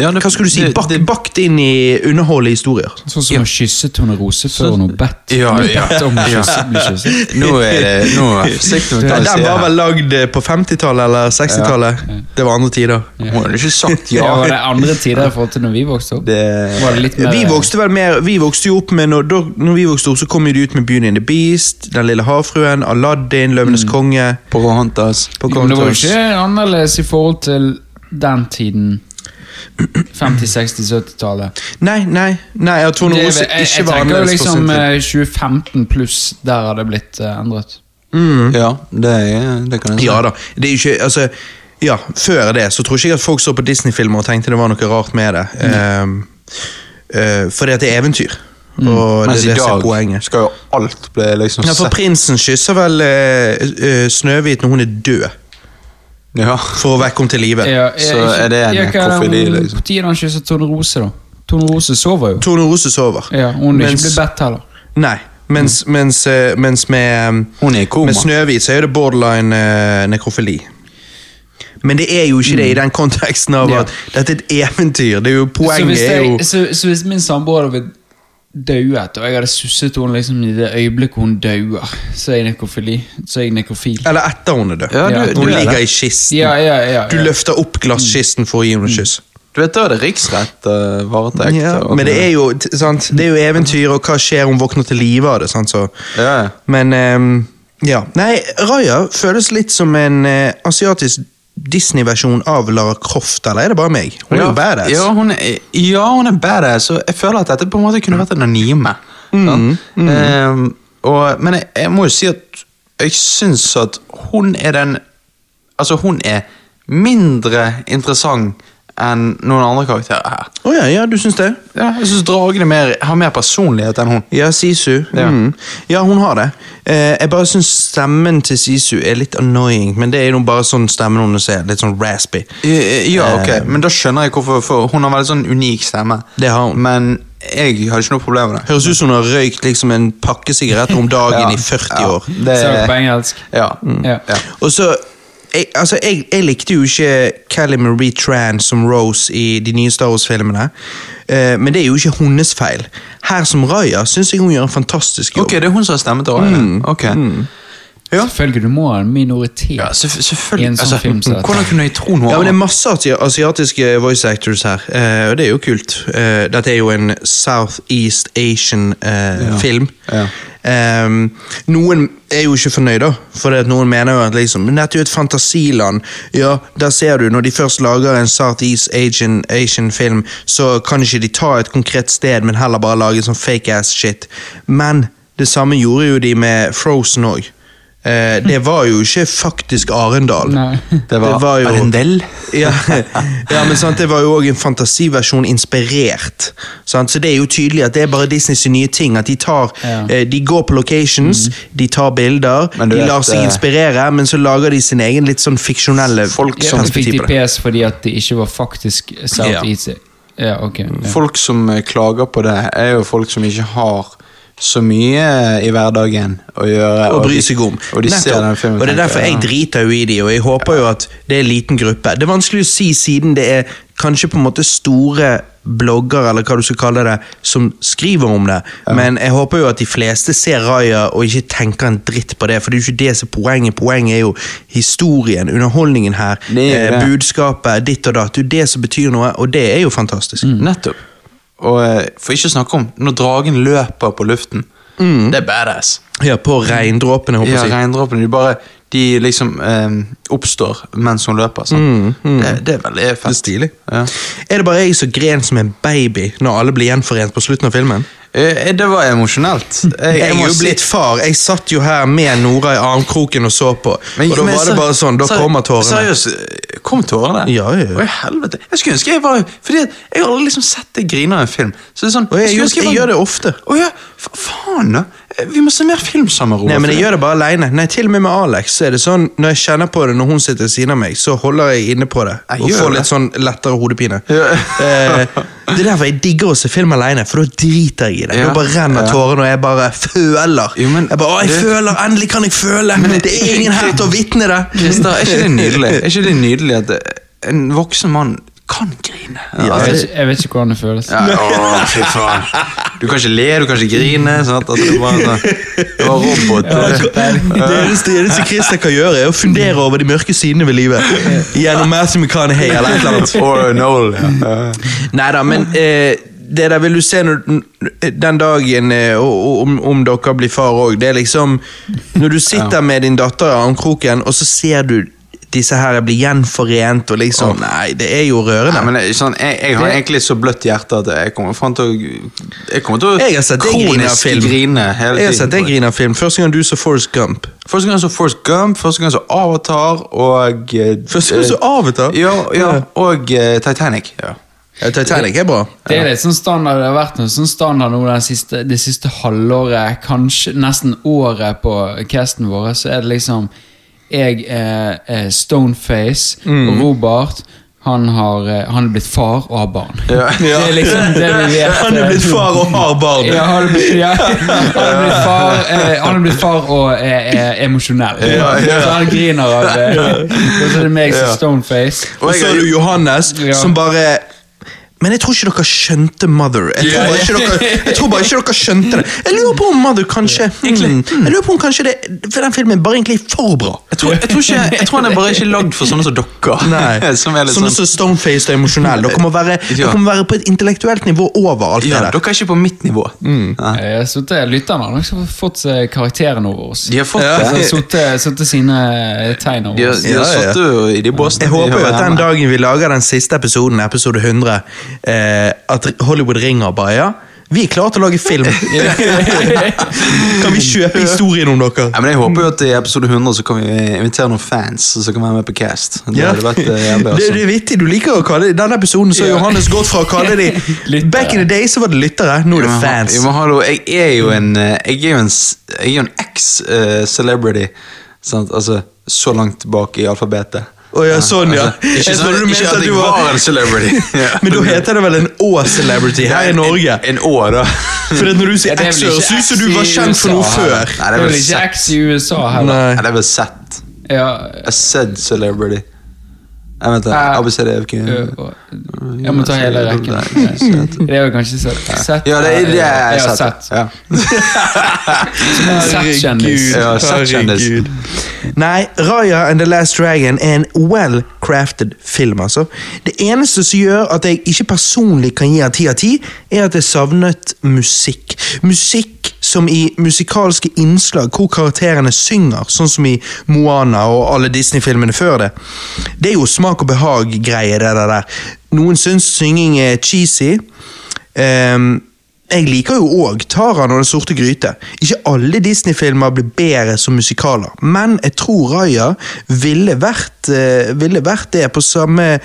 Ja, det- Hva skulle du si? det- Bak, det- bakt inn i underholdende historier. Sånn som å kysse Tone Rose før hun har bedt Ja, hun har ja. bedt om å kysse, bli kysset. Nå er det nå er jeg forsiktig med hva jeg Den sier. var her. vel lagd eh, på 50-tallet eller 60-tallet. Det var andre tider. Hun har ikke sagt Ja, ja. var det andre tider i forhold til når vi vokste opp? Det Var det litt mer Vi vokste vel mer, vi vokste jo opp med når, da, når vi vokste opp, så kom jo de ut med Beauty and the Beast, Den lille havfruen, Aladdin, Mm. Løvenes konge på Hunters. på Jo, men Det var jo Kontos. ikke annerledes i forhold til den tiden. 50-, 60-, 70-tallet. Nei, nei, nei, jeg tror Det noe er som vel- Jeg, ikke jeg var tenker jo annerledes på sin liksom tid. eh, 2015 pluss, der har det blitt eh, endret. Ja, det, er- det kan jeg Mm. si. Ja da, det er jo ikke, altså Ja, før det så tror ikke jeg at folk så på Disney-filmer og tenkte det var noe rart med det. Um, uh, fordi at det er eventyr. Og det er Mens i det som er dag poenget. skal jo alt bli liksom Ja, for sett. prinsen kysser vel eh, eh, Snøhvit når hun er død, Ja. for å vekke henne til live. Så er det en nekrofili, liksom. Når tiden han kysset Tone Rose, da? Tone Rose sover jo. Tone Rose sover. Ja, Hun er Mens- ikke blitt bedt heller. Nei, mens, mens, eh, mens med, um, Hun er i koma. med Snøhvit så er det borderline eh, nekrofili. Men det er jo ikke det i Mm. den konteksten av Ja. at dette er et eventyr. Det er jo så, hvis Poenget er jo jeg, så, så hvis min samboer hadde blitt dauet, og jeg hadde susset henne liksom, i det øyeblikket hun dauer, så er jeg nekrofili. Så er jeg nekrofil. Eller etter hun er død. Ja, Ja. du, du, Hun er ligger det. i kisten. Ja, ja, ja. Du ja. løfter opp glasskisten for å Mm. gi henne et kyss. du vet da er det riksrett, eh, varetekt Ja, og- men det er jo t- sant? Det er jo eventyr, og hva skjer om hun våkner til live av det? Sant? Så, Ja, ja. Men ehm, ja. Nei, Raja føles litt som en eh, asiatisk Disney-versjon av Lara Croft, eller er det bare meg? Hun er jo badass. Ja, hun er, ja, hun er badass, og jeg føler at dette på en måte kunne vært en anime. Mm, sant? Ehm, og, men jeg, jeg må jo si at jeg syns at hun er den Altså, hun er mindre interessant enn noen andre karakterer her. Å ja, ja, du syns det? Ja, jeg syns dragene mer, har mer personlighet enn hun. Ja, Sisu. Ja. Ja, mm. ja hun har det. Eh, jeg bare syns stemmen til Sisu er litt annoying, men det er jo bare sånn stemmen hun ser. Litt sånn raspy. Ja, ok, men da skjønner jeg hvorfor for hun har veldig sånn unik stemme. Ehm. Det har hun. Men jeg hadde ikke noe problem med det. Høres ut som hun har røykt liksom en pakke sigaretter om dagen i 40 år. Ja, det, Ser dere på engelsk? ja. Mm. Ja. Mm. Ja. Og så jeg, altså, jeg, jeg likte jo ikke Kelly Marie Tran som Rose i de nye Star Wars-filmene. Eh, men det er jo ikke hennes feil. Her som Raja syns jeg hun gjør en fantastisk jobb. Mm. Ok, det er hun som har stemmet til Ryan. Ok. Ja. Selvfølgelig, du må ha en minoritet. Ja, selvf- selvfølgelig. I en sånn altså, film som dette. hvordan kunne jeg tro noe Ja, men Det er annet? masse asi- asiatiske voice actors her, eh, og det er jo kult. Eh, Dette er jo en Southeast Asian-film. Ja. Ehm, noen er jo ikke fornøyd, da, for det at noen mener jo at liksom, men dette er jo et fantasiland. Ja, der ser du, Når de først lager en Southeast Asian-film, Asian film, så kan ikke de ta et konkret sted, men heller bare lage sånn fake-ass-shit. Men det samme gjorde jo de med Frozen òg. det var jo ikke faktisk Arendal. Nei. Det var, det var jo- Arendelle. Ja, ja men sant, det var jo òg en fantasiversjon inspirert. Sant? Så det er jo tydelig at det er bare Disneys nye ting. At de tar Ja. eh, De går på locations, de tar bilder, Mm. Men de du vet, lar seg eh, inspirere, men så lager de sin egen litt sånn fiksjonelle Folk Ja, som men fikk de perspektiv på det. PS fordi at det ikke var faktisk South Ja. East Ja, ok. Ja. Folk som eh, klager på det, er jo folk som ikke har så mye eh, i hverdagen å gjøre. Å bry de- seg om. Og de ser Nettopp. den filmen og det er tenker, derfor jeg ja. driter jo i de, og jeg håper jo at det er en liten gruppe. Det er vanskelig å si siden det er kanskje på en måte store blogger, eller hva du skal kalle det, som skriver om det, men jeg håper jo at de fleste ser Raya og ikke tenker en dritt på det, for det er jo ikke det som er poenget. Poenget er jo historien, underholdningen her, Det er eh, det. budskapet, ditt og datt. Det er jo det som betyr noe, og det er jo fantastisk. Mm. Nettopp. Og eh, for ikke å snakke om når dragen løper på luften. Det er badass. Ja, på regndråpene, håper Ja, jeg. å si. regndråpene. De bare De liksom eh, oppstår mens hun løper. sant? Det, det er veldig fett. Mm, Det er stilig. Ja. Er det bare jeg som gren som en baby når alle blir gjenforent på slutten av filmen? Eh, Det var emosjonelt. Jeg, er må jo si- blitt far. Jeg satt jo her med Nora i armkroken og så på. og da var ser- det bare sånn, da ser- kommer tårene. Seriøst, kom tårene? Ja, ja, ja. Å, i helvete. Jeg skulle ønske jeg var Fordi at jeg har aldri liksom sett deg grine av en film. Så det er sånn, Og jeg, skulle gjør- ønske jeg, var- gjør det ofte. Å ja, fa- faen da. Vi må se mer film sammen, Robert. Nei, men jeg gjør det bare alene. Nei, til og med med Alex så er det sånn, når jeg kjenner på det når hun sitter ved siden av meg, så holder jeg inne på det. Jeg Og gjør får det. litt sånn lettere hodepine. Ja. Eh, det er derfor jeg digger å se film alene, for da driter jeg i det. Ja. Da bare renner Ja. tårene, og jeg bare føler. Jo, men- jeg bare, å, jeg det- føler, endelig kan jeg føle! Det er ingen her til å vitne det! Christer, er ikke det nydelig? Er ikke det nydelig at eh, en voksen mann kan grine? Ja, Jeg, Altså, vet ikke, jeg vet ikke hvordan det føles. Ja, å, fy faen. Du kan ikke le, du kan ikke grine. Sant? Altså, det var en det var robot. Det eneste, det eneste Christer kan gjøre, er å fundere over de mørke sidene ved livet. Gjennom Matthew McConaughey eller et eller annet. Or Noel. Ja. Neida, men eh, det der vil du se når, den dagen eh, og- og om, om dere blir far òg. Det er liksom Når du sitter med din datter i armkroken, og så ser du disse her blir gjenforent, og liksom Nei, det er jo rørende. Nei, men jeg- sånn, jeg, jeg har egentlig så bløtt hjerte at jeg kommer faen til å Jeg kommer til å jeg har sett deg grine av kronisk film. grine hele jeg har tiden. sett deg grine av film. Første gang du så Forrest Gump. Første gang så Force Gump, første gang så Avatar og eh, Første gang så Avatar? Ja, ja og eh, Titanic. Ja. Ja, Titanic er bra. Det er litt sånn standard, det har vært noe sånn standard nå den siste, det siste halvåret, kanskje nesten året på casten vår, så er det liksom Jeg er, er Stoneface, Mm. Robert han har, eh, han er blitt far og har barn. Det er liksom det vi vet. eh, Han er blitt far og har barn. Ja, han er blitt, ja. han er blitt, far, eh, han er blitt far og er, er emosjonell. Ja, ja. Så han griner av det. Og så er det meg som Stoneface. Og så er det Johannes, Ja. som bare men jeg tror ikke dere skjønte Mother. Jeg tror bare ikke dere, jeg tror bare ikke dere skjønte det. Jeg lurer på om Mother kanskje hmm, Jeg lurer på om kanskje det For den filmen bare egentlig er for bra. Jeg tror, jeg, tror ikke, jeg tror han er bare ikke lagd for sånne som dere. som er Sånne litt sånn som Stonefaced og emosjonelle. Dere må være, Ja. dere må være på et intellektuelt nivå over alt det ja, der. Dere er ikke på mitt nivå. Mm. Nei. Eh, Så det, lytterne har liksom fått seg karakterene over oss. De har fått Ja. Altså, det. Satte satte sine eh, tegn De over har, oss. de har Ja, ja. satt jo i de båsene. Jeg de håper jo hører at den hjemme. dagen vi lager den siste episoden, episode 100, eh, at Hollywood ringer og bare ja. Vi er klare til å lage film! kan vi kjøpe historien om dere? Ja, men Jeg håper jo at i episode 100 så kan vi invitere noen fans som kan være med på cast. Det Ja. hadde vært eh, jævlig det, awesome. det er vittig, du liker å kalle I denne episoden så har Ja. Johannes gått fra å kalle de Lyttere. Back in the day så var det lyttere, nå er det Ja, men ha- fans. ja, men hallo, jeg er jo en eh, Jeg er jo en, s- jeg er jo en ex-celebrity. sant? Altså, så langt tilbake i alfabetet. Å ja, sånn, ja. Altså, ikke Jeg sånn, trodde du ikke mente at at du jeg var- var en celebrity. Ja. Men da heter det vel en Å-celebrity her i En- Norge. En, en år, da. For at når du sier det er X, vel ikke høres det ut som X du i var kjent for noe USA, før. Det Nei, det er vel er vel ikke sett. X i USA heller. eh, Nei. Nei, det er vel sett. Ja, Jeg har sett celebrity. Jeg vet det. Eh, ABCDFQ. Ø, og- Jeg må ta hele rekken. Det er jo kanskje så sett Ja, det er det jeg har Ja, sett. sett. Ja. Sett-kjendis. Ja, sett kjendis. Herregud. Nei, Raya and the Last Dragon er en well-crafted film, altså. Det eneste som gjør at jeg ikke personlig kan gi en ti av ti, er at jeg savnet musikk. Musikk som i musikalske innslag hvor karakterene synger, sånn som i Moana og alle Disney-filmene før det. Det er jo smak og behag-greie, det der. der. Noen syns synging er cheesy. Ehm, jeg liker jo òg Taran og Den sorte gryte. Ikke alle Disney-filmer blir bedre som musikaler, men jeg tror Raja ville vært, eh, ville vært det på samme,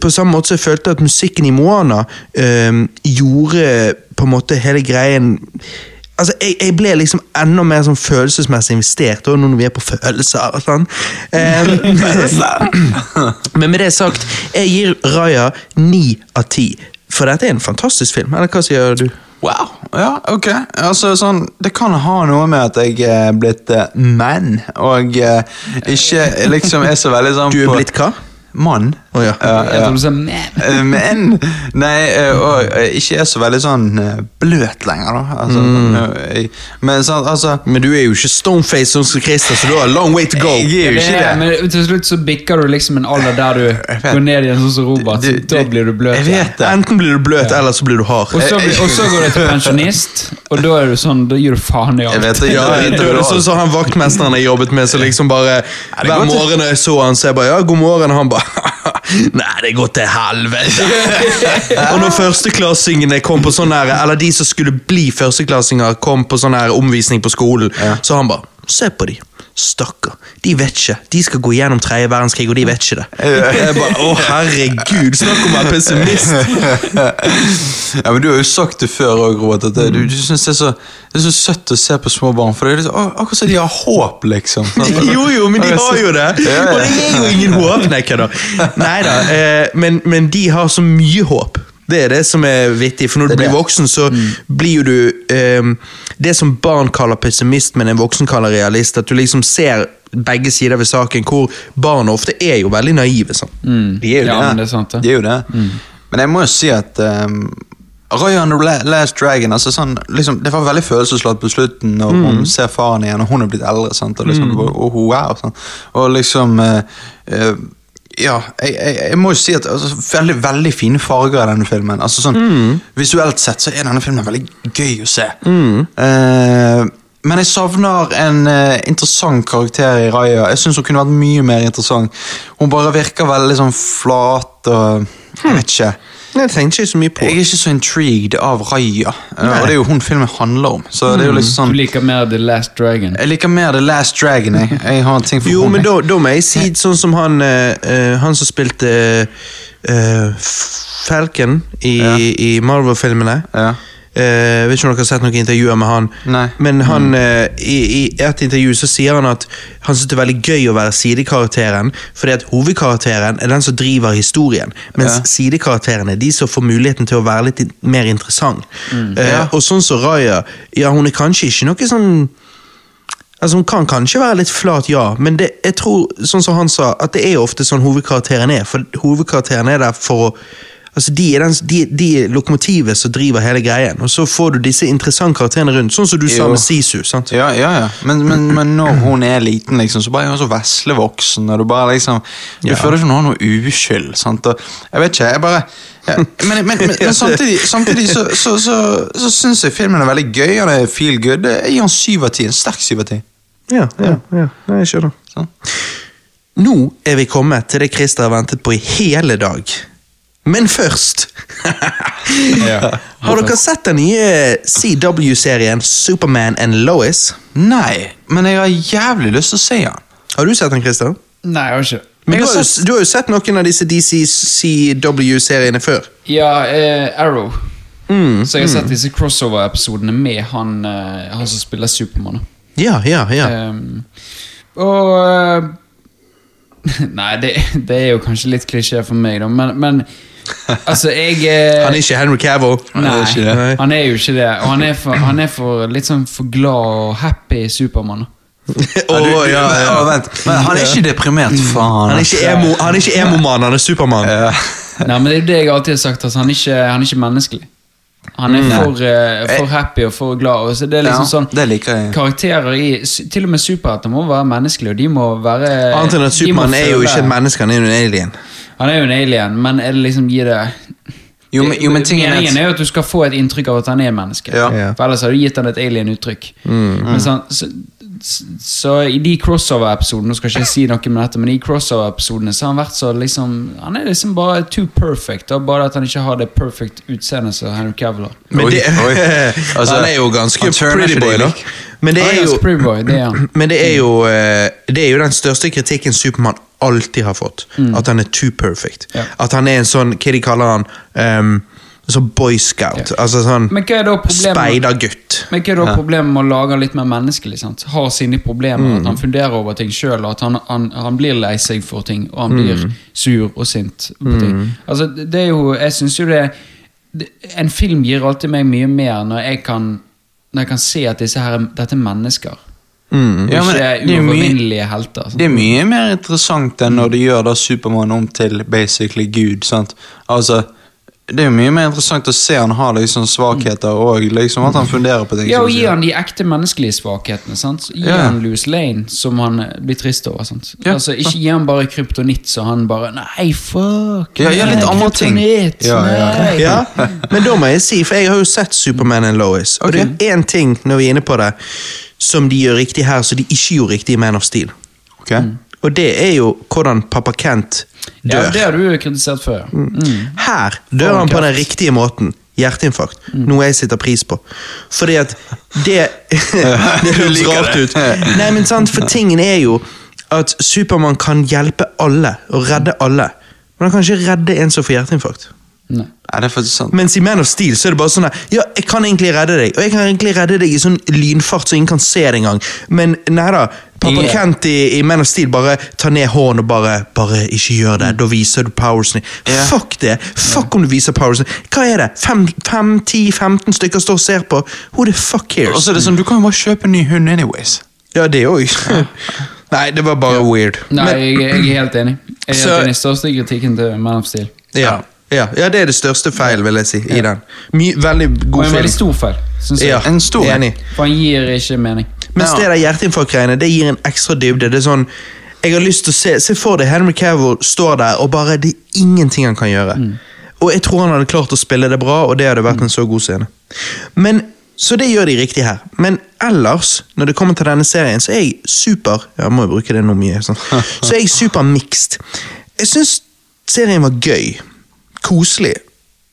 på samme måte som jeg følte at musikken i Moana eh, gjorde på en måte hele greien Altså, jeg, jeg ble liksom enda mer sånn følelsesmessig investert, og nå når vi er på følelser. Sånn. Eh, men med det sagt, jeg gir Raja ni av ti. For dette er en fantastisk film. Eller hva sier du? Wow. Ja, ok. Altså, sånn, det kan ha noe med at jeg er blitt eh, mann, og eh, ikke liksom er så veldig sånn Du er på- blitt hva? Mann. Å, ja. Jeg tror du sa meh. Eh, Men Nei, eh, og eh, ikke er så veldig sånn eh, bløt lenger, da. Altså, eh, jeg- Men sånn, altså Mm. Men du er jo ikke stoneface sånn som Christer, så du har a long way to go. Jeg er jo Det ikke er, det. men til slutt så bikker du liksom en alder der du går ned igjen, sånn som Robert. Du- Da du- blir du bløt. Jeg igjen. vet det. Enten blir du bløt, eller så blir du hard. Og så, blir- og så går du til pensjonist, og da er du sånn, da gir du faen i Jeg alt. vet det. Ja, jeg det vet er det. sånn som han vaktmesteren jeg jobbet med, så liksom bare det Hver går til- morgen når jeg så han, så jeg bare Ja, god morgen. Og han bare Nei, det går til helvete. og når førsteklassingene kom på sånn her Eller de som skulle bli førsteklassinger, kom på sånn her omvisning på skolen, så han bare Se på de. Stakkar. De vet ikke. De skal gå gjennom tredje verdenskrig, og de vet ikke det. Jeg bare, Å, herregud. Snakk om å være pessimist. ja, men Du har jo sagt det før òg, Robert, at det- du, du synes det, er så, det er så søtt å se på små barn. For det er liksom, å, akkurat som de har håp, liksom. Jo, jo, men de har jo det. Ja, ja. Og det er jo ingen håp. Nei, hva da? Neida, eh, men, men de har så mye håp. Det er det som er vittig, for når du Det Mm. er blir det. voksen, så blir jo du eh, Det som barn kaller pessimist, men en voksen kaller realist, at du liksom ser begge sider ved saken, hvor barn ofte er jo veldig naive. sånn. De er jo Mm. Ja, Mm. det. men det er sant, det. De er jo det. Men jeg må jo si at um, Roy and the La- Last Dragon altså sånn, liksom, Det var veldig følelsesladd på slutten når Mm. hun ser faren igjen, og hun er blitt eldre. Sant? Og liksom, og, og hun er, og sånn. Og liksom eh, eh, ja, jeg, jeg, jeg må jo si at altså, veldig, veldig fine farger i denne filmen. Altså sånn, Mm. Visuelt sett så er denne filmen veldig gøy å se. Mm. Eh, men jeg savner en eh, interessant karakter i Raja. Jeg synes hun kunne vært mye mer interessant. Hun bare virker veldig sånn flat og Jeg vet ikke. Nei, Jeg tenkte Hmm. ikke så mye på Jeg er ikke så intrigued av Raja, eh, og det er jo hun filmen handler om. Så det er jo liksom Hmm. Du sånn liker mer The Last Dragon. Jeg liker mer The Last Dragon. Jeg, jeg har en ting for Jo, hun, men jeg. da, da må jeg si sånn som han eh, eh, Han som spilte eh, F- Falcon i, Ja. i Marvel-filmene. Ja. Eh, vet ikke om dere har sett noen intervjuer med han. Nei. Mm. Men han, eh, i, i et intervju så sier han at han syns det er veldig gøy å være sidekarakteren, fordi at hovedkarakteren er den som driver historien, mens Ja. sidekarakterene er de som får muligheten til å være litt in- mer interessant. Mm. Eh, og sånn som Raja, ja, hun er kanskje ikke noe sånn Altså Hun kan kanskje være litt flat, ja, men det, jeg tror, sånn som han sa, at det er ofte sånn hovedkarakteren er. For hovedkarakteren er der for å Altså De er, den, de, de er lokomotivet som driver hele greien, og så får du disse interessante karakterene rundt. Sånn som du sa Jo. med Sisu. sant? Ja, ja, ja. Men, men, men når hun er liten, liksom, så bare er hun så veslevoksen. Og du bare liksom Du føler ikke hun har noe uskyld. Sant? Og, jeg vet ikke, jeg bare ja, men, men, men, men samtidig, samtidig så, så, så, så syns jeg filmen er veldig gøy. Og det er feel good. Jeg gir den syv av ti. En sterk syv av ti. Ja, ja, ja. Nei, jeg skjønner. Sånn. Nå er vi kommet til det Christer har ventet på i hele dag. Men først Har dere sett den nye CW-serien Superman and Lois? Nei, men jeg har jævlig lyst til å se den. Har du sett den, Christer? Nei, jeg har ikke. Men Jeg du har har, jo, du har jo sett noen av disse DCCW-seriene før. Ja, eh, Arrow. Mm, Så jeg har sett disse crossover-episodene med han, eh, han som spiller Supermann. da. Ja, ja, ja. Ehm, og eh, Nei, det, det er jo kanskje litt klisjé for meg, da, men, men altså, jeg eh, Han er ikke Henry Cavill. Nei, ikke det. Nei. han er jo ikke det. Og han er for, han er for litt sånn for glad og happy Supermann. da. Ja, du, Åh, du, ja, ja. Mm. å, vent. Men han er ikke deprimert, faen. altså. Han er ikke emo- han er ikke emo-mann, han er Supermann. Eh, Ja. Nei, men det er jo det jeg alltid har sagt. Altså, han, er ikke, han er ikke menneskelig. Han Mm, er for, eh, for happy og for glad. Og så det er liksom Ja, sånn det liker jeg. Karakterer i s- Til og med superhelter må være menneskelige, og de må være Annet enn at de må Supermann er jo føle- ikke et menneske, han er jo en alien. Han er jo en alien, men er det liksom gi det Jo, men- jo, men tingen er at- Meningen er jo at du skal få et inntrykk av at han er en menneske. Ja. Ja. For ellers har du gitt han et alien-uttrykk. Men sånn- så, så, så i de crossover-episodene Nå skal ikke jeg si noe med dette, men i crossover-episodene så har han vært så liksom Han er liksom bare too perfect. Da, bare at han ikke har det perfect utseendet som Henry Cavill har. Men Oi, det, oi. Altså, han er jo ganske han turner pretty ikke boy, det da. lik. Men det Ah, er ja, jo, Pretty Boy, det er han. men det er jo, eh, det er jo den største kritikken Supermann alltid har fått. At han er too perfect. Mm. Ja. At han er en sånn, hva de kaller han, ehm, sånn boy scout. Ja. Altså sånn Men hva er da problemet? speidergutt. Men hva er da problemet med å lage han litt mer menneskelig? sant? Har sine problemer, Mm. at han funderer over ting sjøl, at han, han, han blir lei seg for ting, og han blir Mm. sur og sint på ting. Altså, det er jo, jeg synes jo det, det En film gir alltid meg mye mer når jeg kan, når jeg kan se at disse her, dette er mennesker. Mm. Og Ja, men ikke det er mye- uovervinnelige helter. sant? Det er mye mer interessant enn når du gjør da Supermann om til basically Gud. sant? Altså, Det er jo mye mer interessant å se han har liksom svakheter og liksom at han funderer på ting. Ja, som og du gi sier. han de ekte menneskelige svakhetene. sant? Gi Ja. han Louis Lane, som han eh, blir trist over. sant? Ja. Altså, Ikke gi han bare kryptonitt, så han bare Nei, fuck! Ja, gjør nei, litt andre ting. kryptonitt, Ja, ja. nei. Ja, men da må jeg si, for jeg har jo sett Superman and Lois, og det er én ting når vi er inne på det, som de gjør riktig her, som de ikke gjorde riktig i Man of Steel. Ok? Mm. Og det er jo hvordan pappa Kent dør. Ja, det har du jo kritisert før. ja. Mm. Her dør han på den riktige måten. Hjerteinfarkt. Mm. Noe jeg setter pris på. Fordi at det Det Du høres liker rart det. ut. Nei, men sant, for tingen er jo at Supermann kan hjelpe alle og redde alle. Men han kan ikke redde en som får hjerteinfarkt. Nei. Ja, det er faktisk sant. Mens i Man of Steel så er det bare sånn her, Ja, jeg kan egentlig redde deg, og jeg kan egentlig redde deg i sånn lynfart så ingen kan se det engang. Men nei da. Pappa Ingen- Kent i, i Man of Steel bare tar ned hånden og bare Bare ikke gjør det. Da viser du powersen din. Ja. Fuck det. Fuck om du viser powersen din. Hva er det? 5-10-15 stykker står og ser på. Who the fuck Og cares? så er det sånn, Du kan jo bare kjøpe en ny hund anyways. Ja, det òg. Nei, det var bare weird. Nei, Men- jeg, jeg er helt enig. Jeg er Så- helt enig. Største kritikken til Man of Steel. ja, ja, ja, det er det største feil, vil jeg si, i den. My, veldig Og god en film. veldig stor feil, synes jeg. Ja, En stor en. Enig. For han gir ikke mening. Mens Ja. det der hjerteinfarkt-greiene, det gir en ekstra dybde. Det er sånn, jeg har lyst til å se, se for deg Henry Cavill står der, og bare det er ingenting han kan gjøre. Mm. Og jeg tror han hadde klart å spille det bra, og det hadde vært en så god scene. Men, Så det gjør de riktig her. Men ellers, når det kommer til denne serien, så er jeg super ja, Jeg må jo bruke det nå mye. Sånn. Så er jeg super mixed. Jeg syns serien var gøy. Koselig.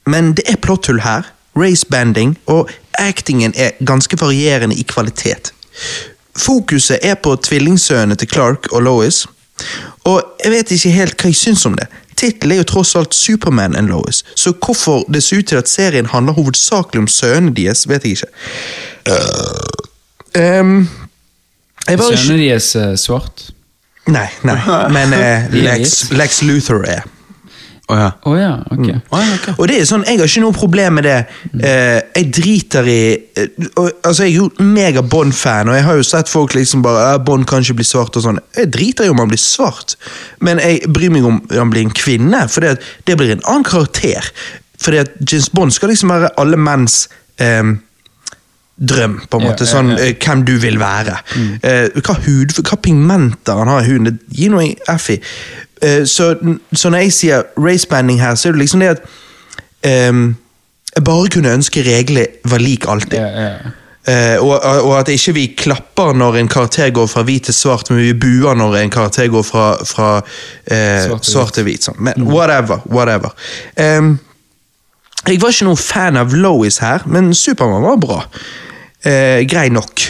Men det er plotthull her. Race banding, og actingen er ganske varierende i kvalitet. Fokuset er på tvillingsønnene til Clark og Lois, og jeg vet ikke helt hva jeg syns om det. Tittelen er jo tross alt Superman and Lois, så hvorfor det ser ut til at serien handler hovedsakelig om sønnene deres, vet jeg ikke. Ehm, jeg var ikke Sønnene deres er svart. Nei, nei, men eh, De er Lex, Lex Luther er. Oh, ja. Å ja, ok. Oh, ja, ok. Og det er sånn, Jeg har ikke noe problem med det. Eh, jeg driter i eh, og, Altså, Jeg er jo mega Bond-fan, og jeg har jo sett folk liksom bare eh, Bond kan ikke bli svart og sånn. Jeg driter i om han blir svart, men jeg bryr meg om han blir en kvinne, for det, det blir en annen karakter. Fordi at James Bond skal liksom være alle menns eh, drøm, på en Ja, måte. ja, sånn ja. Mm. eh, Hvem du vil være. Eh, hva hud, hva pigmenter han har i huden. det Gi noe F i. Eh, så, så når jeg sier racebanding her, så er det liksom det at ehm, jeg bare kunne ønske reglene var lik alltid. Ja, ja. Eh, og, og og at ikke vi klapper når en karakter går fra hvit til svart, men vi buer når en karakter går fra, fra eh, Svart til Mm. svart til hvit. Sånn. Men whatever. whatever. Em, jeg var ikke noen fan av Lois her, men Supermann var bra. Eh, grei nok.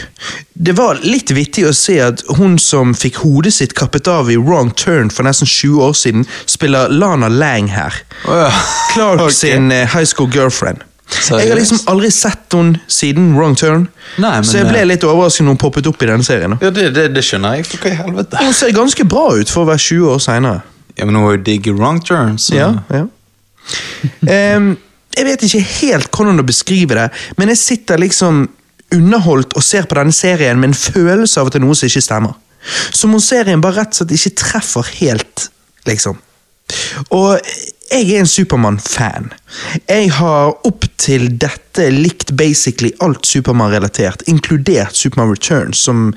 Det var litt vittig å se at hun som fikk hodet sitt kappet av i Wrong Turn for nesten 20 år siden, spiller Lana Lang her. Å, ja. Clark Ok. sin eh, high school girlfriend. Seriøst? Jeg har liksom aldri sett henne siden Wrong Turn, Nei, men, så jeg ble eh, litt overrasket når hun poppet opp i denne serien. da. Ja, det, det, det skjønner jeg. For hva i helvete? Hun ser ganske bra ut for å være 20 år seinere. Ja, men hun var jo digg i wrong turns. Ja, ja. Em, jeg vet ikke helt hvordan å beskrive det, men jeg sitter liksom underholdt og ser på denne serien med en følelse av at det er noe som ikke stemmer. Som om serien bare rett og slett ikke treffer helt, liksom. Og jeg er en Supermann-fan. Jeg har opp til dette likt basically alt Supermann-relatert, inkludert Supermann Returns, som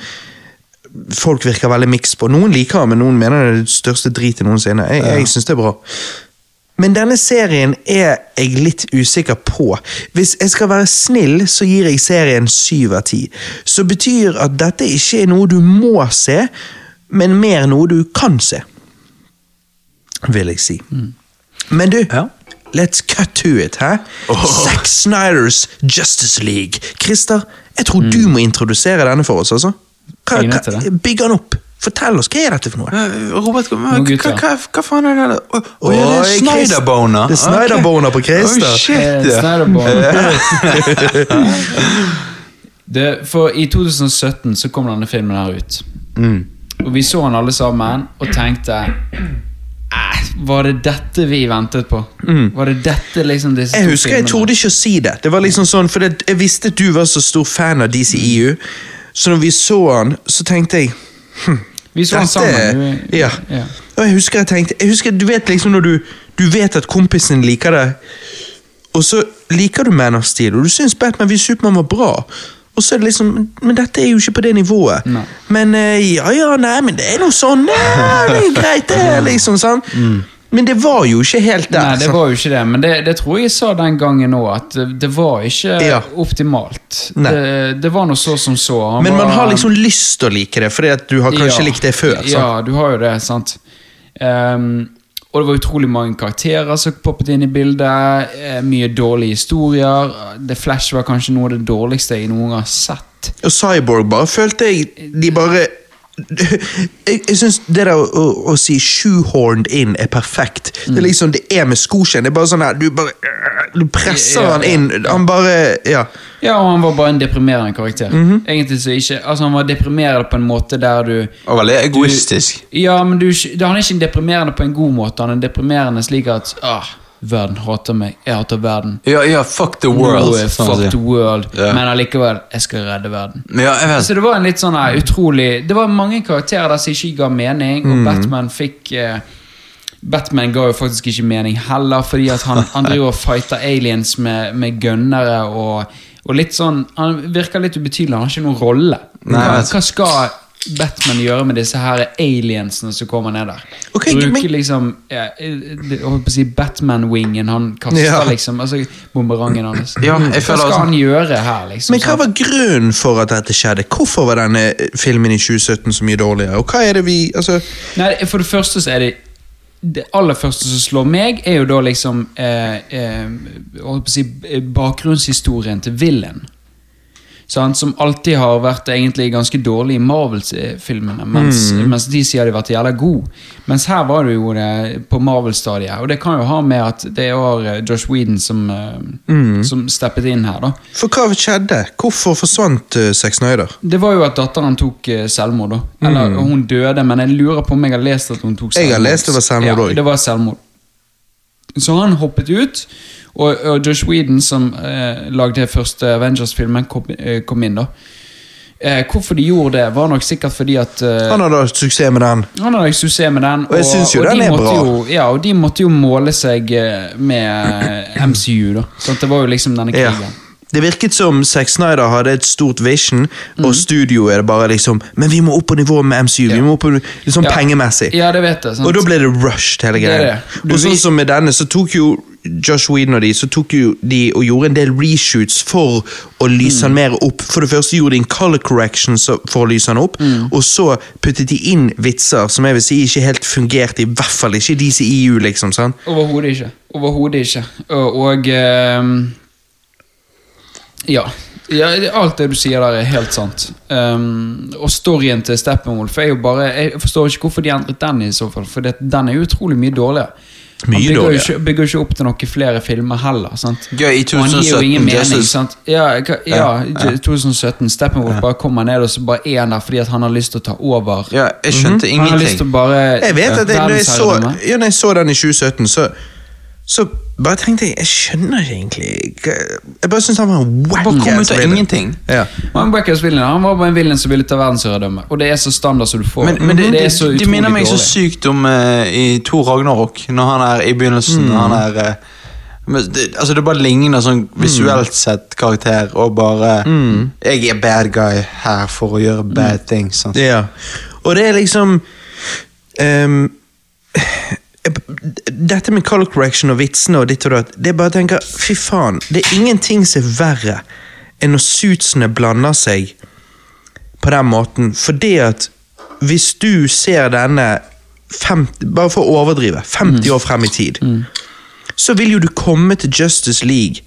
folk virker veldig mixed på. Noen liker han, men noen mener det er det største dritet noensinne. Jeg, jeg synes det er bra. Men denne serien er jeg litt usikker på. Hvis jeg skal være snill, så gir jeg serien syv av ti. Så betyr at dette ikke er noe du må se, men mer noe du kan se. Vil jeg si. Men du, let's cut to it, hæ? Zack Snyders Justice League. Christer, jeg tror du må introdusere denne for oss, altså. Hva, Jeg er nødt til hva, bygg den opp. Fortell oss, hva er dette for noe? Eh, Robert, hva, Nå, hva, gutter. hva, hva faen er det der? Å, å, ja, det er Oi, Chris- Snyderboner. Det er Snyderboner på Christer. Oh, Eh, shit, ja. Snyderborn. det, for I 2017 så kom denne filmen her ut. Mm. Og vi så den alle sammen og tenkte "Eh, Var det dette vi ventet på? Var det dette liksom disse Mm. Jeg to husker jeg filmene?" torde ikke å si det. Det var liksom sånn, for det, Jeg visste at du var så stor fan av Mm. DCEU, så når vi så han, så tenkte jeg hm, Vi så den sammen. Du- ja. ja. Og jeg husker jeg tenkte jeg husker, Du vet liksom når du, du vet at kompisen din liker det, og så liker du Man of Steel, og du syns Batman v Supermann var bra. Og så er det liksom, Men dette er jo ikke på det nivået. Nei. Men eh, ja, ja, nei, men det er noe sånn ja, Det er greit, det, liksom. sant? Men det var jo ikke helt der. Mm. Nei, det sant? var jo ikke det, men det, det tror jeg jeg sa den gangen òg, at det- det var ikke Ja. optimalt. Nei. Det, det var noe så som så. Han Men man var- har liksom lyst til å like det, fordi at du har kanskje Ja. likt det før. sant? Ja, du har jo det, sant. Ehm, og det var utrolig mange karakterer som poppet inn i bildet. eh, mye dårlige historier. The Flash var kanskje noe av det dårligste jeg noen gang har sett. Og Cyborg bare følte jeg De bare jeg, jeg syns det der å, å, å si 'shoehorned in' er perfekt. Det Mm. er liksom det er med skoskjenn. Det er bare sånn her Du bare Du presser Ja, han ja. inn. Han bare Ja. Ja, og han var bare en deprimerende karakter. Mhm. Egentlig så ikke Altså, han var deprimerende på en måte der du Og veldig egoistisk. Ja, men du, han er ikke en deprimerende på en god måte. Han er en deprimerende slik at ah, verden hater meg. Jeg hater verden. Ja, ja, fuck the Nå world. er sånn å si. fuck the world. Ja. Men allikevel, jeg skal redde verden. Ja, jeg vet. Så det var en litt sånn eh, utrolig Det var mange karakterer der som ikke ga mening, og Batman fikk eh, Batman ga jo faktisk ikke mening heller, fordi at han, han driver og fighter aliens med, med gønnere og, og litt sånn Han virker litt ubetydelig, han har ikke noen rolle. Nei, hva, jeg vet. hva skal Batman gjøre med disse her aliensene som kommer ned der? Ok, Bruke men- liksom ja, Jeg holdt på å si Batman-wingen han kaster, Ja. liksom. Altså bumerangen hans. Ja, jeg hva føler skal sånn- han gjøre her, liksom? Men hva sant? var grunnen for at dette skjedde? Hvorfor var denne filmen i 2017 så mye dårligere? Og hva er det vi Altså Nei, for det første så er det det aller første som slår meg, er jo da liksom eh, eh, holdt på å si, eh, bakgrunnshistorien til Villain. Sant? Som alltid har vært egentlig ganske dårlig i Marvel-filmene, mens, mens de sier de har vært jævla gode. Mens her var det jo det på Marvel-stadiet, og det kan jo ha med at det var eh, Josh Whedon som, eh, som steppet inn her, da. For hva skjedde? Hvorfor forsvant uh, Sex Snyder? Det var jo at datteren tok eh, selvmord, da. Eller hun døde, men jeg lurer på om jeg har lest at hun tok Mm. Jeg har selvmord. lest det var selvmord også. Ja, det var selvmord. Så han hoppet ut, og, og Josh Whedon, som eh, lagde det første Avengers-filmen, kom, eh, kom inn, da. Eh, hvorfor de gjorde det, var nok sikkert fordi at eh, Han hadde hatt suksess med den. han hadde suksess med den, Og jeg synes jo og den de er måtte bra. Jo, ja, og de måtte jo måle seg eh, med eh, MCU, da. Så det var jo liksom denne Ja. krigen. Det virket som Zack Snyder hadde et stort vision, og studio er det bare liksom Men vi må opp på nivå med MCU. Vi må opp på nivå, liksom Ja. pengemessig. Ja, det vet jeg. sant? Og da ble det rushed, hele Det er greia. det. Du Og sånn vis- som med denne, så tok jo Josh Whedon og de så tok jo de og gjorde en del reshoots for å lyse Mm. han mer opp. For det første gjorde de en color correction så- for å lyse han opp, Mm. og så puttet de inn vitser som jeg vil si ikke helt fungerte, i hvert fall ikke i DCEU, liksom. sant? Overhodet ikke. Overhodet ikke. Og, og ehm, ja. ja. Alt det du sier der, er helt sant. Ehm, og storyen til Steppenwolf er jo bare Jeg forstår ikke hvorfor de endret den, i så fall for det, den er jo utrolig mye dårligere. Han Mye bygger jo dårligere. ikke, bygger jo ikke opp til noen flere filmer heller. sant? Gøy, i Og han gir jo ingen 2017, mening. Justice- sant? Ja, hva- ja, 2017. Steppenwolf bare kommer ned, og så bare er han der fordi at han har lyst til å ta over. Ja, jeg skjønte Mhm. Han har lyst til ingenting. å bare Jeg vet at jeg, når, jeg så, verdensherredømme. ja, når jeg så den i 2017, så Så bare tenkte jeg Jeg skjønner ikke egentlig hva- Jeg bare syns han var en wack. Bare kom ut av ingenting. Ja. Men Wackers William han var bare en villain som ville ta verdensherredømme, og det er så standard som du får. Men, men det, det det, er så de utrolig minner meg så dårlig. sykt om eh, i Thor Ragnarok, når han er i begynnelsen. Han Mm. er, eh, men det, altså det bare ligner sånn visuelt sett karakter, og bare Mm. 'Jeg er bad guy her for å gjøre bad things'. sånn. Sant? Ja. Og det er liksom ehm, Dette med color correction og vitsene og ditt og datt, det er bare å tenke Fy faen, det er ingenting som er verre enn når suitsene blander seg på den måten. Fordi at hvis du ser denne 50, Bare for å overdrive. 50 år frem i tid. Så vil jo du komme til Justice League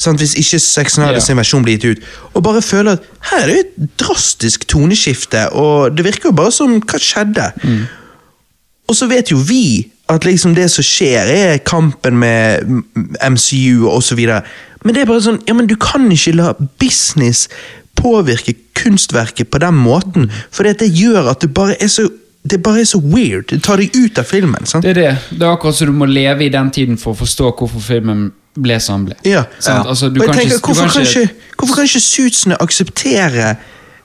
sant, hvis ikke Sex Nider Ja. sin versjon blir gitt ut. Og bare føle at her er det jo et drastisk toneskifte, og det virker jo bare som Hva skjedde? Og så vet jo vi at liksom det som skjer, er kampen med eh, m- MCU og så videre. Men det er bare sånn, ja, men du kan ikke la business påvirke kunstverket på den måten, for det gjør at det bare er så det bare er så weird. Det tar deg ut av filmen. sant? Det er det. Det er akkurat som du må leve i den tiden for å forstå hvorfor filmen ble som den ble. Ja. Sant? Altså, du Og jeg kan tenker, ikke, du hvorfor, kan ikke hvorfor kan ikke suitsene akseptere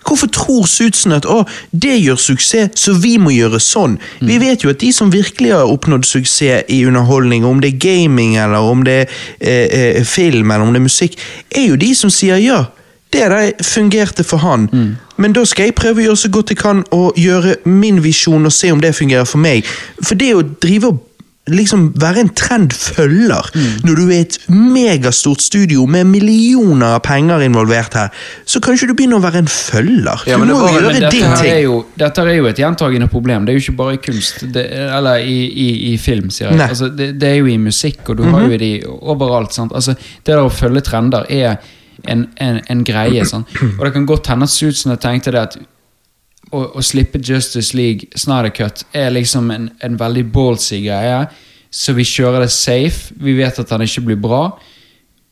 Hvorfor tror suitsene at å, det gjør suksess, så vi må gjøre sånn? Vi vet jo at de som virkelig har oppnådd suksess i underholdning, om det er gaming eller om det er eh, eh, film eller om det er musikk, er jo de som sier ja. Det der fungerte for han, men da skal jeg prøve å gjøre så godt jeg kan og gjøre min visjon og se om det fungerer for meg. For det å drive og liksom være en trendfølger når du er et megastort studio med millioner av penger involvert her, så kan ikke du begynne å være en følger. Ja, du men det må var- jo Men gjøre dette, din her er ting. jo, dette her er jo et gjentagende problem. Det er jo ikke bare i kunst, det, eller i, i, i film, sier jeg. Nei. Mhm. Altså, det, det er jo i musikk, og du har jo de overalt. Sant? Altså, det der å følge trender er en, en, en greie. Sant? Og det kan godt hende at Suitsen tenkte det at å, å slippe Justice League Snydercut er liksom en, en veldig ballsy greie. Så vi kjører det safe. Vi vet at den ikke blir bra,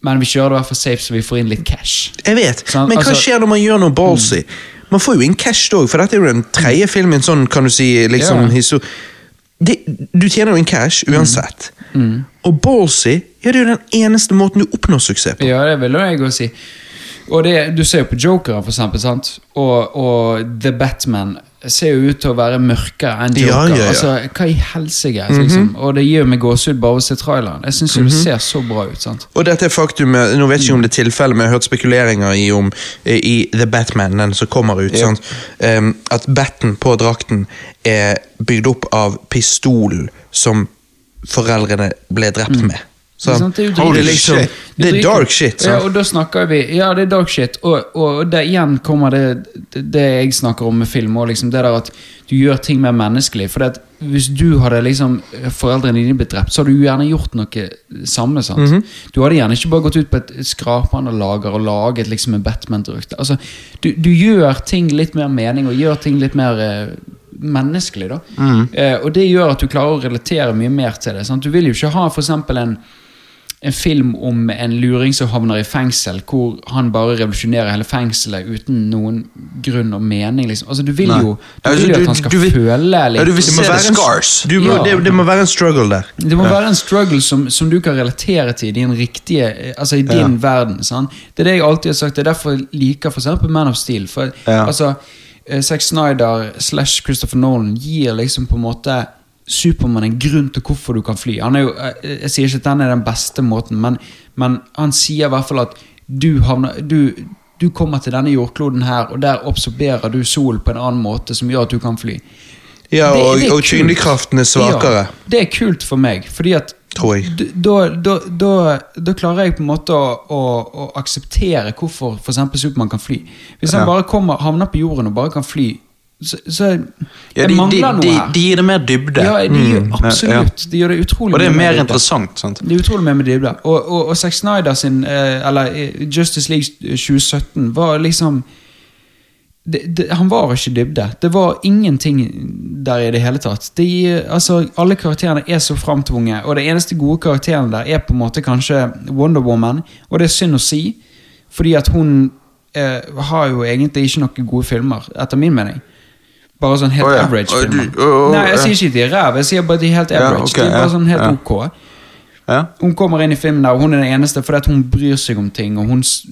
men vi kjører det i hvert fall safe, så vi får inn litt cash. Jeg vet, Sant, men hva altså- skjer når man gjør noe ballsy? Man får jo inn cash da, for dette er jo den tredje filmen sånn, kan du si, liksom, Ja. histo- det, Du tjener jo inn cash uansett. Mm. Og ballsy, ja, det er jo den eneste måten du oppnår suksess på. Ja, det vil jo jeg også si. Og det, du ser jo på Jokeren, for eksempel, sant? Og, og The Batman ser jo ut til å være mørkere enn Ja, Joker. ja, Mhm. ja. Altså, hva i helsike? liksom? Og det gir jo meg gåsehud bare å se traileren. Jeg syns jo Mhm. det ser så bra ut. sant? Og dette er faktumet, nå vet jeg ikke om det er tilfelle, men jeg har hørt spekuleringer i om eh, i The Batman, den som kommer ut, sant? Em, at batten på drakten er bygd opp av pistolen som foreldrene ble drept med. Så, Ikke sant? Mm. Det er jo det, er dritkult. liksom, Det det er dritkult. dark shit. Ja, Sant? og da snakker vi Ja, det er dark shit, og, og der igjen kommer det, det det jeg snakker om med film, og liksom det der at du gjør ting mer menneskelig. For det at hvis du hadde liksom foreldrene dine blitt drept, så hadde du gjerne gjort noe samme. sant? Mhm. Du hadde gjerne ikke bare gått ut på et skrapende lager og laget liksom en Batman-drakt. Altså, du, du gjør ting litt mer mening, og gjør ting litt mer eh, menneskelig, da. Mhm. Eh, og det gjør at du klarer å relatere mye mer til det. sant? Du vil jo ikke ha for eksempel en en film om en luring som havner i fengsel, hvor han bare revolusjonerer hele fengselet uten noen grunn og mening. Liksom. Altså, du vil Nei. jo, du Ja, vil du- jo du- at han skal du vil- føle litt. Ja, du vil Det må se være the en- scars. Du må, Ja. det, det må være en struggle der. Det må være en struggle som, som du kan relatere til i din riktige eh, Altså i din verden. Sant? Det er det jeg alltid har sagt. Det er derfor jeg liker for eksempel Man of Steel. For Ja. altså eh, Zack Snyder slash Christopher Nolan gir liksom på en måte Supermann en grunn til hvorfor du kan fly. Han er jo, eh, jeg sier ikke at den er den beste måten, men, men han sier i hvert fall at du havner du, du kommer til denne jordkloden her, og der absorberer du solen på en annen måte som gjør at du kan fly. Ja, Det- og, det er og kult. tyngdekraften er svakere. Ja, det er kult for meg, fordi at Tror jeg. d- Da, da, da, da klarer jeg på en måte å, å, å akseptere hvorfor for eksempel Supermann kan fly. Hvis han Ja. bare kommer, havner på jorden og bare kan fly, så, så jeg, Ja, jeg de, de, mangler de, noe her. de gir det mer dybde. Mm. ja, de gjør absolutt. Ja. De gjør det utrolig Og det er mye mer dybde. interessant. sant? Det er utrolig mye med dybde. Og, og, og Zack Snyder sin eh, Eller eh, Justice League 2017 var liksom det, det, Han var ikke dybde. Det var ingenting der i det hele tatt. De, eh, altså, alle karakterene er så framtvunget, og det eneste gode karakteren der er på en måte kanskje Wonder Woman, og det er synd å si, fordi at hun eh, har jo egentlig ikke noen gode filmer, etter min mening. Bare sånn helt Å ja. average Å, du- filmer. å, å, Nei, jeg ja. sier ikke de er ræv, jeg sier bare de er helt Ja, average. ok, de er bare ja, sånn helt ja. ok. Ja. Hun kommer inn i filmen der, og hun er den eneste fordi at hun bryr seg om ting. Og hun, s-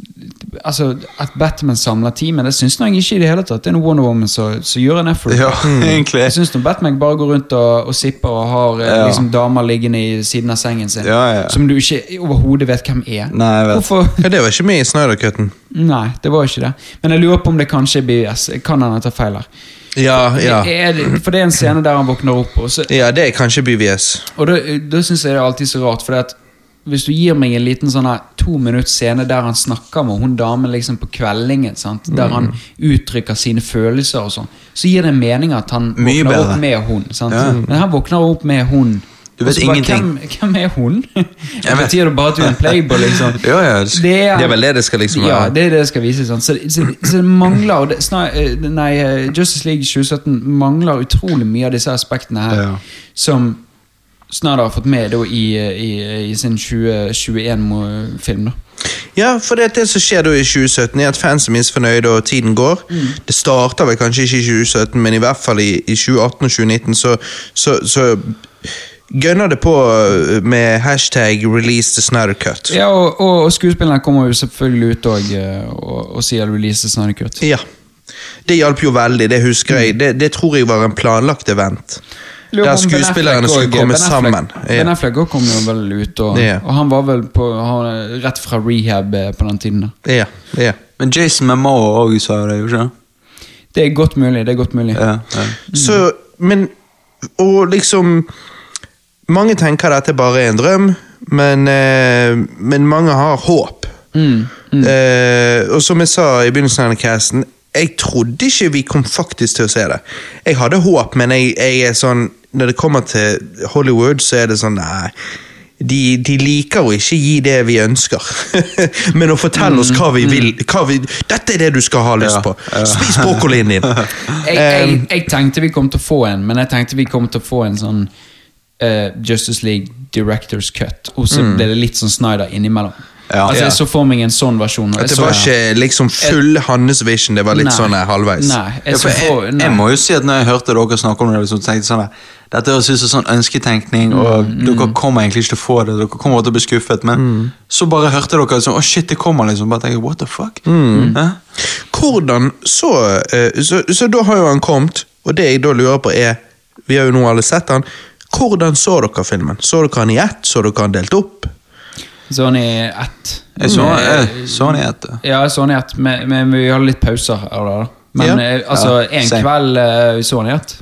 altså, At Batman samler teamet, det syns jeg ikke i det hele tatt. Det er noe Wonder Woman som som gjør en effort. Ja, egentlig. Jeg syns Batman bare går rundt og, og sipper og har eh, Ja. liksom damer liggende i siden av sengen sin Ja, ja. som du ikke overhodet vet hvem er. Nei, jeg vet. Hvorfor? Ja, det var ikke med i Snyder-cutten. Nei, det var ikke det. Men jeg lurer på om det kanskje er BVS. Kan han ta feil her? Ja, ja. Er det- For det er en scene der han våkner opp, og, så, Ja, det er kanskje BVS. og da, da syns jeg det er alltid så rart. For at hvis du gir meg en liten sånn her to minutts scene der han snakker med hun damen liksom på kveldingen, sant? der han Mm. uttrykker sine følelser og sånn, så gir det mening at han Mye våkner bedre. opp med hun. Sant? Ja. Men han våkner opp med hun. Du vet og så bare, ingenting. Hvem, hvem er hun? Jeg Det vet. betyr det bare at du er en playboy, liksom. Ja, ja. Det er vel det det skal liksom være. Ja, det er det det skal vise. Sant? Så, så, så det mangler og det, snar, eh, Nei, eh, Justice League 2017 mangler utrolig mye av disse aspektene her. Ja. Som Snyder har fått med da, i, eh, i, eh, i sin 2021-film. Ja, for det, det som skjer da i 2017 er at fans er misfornøyde og tiden går. Det starter vel kanskje ikke i 2017, men i hvert fall i, i 2018 og 2019 så, så, så gønner det på øh, med hashtag 'release the Snyder Cut'. Ja, og, og, og skuespillerne kommer jo selvfølgelig ut og, eh, og, og sier release Snyder Cut. Ja. Mm. Det hjalp jo veldig, det husker jeg. Det, det tror jeg var en planlagt event. Lurer på Der om Ben skuespillerne Affleck skulle og- komme Ben Affleck- sammen. Ben Ja. Affleck også kom jo vel ut, og, Ja. og han var vel på, han, rett fra rehab eh, på den tiden. da Ja, ja. Men Jason Momoa òg sa det, gjorde han ikke? Det er godt mulig. det er godt mulig det? Ja, ja. Så, men Og liksom Mange tenker dette bare er en drøm, men, eh, men mange har håp. Mm, Eh, og som jeg sa i begynnelsen av denne casten, jeg trodde ikke vi kom faktisk til å se det. Jeg hadde håp, men jeg, jeg er sånn Når det kommer til Hollywood, så er det sånn Nei. De, de liker å ikke gi det vi ønsker, men å fortelle oss hva vi Mm, vil. Hva vi, dette er det du skal ha lyst Ja, på! Spis Eh, brokkolien din! jeg, jeg, jeg tenkte vi kom til å få en, men jeg tenkte vi kom til å få en sånn eh, Justice League Directors Cut, og så ble det litt sånn Snyder innimellom. Ja. altså, Ja. jeg så for meg en sånn versjon. og jeg At det så- var ikke liksom full Hannes vision, det var litt sånn eh, halvveis. Nei, Ja, jeg, for så for, jeg, nei. jeg må jo si at når jeg hørte dere snakke om det, liksom, tenkte jeg sånn der, dette høres ut som sånn ønsketenkning, Mm, og dere kommer egentlig ikke til å få det, dere kommer til å bli skuffet, men så bare hørte dere sånn, å shit, det kommer liksom, bare tenker, what the fuck? Mm. Hæ? Hvordan så, eh, så Så da har jo han kommet, og det jeg da lurer på er Vi har jo nå alle sett han. Hvordan så dere filmen? Så dere han i ett? Så dere han delt opp? Sånn i ett. Mm. Jeg så, Med- jeg, så han i et, Ja, sånn i ett, men, men vi hadde litt pauser her og der. da. Men Ja. eh, altså, Ja, en same. kveld eh, sånn i ett.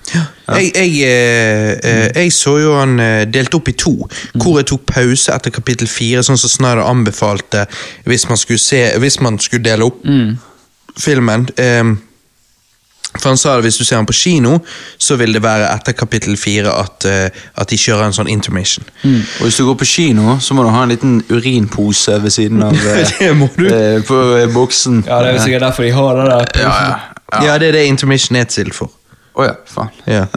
Jeg, jeg, eh, eh, jeg så jo han eh, delt opp i to, hvor jeg tok pause etter kapittel fire, sånn som Snyder anbefalte hvis man skulle, se, hvis man skulle dele opp filmen. Eh, For han sa at hvis du ser han på kino, så vil det være etter kapittel fire at, eh, at de kjører en sånn intermission. og hvis du går på kino, så må du ha en liten urinpose ved siden av eh, Det må du. eh, på eh, buksen. Ja, det er jo sikkert derfor de har det der. Ja, ja. Ja. det er det intermission er til for. Åja, faen. Ja.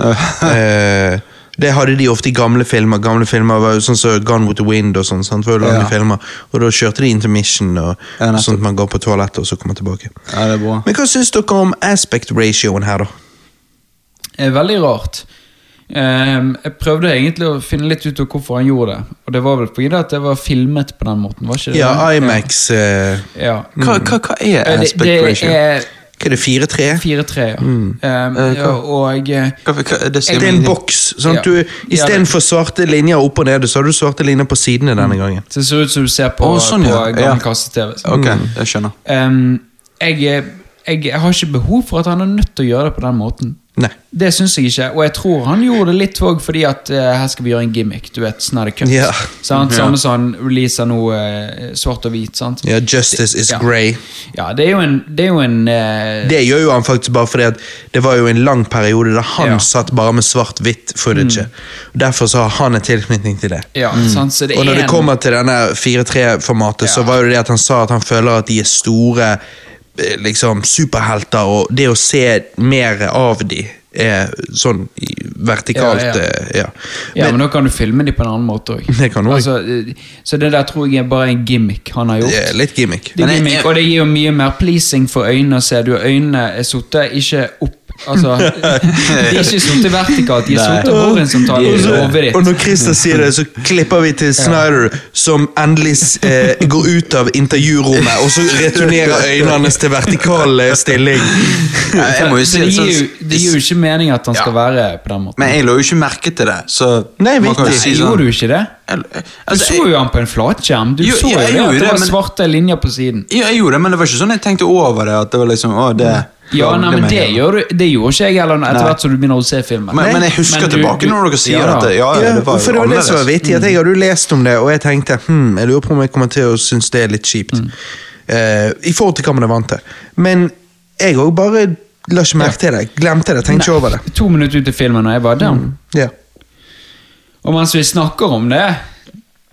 Eh, det hadde de ofte i gamle filmer. Gamle filmer var jo sånn som Gone with the Wind og sånn. sant? Det var jo lange Ja. filmer, og da kjørte de intermission, og, Ja, nettopp. sånn at man går på toalettet og så kommer tilbake. Ja, det er bra. Men hva syns dere om aspect ratioen her, da? er veldig rart. Ehm, jeg prøvde egentlig å finne litt ut av hvorfor han gjorde det. Og det var vel fordi at det var filmet på den måten, var ikke det? Ja, det? Imax eh, Mm. Ja. Hva, hva, hva er Eh, Det, aspect det ratio? er Hva er det, 4-3? 4-3, ja. Ehm, Eh, hva? ja, og eh, Hva, hva, det Det er sier meg en ingenting. boks. sånn at Ja. du, Ja, det- Istedenfor svarte linjer opp og ned, så har du svarte linjer på sidene denne gangen. det ser ut som du ser på, Å, sånn, på ja. gammel Ja. kasse-TV. Ok, jeg skjønner. Ehm, jeg, eh, jeg, jeg har ikke behov for at han er nødt til å gjøre det på den måten. Nei. Det syns jeg ikke, og jeg tror han gjorde det litt òg fordi at eh, her skal vi gjøre en gimmick. Du vet, sånn er det cut. Ja. Sant? Samme som han releaser nå eh, svart og hvit. sant? Ja, justice is Ja. grey. Ja, det er jo en, det er jo en eh, Det gjør jo han faktisk bare fordi at det var jo en lang periode der han Ja. Mm. satt bare med svart-hvitt footage. Derfor så har han en tilknytning til det. Ja, sant, så det Mm. Og når er det en- kommer til denne 4-3-formatet, så Ja. var jo det at han sa at han føler at de er store eh, liksom superhelter, og det å se mer av de er sånn i- vertikalt Ja, ja. eh, Ja, Ja, men, Men, da kan du filme dem på en annen måte òg. Det kan du også. altså, eh, så det der tror jeg er bare en gimmick han har gjort. det er litt gimmick. Det er gimmick, og det gir jo mye mer pleasing for øynene å se. Du, øynene er sittet ikke opp Altså, det er ikke sorte vertikalt, de er Nei. sorte horn som tar Og over så- hodet ditt. Og når Christer sier det, så klipper vi til Snyder, som endelig s- eh, går ut av intervjurommet, og så returnerer øynene hans til vertikal eh, stilling. Jeg, jeg må jo si det, det gir jo, sånn- det gir jo ikke mening at han skal være på den måten. Men jeg la jo ikke merke til det, så Nei, man kan jo viktig. si Gjorde sånn du ikke det? Jeg- Du altså, så jo han på en flatskjerm. Du Jo, så jo jeg det, gjorde at det det, var men- svarte linjer på siden. Ja, jeg gjorde det, men det var ikke sånn jeg tenkte over det. At det var liksom, å, det Ja, nei, men mener det, jeg. gjør du, det gjorde ikke jeg heller etter Nei. hvert som du begynner å se filmen. men, men jeg husker Men du- tilbake du- når dere sier ja, da. dette. Ja, ja, Ja, det var for jo det var det som var annerledes. vittig, at jeg hadde jo lest om det, og jeg tenkte hm, jeg lurer på om jeg kommer til å synes det er litt kjipt. Mm. Eh, I forhold til hva man er vant til. Men jeg òg bare la ikke merke til det. Glemte det, tenkte ikke over det. To minutter ut i filmen, og jeg var Mm. down. Ja. Og mens vi snakker om det,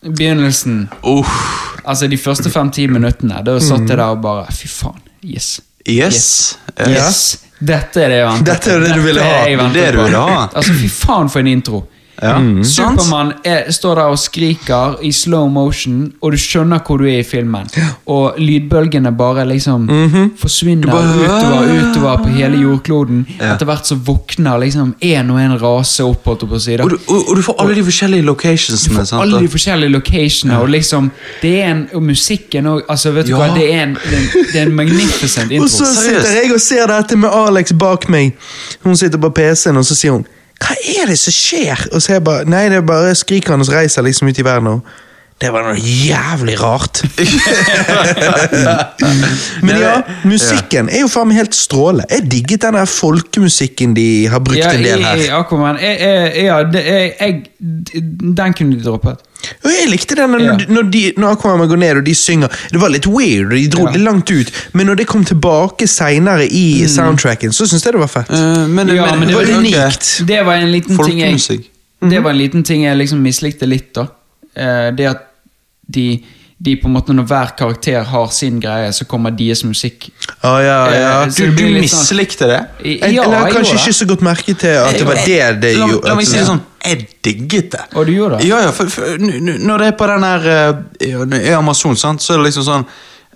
begynnelsen Uff, Altså de første fem-ti minuttene, da satt jeg der og bare Fy faen. Yes. yes. Yes. Eh, Dette er det jeg ventet Dette er det du ville Dette er ha. jeg ventet Det du på. ville ha. Altså, fy faen for en intro. Ja. Sant? Supermann er- står der og skriker i slow motion, og du skjønner hvor du er i filmen. Og lydbølgene bare liksom forsvinner Mhm. bare- utover utover på hele jordkloden. Etter hvert så våkner liksom én og én rase opp. holdt jeg på å si, da. Og du, og, og du får alle de forskjellige locationsene. sant? Alle de forskjellige locationer og liksom Det er en, og musikken og altså, vet du Ja. hva, det er en, det er en, det er en Og magnificent intro. så sitter Seriøst? jeg og ser dette med Alex bak meg. Hun sitter på PC-en, og så sier hun Hva er det som skjer? Og så er jeg bare Nei, det er bare skriker hans reiser liksom ut i verden. Og det var noe jævlig rart. Men ja, musikken er jo faen meg helt stråle. Jeg digget den der folkemusikken de har brukt Ja, en i- del i her. Aquaman. Jeg- jeg- Ja, det- jeg, jeg, den kunne de droppet. Og jeg likte den når, Ja. når, de, når Aquaman går ned og de synger. Det var litt weird, og de dro Ja. det langt ut. Men når det kom tilbake seinere i soundtracken, så syntes jeg det var fett. Eh, men, Ja, men det var ok. unikt. Det var en liten ting jeg Folkemusikk. Mhm. Det var en liten ting jeg liksom mislikte litt, da. Eh, Det at de, de på en måte Når hver karakter har sin greie, så kommer deres musikk. Å, ja, ja. Eh, så Du, det du blir litt sånn- mislikte det? I- Jeg, Ja, jeg la jeg kanskje gjorde ikke det. så godt merke til at det var det det La, gjorde. la meg si det at- sånn, jeg digget det. Og du gjorde det? Ja, ja, for, for, n- n- når det er på den her eh, ja, I Amazon, sant, så er det liksom sånn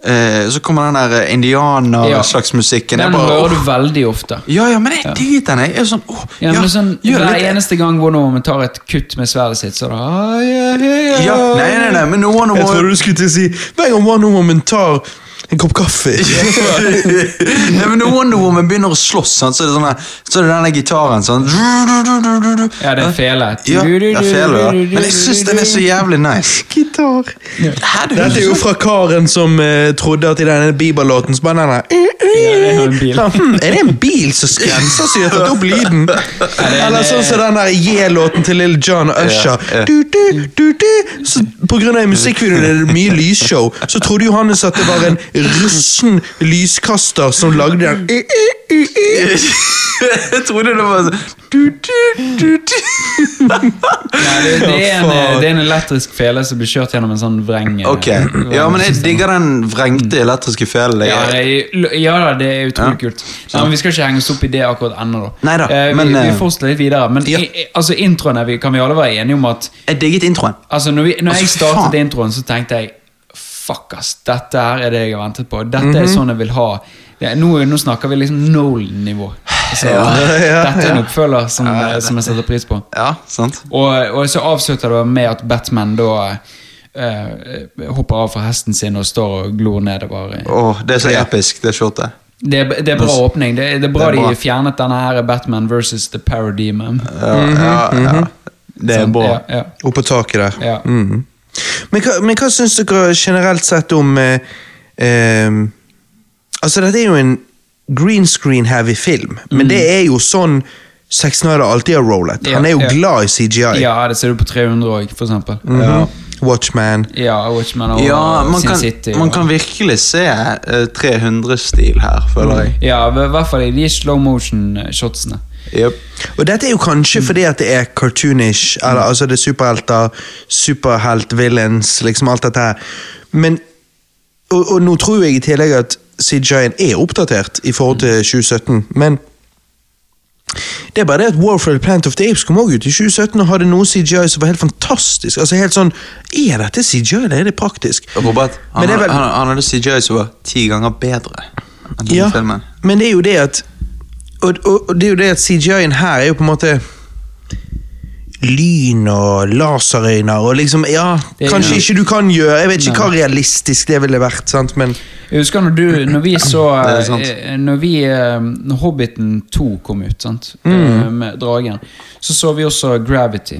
eh, Så kommer den der eh, Ja. indianer-slags musikken. Den jeg bare, hører du åh. veldig ofte. Ja, ja, men jeg digget den. Jeg er sånn åh, Ja, men sånn, gjør Hver litt- eneste gang Wonder Woman tar et kutt med sverdet sitt, så er det «Ah, ja, ja, ja, ja». Nei, nei, nei, men noen Jeg sånn, må trodde du skulle til å si hver gang One Woman tar en kopp kaffe. Nei, men når Wonder Woman begynner å slåss, sant, så er det sånn her- Så er det denne gitaren sånn Ja, det er fele. Ja, det er fele, da. Men jeg syns den er så jævlig nice. Gitar. Hæ, du- Dette er jo fra karen som eh, trodde at i denne Bieber-låten så bare den der, det er jo en bil. eh." Ja, hm, Er det en bil som skrenser som har tatt opp lyden? Eller sånn som den der J-låten til Lille John og Usher. Ja, ja. Du, du, du, du. Så på grunn av i musikkvideoen er det mye lysshow, så trodde Johannes at det var en russen lyskaster som lagde den. Jeg trodde det var sånn du, du, du, du. Nei, det, det, er en, faen. det er en elektrisk fele som blir kjørt gjennom en sånn vreng. eh, Ok, ja, men jeg digger den vrengte elektriske felen. Ja, jeg- det er- ja da, det er utrolig Ja. kult. Nei, men Vi skal ikke henge oss opp i det akkurat ennå. da. Neida, eh, vi, men, eh, vi fortsetter litt videre. Men ja. i, i- altså, introen er vi, kan vi alle være enige om at Jeg digget introen. altså, Når, vi, når jeg Altså, startet faen. introen, så tenkte jeg Fuck, ass. Dette her er det jeg har ventet på. Dette er Mhm. sånn jeg vil ha. Det, er- nå, nå snakker vi liksom Nolan-nivå. Altså, Dette er en oppfølger som, eh, som jeg setter pris på. Ja, sant? Og, og så avslutter det med at Batman da eh, hopper av fra hesten sin og står og glor nedover. Åh, det er så episk, det shotet. Det er, det er bra åpning. Det, er- det er bra Det er bra. de fjernet denne her Batman versus The Parademon. Ja, ja, ja. Det er bra. Mhm, Ja, ja, Opp på taket der. ja. Mhm. Men hva, men hva syns dere generelt sett om eh, eh, Altså, dette er jo en green screen-heavy film, men det er jo sånn Zack Snyder alltid har rollet. Ja, Han er jo ja. glad i CGI. ja, det ser du på 300 òg, for eksempel. Watchman. Ja, Watchmen og Ja, man Sin kan, City. man og- kan virkelig se 300-stil her, føler jeg. Ja, i hvert fall i de slow eh, motion-shotsene. Jep. Og dette er jo kanskje fordi at det er cartoonish, eller altså det er superhelter, superhelt-villains, liksom alt dette her. Men og, og nå tror jeg i tillegg at CGI-en er oppdatert i forhold til 2017, men det er bare det at War for the Planet of the Apes kom også ut i 2017 og hadde noe CGI som var helt fantastisk. Altså helt sånn, Er dette CGI, eller er det praktisk? Robert, han, Men det er vel- han, han hadde CJ som var ti ganger bedre enn den Ja, filmen. men det er jo det at og, og, og det er jo det at CGI-en her er jo på en måte Lyn og laserøyner og liksom Ja, Det er- kanskje ikke du kan gjøre Jeg vet ikke Nei. hva realistisk det ville vært, sant, men Jeg husker når, du, når vi så Det er sant. eh, Når vi eh, Når Hobbiten 2 kom ut, sant? Mhm. Eh, Med dragen, så så vi også Gravity.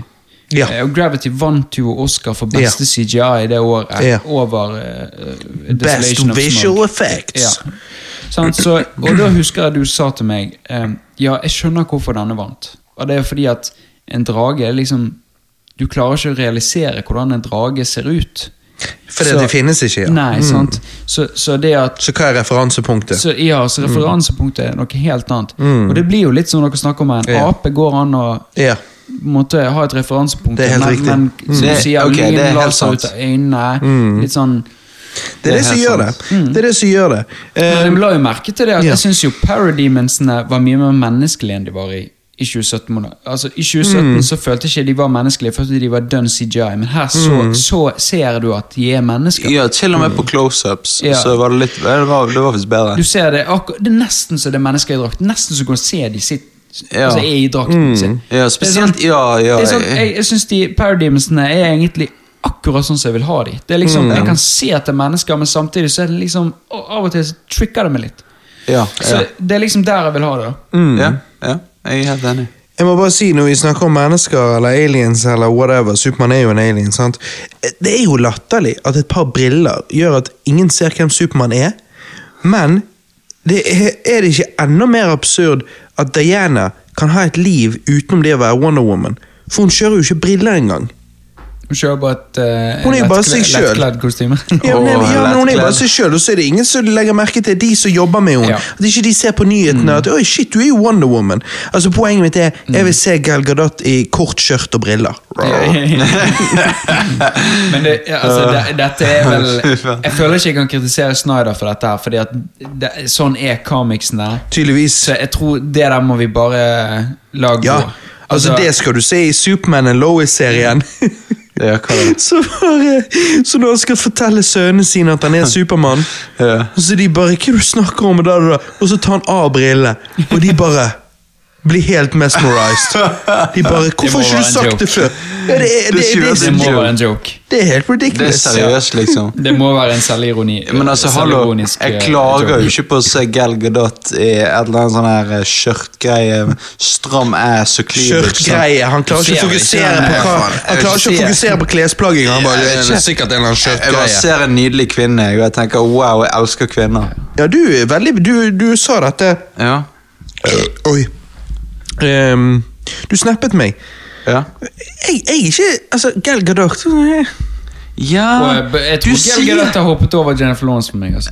Ja. Eh, Og Gravity vant jo Oscar for beste CGI det året Ja. over eh, eh, Best Desolation of visual Smog. effects. Ja. Sant, så, og da husker jeg du sa til meg eh, Ja, jeg skjønner hvorfor denne vant. Og det er fordi at en drage er liksom Du klarer ikke å realisere hvordan en drage ser ut. Fordi Så- det finnes ikke, ja. Mm. Nei, sant? Så, så det at Så hva er referansepunktet? så, ja, Mm. så referansepunktet er noe helt annet. Og det blir jo litt som dere snakker om her. En Ja. ape går an å Ja. måtte ha et referansepunkt. Det er helt men, riktig. Mm. men som du Det- sier, ok, det er helt lynlaser sant. ut av øynene. Litt sånn Det er det som helt gjør det. sant. Det er det som gjør det. Eh, Men jeg la jo merke til det at ja. jeg syns jo parademonsene var mye mer menneskelige enn de var i. I 2017 måned. altså i 2017 Mm. så følte jeg ikke de var menneskelige, jeg følte de var done CGI. Men her så, Mm. så ser du at de er mennesker. Ja, til og med på close-ups Ja. så var det litt Det var, det var faktisk bedre. Du ser Det akkur- det er nesten så det er mennesker i drakt. Nesten så du kan se de sitt, Ja. Mm. altså er i drakten sin. Ja, spesielt Ja, ja. Det er sånn, jeg jeg syns de parademonsene er egentlig akkurat sånn som jeg vil ha de. Det er liksom, Mm. Jeg kan se at det er mennesker, men samtidig så er det liksom og Av og til så tricker det meg litt. ja, Så ja. Det er liksom der jeg vil ha det. da ja, ja. Jeg er helt enig. Jeg må bare si, når vi snakker om mennesker eller aliens eller whatever, Supermann er jo en alien, sant? Det er jo latterlig at et par briller gjør at ingen ser hvem Supermann er, men det er, er det ikke enda mer absurd at Diana kan ha et liv utenom det å være Wonder Woman? For hun kjører jo ikke briller engang. Hun kjører bare et eh, Hun er jo bare seg lettkle- selv. lettkledd kostyme. Ja, men, Åh, ja, men hun er lettkledd. bare seg sjøl, og så er det ingen som legger merke til de som jobber med henne. Ja. At ikke de ser på nyhetene at 'oi, shit, du er jo Wonder Woman'. Altså Poenget mitt er jeg vil se Gal Gadot i kort skjørt og briller. men det, ja, altså, det, dette er vel Fy faen. Jeg føler ikke jeg kan kritisere Snyder for dette, her Fordi at det, sånn er comicsen der. Tydeligvis. Så jeg tror det der må vi bare eh, la gå. Ja. Altså, det skal du se i Superman and Lois-serien. Ja, hva er det? Så bare Så når han skal fortelle sønnene sine at han er Supermann, Ja. og så de bare 'Hva er det du snakker om?' Og, da, da, da? og så tar han av brillene, og de bare blir helt mesmerized. De bare 'Hvorfor har ikke være du en sagt joke. det før?' Ja, det, er- det, er- det, det må er- være en joke. det er helt Det er ridiculous. seriøst, liksom. Det må være en selvironi. Men altså, hallo, selvironisk, jeg eh, klager jo joke. ikke på å se Gal Gadot i et eller annet sånn her eh, skjørtgreie. med Stram ass og sånn. cleavage. sant? Skjørtgreie. Han klarer ikke å Ser vi fokusere ikke? på hva Nei, faen, jeg Han klarer ikke å vil ikke se. fokusere på klesplagging. Han bare, Jeg vet det er ikke. sikkert en eller annen Jeg bare skjørtgreie. ser en nydelig kvinne jeg, og jeg tenker wow, jeg elsker kvinner. Ja, du, er veldig, du, du sa dette Eh, Ja, Oi. Ehm, du snappet meg. ja. Jeg, jeg er ikke Altså, Gal Gadot eh, Ja, Og jeg- Jeg tror du Gal sier Gadot har hoppet over Jennifer Lawrence for meg. Altså.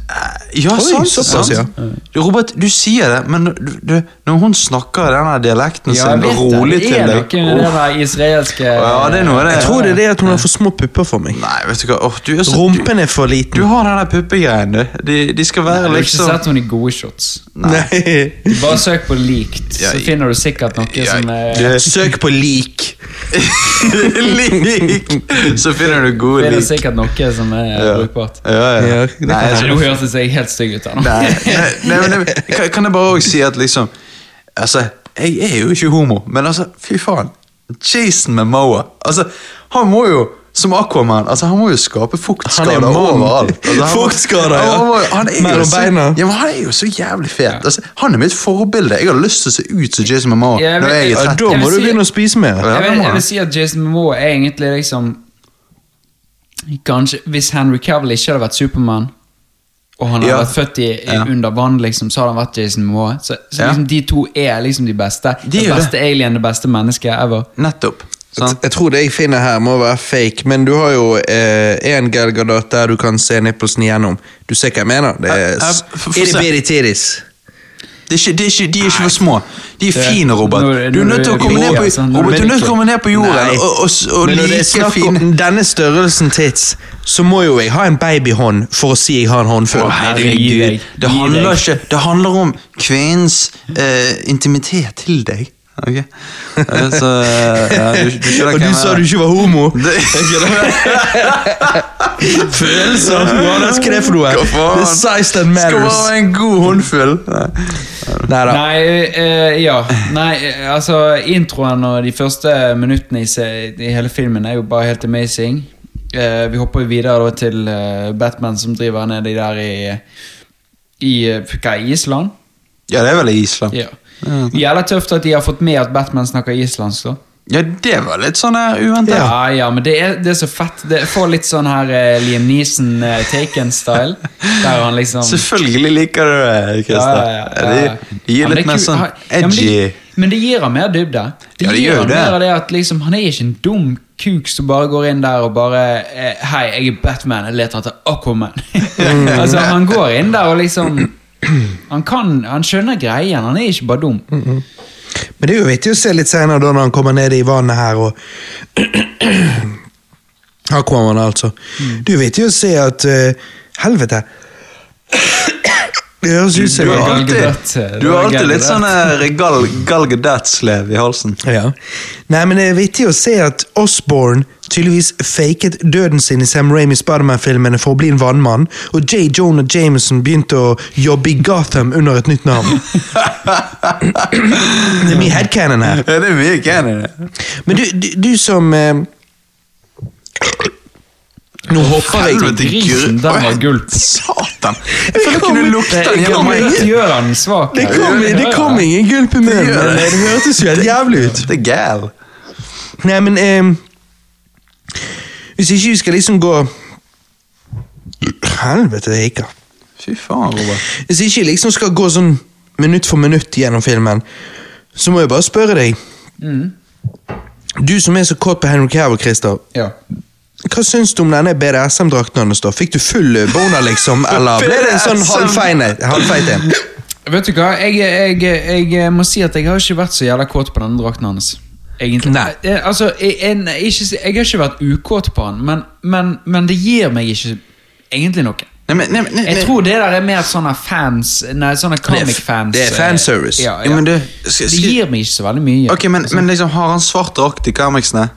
Ja, Oi, sant, såpass, sant. Du, Robert, du sier det, men du, du, når hun snakker den der dialekten Ja, jeg sin vet det. Altså, rolig det til er deg noe med det der israelske Ja, det er noe av det. Jeg tror det er det at hun har for små pupper for meg. Nei, vet du hva, åh, du, er så- du, Rumpen er for du liten. har den der puppegreien, du. De, de skal Jeg være har ikke liksom sett henne i gode shots. Nei. Bare søk på 'likt', Ja, så jeg- finner du sikkert noe Ja, som er eh, det- Søk på lik. Lik! Så finner du gode Finner lik. sikkert noe som er brukbart. Ja, Ja, ja. det kan Nei, Nei, jeg- Nå hørtes jeg helt stygg ut. her nå. Nei, nei, nei, men jeg- kan, kan jeg bare også si at liksom Altså, jeg er jo ikke homo, men altså, fy faen. Jason Momoa. Altså, han må jo som Aquaman, altså han må jo skape fuktskader Han er mann. overalt. Altså, han må- Fuktskader, ja. han må- han er jo Mellom så- beina. Ja, men han er jo så jævlig fet. Altså, han er mitt forbilde. Jeg har lyst til å se ut som Jason Momoa Ja, jeg når vet- jeg er Ja, 30. da må du begynne å spise mer. Ja, Jeg det vil, må jeg han. vil si at Jason Momoa er egentlig liksom Kanskje Hvis Henry Cavill ikke hadde vært Supermann, og han hadde Ja. vært født i, i Ja. under vann, liksom, så hadde han vært Jason Momoa. Så, så Ja. liksom, de to er liksom de beste. De det er det. beste alien, det beste mennesket ever. Nettopp. Sant? Jeg tror det jeg finner her, må være fake, men du har jo én eh, Gal Gadot der du kan se nipplesen igjennom. Du ser hva jeg mener? Det Eh, er eh, s- få- få itty se. bitty titties. Det er ikke, det er ikke, de er ikke for små. De er Det- fine, Robert. Du når- er når nødt til å du- komme ned på, altså, når du Robert, du er nødt til drikker. å komme ned på jorden Nei. og, og, og Men når det er like snakk om fine denne størrelsen tits, så må jo jeg ha en babyhånd for å si jeg har en håndfull. Å, Gi herregud. deg. Det Gi handler, deg. ikke, det handler om kvinnens eh, intimitet til deg. Ok. Eh, Så ja, du, du skjønner Og hvem du jeg sa er. du ikke var homo! Det- Følelser! Hva er det for noe? Hva faen? The size that Skal matters. være en god håndfull. Nei. Neida. Nei, eh, ja. Nei, eh, altså Introen og de første minuttene i, se- i hele filmen er jo bare helt amazing. Eh, vi hopper jo videre da til eh, Batman som driver nedi der i, i eh, Hva er Island? Ja, det er vel i Island. Ja. Jævla tøft at de har fått med at Batman snakker islandsk, da. Ja, det var litt sånn her uventet. Ja, ja, men det er, det er så fett. Det får litt sånn her eh, Liam Neeson-taken-style. der han liksom Selvfølgelig liker du det, Christer. Ja, ja, ja, ja. De, Ja, de gir men det litt er mer ku- sånn ha- ja, men det- edgy Men det gir han mer dybde. Ja, det gjør han det. mer av det at liksom, Han er ikke en dum kuk som bare går inn der og bare eh, Hei, jeg er Batman, jeg leter etter Aquaman. Mm. altså, han går inn der og liksom Han kan, han skjønner greien. Han er ikke bare dum. Mm. Men det er jo vittig å se litt senere da når han kommer ned i vannet her og Her kommer han altså. Det er jo vittig å se at eh, Helvete! Det høres ut som Du jeg har Gal alltid, Gadot. du har alltid litt Gal sånn her Gal, Gal Gadot-slev i halsen. ja. Nei, men det er vittig å se at Osborne tydeligvis faket døden sin i Sam Raimi Spiderman-filmene for å bli en vannmann, og J. Jonah Jameson begynte å jobbe i Gotham under et nytt navn. det er mye headcanon her. Ja, det er mye gøy i det. Men du, du, du som eh, Nå hopper jeg. Helvete, grisen, gud. den var gulp. Satan! Jeg føler jeg kunne lukte den Det gjennom gjør meg. meg- gjør han svak. Det kom, det kom ingen gulp i munnen, gjør men det. det hørtes jo helt jævlig ut. Det er gal. Nei, men eh, Hvis ikke du skal liksom gå Helvete, det hikker. Fy faen, Robert. Hvis ikke jeg liksom skal gå sånn minutt for minutt gjennom filmen, så må jeg bare spørre deg. Du som er så kåt på Henry Cavill, Christer. Ja. Hva syns du om denne BDSM-drakten hans? da? Fikk du full boner, liksom? Eller ble det en sånn BDSM? halvfeine- halvfeit en? Vet du hva, jeg, jeg, jeg, må si at jeg har ikke vært så jævla kåt på denne drakten hans. Egentlig. Nei. Eh, Altså, jeg, en, ikke, si- jeg har ikke vært ukåt på han, men, men, men det gir meg ikke egentlig noe. Nei, men, nei, men- nei, Jeg nei. tror det der er mer sånne fans Nei, sånne comic-fans. det er eh, fanservice. Ja, ja. Ja, men du, det skal, skal, gir meg ikke så veldig mye. Ok, men, men liksom, har han svart drakt i comicsene?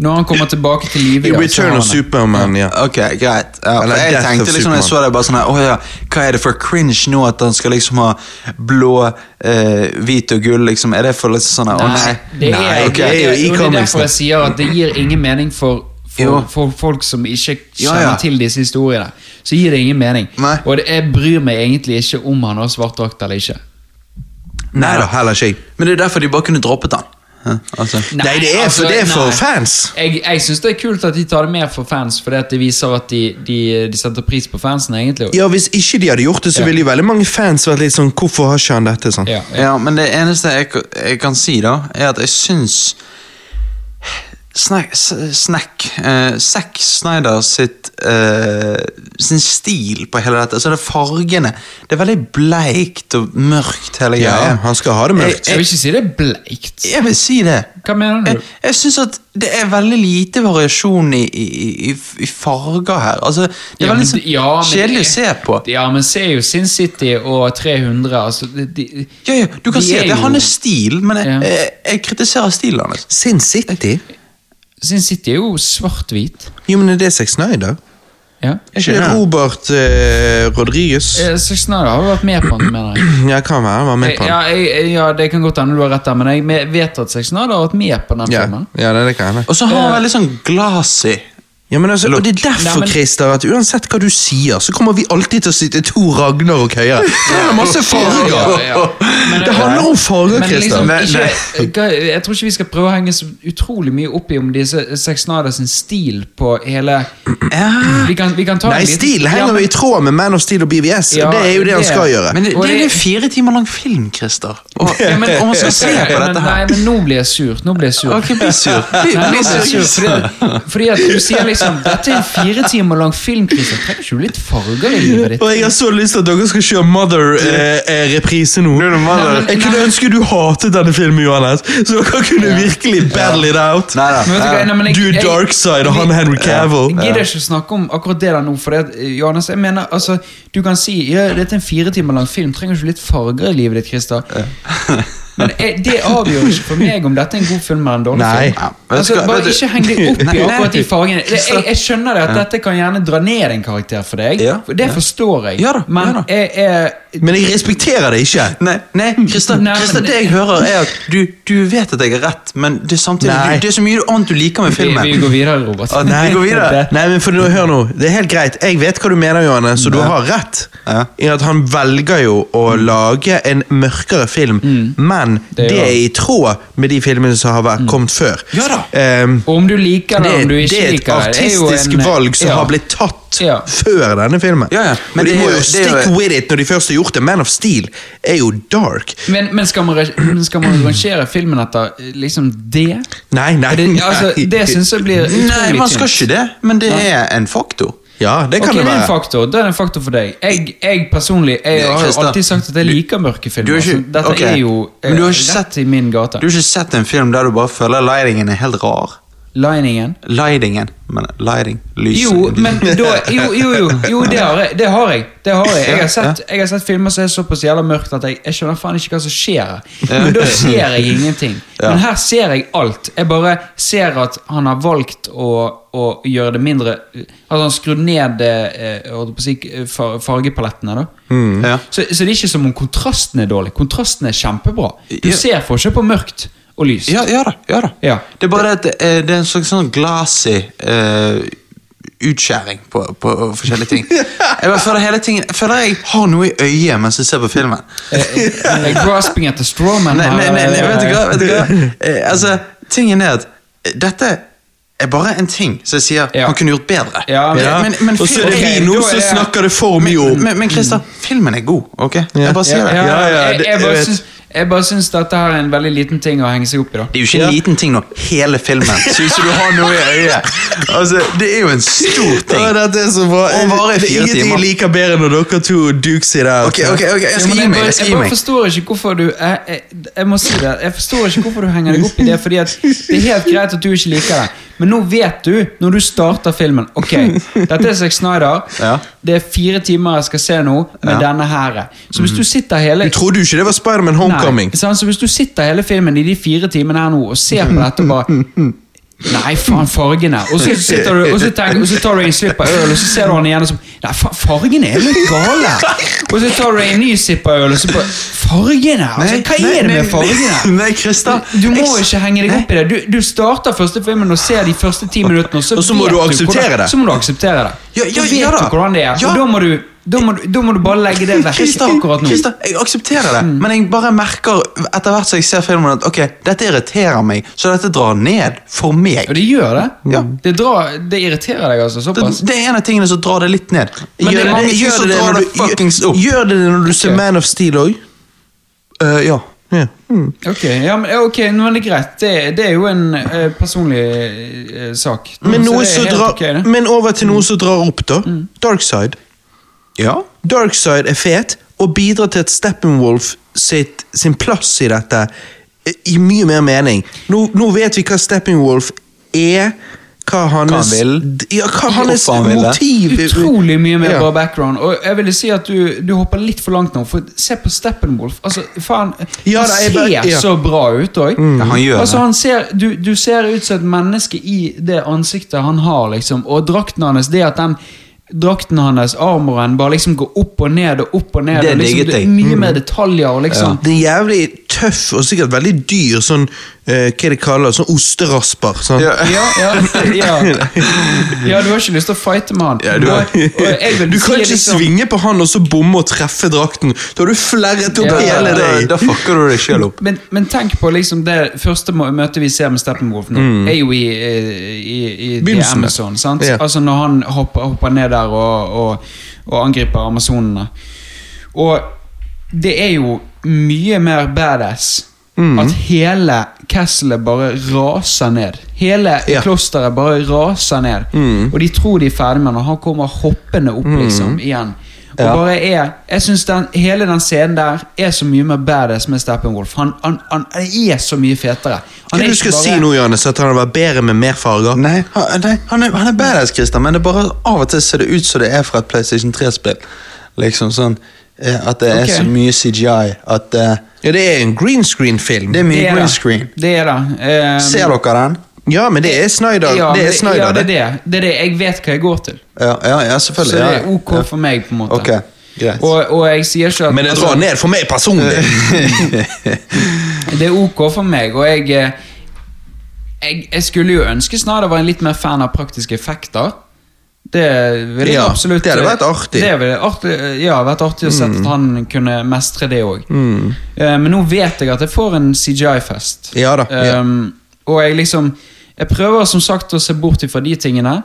Når han kommer tilbake til live I ja, så har Return han of det. Superman, ja. Ok, greit. Ja, for Eller jeg Death of tenkte liksom, når jeg så det bare sånn her, åh ja, hva er det for cringe nå at han skal liksom ha blå, eh, hvit og gull, liksom, er det for litt sånn her, åh nei. det er, Nei, det, det er jo i det er derfor comicsene. jeg sier at det gir ingen mening for, Jo. for, for folk som ikke Ja, kjenner ja. til disse historiene. Så gir det ingen mening. Nei. Og det, jeg bryr meg egentlig ikke om han har svart drakt eller ikke. Nei da, heller ikke jeg. Men det er derfor de bare kunne droppet den. Ja, altså. Nei, det er for, altså, det er for nei. fans. Jeg, jeg syns det er kult at de tar det med for fans, fordi at det viser at de, de, de setter pris på fansen, egentlig. Ja, Hvis ikke de hadde gjort det, så Ja. ville jo veldig mange fans vært litt sånn Hvorfor har ikke han dette? sånn? Ja, ja. Ja, men det eneste jeg, jeg kan si da, er at jeg syns Snack, s- snack eh, Zack Snyder sitt eh, sin stil på hele dette. Så det er fargene. Det er veldig bleikt og mørkt hele Ja, greia. han skal ha det mørkt. Jeg vil ikke si det er bleikt. Jeg vil si det. Hva mener Jeg, du? jeg syns at det er veldig lite variasjon i, i, i, i farger her. Altså, det er Ja, men veldig det- sånn ja, men kjedelig det- å se på. Ja, men se jo Sin City og 300, altså de, de, Ja, ja, du kan de si er at det er jo- hans stil, men jeg, Ja. jeg, jeg kritiserer stilen hans. Sin City? Sin City er jo svart-hvit. Jo, men er det Zack Snyder? Ja. Er ikke det Robert eh, Rodriguez? Eh, Zack Snyder har jo vært med på den, mener jeg. Ja, kan være. Han var med Eh, på den. Ja, jeg, jeg- ja det kan godt hende du har rett der, men jeg me- vet at Zack Snyder har vært med på den Ja, filmen. ja det, det kan hende. Og så har han veldig sånn glassy Ja, men altså, og det er derfor, Nei, men- Christer, at uansett hva du sier, så kommer vi alltid til å sitte to Ragnarok høyere. Det er masse farger! Ja, ja. Men- Det handler om farger, Men Christer. liksom, Nei, ikke, hva- jeg tror ikke vi skal prøve å henge så utrolig mye opp i om disse Zack Snyder sin stil på hele Vi kan, vi kan ta Nei, en liten- stil Ja, henger men- jo i tråd med Man of Steel og BVS. Ja, det er jo det han det- skal gjøre. Men det, Og det er det- jo en fire timer lang film, Christer. Og, ja, men, og man skal se på Men dette her. Nei, men nå blir jeg sur. Nå blir jeg sur. Ok, bli sur. Bli, Nei, nå bli blir jeg sur, sur. fordi, fordi at du sier liksom Dette er en fire timer lang film, Christian. Trenger ikke du litt farger i livet ditt? Og jeg har så lyst til at dere skal kjøre Mother-reprise nå. Nei, men- Jeg kunne nei. ønske du hatet denne filmen, Johannes, så dere kunne virkelig battle it out. Nei da. Men vet du hva, nei, men jeg- Du er jeg- Darkseid, og han er Henry Cavill. Jeg gidder ikke å snakke om akkurat det der nå. Fordi at, eh, Johannes, jeg mener, altså Du kan si ja, dette er en fire timer lang film. Trenger ikke du litt farger i livet ditt, Christer? Men eh, det avgjør ikke for meg om dette er en god film eller en dårlig Nei. film. Ja, men Altså, skal- bare vet du- ikke heng deg opp i Nei, nei. akkurat de fargene. Jeg, jeg, jeg skjønner det at dette kan gjerne dra ned en karakter for deg. Ja. For det forstår jeg. Ja da, Men ja da. jeg, jeg Men jeg respekterer det ikke. Hmm. Nei, nei Christer, Nei, men Christer, det- det jeg hører, er at du, du vet at jeg har rett, men det er samtidig Nei. du, Det er så mye annet du liker med vi, filmen. vi går videre, Robert. Ah, nei, gå videre. Nei, men for nå, Hør nå. Det er helt greit. Jeg vet hva du mener, Johanne, så du Ja. har rett. Ja. I at han velger jo å Hmm. lage en mørkere film, men Det det gjør er han. i tråd med de filmene som har vært, kommet før. Hmm. Ja da. Ehm, Og om du liker det, det, eller om du det ikke er et liker det, det er jo artistisk en- eh, valg som ja. har blitt tatt Ja. før denne filmen. Ja, ja, og men de det må er jo- jo det er stick jo- with it når de først har gjort det. Man of Steel er jo dark. Men, men, skal man, re- men skal man rangere filmen etter eh, liksom det? Nei, nei, Er det, nei. altså, det syns jeg blir utrolig Nei, man skal ikke det, men det er en faktor. Ja, det kan Ok, det er en være. faktor. Da er det en faktor for deg. Jeg, jeg personlig jeg, Ja, har Christer. alltid sagt at jeg liker mørke du filmer. har ikke- så dette ok. er jo eh, Men du har rett ikke sett- i min gate. Du har ikke sett en film der du bare føler lighting'en er helt rar. Liningen. Lighting'en, men lighting, lys Jo, men da Jo, jo, jo, jo det, har jeg, det har jeg. Det har jeg. Jeg, har sett, jeg har sett filmer som er såpass jævla mørkt at jeg, jeg skjønner faen ikke hva som skjer. her. Men da ser jeg ingenting. Men her ser jeg alt. Jeg bare ser at han har valgt å, å gjøre det mindre At han skrur ned eh, jeg holdt på å si, far- fargepalettene, da. Mm. ja. Så, så det er ikke som om kontrasten er dårlig. Kontrasten er kjempebra. Du Ja. ser forskjell på mørkt og lyst. Ja, ja da. ja da Ja. Det er bare det at eh, det er en slags sånn glassy eh, utskjæring på, på forskjellige ting. Jeg bare føler hele tingen Jeg føler jeg har noe i øyet mens jeg ser på filmen. Eh, Grasping at the straw man Nei, her, nei, nei, nei eh, vet du hva? Vet du hva? Eh, altså, tingen er at eh, dette er bare en ting som jeg sier Ja. han kunne gjort bedre. Eh, Ja, men- Ja. og så er det Ok, vi da nå er som det- snakker det for mye men, om. Mm. men, men Christer, filmen er god, ok? Jeg bare sier Ja, det. ja, Ja, ja, jeg, det- jeg, jeg bare vet. syns, jeg bare syns dette her er en veldig liten ting å henge seg opp i. da Det er jo ikke en Ja. liten ting nå. Hele filmen syns du har noe i øyet. Altså, Det er jo en stor Å, ting. dette er så bra. Og varer i Det er fire ingenting timer. jeg liker bedre når dere to dukes i det. altså. Ok, ok, ok, Jeg Ja, men skal gi jeg, meg. bare, jeg skal jeg gi bare meg forstår ikke hvorfor du jeg, jeg, jeg må si det, jeg forstår ikke hvorfor du henger deg opp i det. Fordi at Det er helt greit at du ikke liker det, men nå vet du, når du starter filmen Ok, dette er Zack Snyder. Ja. Det er fire timer jeg skal se nå med Ja. Mhm. denne her. Så hvis du sitter hele Du trodde jo ikke det var Spiderman Homecoming. Nei, sant? Så altså, hvis du sitter hele filmen i de fire timene her nå og ser på dette og bare Nei, faen, fargene. Og så, sitter du, og så, tenker, og så tar du en slipp av øl, og så ser du han igjen og så Nei, faen, fargene er litt gale. Og så tar du en ny sipp av øl, og så bare Fargene! Altså, hva Nei, er det nei, med fargene? Nei, Christer. Du må ikke henge deg opp i det. Du, du starter første filmen og ser de første ti minuttene, og så, Og så må vet du hvordan, akseptere det. Så må du akseptere det. Ja, ja, da vet ja da. du hvordan det er, Ja. og da må du, da må, du- da må du bare legge det vekk Christer, akkurat nå. Christer, jeg aksepterer det, Hmm. men jeg bare merker etter hvert som jeg ser filmen at ok, dette irriterer meg, så dette drar ned for meg. Og det gjør det. Ja. Det, drar, det irriterer deg altså Det, såpass. det er en av tingene som drar det litt ned. Men Gjør det er mange det- ting gjør som det det drar når det du- fuckings opp. Gjør det det når du ser Ok. Man of Steel òg? Eh, ja. Hmm. Ok, ja, men, ja, ok, nå er det greit. Det, det er jo en eh, personlig eh, sak. Mm. Men, Så noe det er som helt drar- ok, det. Mm. men over til noe som drar opp, da. Darkside. ja. Darkside er fet og bidrar til at Steppenwolf sitt, sin plass i dette eh, i mye mer mening. Nå, nå vet vi hva Steppenwolf er. Hva hans, vil. Ja, hva hans Hvorfor han vil det. motiv Utrolig mye mer Ja. bra background. Og jeg ville si at du, du hopper litt for langt nå. For se på Steppenwolf. Altså, faen, Ja, han da, ser jeg bare- ja. så bra ut òg. Ja, han gjør altså, det. han ser, du, du ser ut som et menneske i det ansiktet han har, liksom. Og drakten hans, det at den Drakten hans, armoren, bare liksom går opp og ned og opp og ned. Det og liksom, digget jeg. Mye mer detaljer. og liksom Det er jævlig tøff og sikkert veldig dyr sånn eh, Hva de kaller det? Sånn osterasper. Sånn. Ja. ja, ja, ja. ja, du har ikke lyst til å fighte med han. Ja, du har- Og- og jeg vil Du kan si ikke liksom- svinge på han og så bomme og treffe drakten. Da har du flerret opp Ja. hele Da, deg. da fucker du deg sjøl opp. Men, men tenk på liksom det første må- møtet vi ser med Steppenwolf nå, er jo i, eh, i, i, i Begynnelsen. Amazon. sant? Ja. Altså Når han hopper, hopper ned der og, og, og angriper amazonene. Og det er jo mye mer badass Mm. at hele Castle bare raser ned. Hele Ja. Mm. klosteret bare raser ned. Og de tror de er ferdig med det, og han kommer hoppende opp liksom igjen. Og bare er, jeg synes den, Hele den scenen der er så mye mer badass med Steppenwolf. Han, han, han er så mye fetere. Hva Han er det du skal si nå, Johannes? At han var bedre med mer farger? Nei, han, nei han, er, han er badass, Christer, men det er bare av og til ser det ut som det er fra et PlayStation 3-spill. Liksom sånn eh, At det er Ok. så mye CGI. At eh, Ja, det er en green screen-film. det er mye Det er green det. screen. Det er det. Eh, Ser dere den? Ja, men det er Snyder. ja, det er men- Snyder, ja, det er det. det. Det er det. Jeg vet hva jeg går til. Ja, ja, ja Så selvfølgelig. det ja. er ok Ja. for meg, på en måte. Ok, greit. Og, og jeg sier ikke at Men det altså, drar ned for meg personlig. Det er ok for meg, og jeg eh, Jeg, jeg skulle jo ønske Snyder var en litt mer fan av praktiske effekter. Det ville jeg Ja, absolutt eh, det hadde vært artig. Mm. Det ville artig, eh, ja, vært artig å se at han kunne mestre det òg. Men nå vet jeg at jeg får en CGI-fest. Ja da, ja. Um, og jeg liksom Jeg prøver som sagt å se bort ifra de tingene,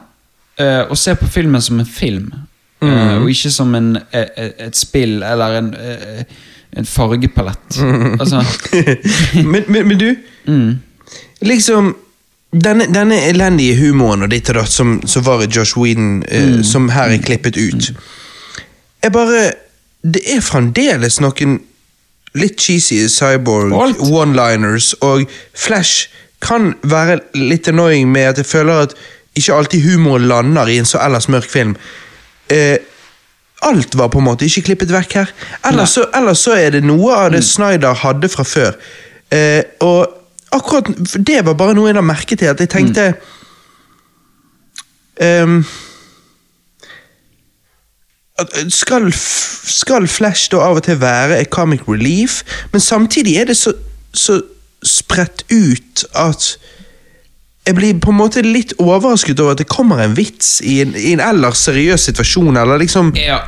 eh, og se på filmen som en film. eh, Mm. og ikke som en, eh, eh, et spill eller en, eh, en fargepalett. Altså men, men, men du, liksom denne, denne elendige humoren og ditt og datt som, som var i Josh Whedon, eh, som her er klippet ut Jeg bare Det er fremdeles noen litt cheesy Alt. cyborg one-liners, og Flash kan være litt annoying med at jeg føler at ikke alltid humor lander i en så ellers mørk film. Eh, alt var på en måte ikke klippet vekk her. Ellers så, ellers så er det noe av det Snyder hadde fra før. Eh, og akkurat det var bare noe jeg la merke til, at jeg tenkte ehm, at- skal, f- skal Flash da av og til være et comic relief, men samtidig er det så, så spredt ut at jeg blir på en måte litt overrasket over at det kommer en vits i en, i en ellers seriøs situasjon, eller liksom Ja.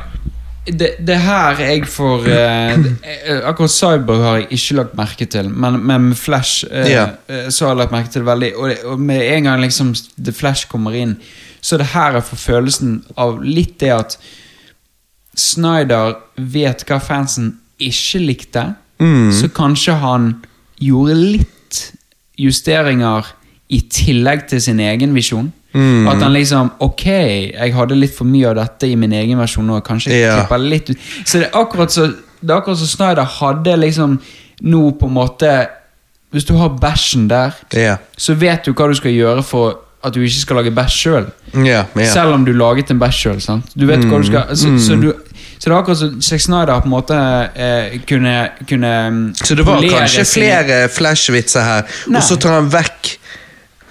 Det, det her jeg får eh, det- eh, Akkurat Cyborg har jeg ikke lagt merke til, men, men med Flash eh, Ja. eh, så har jeg lagt merke til det veldig. Og, det- og med en gang liksom The Flash kommer inn, så er det her jeg får følelsen av litt det at Snyder vet hva fansen ikke likte, Mm. så kanskje han gjorde litt justeringer i tillegg til sin egen visjon. Mm. At han liksom Ok, jeg hadde litt for mye av dette i min egen versjon nå. Kanskje jeg Ja. klipper litt ut Så det er akkurat så Det er akkurat som Snyder hadde liksom nå på en måte Hvis du har bæsjen der, Ja. så vet du hva du skal gjøre for at du ikke skal lage bæsj sjøl. Ja, ja. Mm, Selv om du laget en bæsj sjøl. Du vet hva du skal så, så, du, så det er akkurat som Zack Snyder på en måte eh, kunne, kunne mm, Så det var polere kanskje sine- flere flashvitser her, Nei. og så tar han vekk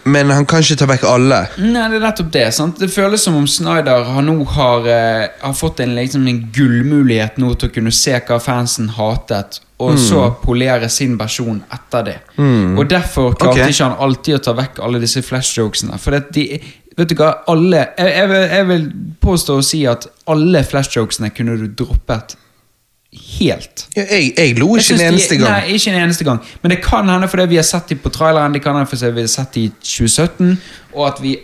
Men han kan ikke ta vekk alle. Nei, det er nettopp det. sant? Det føles som om Snyder har nå har, eh, har fått en, liksom, en gullmulighet nå til å kunne se hva fansen hatet, og så polere sin versjon etter det. Og derfor klarte Ok. ikke han alltid å ta vekk alle disse flashjokesene. For det, at de, vet du hva, alle jeg, jeg, vil, jeg vil påstå å si at alle flashjokesene kunne du droppet helt. Ja, jeg, jeg lo ikke Jeg en synes de- eneste gang. Nei, ikke en eneste gang. Men det kan hende fordi vi har sett dem på traileren, det kan hende fordi vi har sett dem i 2017, og at vi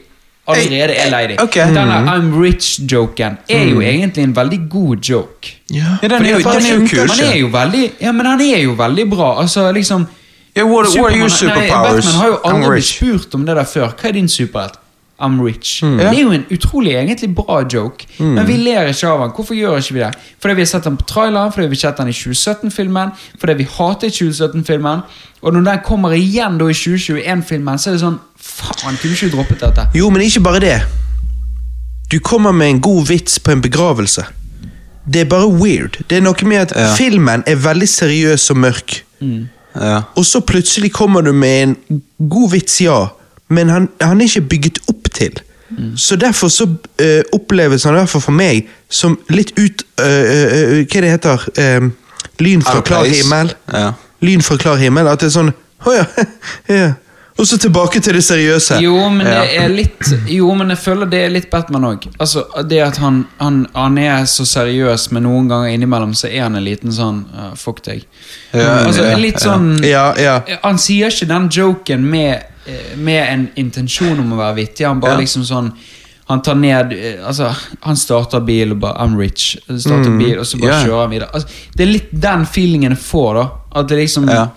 allerede er lei dem. Ok. Denne Mm. I'm rich-joken er jo egentlig en veldig god joke. Ja. Ja, den er jo, Fordi at den er jo han- kul. Han er jo veldig, ja, men han er jo veldig bra. Altså, liksom Ja, what, what are Superman- your superpowers? Nei, Batman har jo I'm aldri blitt rich. Mm. spurt om det der før. Hva er din superhelt? I'm rich. Det er jo en utrolig egentlig bra joke, men vi ler ikke av han. Hvorfor gjør ikke vi det? Fordi vi har sett han på traileren, fordi vi har sett han i 2017-filmen, fordi vi hater 2017-filmen, og når den kommer igjen da i 2021-filmen, så er det sånn Faen, kunne ikke du droppet dette? Jo, men ikke bare det. Du kommer med en god vits på en begravelse. Det er bare weird. Det er noe med at Ja. filmen er veldig seriøs og mørk, Ja. og så plutselig kommer du med en god vits, ja, men han, han er ikke bygget opp til. Mm. Så derfor så eh, oppleves han i hvert fall for meg som litt ut... eh, eh, eh, hva det heter Eh, Lyn fra Out of klar place. himmel. Ja. Lyn fra klar himmel. At det er sånn Å ja. ja. Og så tilbake til det seriøse. Jo, men Ja. det er litt Jo, men jeg føler det er litt Batman òg. Altså, det at han, han, han er så seriøs, men noen ganger innimellom så er han en liten sånn «Ah, Fuck deg. Ja, altså, ja, litt sånn Ja, ja. Han sier ikke den joken med, eh, med en intensjon om å være vittig. Han bare Ja. liksom sånn Han tar ned eh, Altså, han starter bil og bare I'm rich. Starter bil, og så bare Mm. Ja. kjører han videre. Altså, det er litt den feelingen jeg får, da. At det liksom Ja.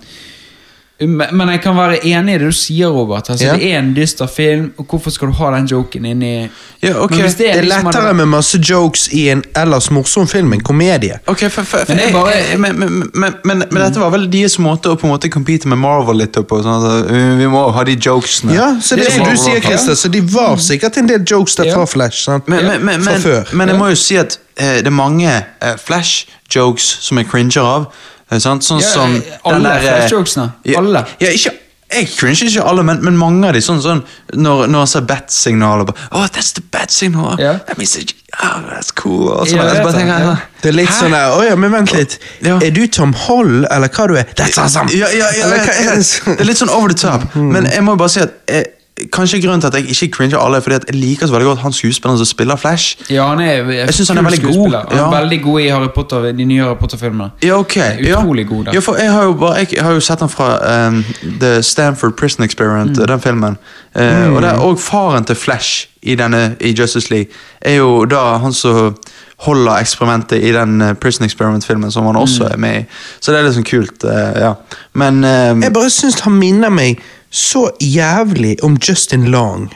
Men men jeg kan være enig i det du sier, Robert. Altså, Ja. Det er en dyster film, og hvorfor skal du ha den joken inni Ja, ok. Men hvis Det er liksom hadde- lettere med masse jokes i en ellers morsom film enn komedie. Ok, for, for, for Men det er jeg, bare- Mm. jeg- men, men, men, men, men dette var vel deres måte å på en måte compete med Marvel litt på. Sånn at uh, vi må ha de jokesene. Ja, så det er som Marvel du sier, har. Christer, så de var sikkert en del jokes der Ja. fra Flash. sant? Mm. Men, men, men, fra men, før. men jeg må jo si at eh, det er mange eh, Flash-jokes som jeg cringer av. eh, sant? Sånn Ja, som eh, alle den der, eh, Flash-jokesene. Ja, Alle. Ja, ikke, jeg cringer ikke alle, men, men mange av de. Sånn, sånn når, når han ser bat-signaler bare, Oh, that's the bat-signal! Ja. That means that- oh, that's cool! Og så Ja, bare, jeg jeg vet bare det, tenker, ja. det er litt Hæ? sånn der, åja, men vent litt. Ja. Er du Tom Holland, eller hva du er? That's awesome! Ja, ja, ja, Eller jeg, hva er jeg, det som- Mm. det er litt sånn over the top. Men jeg må bare si at eh, Kanskje grunnen til at jeg ikke cringer alle, er fordi at jeg liker så veldig godt han skuespilleren som spiller Flash. Ja, han er Jeg synes han er kul veldig god, skuespiller. Han er ja. veldig god i Harry Potter, de nye Harry Potter-filmene. Ja, ok. Ja. Utrolig god, da. Ja, for jeg har jo, bare, jeg har jo sett han fra ehm, The Stanford Prison Experiment, Mm. den filmen. Eh, Og der, og faren til Flash i, denne, i Justice League er jo da han som holder eksperimentet i den eh, Prison Experiment-filmen som han Mm. også er med i. Så det er litt sånn kult, eh, ja. Men ehm, Jeg bare syns han minner meg så jævlig om Justin Long.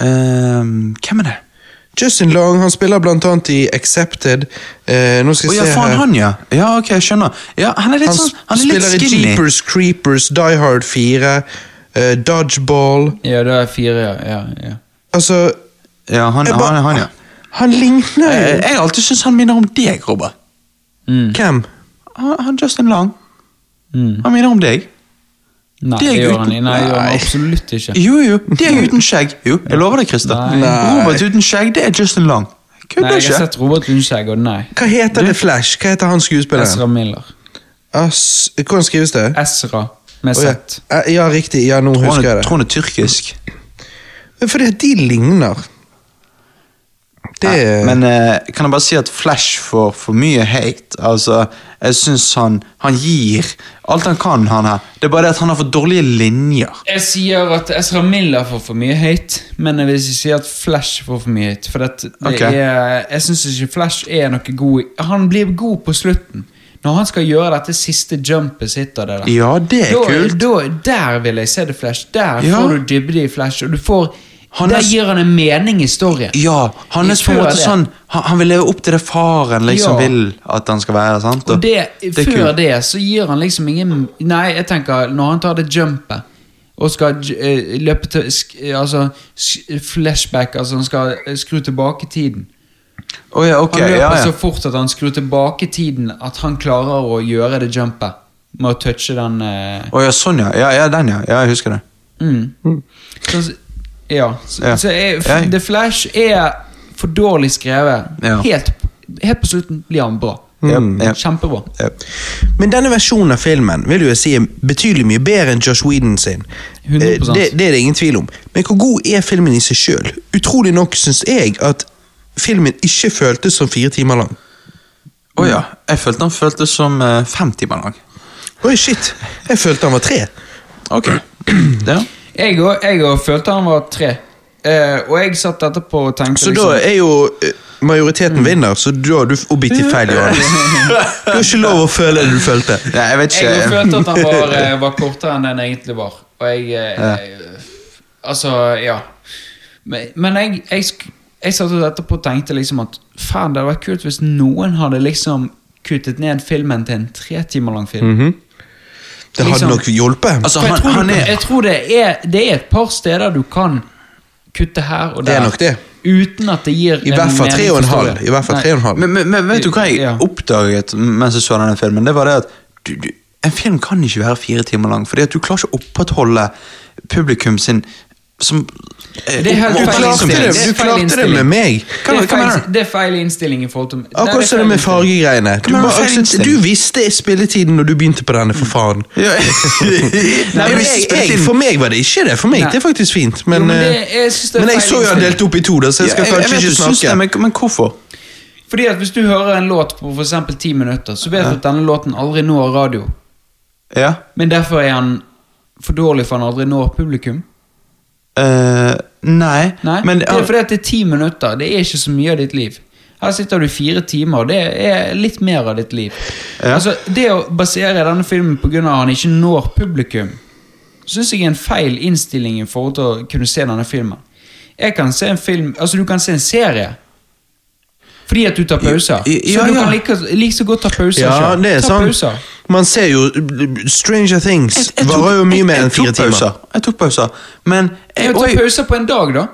ehm, Hvem er det? Justin Long han spiller blant annet i Accepted. Eh, nå skal Å jeg ja, se faen, her. han, ja. Ja, ok, jeg skjønner. Ja, han er litt Han sånn Han er litt spiller i skinny. Jeepers Creepers, Die Hard 4, eh, Dodgeball Ja, det er fire, ja. ja, ja. Altså Ja, han, jeg han, bare- han, ja. Han ligner Eh, jo Jeg har alltid syntes han minner om deg, Robert. Mm. Hvem? Han, han Justin Lang. Mm. Han minner om deg. Nei, Det det er gjør gutten. han, nei, det gjør han Nei. absolutt ikke. Jo, jo. Deg uten skjegg. Jo, jeg lover deg, Christer. Nei. Nei. Robert uten skjegg, det er Justin Lang. Nei, Kødder jeg har ikke. sett Robert Lundskjegg, og nei. Hva heter det Flash? Hva heter han Ezra skuespilleren? Miller. As hvordan skrives det? Ezra med Å, ja. Z. Eh, ja, riktig. Ja, nå Tror husker han jeg er- det. tror han er tyrkisk. Men Fordi at de ligner. Det Nei, Men eh, kan jeg bare si at Flash får for mye hate. Altså, jeg syns han Han gir alt han kan, han her. Det er bare det at han har for dårlige linjer. Jeg sier at Ezra Miller får for mye hate, men jeg vil ikke si at Flash får for mye hate. For det, det Ok. er, jeg syns ikke Flash er noe god i- Han blir god på slutten. Når han skal gjøre dette siste jumpet sitt og det der. Ja, det er da, kult. Da, der vil jeg se det Flash. Der Ja. får du dybde i Flash, og du får Han er Der s- gir han en mening i storyen. Ja, han er Jeg på en tror måte det. sånn Han, han vil leve opp til det faren liksom Ja. vil at han skal være. sant? Og det, er før kult. det så gir han liksom ingen Nei, jeg tenker når han tar det jumpet og skal j- eh, løpe til sk, eh, Altså sk, flashback, altså han skal eh, skru tilbake tiden. Å ja, ok, Han løper altså ja, så ja. fort at han skrur tilbake tiden at han klarer å gjøre det jumpet med å touche den eh, Å ja, sånn, ja. ja. Ja, den, ja. Ja, jeg husker det. mm. Så, ja. Så, Ja. så er, f, Jeg- The Flash er for dårlig skrevet. Ja. Helt, helt på slutten blir han bra. Jep, jep, Kjempebra. jep. Men denne versjonen av filmen vil jo jeg si er betydelig mye bedre enn Josh Whedon sin. Eh, 100%. Det, det er det ingen tvil om. Men hvor god er filmen i seg sjøl? Utrolig nok syns jeg at filmen ikke føltes som fire timer lang. Å ja. Jeg følte han føltes som eh, fem timer lang. Oi, shit. Jeg følte han var tre. Ok. Ja. Jeg òg jeg og følte han var tre. Eh, og jeg satt etterpå og tenkte Så da er jo eh, majoriteten vinner, så da har du objektivt feil, Johannes. Du har ikke lov å føle det du følte. Nei, jeg vet Jeg ikke. òg følte at han var, eh, var kortere enn den egentlig var. Og jeg, eh, eh, Altså, ja. Men, men jeg, jeg, sk- jeg satt ut etterpå og tenkte liksom at faen, det hadde vært kult hvis noen hadde liksom kuttet ned filmen til en tre timer lang Mhm. film. Det hadde Liksom. nok hjulpet. Altså, For jeg han, tror, du han kan- er jeg tror det, er, det er et par steder du kan kutte her og der. Det er nok det. Uten at det gir I hvert fall tre og en halv. I hvert fall tre og en halv. men, men, men vet du hva jeg Ja. oppdaget mens jeg så denne filmen? Det var det at du, du, en film kan ikke være fire timer lang, fordi at du klarer ikke å opprettholde publikum sin som eh, Det er helt Du feil opp- klarte oppmerksomhet. det, innstilling. du Det klarte det er feil med innstilling. meg. Hva- det, er hva feil, mener det er feil innstilling i forhold til Nei, Akkurat som det feil med innstilling. fargegreiene. Du, Men bare det er feil aksepter- innstilling. du visste spilletiden når du begynte på denne, for faen. Ja. Nei, men jeg, jeg, for meg var det ikke det. For meg Nei. det er faktisk fint. Men, Jo, men det- eh, jeg synes det er men jeg feil så jo han innstilling. delt opp i to, da, så jeg skal jeg, jeg kanskje vet ikke du syns det, snakke. men, men hvorfor? Fordi at Hvis du hører en låt på for eksempel ti minutter, så vet du at denne låten aldri når radio. Ja. Men derfor er han for dårlig for han aldri når publikum. Eh, nei. Nei, men Det er fordi at det er ti minutter. Det er ikke så mye av ditt liv. Her sitter du i fire timer, og det er litt mer av ditt liv. Altså, det å basere denne filmen på grunn av at han ikke når publikum, syns jeg er en feil innstilling i forhold til å kunne se denne filmen. Jeg kan se en film Altså, du kan se en serie. Fordi at du tar pauser. Ja, så du ja. kan like, like så godt ta pauser Ja, selv. det er ta sant. pauser. Man ser jo Stranger Things Jeg tok- varer jo mye jeg- mer jeg enn tok fire timer. pauser. Jeg tok pauser, men jeg, Jeg tar oi, pauser på en dag, da.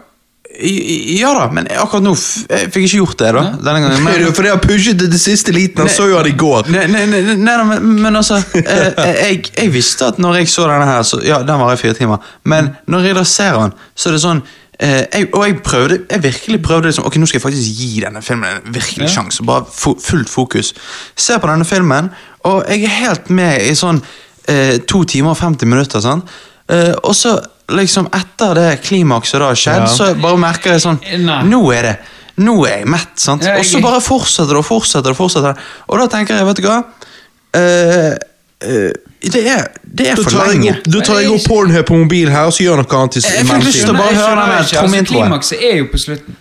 i- i- Ja da, men akkurat nå f- jeg fikk ikke gjort det, da. Denne gangen. Men, Men, for det har pushet til det siste liten. Han Nei. så jo han i går. Nei, nei, nei, nei, nei, men, men altså eh, jeg, jeg visste at når jeg så denne her så, Ja, den varer i fire timer Men når jeg da ser den Så er det sånn eh, jeg, Og jeg prøvde Jeg virkelig prøvde liksom, Ok, nå skal jeg faktisk gi denne filmen En virkelig sjanse Bare fu- fullt fokus Ser på denne filmen Og jeg er helt med i sånn eh, To timer og 50 minutter sånn. eh, Og så liksom etter det klimakset da har skjedd Så bare merker jeg sånn Eh, Nei. Nå er det nå er jeg mett, sant? Ja, jeg- Og så bare fortsetter det og fortsetter det. og fortsetter det. Og da tenker jeg, vet du hva eh, eh, Det er, det er Da for tar jeg lenge. opp, da tar jeg opp Pornhub på mobilen her og så gjør noe annet. i s- Jeg fikk lyst til å mellomtiden. bare Jeg høre skjønner den der ikke, altså, trommeintroen. Klimakset er jo på slutten.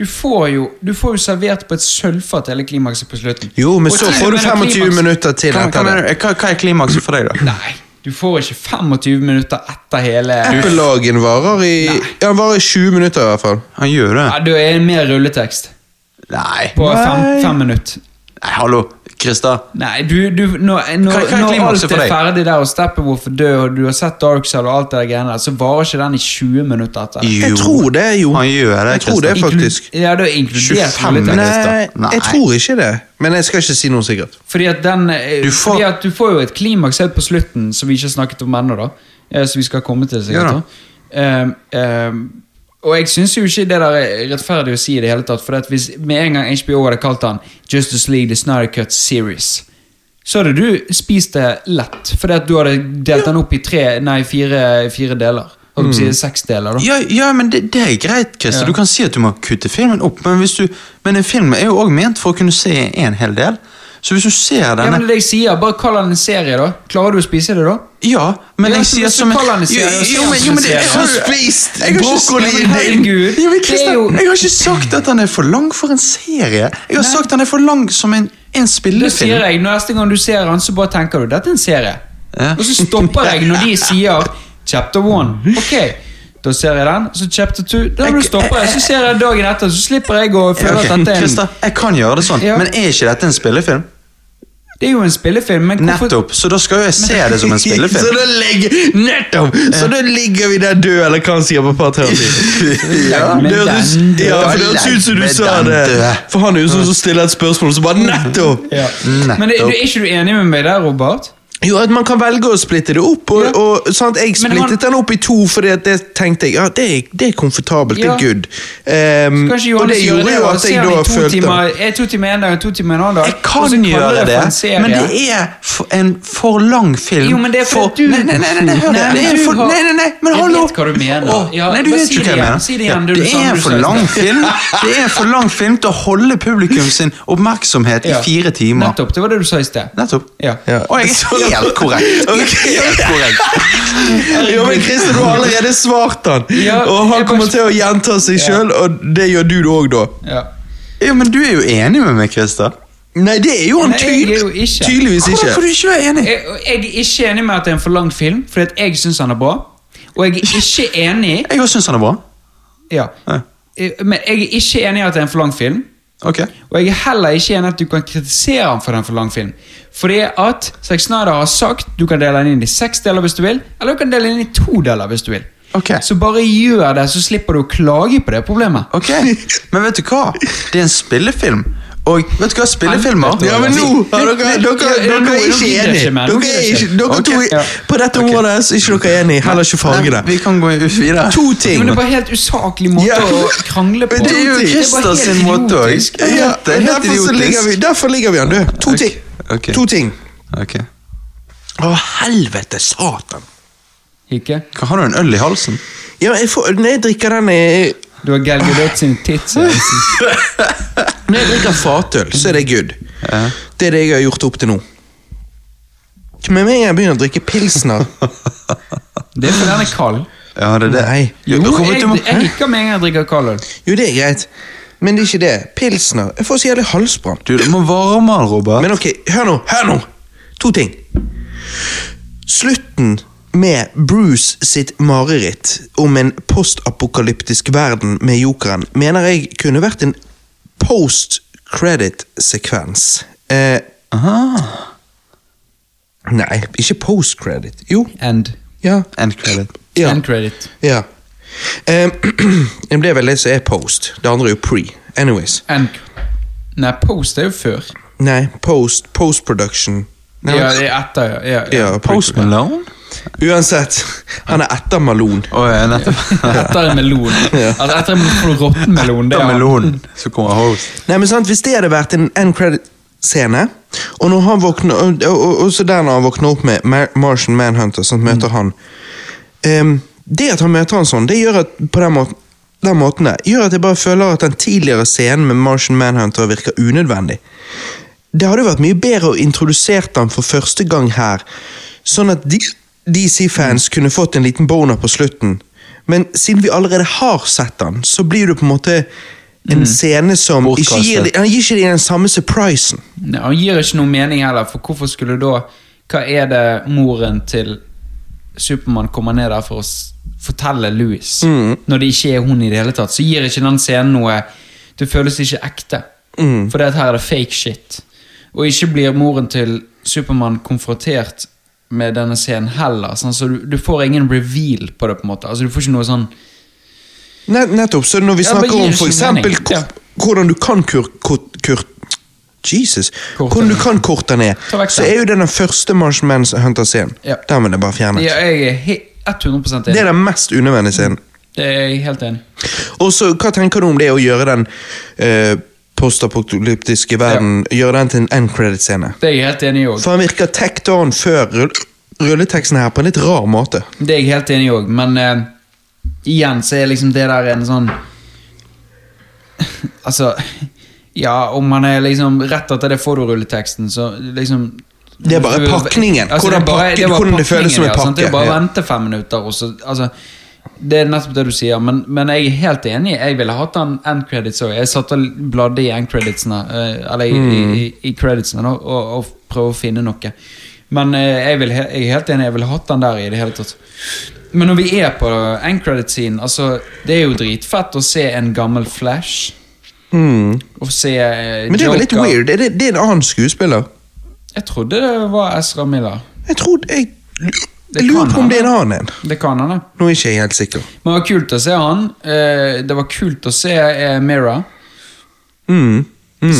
Du får jo, du får jo servert på et sølvfat hele klimakset på slutten. Jo, men Og så til og får du med når 25 klimakset- minutter til Hva, hva, etter det. mener du? hva, hva er klimakset for deg, da? Nei, du får ikke 25 minutter etter hele Eppelagen varer i Ja, han varer i 20 minutter i hvert fall. Han gjør det. Ja, Du er en mer rulletekst Nei, på Nei. fem, fem minutter. Nei hallo, Christer. Nei, du, du når, når, Hva- hva er når klimakset alt for er deg? ferdig der, og Steppenwolf er død, og du har sett Darkseid og alt det der greiene der, så varer ikke den i 20 minutter etter. Jo. Jeg tror det, jo. Han gjør det, Jeg tror det, Christer. Inklu- faktisk. Ja, da er inkludert 25 rulletekst. minutter. Nei, Nei. jeg tror ikke det. Men jeg skal ikke si noe sikkert. Fordi at, den, eh, Du får- fordi at du får jo et klimaks helt på slutten, som vi ikke har snakket om ennå, da. eh, Som vi skal komme til, sikkert. Ja da. da. Ehm, ehm, og jeg syns jo ikke det der er rettferdig å si i det hele tatt. For at hvis med en gang HBO hadde kalt den Justice League The Snyder Cut Series, så hadde du spist det lett. Fordi at du hadde delt den opp i tre, nei, fire, fire deler. Og du sier seks deler, da. Mm. Ja, ja, men det, det er greit, Christer. Ja. Du kan si at du må kutte filmen opp, men, hvis du, men en film er jo òg ment for å kunne se en hel del. Så hvis du ser Ja, men denne det er det jeg sier, Bare kall den en serie, da. Klarer du å spise det, da? Ja, men Ja, jeg så sier hvis du som en kaller den en Jo, serie, så jo, sier men, han jo, som men en det, jeg, serie. har, spist jeg, har ikke, brokkoli Ja, men herregud, Ja, men det er Christian, jo- jeg har ikke sagt at han er for lang for en serie. Jeg har sagt han er for lang som en, en Det spillefilm. sier jeg, Neste gang du ser han, så bare tenker du dette er en serie. Ja. Og så stopper jeg når de sier chapter one. Ok, da ser jeg den. Så chapter two. Da må du stoppe. Så ser jeg dagen etter, så slipper jeg å Ja, føle ok, at dette er Christian, en jeg kan gjøre det sånn, Ja. men er ikke dette en spillefilm? Det er jo en spillefilm, men hvorfor Nettopp, så da skal jo jeg se det som en Så spillefilm. da ligger Nettopp! Så da ligger vi der døde, eller hva han sier på par-tre Ja, men Det høres den døde. ja, for det høres ut som du Men sa den det. døde. Mm. For han er jo sånn som stiller et spørsmål, og så bare nettopp! ja. Men er, er ikke du enig med meg der, Robert? Jo, at man kan velge å splitte det opp. Og, Ja. og sånn at Jeg Men han- splittet den opp i to, fordi at det tenkte jeg ja, det er, det er komfortabelt. Ja. Det er good. Ehm, Kanskje og det Johannes gjør gjorde det, jo og at ser jeg han i da to følte timer er to timer en dag og to timer en annen dag. Jeg og kan så kaller gjøre jeg for en det, serie. men det er for en for lang film. Jo, men det er fordi for, du- Nei, nei, nei, nei, nei, Nei, hør det. men det er du for, har- nei, nei, nei, men Jeg hallo! vet hva du mener. Åh, Ja, nei, du bare vet si ikke det hva jeg igjen, mener. si det igjen, Ja, det du det sa, er du en sa i for lang sted. film. Det er en for lang film til å holde publikum sin oppmerksomhet i Ja. fire timer. Nettopp. Det var det du sa i sted. Nettopp. Ja. Ja. Og jeg er helt korrekt. Jeg er helt korrekt. Jo, men Christer, du har allerede svart han. Ja, og han jeg kommer bare- til å gjenta seg Ja. sjøl, og det gjør du det òg, da. Ja. Ja, men du er jo enig med meg, Christer. Nei, det er jo han Nei, jeg er jo tydelig, ikke. tydeligvis Hvordan får ikke. du ikke være enig? Jeg, jeg er ikke enig med at det er en for lang film, fordi at jeg syns han er bra. Og jeg er ikke enig Jeg også syns han er bra. ja. Ja. Eh, Men jeg er ikke enig i at det er en for lang film. Ok. Og jeg er heller ikke enig i at du kan kritisere ham for den for lang film. Fordi at Zack Snyder har sagt du kan dele den inn i seks deler hvis du vil, eller du kan dele den inn i to deler hvis du vil. Ok. Så bare gjør det, så slipper du å klage på det problemet. Ok, Men vet du hva? Det er en spillefilm. Og vet du hva spillefilmer Ja, men nå har dere, Men- dere, Ja, dere, nå- er nå ikke gidder jeg enige. ikke, man. Dere Nå gidder er jeg ikke, ikke. dere to Ok, er- ja. På dette området er ikke dere enige. Heller ikke farge Nei, Vi det. kan gå ut videre. To Ja, ting. Men det er bare helt usaklig måte Ja. å krangle på. Men det er jo bare Christer helt sin måte også. idiotisk. Ja, Det er helt derfor, så idiotisk. ligger vi, derfor ligger vi an, du. To Ok, ting. ok. To ting. Ok. Å, helvete satan. Ikke? Hva, Har du en øl i halsen? Ja, jeg får, når jeg drikker den eh, jeg- Du har Gal Gadot sin tits. jeg. Når jeg drikker fatøl, så er det good. Det er det jeg har gjort opp til nå. Men med en gang jeg begynner å drikke pilsner Det er fordi den er kald. Ja, det er det. Nei. Jo, Jo, Robert, jeg, du må- jeg liker med en gang jeg drikker kald øl. Jo, det er greit. Men det er ikke det. Pilsner. Jeg får så jævlig halsbrann. Du, du må varme den, Robert. Men ok, hør nå, hør nå! To ting. Slutten med Bruce sitt mareritt om en postapokalyptisk verden med jokeren, mener jeg kunne vært en post-credit-sekvens. Eh, nei, ikke post-credit. Jo, End. ja. End credit. ja. End credit. ja. Eh, det ble vel det som er post. Det andre er jo pre. Anyways. End Nei, post er jo før. Nei, post, post-production. Nei, Ja, det er etter, ja. ja, ja, ja. Post pre-production. Malone? Uansett, han er etter Malone. Å ja, nettopp. Etter en melon. Altså, etter en får du råttenmelon. det Da er- melonen, så kommer host. Nei, men sant, Hvis det hadde vært en end credit-scene og når han våkner, og, og, og, og så der når han våkner opp med Mar Martian Manhunter, sånn møter han Ehm, Det at han møter han sånn, det gjør at på den måten den måten der, gjør at jeg bare føler at den tidligere scenen med Martian Manhunter virker unødvendig. Det hadde jo vært mye bedre å introdusert han for første gang her, sånn at de- DC-fans kunne fått en liten boner på slutten. Men siden vi allerede har sett han, så blir det på en måte en scene som ikke gir, de- Han gir ikke de den samme surprisen. Nei, Han gir ikke noe mening heller, for hvorfor skulle da Hva er det moren til Supermann kommer ned der for å s- fortelle Louis, Mm. når det ikke er hun i det hele tatt? Så gir ikke den scenen noe Det føles ikke ekte. Mm. For det at her er det fake shit. Og ikke blir moren til Supermann konfrontert med denne scenen heller. Sånn, så du, du får ingen reveal på det, på en måte. Altså, du får ikke noe sånn Net nettopp, så når vi Ja, snakker bare gir om det for ikke eksempel mening. Ja. ko- hvordan du kan kur... kur, kur Jesus. Korte Hvordan du ned. kan korte ned, Ta vekk så den. er jo det den første Martian Manhunter-scenen. Ja. Der må det bare fjernes. Ja, jeg er he- 100 Det er enig. den mest unødvendige scenen. Det er jeg helt enig. Og så, hva tenker du om det å gjøre den eh, postapokalyptiske verden Gjøre den til en end credit-scene? Det er jeg helt enig i òg. For han virker tacked on før rull rulleteksten her på en litt rar måte. Det er jeg helt enig i òg, men eh, igjen så er liksom det der en sånn Altså Ja, om man er liksom Rett etter det får du rulleteksten, så liksom Altså, Det er bare pakningen. Hvordan det er bare- pakke- er bare hvordan det føles som en pakningen, ja, sant? Det er pakke, bare å ja. vente fem minutter, og så altså, Det er nettopp det du sier, men, men jeg er helt enig. Jeg ville hatt den end credits òg. Jeg satt og bladde i end creditsene, eh, eller i, Mm. i, i creditsene, da, og, og prøve å finne noe. Men eh, jeg, vil, he- jeg er helt enig, jeg ville hatt den der i det hele tatt. Men når vi er på end credit-scenen, altså, det er jo dritfett å se en gammel Flash. Og se eh, Men det er jo litt Joker. weird. Er det, det er en annen skuespiller. Jeg trodde det var Ezra Miller. Jeg tror jeg, Det jeg lurer kan på om det er en hende. annen en. Det kan han, det. Nå er ikke jeg helt sikker. Men det var kult å se han. Eh, Det var kult å se eh, Mira. Mm,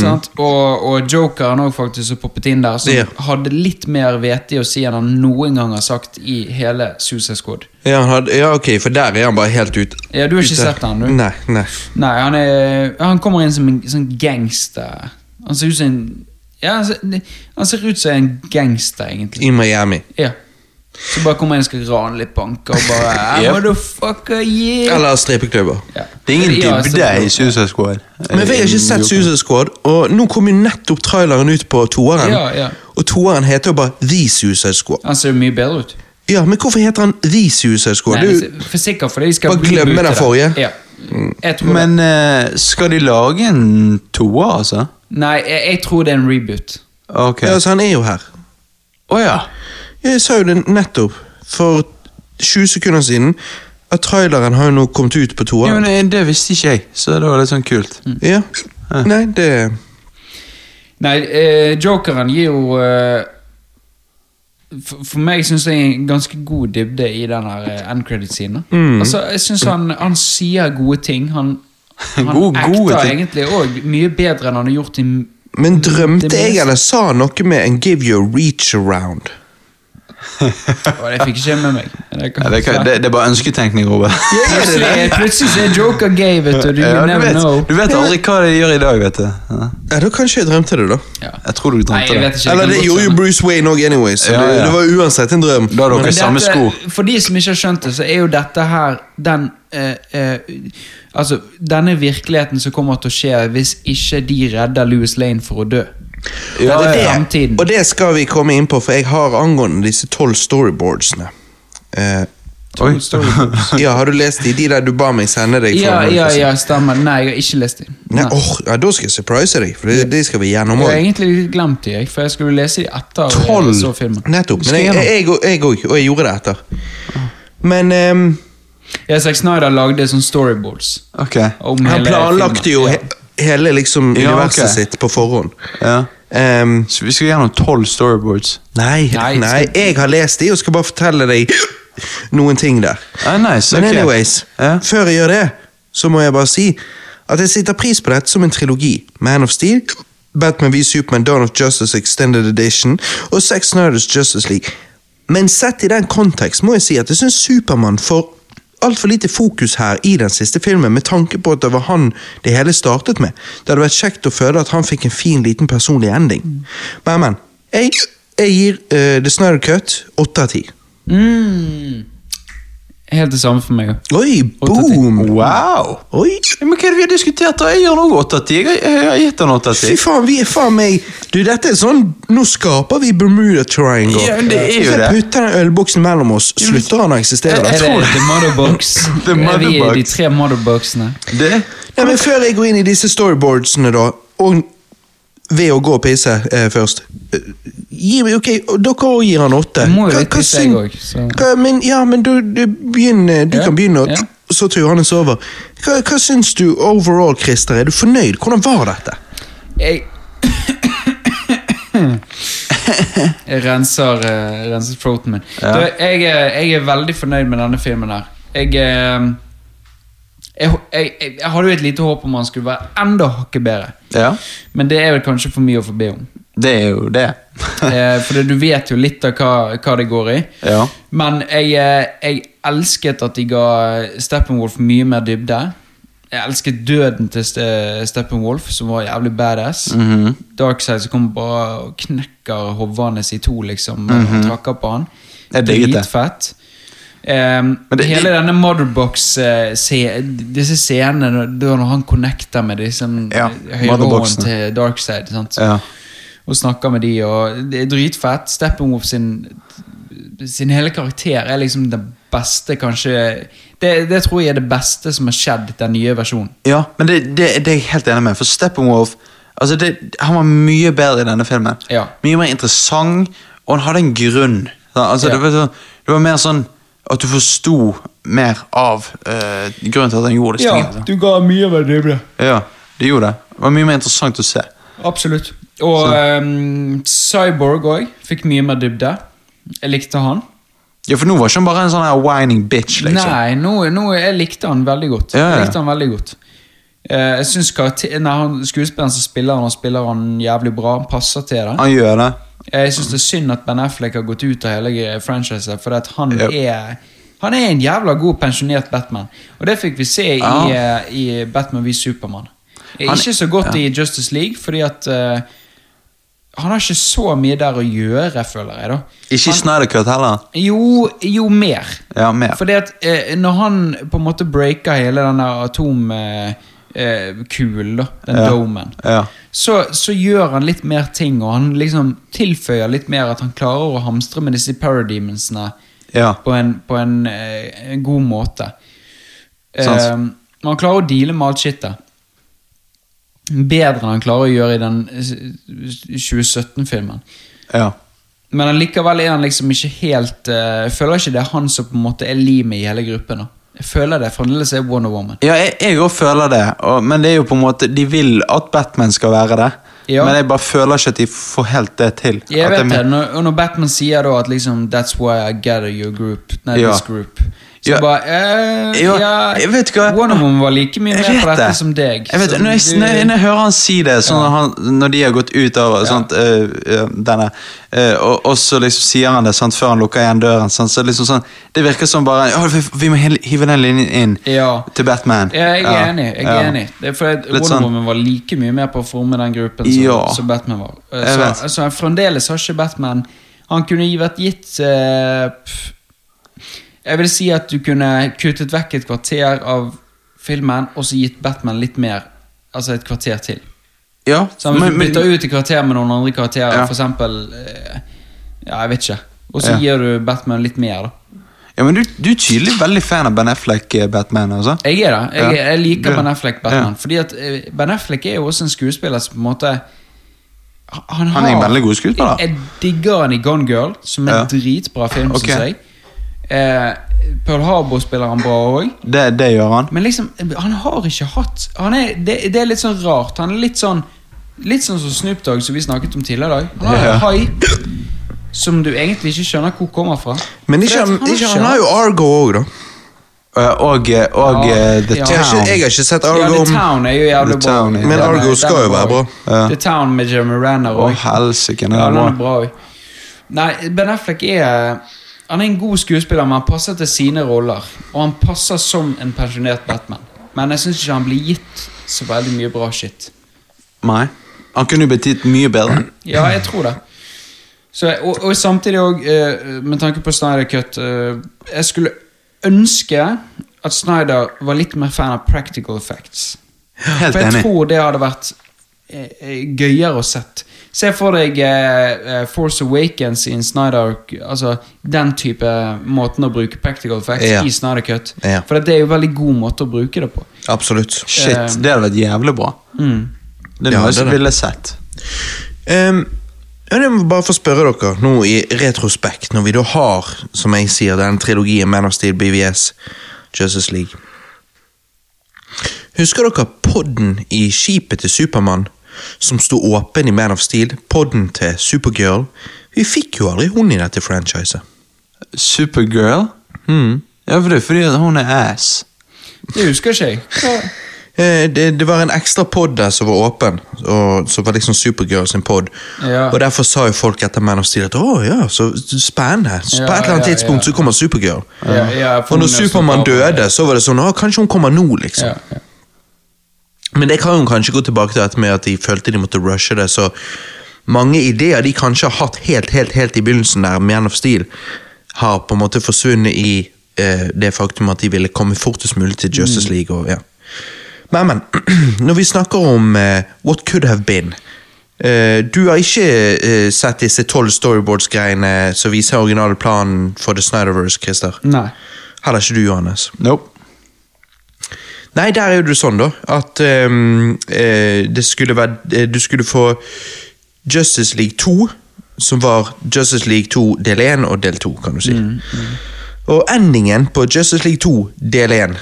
Sant? Og, og jokeren òg, faktisk, som poppet inn der. Som Ja. hadde litt mer vete i å si enn han noen gang har sagt i hele Suicide Squad. Ja, han hadde, ja, ok, for der er han bare helt ute. Ja, du har ikke ute. sett han, du? Nei, nei. Nei, han, er, han kommer inn som en sånn gangster. Han ser ut som en Ja, han ser, han ser ut som en gangster, egentlig. I Miami. Ja. Så bare kommer en og skal rane litt banker og bare Yep. "Ah, Motherfucker, yeah! Eller strippeklubber. Ja. Det er ingen Ja, altså, dybde så- i Suicide Squad. Eh, Men vi har ikke sett Suicide Squad, og nå kom jo nettopp traileren ut på toeren. Ja, ja. Og toeren heter jo bare The Suicide Squad. Han ser jo mye bedre ut. Ja, men hvorfor heter han The Suicide Squad? Nei, Du, for sikkert fordi de skal Bare bli glemme ute den der. forrige. Ja. Mm. Jeg tror det. Men eh, skal de lage en toer, altså? Nei, jeg, jeg tror det er en reboot. Ok. ja, Å altså, han er jo her. ja. Jeg sa jo det nettopp for 20 sekunder siden, at traileren har jo nå kommet ut på Jo, toeren. men Det visste ikke jeg, så det var litt sånn kult. Ja. Nei, det Nei, eh, jokeren gir jo eh, for, for meg syns jeg er en ganske god dybde i den her eh, end credit-scenen. da. Mm. Altså, jeg syns han, han sier gode ting. Han, han God- gode acter ting. egentlig òg mye bedre enn han har gjort i Men drømte Det meste. jeg, eller sa han noe med en 'give you a reach around'? Å, Det fikk ikke jeg med meg. Det kan- Ja, det, kan, det, det er bare ønsketenkning, Robert. Plutselig, plutselig så er joker gay, vet du. Du Ja, du, never vet, know. du vet aldri hva de gjør i dag, vet du. Ja. Ja, da kanskje jeg drømte det, da. Ja. Jeg tror du Nei, drømte jeg det. vet ikke. Eller kan det godt gjorde jo hende. Bruce Wayne òg, anyway. Så Ja, det, ja. det var jo uansett en drøm. Da har dere Men- i samme sko. For de som ikke har skjønt det, så er jo dette her den eh, eh, Altså, denne virkeligheten som kommer til å skje hvis ikke de redder Louis Lane for å dø. Ja, Dette er ja. fremtiden. Og det skal vi komme inn på, for jeg har angående disse tolv storyboardsene. Eh, To Oi. storybooks. Ja, har du lest de? De der du ba meg sende deg? Ja, for- ja, ja, stemmer. Nei, jeg har ikke lest dem. Nei, åh, ja, da skal jeg surprise deg, for det, det skal vi gjennom Jeg har òg. egentlig litt glemt dem, jeg, for jeg skulle lese dem etter Tolv. jeg så filmen. Nettopp. Skal Men jeg- gjennom. jeg òg, jeg, og, og jeg gjorde det etter. Men ehm, Ja, Zack Snyder lagde sånn storyboards. Ok. Om han hele planlagte filmen. jo Ja. he hele liksom Ja, universet ok. sitt på forhånd. Ja. Ehm, Så vi skal gjennom tolv storyboards. nei, Nei, nei, jeg har lest de og skal bare fortelle deg noen ting der. Ah, nice, Men ok. anyways, Ja. før jeg gjør det, så må jeg bare si at jeg setter pris på dette som en trilogi. Man of Steel, Batman v Superman, Dawn of Justice Extended Edition og Zack Snyder's Justice League. Men sett i den kontekst må jeg si at jeg syns Supermann får altfor lite fokus her i den siste filmen, med tanke på at det var han det hele startet med. Det hadde vært kjekt å føle at han fikk en fin, liten personlig ending. Men, men. Jeg, jeg gir eh, The Snyder Cut åtte av ti. Mm. Helt det samme for meg òg. Oi, av ti. boom! Wow! Oi, Men hva er det vi har diskutert da? Jeg gjør noe 8 av 10. Jeg- Jeg har gitt den 8 av 10. Fy faen, vi er faen meg Du, dette er sånn Nå skaper vi Bermuda Triangle. Ja, men det er jo Hvis jeg det. putter den ølboksen mellom oss, slutter han å eksistere. Er det The Motherbox? The Er vi i de Motherbox. tre Motherboxene? Det? Nei, men Før jeg går inn i disse storyboardsene, da, og ved å gå og pisse eh, først eh, gi, meg- Ok, og dere òg gir han åtte. Jeg må jo Hva- litt hva pisse, jeg syn- òg, så- hva- Men, ja, men du, du, begynner, du Ja, kan begynne, og ja. så tror jeg han er sover. Hva, hva syns du overall, Christer? Er du fornøyd? Hvordan var dette? Jeg Jeg renser, eh, renser throaten min. Du, jeg, er- jeg er veldig fornøyd med denne filmen her. Jeg, eh, jeg, jeg, jeg, jeg hadde jo et lite håp om han skulle være enda hakket bedre. Ja. Men det er vel kanskje for mye å forbi om. Det er jo det. Eh, For det- du vet jo litt av hva, hva det går i. Ja. Men jeg, eh, jeg elsket at de ga Steppenwolf mye mer dybde. Jeg elsket døden til Ste- Steppenwolf, som var jævlig badass. Mhm. Darkseid som kommer bare og knekker hovene sine i to, liksom. Og trakker på han. Mhm. Jeg digget det. Dritfett. Ehm, Men det- hele denne Motherbox eh, se, Disse scenene når- da når han connecter med disse Ja, høyre hånden Motherboxene. til Darkseid eh, sant? Ja. og snakker med de og Det er dritfett. Steppenwolf sin, sin hele karakter er liksom den beste, kanskje det, det tror jeg er det beste som har skjedd den nye versjonen. ja men det, det, det er jeg helt enig med. For Steppenwolf altså det, Han var mye bedre i denne filmen. Ja. Mye mer interessant, og han hadde en grunn. Så, Altså, Ja. det, var sånn, det var mer sånn at du forsto mer av eh, grunnen til at han gjorde disse tingene. du ga mye mer dybde. Ja, det gjorde det. Det var mye mer interessant å se. Absolutt. Og ehm, Cyborg òg fikk mye mer dybde. Jeg likte han. Ja, for nå var ikke han bare en sånn her whining bitch, liksom. Nei, nå, nå jeg likte han veldig godt. Ja, ja. Jeg likte han veldig godt. Eh, jeg synes karakter, nei, han, Skuespilleren som spiller han, han spiller han jævlig bra. Han passer til det. Han gjør det. Jeg synes det er synd at Ben Affleck har gått ut av hele gre- franchiset, for at han Yep. er han er en jævla god pensjonert Batman. Og det fikk vi se i, Ja. eh, i Batman v Supermann. Han- Ikke så godt ja. i Justice League, fordi at eh, Han har ikke så mye der å gjøre, føler jeg, da. Ikke i Han- Snyder Cut heller. Jo, jo mer. Ja, mer. Fordi at eh, når han på en måte breaker hele den der atomkulen, eh, kulen da, den Ja. domen, Ja. så, så gjør han litt mer ting, og han liksom tilføyer litt mer at han klarer å hamstre med disse parademonsene Ja. på en, på en, eh, en god måte. Sant. Eh, men han klarer å deale med alt shitet. Bedre enn han klarer å gjøre i den eh, 2017-filmen. Ja. Men allikevel er han liksom ikke helt eh, Jeg føler ikke det er han som på en måte er limet i hele gruppen. Da. Jeg føler det fremdeles er Wonder Woman. Ja, jeg- jeg òg føler det, og, men det er jo på en måte De vil at Batman skal være det, Ja. men jeg bare føler ikke at de får helt det til. Jeg At vet det er det, mer- når, og når Batman sier da at liksom That's why I gather your group. Nei, Ja. this group. Så Ja. bare eh, Ja, ja, jeg vet hva- Wonder Woman var like mye Jeg med på vet dette det. som deg. Jeg vet, Så det. når, jeg, du- når, jeg, når jeg hører han si det, sånn når, han, når de har gått ut av sånt, øh, øh, denne, øh, og, og så liksom sier han det sant, før han lukker igjen døren sant, så liksom sånn, Det virker som bare «Å, vi, vi må hel- hive den linjen inn Ja. til Batman. Ja, jeg er Ja, enig. jeg er ja. enig Det er fordi at Wonder sånn- Woman var like mye med på å forme den gruppen som, Ja. som Batman var. Eh, Jeg vet. Så, så han fremdeles har ikke Batman Han kunne gi- vært gitt eh, pff, Jeg vil si at du kunne kuttet vekk et kvarter av filmen, og så gitt Batman litt mer. Altså et kvarter til. Ja, Så hvis men- du men- bytter ut et kvarter med noen andre karakterer, Ja. for f.eks. Ja, jeg vet ikke. Og så Ja. gir du Batman litt mer, da. Ja, men du, du er tydelig veldig fan av Ben Affleck-Batman. altså. Jeg er det. Jeg, Ja. jeg liker Ja. Ben Affleck Batman. Ja. Fordi at eh, Ben Affleck er jo også en skuespiller som på en måte Han, Han er en veldig god skuespiller. Jeg, jeg digger han i Gone Girl, som er en Ja. dritbra film, Ok. synes jeg. Eh, Pearl Harbor spiller han bra òg. Det, det gjør han. Men liksom, han har ikke hatt han er, det, det er litt sånn rart. Han er litt sånn Litt sånn som Snoop Dogg, som vi snakket om tidligere i dag. Han har en hai som du egentlig ikke skjønner hvor kommer fra. Men Fordi ikke, at han, har ikke, han har jo Argo òg, da. Eh, Og, eh, og Ja. eh, The Ja. Jeg har, Town. ikke, jeg har ikke sett Ja, Argo. The Town er jo jævlig The bra. Town er- Men Den Argo Den er- skal den er jo være bra. Ja. The Town med Jeremy Renner Å, òg. helsike. den Ja, er den bra. er bra også. Nei, Ben Affleck er Han er en god skuespiller, men han passer til sine roller. Og han passer som en pensjonert Batman. Men jeg syns ikke han blir gitt så veldig mye bra shit. Nei. Han kunne jo blitt gitt mye bedre. Ja, jeg tror det. Så, og, og samtidig òg, eh, med tanke på Snyder Cut eh, Jeg skulle ønske at Snyder var litt mer fan av practical effects. Helt For jeg enig. tror det hadde vært eh, eh, gøyere å sett. Se for deg eh, eh, Force Awakens i en Snyder Altså den type måten å bruke practical effects Ja. i Snyder Cut. Ja. For det er jo en veldig god måte å bruke det på. Absolutt. Eh, Mm. Shit, det hadde vært jævlig bra. Det er Ja, noe det er jeg det. ville sett. Ehm, ja, jeg må bare få spørre dere nå i retrospekt, når vi da har, som jeg sier, den trilogien Man of Steel, BVS, Justice League. Husker dere podden i skipet til Supermann, som sto åpen i Man of Steel? Podden til Supergirl? Vi fikk jo aldri hun i dette franchiset. Supergirl? Mm. Ja, for det er fordi at hun er ass. Det husker ikke jeg. Eh, Det, det var en ekstra pod der som var åpen, og, som var liksom Supergirl sin pod. Ja. Og derfor sa jo folk etter Man of Steel at å ja, så spennende. Så Ja, på et eller annet ja, tidspunkt ja. så kommer Supergirl. Ja, ja, for og når hun er Supermann snart over. døde, så var det sånn å, kanskje hun kommer nå, liksom. Ja, ja. Men det kan jo kanskje gå tilbake til at med at de følte de måtte rushe det, så mange ideer de kanskje har hatt helt, helt, helt i begynnelsen der, med Man of Steel, har på en måte forsvunnet i eh, det faktum at de ville komme fortest mulig til Justice League og ja. Men, men, når vi snakker om eh, What Could Have Been eh, Du har ikke eh, sett disse tolv storyboards-greiene som viser originalplanen for The Snyderverse, Christer? Nei. Heller ikke du, Johannes. Nope. Nei, der er jo det sånn, da, at ehm, eh, det skulle være eh, Du skulle få Justice League 2, som var Justice League 2 del 1 og del 2, kan du si. Mm. Og endingen på Justice League 2 del 1,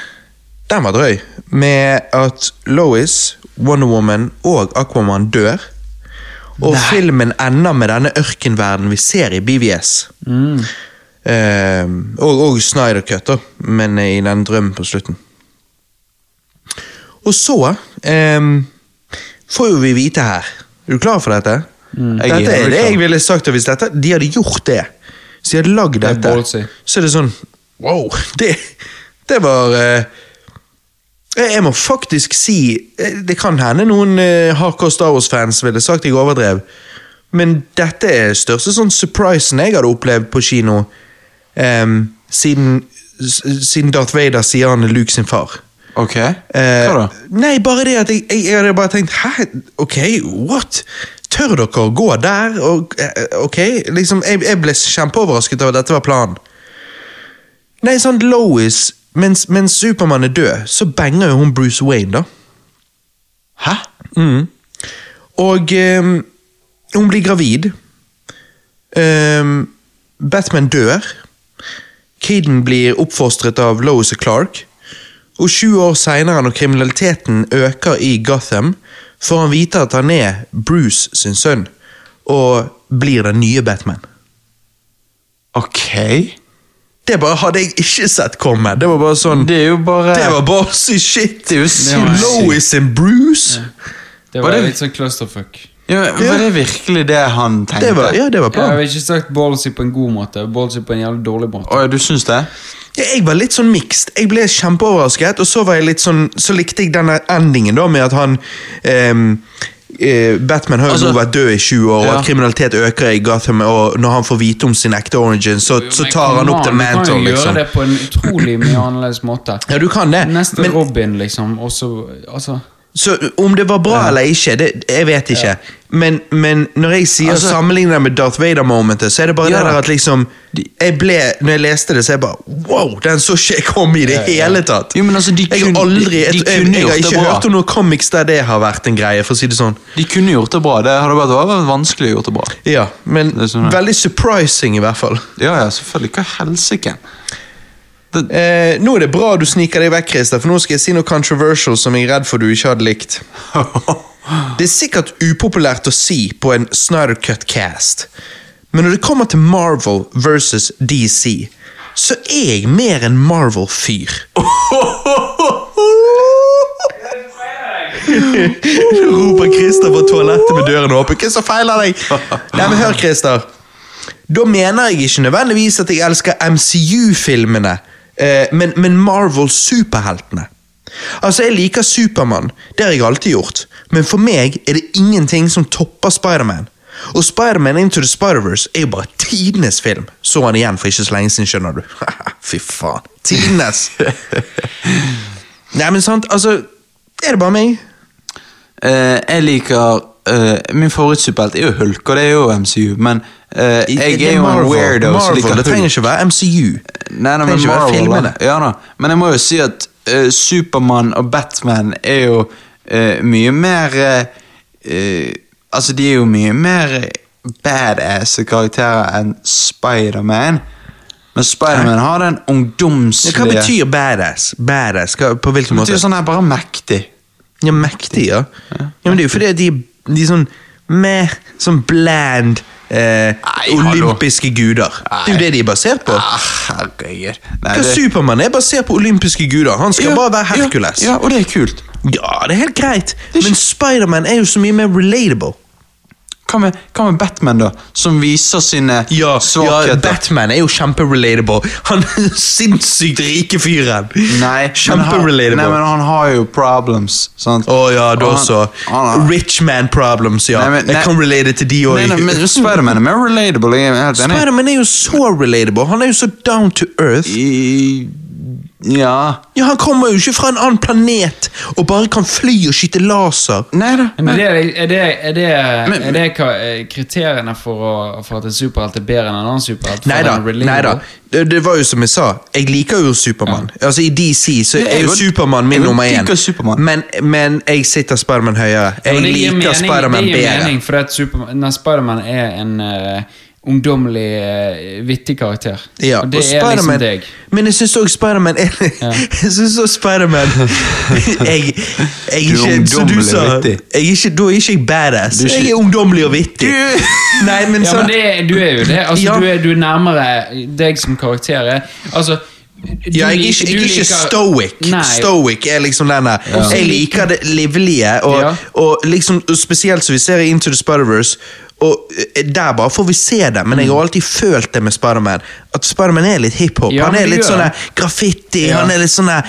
den var drøy. Med at Lois, Wonder Woman og Aquaman dør. Og filmen ender med denne ørkenverdenen vi ser i BVS. Ehm, og, og Snyder Cut, da, men i den drømmen på slutten. Og så ehm, får jo vi vite her Er du klar for dette? Jeg er Mm. Dette er veldig det klar. jeg ville sagt og hvis dette, de hadde gjort det. Hvis de hadde lagd er dette, ballsy. så er det sånn Wow! Det, det var eh, jeg jeg må faktisk si eh, Det kan hende noen eh, hardcore Star Wars-fans ville sagt jeg overdrev, men dette er største sånn surprisen jeg hadde opplevd på kino ehm, siden, s- siden Darth Vader sier han er Luke sin far. Ok. Eh, Hva da? Nei, bare det at jeg, jeg, jeg hadde bare tenkt Hæ? Ok, what? Tør dere å gå der? Og, eh, ok, liksom Jeg, jeg ble kjempeoverrasket over at dette var planen. Nei, sånn Lois Mens, mens Supermann er død, så banger jo hun Bruce Wayne, da. Hæ? Mm. Og ehm, hun blir gravid. Ehm, Batman dør. Kiden blir oppfostret av Lois og Clark. Og 20 år seinere, når kriminaliteten øker i Gotham, får han vite at han er Bruce sin sønn, og blir den nye Batman. Ok. Det bare hadde jeg ikke sett komme. Det var bare sånn Det er jo bare Det var bare så shit! Det er jo sinnssykt. Lois and Bruce! Det Var var det- litt sånn clusterfuck. Ja, Var det virkelig det han tenkte? Det var, ja, det var Jeg planen. har ikke sagt ballsy på en god måte, ballsy på en jævlig dårlig måte. Å, ja, du syns det? Ja, jeg var litt sånn mixed. Jeg ble kjempeoverrasket, og så, var jeg litt sånn, så likte jeg denne endingen da, med at han ehm, eh, Batman har jo Altså- nå vært død i 20 år, og Ja. at kriminalitet øker i Gotham. Og når han får vite om sin ekte origin, så, Jo, så men tar han come opp on, til mantle. Du kan jo gjøre Liksom. det på en utrolig mye annerledes måte. Ja, du kan det, Neste men Robin, liksom, og så Altså Så om det var bra eller ikke, det, jeg vet ikke. Men, men når jeg sier Altså- sammenligner det med Darth Vader-momentet, så er det bare Ja. det der at liksom jeg ble, Når jeg leste det, så er jeg bare Wow, den så ikke jeg komme i det hele tatt! Jo, men altså, de jeg kun- har aldri de- Jeg, de jeg, jeg, kunne har gjort det ikke bra. hørt om noen comics der det har vært en greie, for å si det sånn. De kunne gjort det bra. Det hadde bare vært vanskelig å gjort det bra. Ja, Men Det er sånn, ja. veldig surprising, i hvert fall. Ja, ja, selvfølgelig. Hva helsike? Eh, nå er det bra du sniker deg vekk, Christer, for nå skal jeg si noe controversial som jeg er redd for du ikke hadde likt. Det er sikkert upopulært å si på en Snyder Cut cast, men når det kommer til Marvel versus DC, så er jeg mer en Marvel-fyr. Nå roper Christer fra toalettet med døren åpen. Hva er det som feiler deg? Nei, men hør, Christer. Da mener jeg ikke nødvendigvis at jeg elsker MCU-filmene, eh, men, men Marvel-superheltene. Altså, jeg liker Supermann, det har jeg alltid gjort, men for meg er det ingenting som topper Spiderman. Og Spiderman Into the Spider-Verse er jo bare tidenes film. Så han igjen for ikke så lenge siden, skjønner du. Fy faen. Tidenes! Nei, men sant, altså Er det bare meg? Eh, jeg liker eh, Min favorittsuperhelt er jo Hulk, og det er jo MCU, men eh, jeg Det er jo en Marvel. weirdo som Marvel, liker Det trenger Hulk. ikke være MCU. Nei, nei, trenger men ikke være Marvel, da. filmene. Ja, da. Men jeg må jo si at uh, Supermann og Batman er jo eh, mye mer eh, eh, Altså, de er jo mye mer badass karakterer enn Spiderman. Men Spiderman har den Men Hva ungdomslige betyr badass? Badass, hva, På hvilken Eh, Det måte? betyr sånn her bare mektig. Ja, mektig, ja. ja men det er jo fordi at de, de er sånn meh, sånn bland eh, hallo. olympiske guder. Det er jo det de er basert på. Ah, herregud. Nei, Hva Supermann er basert på olympiske guder. Han skal Ja, bare være Hercules. Ja, ja, og det er kult. Ja, det er helt greit, men Spiderman er jo så mye mer relatable. Hva med, hva med Batman, da? Som viser sine Ja, ja svakheter. Batman er jo kjemperelatable. Han er sinnssykt rike fyren. Nei, men han- Nei, Kjemperelatable. men han har jo problems. Sant? Å ja, da Og han- så. han har- Rich man problems, ja. Nei, men- nei- Jeg kan relate til de Nei, nei, men òg. Spiderman er mer relatable. Jeg er helt enig. Spiderman er jo så relatable. Han er jo så down to earth. I- Ja Ja, Han kommer jo ikke fra en annen planet og bare kan fly og skyte laser. Nei da. Men det, er, er, det, er, det, Men- er det hva- eh, kriteriene for, å, for at en superhelt er bedre enn en annen superhelt? For Nei da. den er Nei da. relatable. Det, det var jo som jeg sa, jeg liker jo Supermann. Altså I DC så Ja, er jeg jo vil- Supermann min jeg vil nummer liker én. Superman. Men, men jeg sitter Spiderman høyere. Ja, Jeg men det gir liker mening- Spiderman Det gir bedre. mening, for at Superman, nei, Spiderman er en eh, ungdommelig, eh, vittig karakter. Ja, og det og er liksom Spiderman- deg. Men jeg syns òg Spiderman er Jeg syns òg Spiderman Jeg, jeg Du er er ikke, som du ungdommelig sa, og jeg vittig. er ikke, da er ikke jeg badass. Du er ikke- Jeg er ungdommelig og vittig. Nei, men Ja, sant men det, er- du er jo det. Altså, Ja. du, er, du er nærmere deg som karakter. er. Altså, du Ja, jeg er liker- ikke, jeg er du ikke liker- stoic. Nei, Stoic er liksom den der. Jeg liker det livlige, og, Ja. og liksom, og spesielt som vi ser i Into the Spider-Verse. Og eh, Der bare får vi se det, men jeg Mm. har alltid følt det med Spider-Man At Spider-Man er litt hiphop. Ja, han men er det litt gjør sånn han. der graffiti, Ja. han er litt sånn der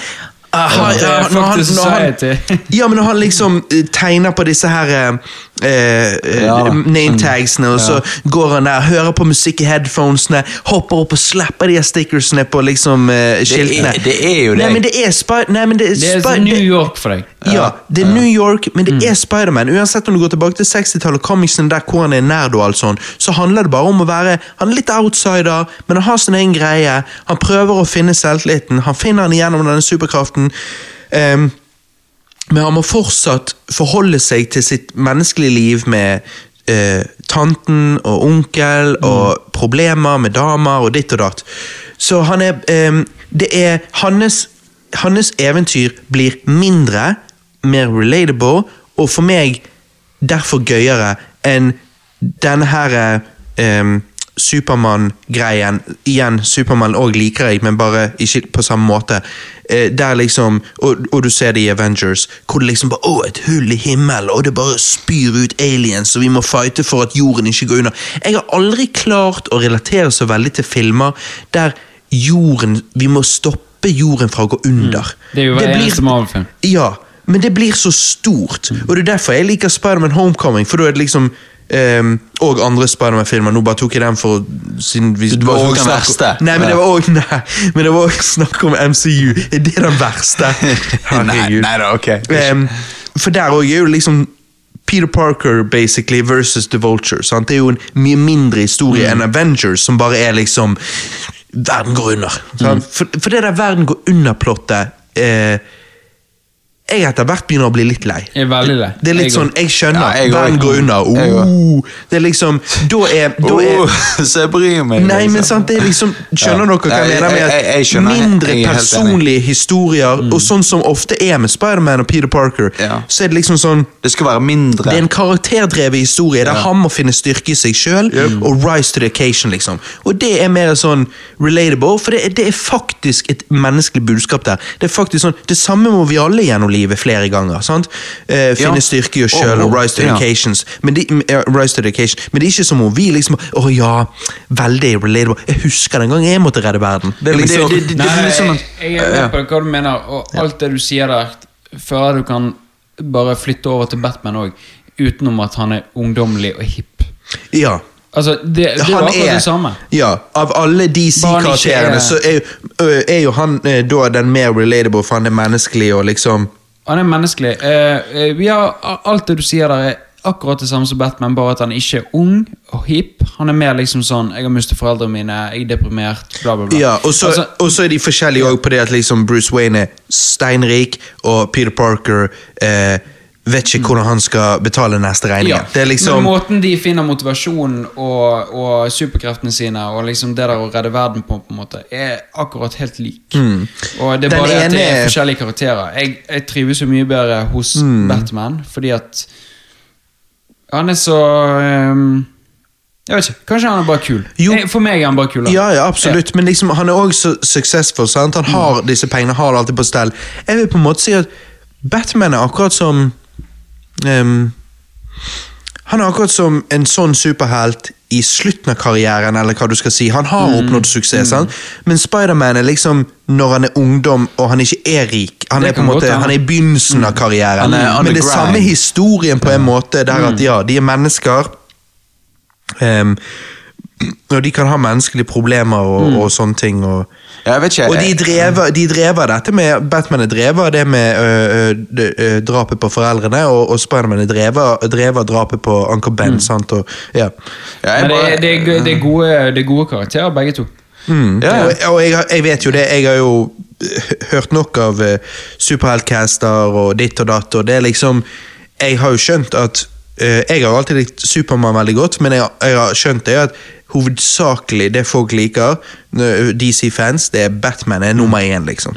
ah, Ja, han- det er ja, når fuck han- the når han- society. Ja, men når han liksom eh, tegner på disse her eh, eh, Ja da. sånn. nametagsene, og så går han der, hører på musikk i headphonesene, hopper opp og slapper de her stickersene på liksom eh, skiltene. er- det er jo det. Nei, men det er Spi... Nei, men det er, Det er Spi- sånn New Mm. det- York for deg. ja, det er New York, men det er Spiderman. Uansett om du går tilbake til 60-tallet, comicsen der hvor han er nerd og alt sånn, så handler det bare om å være Han er litt outsider, men han har sin egen greie. Han prøver å finne selvtilliten. Han finner den gjennom denne superkraften. Ehm, men han må fortsatt forholde seg til sitt menneskelige liv med eh, tanten og onkel og problemer med damer og ditt og datt. Så han er ehm, Det er hans, hans eventyr blir mindre, mer relatable, og for meg derfor gøyere enn denne her ehm, Supermann-greien. Igjen, Supermann òg liker jeg, men bare ikke på samme måte. Eh, der liksom, og, og du ser det i Avengers, hvor det liksom bare Å, et hull i himmelen, og det bare spyr ut aliens, og vi må fighte for at jorden ikke går under. Jeg har aldri klart å relatere så veldig til filmer der jorden Vi må stoppe jorden fra å gå under. Mm. Det er jo hver blir- eneste Marvel-film. ja, men det blir så stort. Mm. Og det er derfor jeg liker Spiderman Homecoming. For da er det liksom ehm, Og andre Spiderman-filmer. Nå bare tok jeg den for å- siden vi Du var bare tok også den snakk- verste. Nei, men det var òg Nei, men det var også snakk om MCU. Er det den verste? Nei, Herregud. nei da, ok. Det er ikke- Ehm, For der òg er jo liksom Peter Parker basically versus The Vulture. Sant? Det er jo en mye mindre historie Mm. enn Avengers, som bare er liksom Verden går under. Mm. Sant? For, for det der verden går under-plottet eh, Jeg etter hvert begynner å bli litt lei. Jeg er veldig lei. Det er litt Jeg sånn, jeg skjønner, Ja, jeg går. verden går under. Jeg går. Oh, det er liksom, da er, da er Oh, så jeg bryr meg. Nei, liksom. men sant, det er liksom Skjønner dere Ja. hva jeg Jeg- mener med jeg- jeg- jeg at skjønner. Jeg- mindre jeg er helt enig. Mm. personlige historier, og sånn som ofte er med Spiderman og Peter Parker, Ja. så er det liksom sånn Det skal være mindre. det er en karakterdrevet historie der han må finne styrke i seg sjøl og rise to the occasion. liksom. Og det er mer sånn relatable, for det er, det er faktisk et menneskelig budskap der. Det er faktisk sånn, det samme må vi alle gjennom livet flere ganger. sant? Eh, finne Ja. styrke i oss sjøl Og- og og- rise to the ja. occasions. Men, de, ja, rise to the occasion. Men det er ikke som om vi liksom Å ja, veldig relatable. Jeg husker den gang jeg måtte redde verden. Det Ja, er men liksom, det- det- det- Nei, blir som jeg, at- jeg er med på hva du mener, og alt det du sier der, før du kan bare flytte over til Batman òg, utenom at han er ungdommelig og hipp. ja. Altså, det, det er Han akkurat er- det samme. Ja, av alle Barn ikke DC-karakterene er- så er, jo- ø, er jo han eh, da den mer relatable, for han er menneskelig og liksom Han er menneskelig. Eh, eh, vi har, a- alt det du sier der, er akkurat det samme som Batman, bare at han ikke er ung og hipp. Han er mer liksom sånn 'Jeg har mistet foreldrene mine, jeg er deprimert', bla, bla, bla. Ja, og så, Altså, og så er de forskjellige òg på det at liksom Bruce Wayne er steinrik, og Peter Parker eh, vet ikke hvordan han skal betale neste regning. Mm. ja. Det er liksom Men måten de finner motivasjonen og, og superkreftene sine og liksom det der å redde verden på, på en måte, er akkurat helt lik. Og det Mm. Den er bare det at det ene er er- forskjellige karakterer. Jeg, jeg trives jo mye bedre hos Mm. Batman, fordi at han er så ehm, Jeg vet ikke, kanskje han er bare kul. Jo. Jeg, for meg er han bare kul. da. Ja, ja, absolutt, men liksom, han er òg så suksessfull. sant? Han har Mm. disse pengene, har det alltid på stell. Jeg vil på en måte si at Batman er akkurat som ehm, Han er akkurat som en sånn superhelt i slutten av karrieren, eller hva du skal si. Han Mm. har oppnådd suksess, sant? men Spiderman er liksom når han er ungdom og han ikke er rik. Han Det er på kan en godt måte, hende. Mm. han er i begynnelsen av karrieren, Han er on men the det er samme grind. historien på en måte, der at ja, de er mennesker. ehm, og de kan ha menneskelige problemer og, og sånne ting. Og, Jeg vet ikke. og de drever, de drever dette med Batman er drevet av det med øh, øh, d- øh, drapet på foreldrene, og, og Spiderman er drevet drevet av drapet på Uncle Ben. sant? Og, ja. Ja, jeg Men det, bare- er- det, er, go- det, er gode, det er gode karakterer, begge to. Ja, ja. Mm. Og, og jeg, har- jeg vet jo det, jeg har jo øh, hørt nok av øh, superheltcaster og ditt og datt, og det er liksom Jeg har jo skjønt at øh, Jeg har jo alltid likt Supermann veldig godt, men jeg, jeg har skjønt det at hovedsakelig det folk liker, øh, DC-fans, det er Batman er nummer Mm. én, liksom.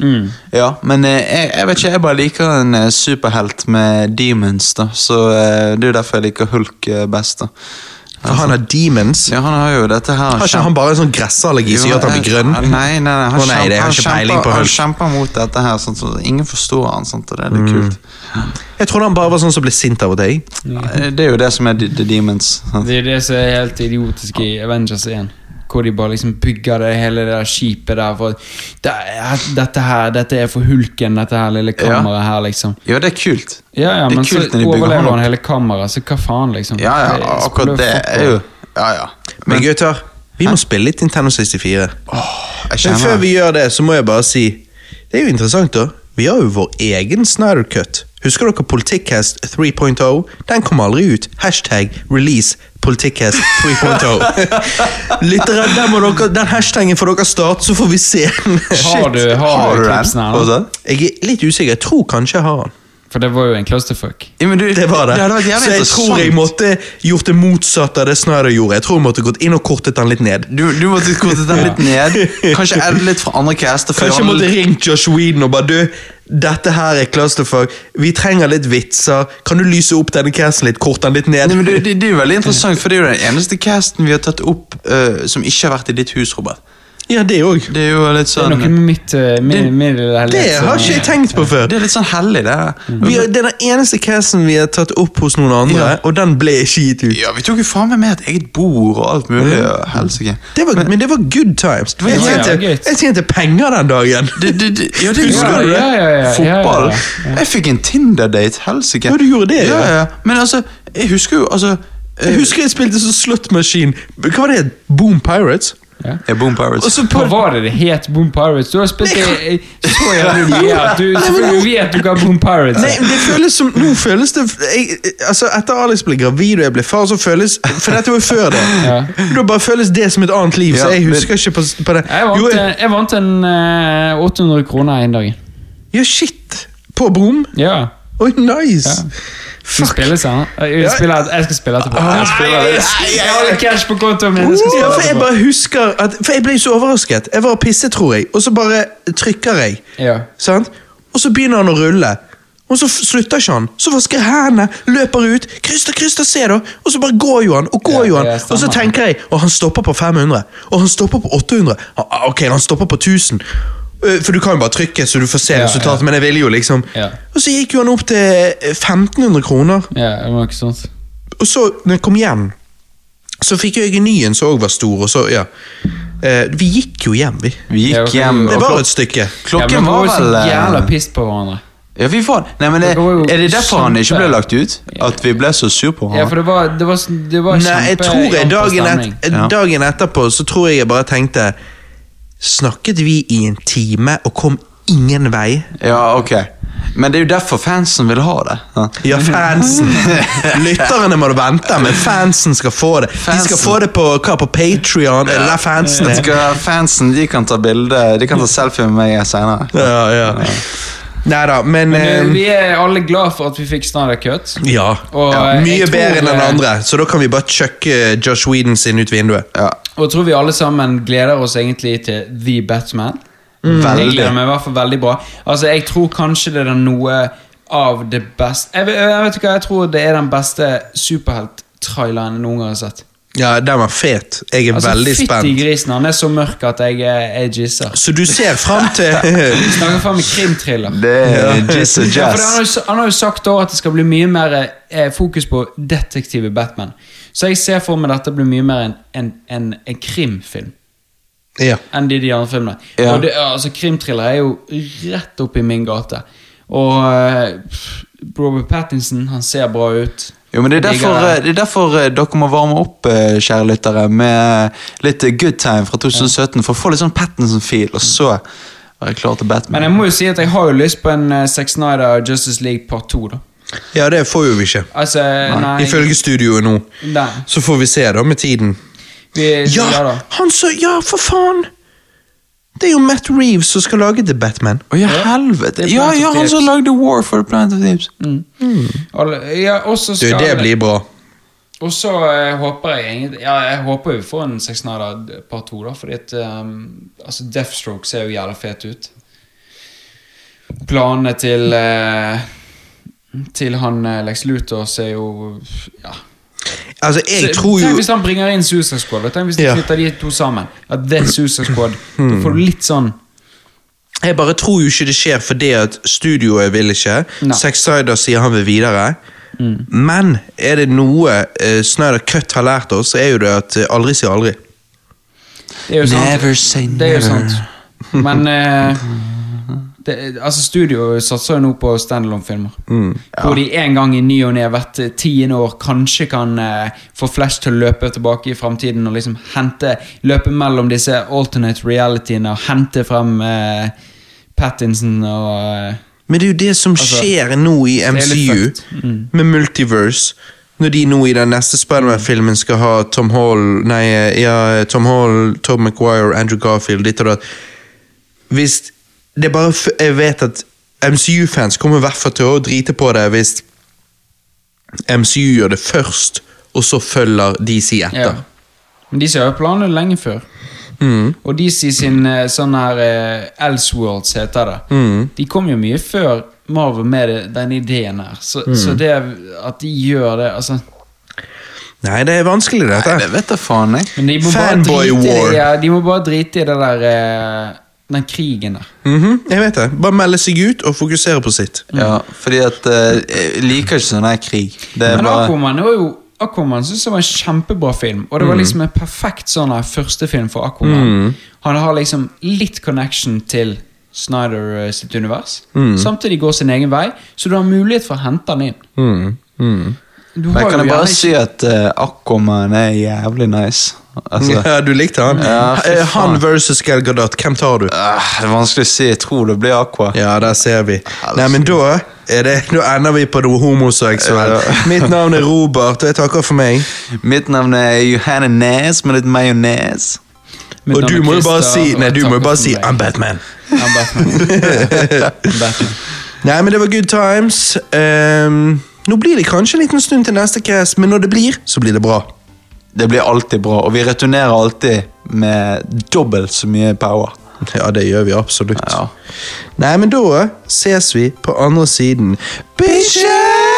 Ja, men eh, jeg, jeg vet ikke, jeg bare liker en eh, superhelt med demons, da. Så eh, det er jo derfor jeg liker Hulk eh, best, da. For han har demons. Ja, han har jo dette her. Har ikke kjempe- eh, han bare en sånn gressallergi som gjør at han blir grønn? Nei, nei, nei han, Å nei, det er han, ikke peiling kjemper, på han Hulk. kjemper mot dette her, sånn, så ingen forstår han, sant, og det er Mm. litt kult. Jeg trodde han bare var sånn som ble sint av og til. Mm. Ja, eh, Det er jo det som er The, the Demons. sånn. Sant? Det er det som er helt idiotisk i Avengers 1. Hvor de bare liksom bygger det hele det der skipet der for at det er- Dette her, dette er for hulken, dette her lille kammeret her, liksom. Ja, det er kult. Ja, ja, Det er men så kult når de bygger overlever han han opp. hele kammeret, så hva faen, liksom. Ja, Det ja, er- akkurat det er jo Ja, ja. Men gutter, vi må spille litt Nintendo 64. jeg Men før kjenner vi gjør det, så må jeg bare si Det er jo interessant, da. Vi har jo vår egen Snyder Cut. Husker dere Politikkast 3.0? oh? Den kom aldri ut. Hashtag release Politikkast 3.0. Lyttere, oh. den, må dere- den hashtagen får dere starte, så får vi se den. Har du, har Har du du den? Altså- klipsen her? nå? Fortsatt? Jeg er litt usikker. Jeg tror kanskje jeg har den. For det var jo en clusterfuck. Ja, men du, Det var det. hadde vært så jævlig jeg tror jeg interessant. måtte gjort det motsatte av det Snyder gjorde. Jeg tror jeg måtte gått inn og kortet den litt ned. Du, du måtte korte den litt ned. Kanskje edde litt fra andre caster. for Kanskje jeg han- måtte ringt Josh Whedon og bare Du, dette her er clusterfuck. Vi trenger litt vitser. Kan du lyse opp denne casten litt? Korte den litt Nei, ned? men det, det, det er jo veldig interessant, for det er jo den eneste casten vi har tatt opp eh, som ikke har vært i ditt hus, Robert. Ja, det òg. Det er jo Det litt er sånn noe med mitt eh, Det- min, min lille helhet Det som- har ikke jeg tenkt på før. Det er litt sånn hellig, det. der. Vi har, det er den eneste casten vi har tatt opp hos noen andre, Ja. og den ble ikke gitt ut. Ja, vi tok jo faen meg med et eget bord og alt mulig. og Helsike. Det var, men det var good times. Jeg var tjente, jævlig gøy. jeg tjente penger den dagen. Det, det, det, ja, det Husker husker du du det? det? Ja, ja, ja, ja, Fotball. ja, Jeg fikk en Tinder-date. Helsike. Ja, du gjorde det, ja. ja. ja. Men altså, jeg husker jo altså eh, Jeg husker jeg spilte sånn slot machine. Hva var det? Boom Pirates? Ja. Er Boom Og Pirates. så på Hva var det det het Boom Pirates? Du har spilt det så jævlig mye at du selvfølgelig vet du hva Boom Pirates Nei, er. det føles som Nå føles det jeg, Altså, etter Alex ble gravid og jeg ble far, så føles For dette var jo før det. Ja. Da bare føles det som et annet liv, så Ja, jeg men- husker ikke på, på det. Jeg vant, Jo, jeg- en- jeg vant en eh, 800 kroner en dag. ja, shit! På Brom? Ja. Oi, nice! Ja. Skal Fuck! Ah, spille senere. Eh, Jeg, spiller, jeg skal spille etterpå. jeg spiller det. Nei, jeg har cash på kontoen min. Jeg skal Oh, Ja, spille for jeg etterpå. bare husker at For jeg ble så overrasket. Jeg var og pisset, tror jeg, og så bare trykker jeg. Ja. Sant? Og så begynner han å rulle. Og så f- slutter ikke han. Så vasker hendene, løper ut. Christer, Christer, se da! Og så bare går jo han, og går Ja, jo han. ja, Og så stemmer. tenker jeg og han stopper på 500. Og han stopper på 800. Ah, ah, Ok, han stopper på 1000. Eh, For du kan jo bare trykke, så du får se Ja, resultatet. ja. Men jeg ville jo liksom Ja. Og så gikk jo han opp til eh, 1500 kroner. ja, det var ikke sånt. Og så, når jeg kom hjem, så fikk jeg en ny en som òg var stor. Og så, ja. Eh, vi gikk jo hjem, vi. Vi Ja, gikk for- hjem Det og var klok- et stykke. Ja, Klokken men var vi vel så eh, jævla pist på hverandre. Ja, fy faen. Nei, men det, Dere var jo Er det derfor han ikke kjempe- ble lagt ut? At vi ble så sur på Ja, for han? det var, det var, sånn- det var Nei, jeg tror jeg kjempe- dagen, stemning. et, Ja. dagen etterpå så tror jeg jeg bare tenkte Snakket vi i en time og kom ingen vei? Ja, ok. Men det er jo derfor fansen vil ha det. Ja. Ja, fansen. Lytterne må du vente, men fansen skal få det. De skal Fansen. få det på hva, på Patrion? Er det der fansen Vet er? du hva, Fansen de kan ta bilde De kan ta selfie med meg senere. Ja, ja. Nei da, men, Men, eh, eh, Vi er alle glad for at vi fikk Snyder Cut. Ja. Og, eh, Mye jeg tror, bedre enn den eh, andre, så da kan vi bare chucke Josh Whedon sin ut vinduet. Ja. Og jeg tror vi alle sammen gleder oss egentlig til The Batman. Jeg gleder meg i hvert fall veldig bra. Altså, jeg tror kanskje det er noe av det beste Jeg, vet- jeg vet ikke hva, jeg tror det er den beste superhelttraileren jeg noen gang har sett. Ja, den var fet. Jeg er Altså, veldig Fytti spent. grisen, han er så mørk at jeg, eh, jeg jizzer. Så du ser fram til Snakker faen meg krimthriller. Det er jizz og Ja, for det- han, har jazz. jo, sa- han har jo sagt også at det skal bli mye mer eh, fokus på detektive Batman. Så jeg ser for meg dette blir mye mer en, en, en, en krimfilm Ja. enn de, de andre filmene. Ja. Og det, altså, krimthriller er jo rett opp i min gate. Og eh, pff, Robert Pattinson, han ser bra ut. Jo, men det er Jeg derfor, digger det. eh, det er derfor eh, dere må varme opp, eh, kjære lyttere, med litt eh, good time fra 2017. For å få litt sånn Pattinson-feel, og så være klar til Men jeg Batman. må jo si at jeg har jo lyst på en eh, Zack Snyder og Justice League part 2, da. ja, det får jo vi ikke. Altså, nei, Ifølge studioet nå. Nei. Så får vi se, da, med tiden. Vi, da. Ja, han så Ja, for faen! Det er jo Matt Reeves som skal lage The Batman. Å, ja, helvete! Det er Ja, Planet of ja, the han som Apes. lagde War for the Planet of the Apes. Alle, ja, også Du, skal det blir bra. Og så eh, håper jeg egentlig Ja, jeg håper vi får en Zack Snyder par to, da, fordi at ehm, Altså, Deathstroke ser jo jævla fet ut. Planene til eh, Til han eh, Lex Luthor ser jo Ja. Altså, jeg Så- tror jo Tenk hvis han bringer inn Suicide Squad, og tenk hvis de Ja. Hmm. knytter de to sammen. At det er Suicide Squad. Da får du litt sånn Jeg bare tror jo ikke det skjer fordi at studioet vil ikke. Nei. Mm. Zack Snyder sier han vil videre. Men er det noe eh, Snyder Cut har lært oss, så er jo det at eh, aldri sier aldri. Det er jo sant. Never say Det er jo never. sant. Men eh, det, altså studio satser jo nå på standalone-filmer. Hvor de en gang i ny og ne hvert eh, tiende år kanskje kan eh, få Flash til å løpe tilbake i framtiden og liksom hente Løpe mellom disse alternate realityene og hente frem eh, Pattinson og eh, Men det er jo det som Altså, skjer nå i er litt MCU, fucked. med Multiverse. Når de nå i den neste Spiderman-filmen skal ha Tom Hall Nei, ja, Tom Hall, Tom McGuire, Andrew Garfield, ditt og datt. Hvis Det er bare f Jeg vet at MCU-fans kommer i hvert fall til å drite på det hvis MCU gjør det først, og så følger DC Ja. etter. Men de ser jo planene lenge før. Mm. Og DC sin eh, sånn her eh, Elseworlds heter det. Mm. De kom jo mye før Marvel med det, den ideen her. Så, Mm. så det at de gjør det altså, Nei, det er vanskelig, dette. Det vet jeg faen, jeg. men de må Fanboy bare drite i war. det, ja, De må bare drite i det der eh, den krigen der. Mhm, jeg vet det. Bare melde seg ut og fokusere på sitt. Ja, fordi at eh, Jeg liker ikke sånn her krig. Det er Men bare Aquaman det var jo Aquaman synes jeg var en kjempebra film, og det Mm. var liksom en perfekt sånn her første film for Aquaman. Han har liksom litt connection til Snyder eh, sitt univers, Mm. samtidig går sin egen vei, så du har mulighet for å hente han inn. Mm. Du Men har kan jo jeg bare gjerne ikke- si at eh, Aquaman er jævlig nice. Altså, Ja, du likte han? Ja, fy Eh, han faen. versus Gal Gadot, hvem tar du? ah, det er vanskelig å si. Jeg tror det blir Aqua. Ja, der ser vi. det Nei, er men da, er det, da ender vi på noe homoseksuell. Ja. Mitt navn er Robert, og jeg takker for meg. Mitt navn er Johanne Næs med litt majones. Mitt Og navn du er må jo bare Christer, si og Nei, du må jo takk bare for si meg. I'm Batman. I'm Batman. Batman. Nei, men det var good times. Ehm, nå blir det kanskje en liten stund til neste cast, men når det blir, så blir det bra. Det blir alltid bra, og vi returnerer alltid med dobbelt så mye power. Ja, det gjør vi absolutt. Ja. Nei, men da ses vi på andre siden. Bitches!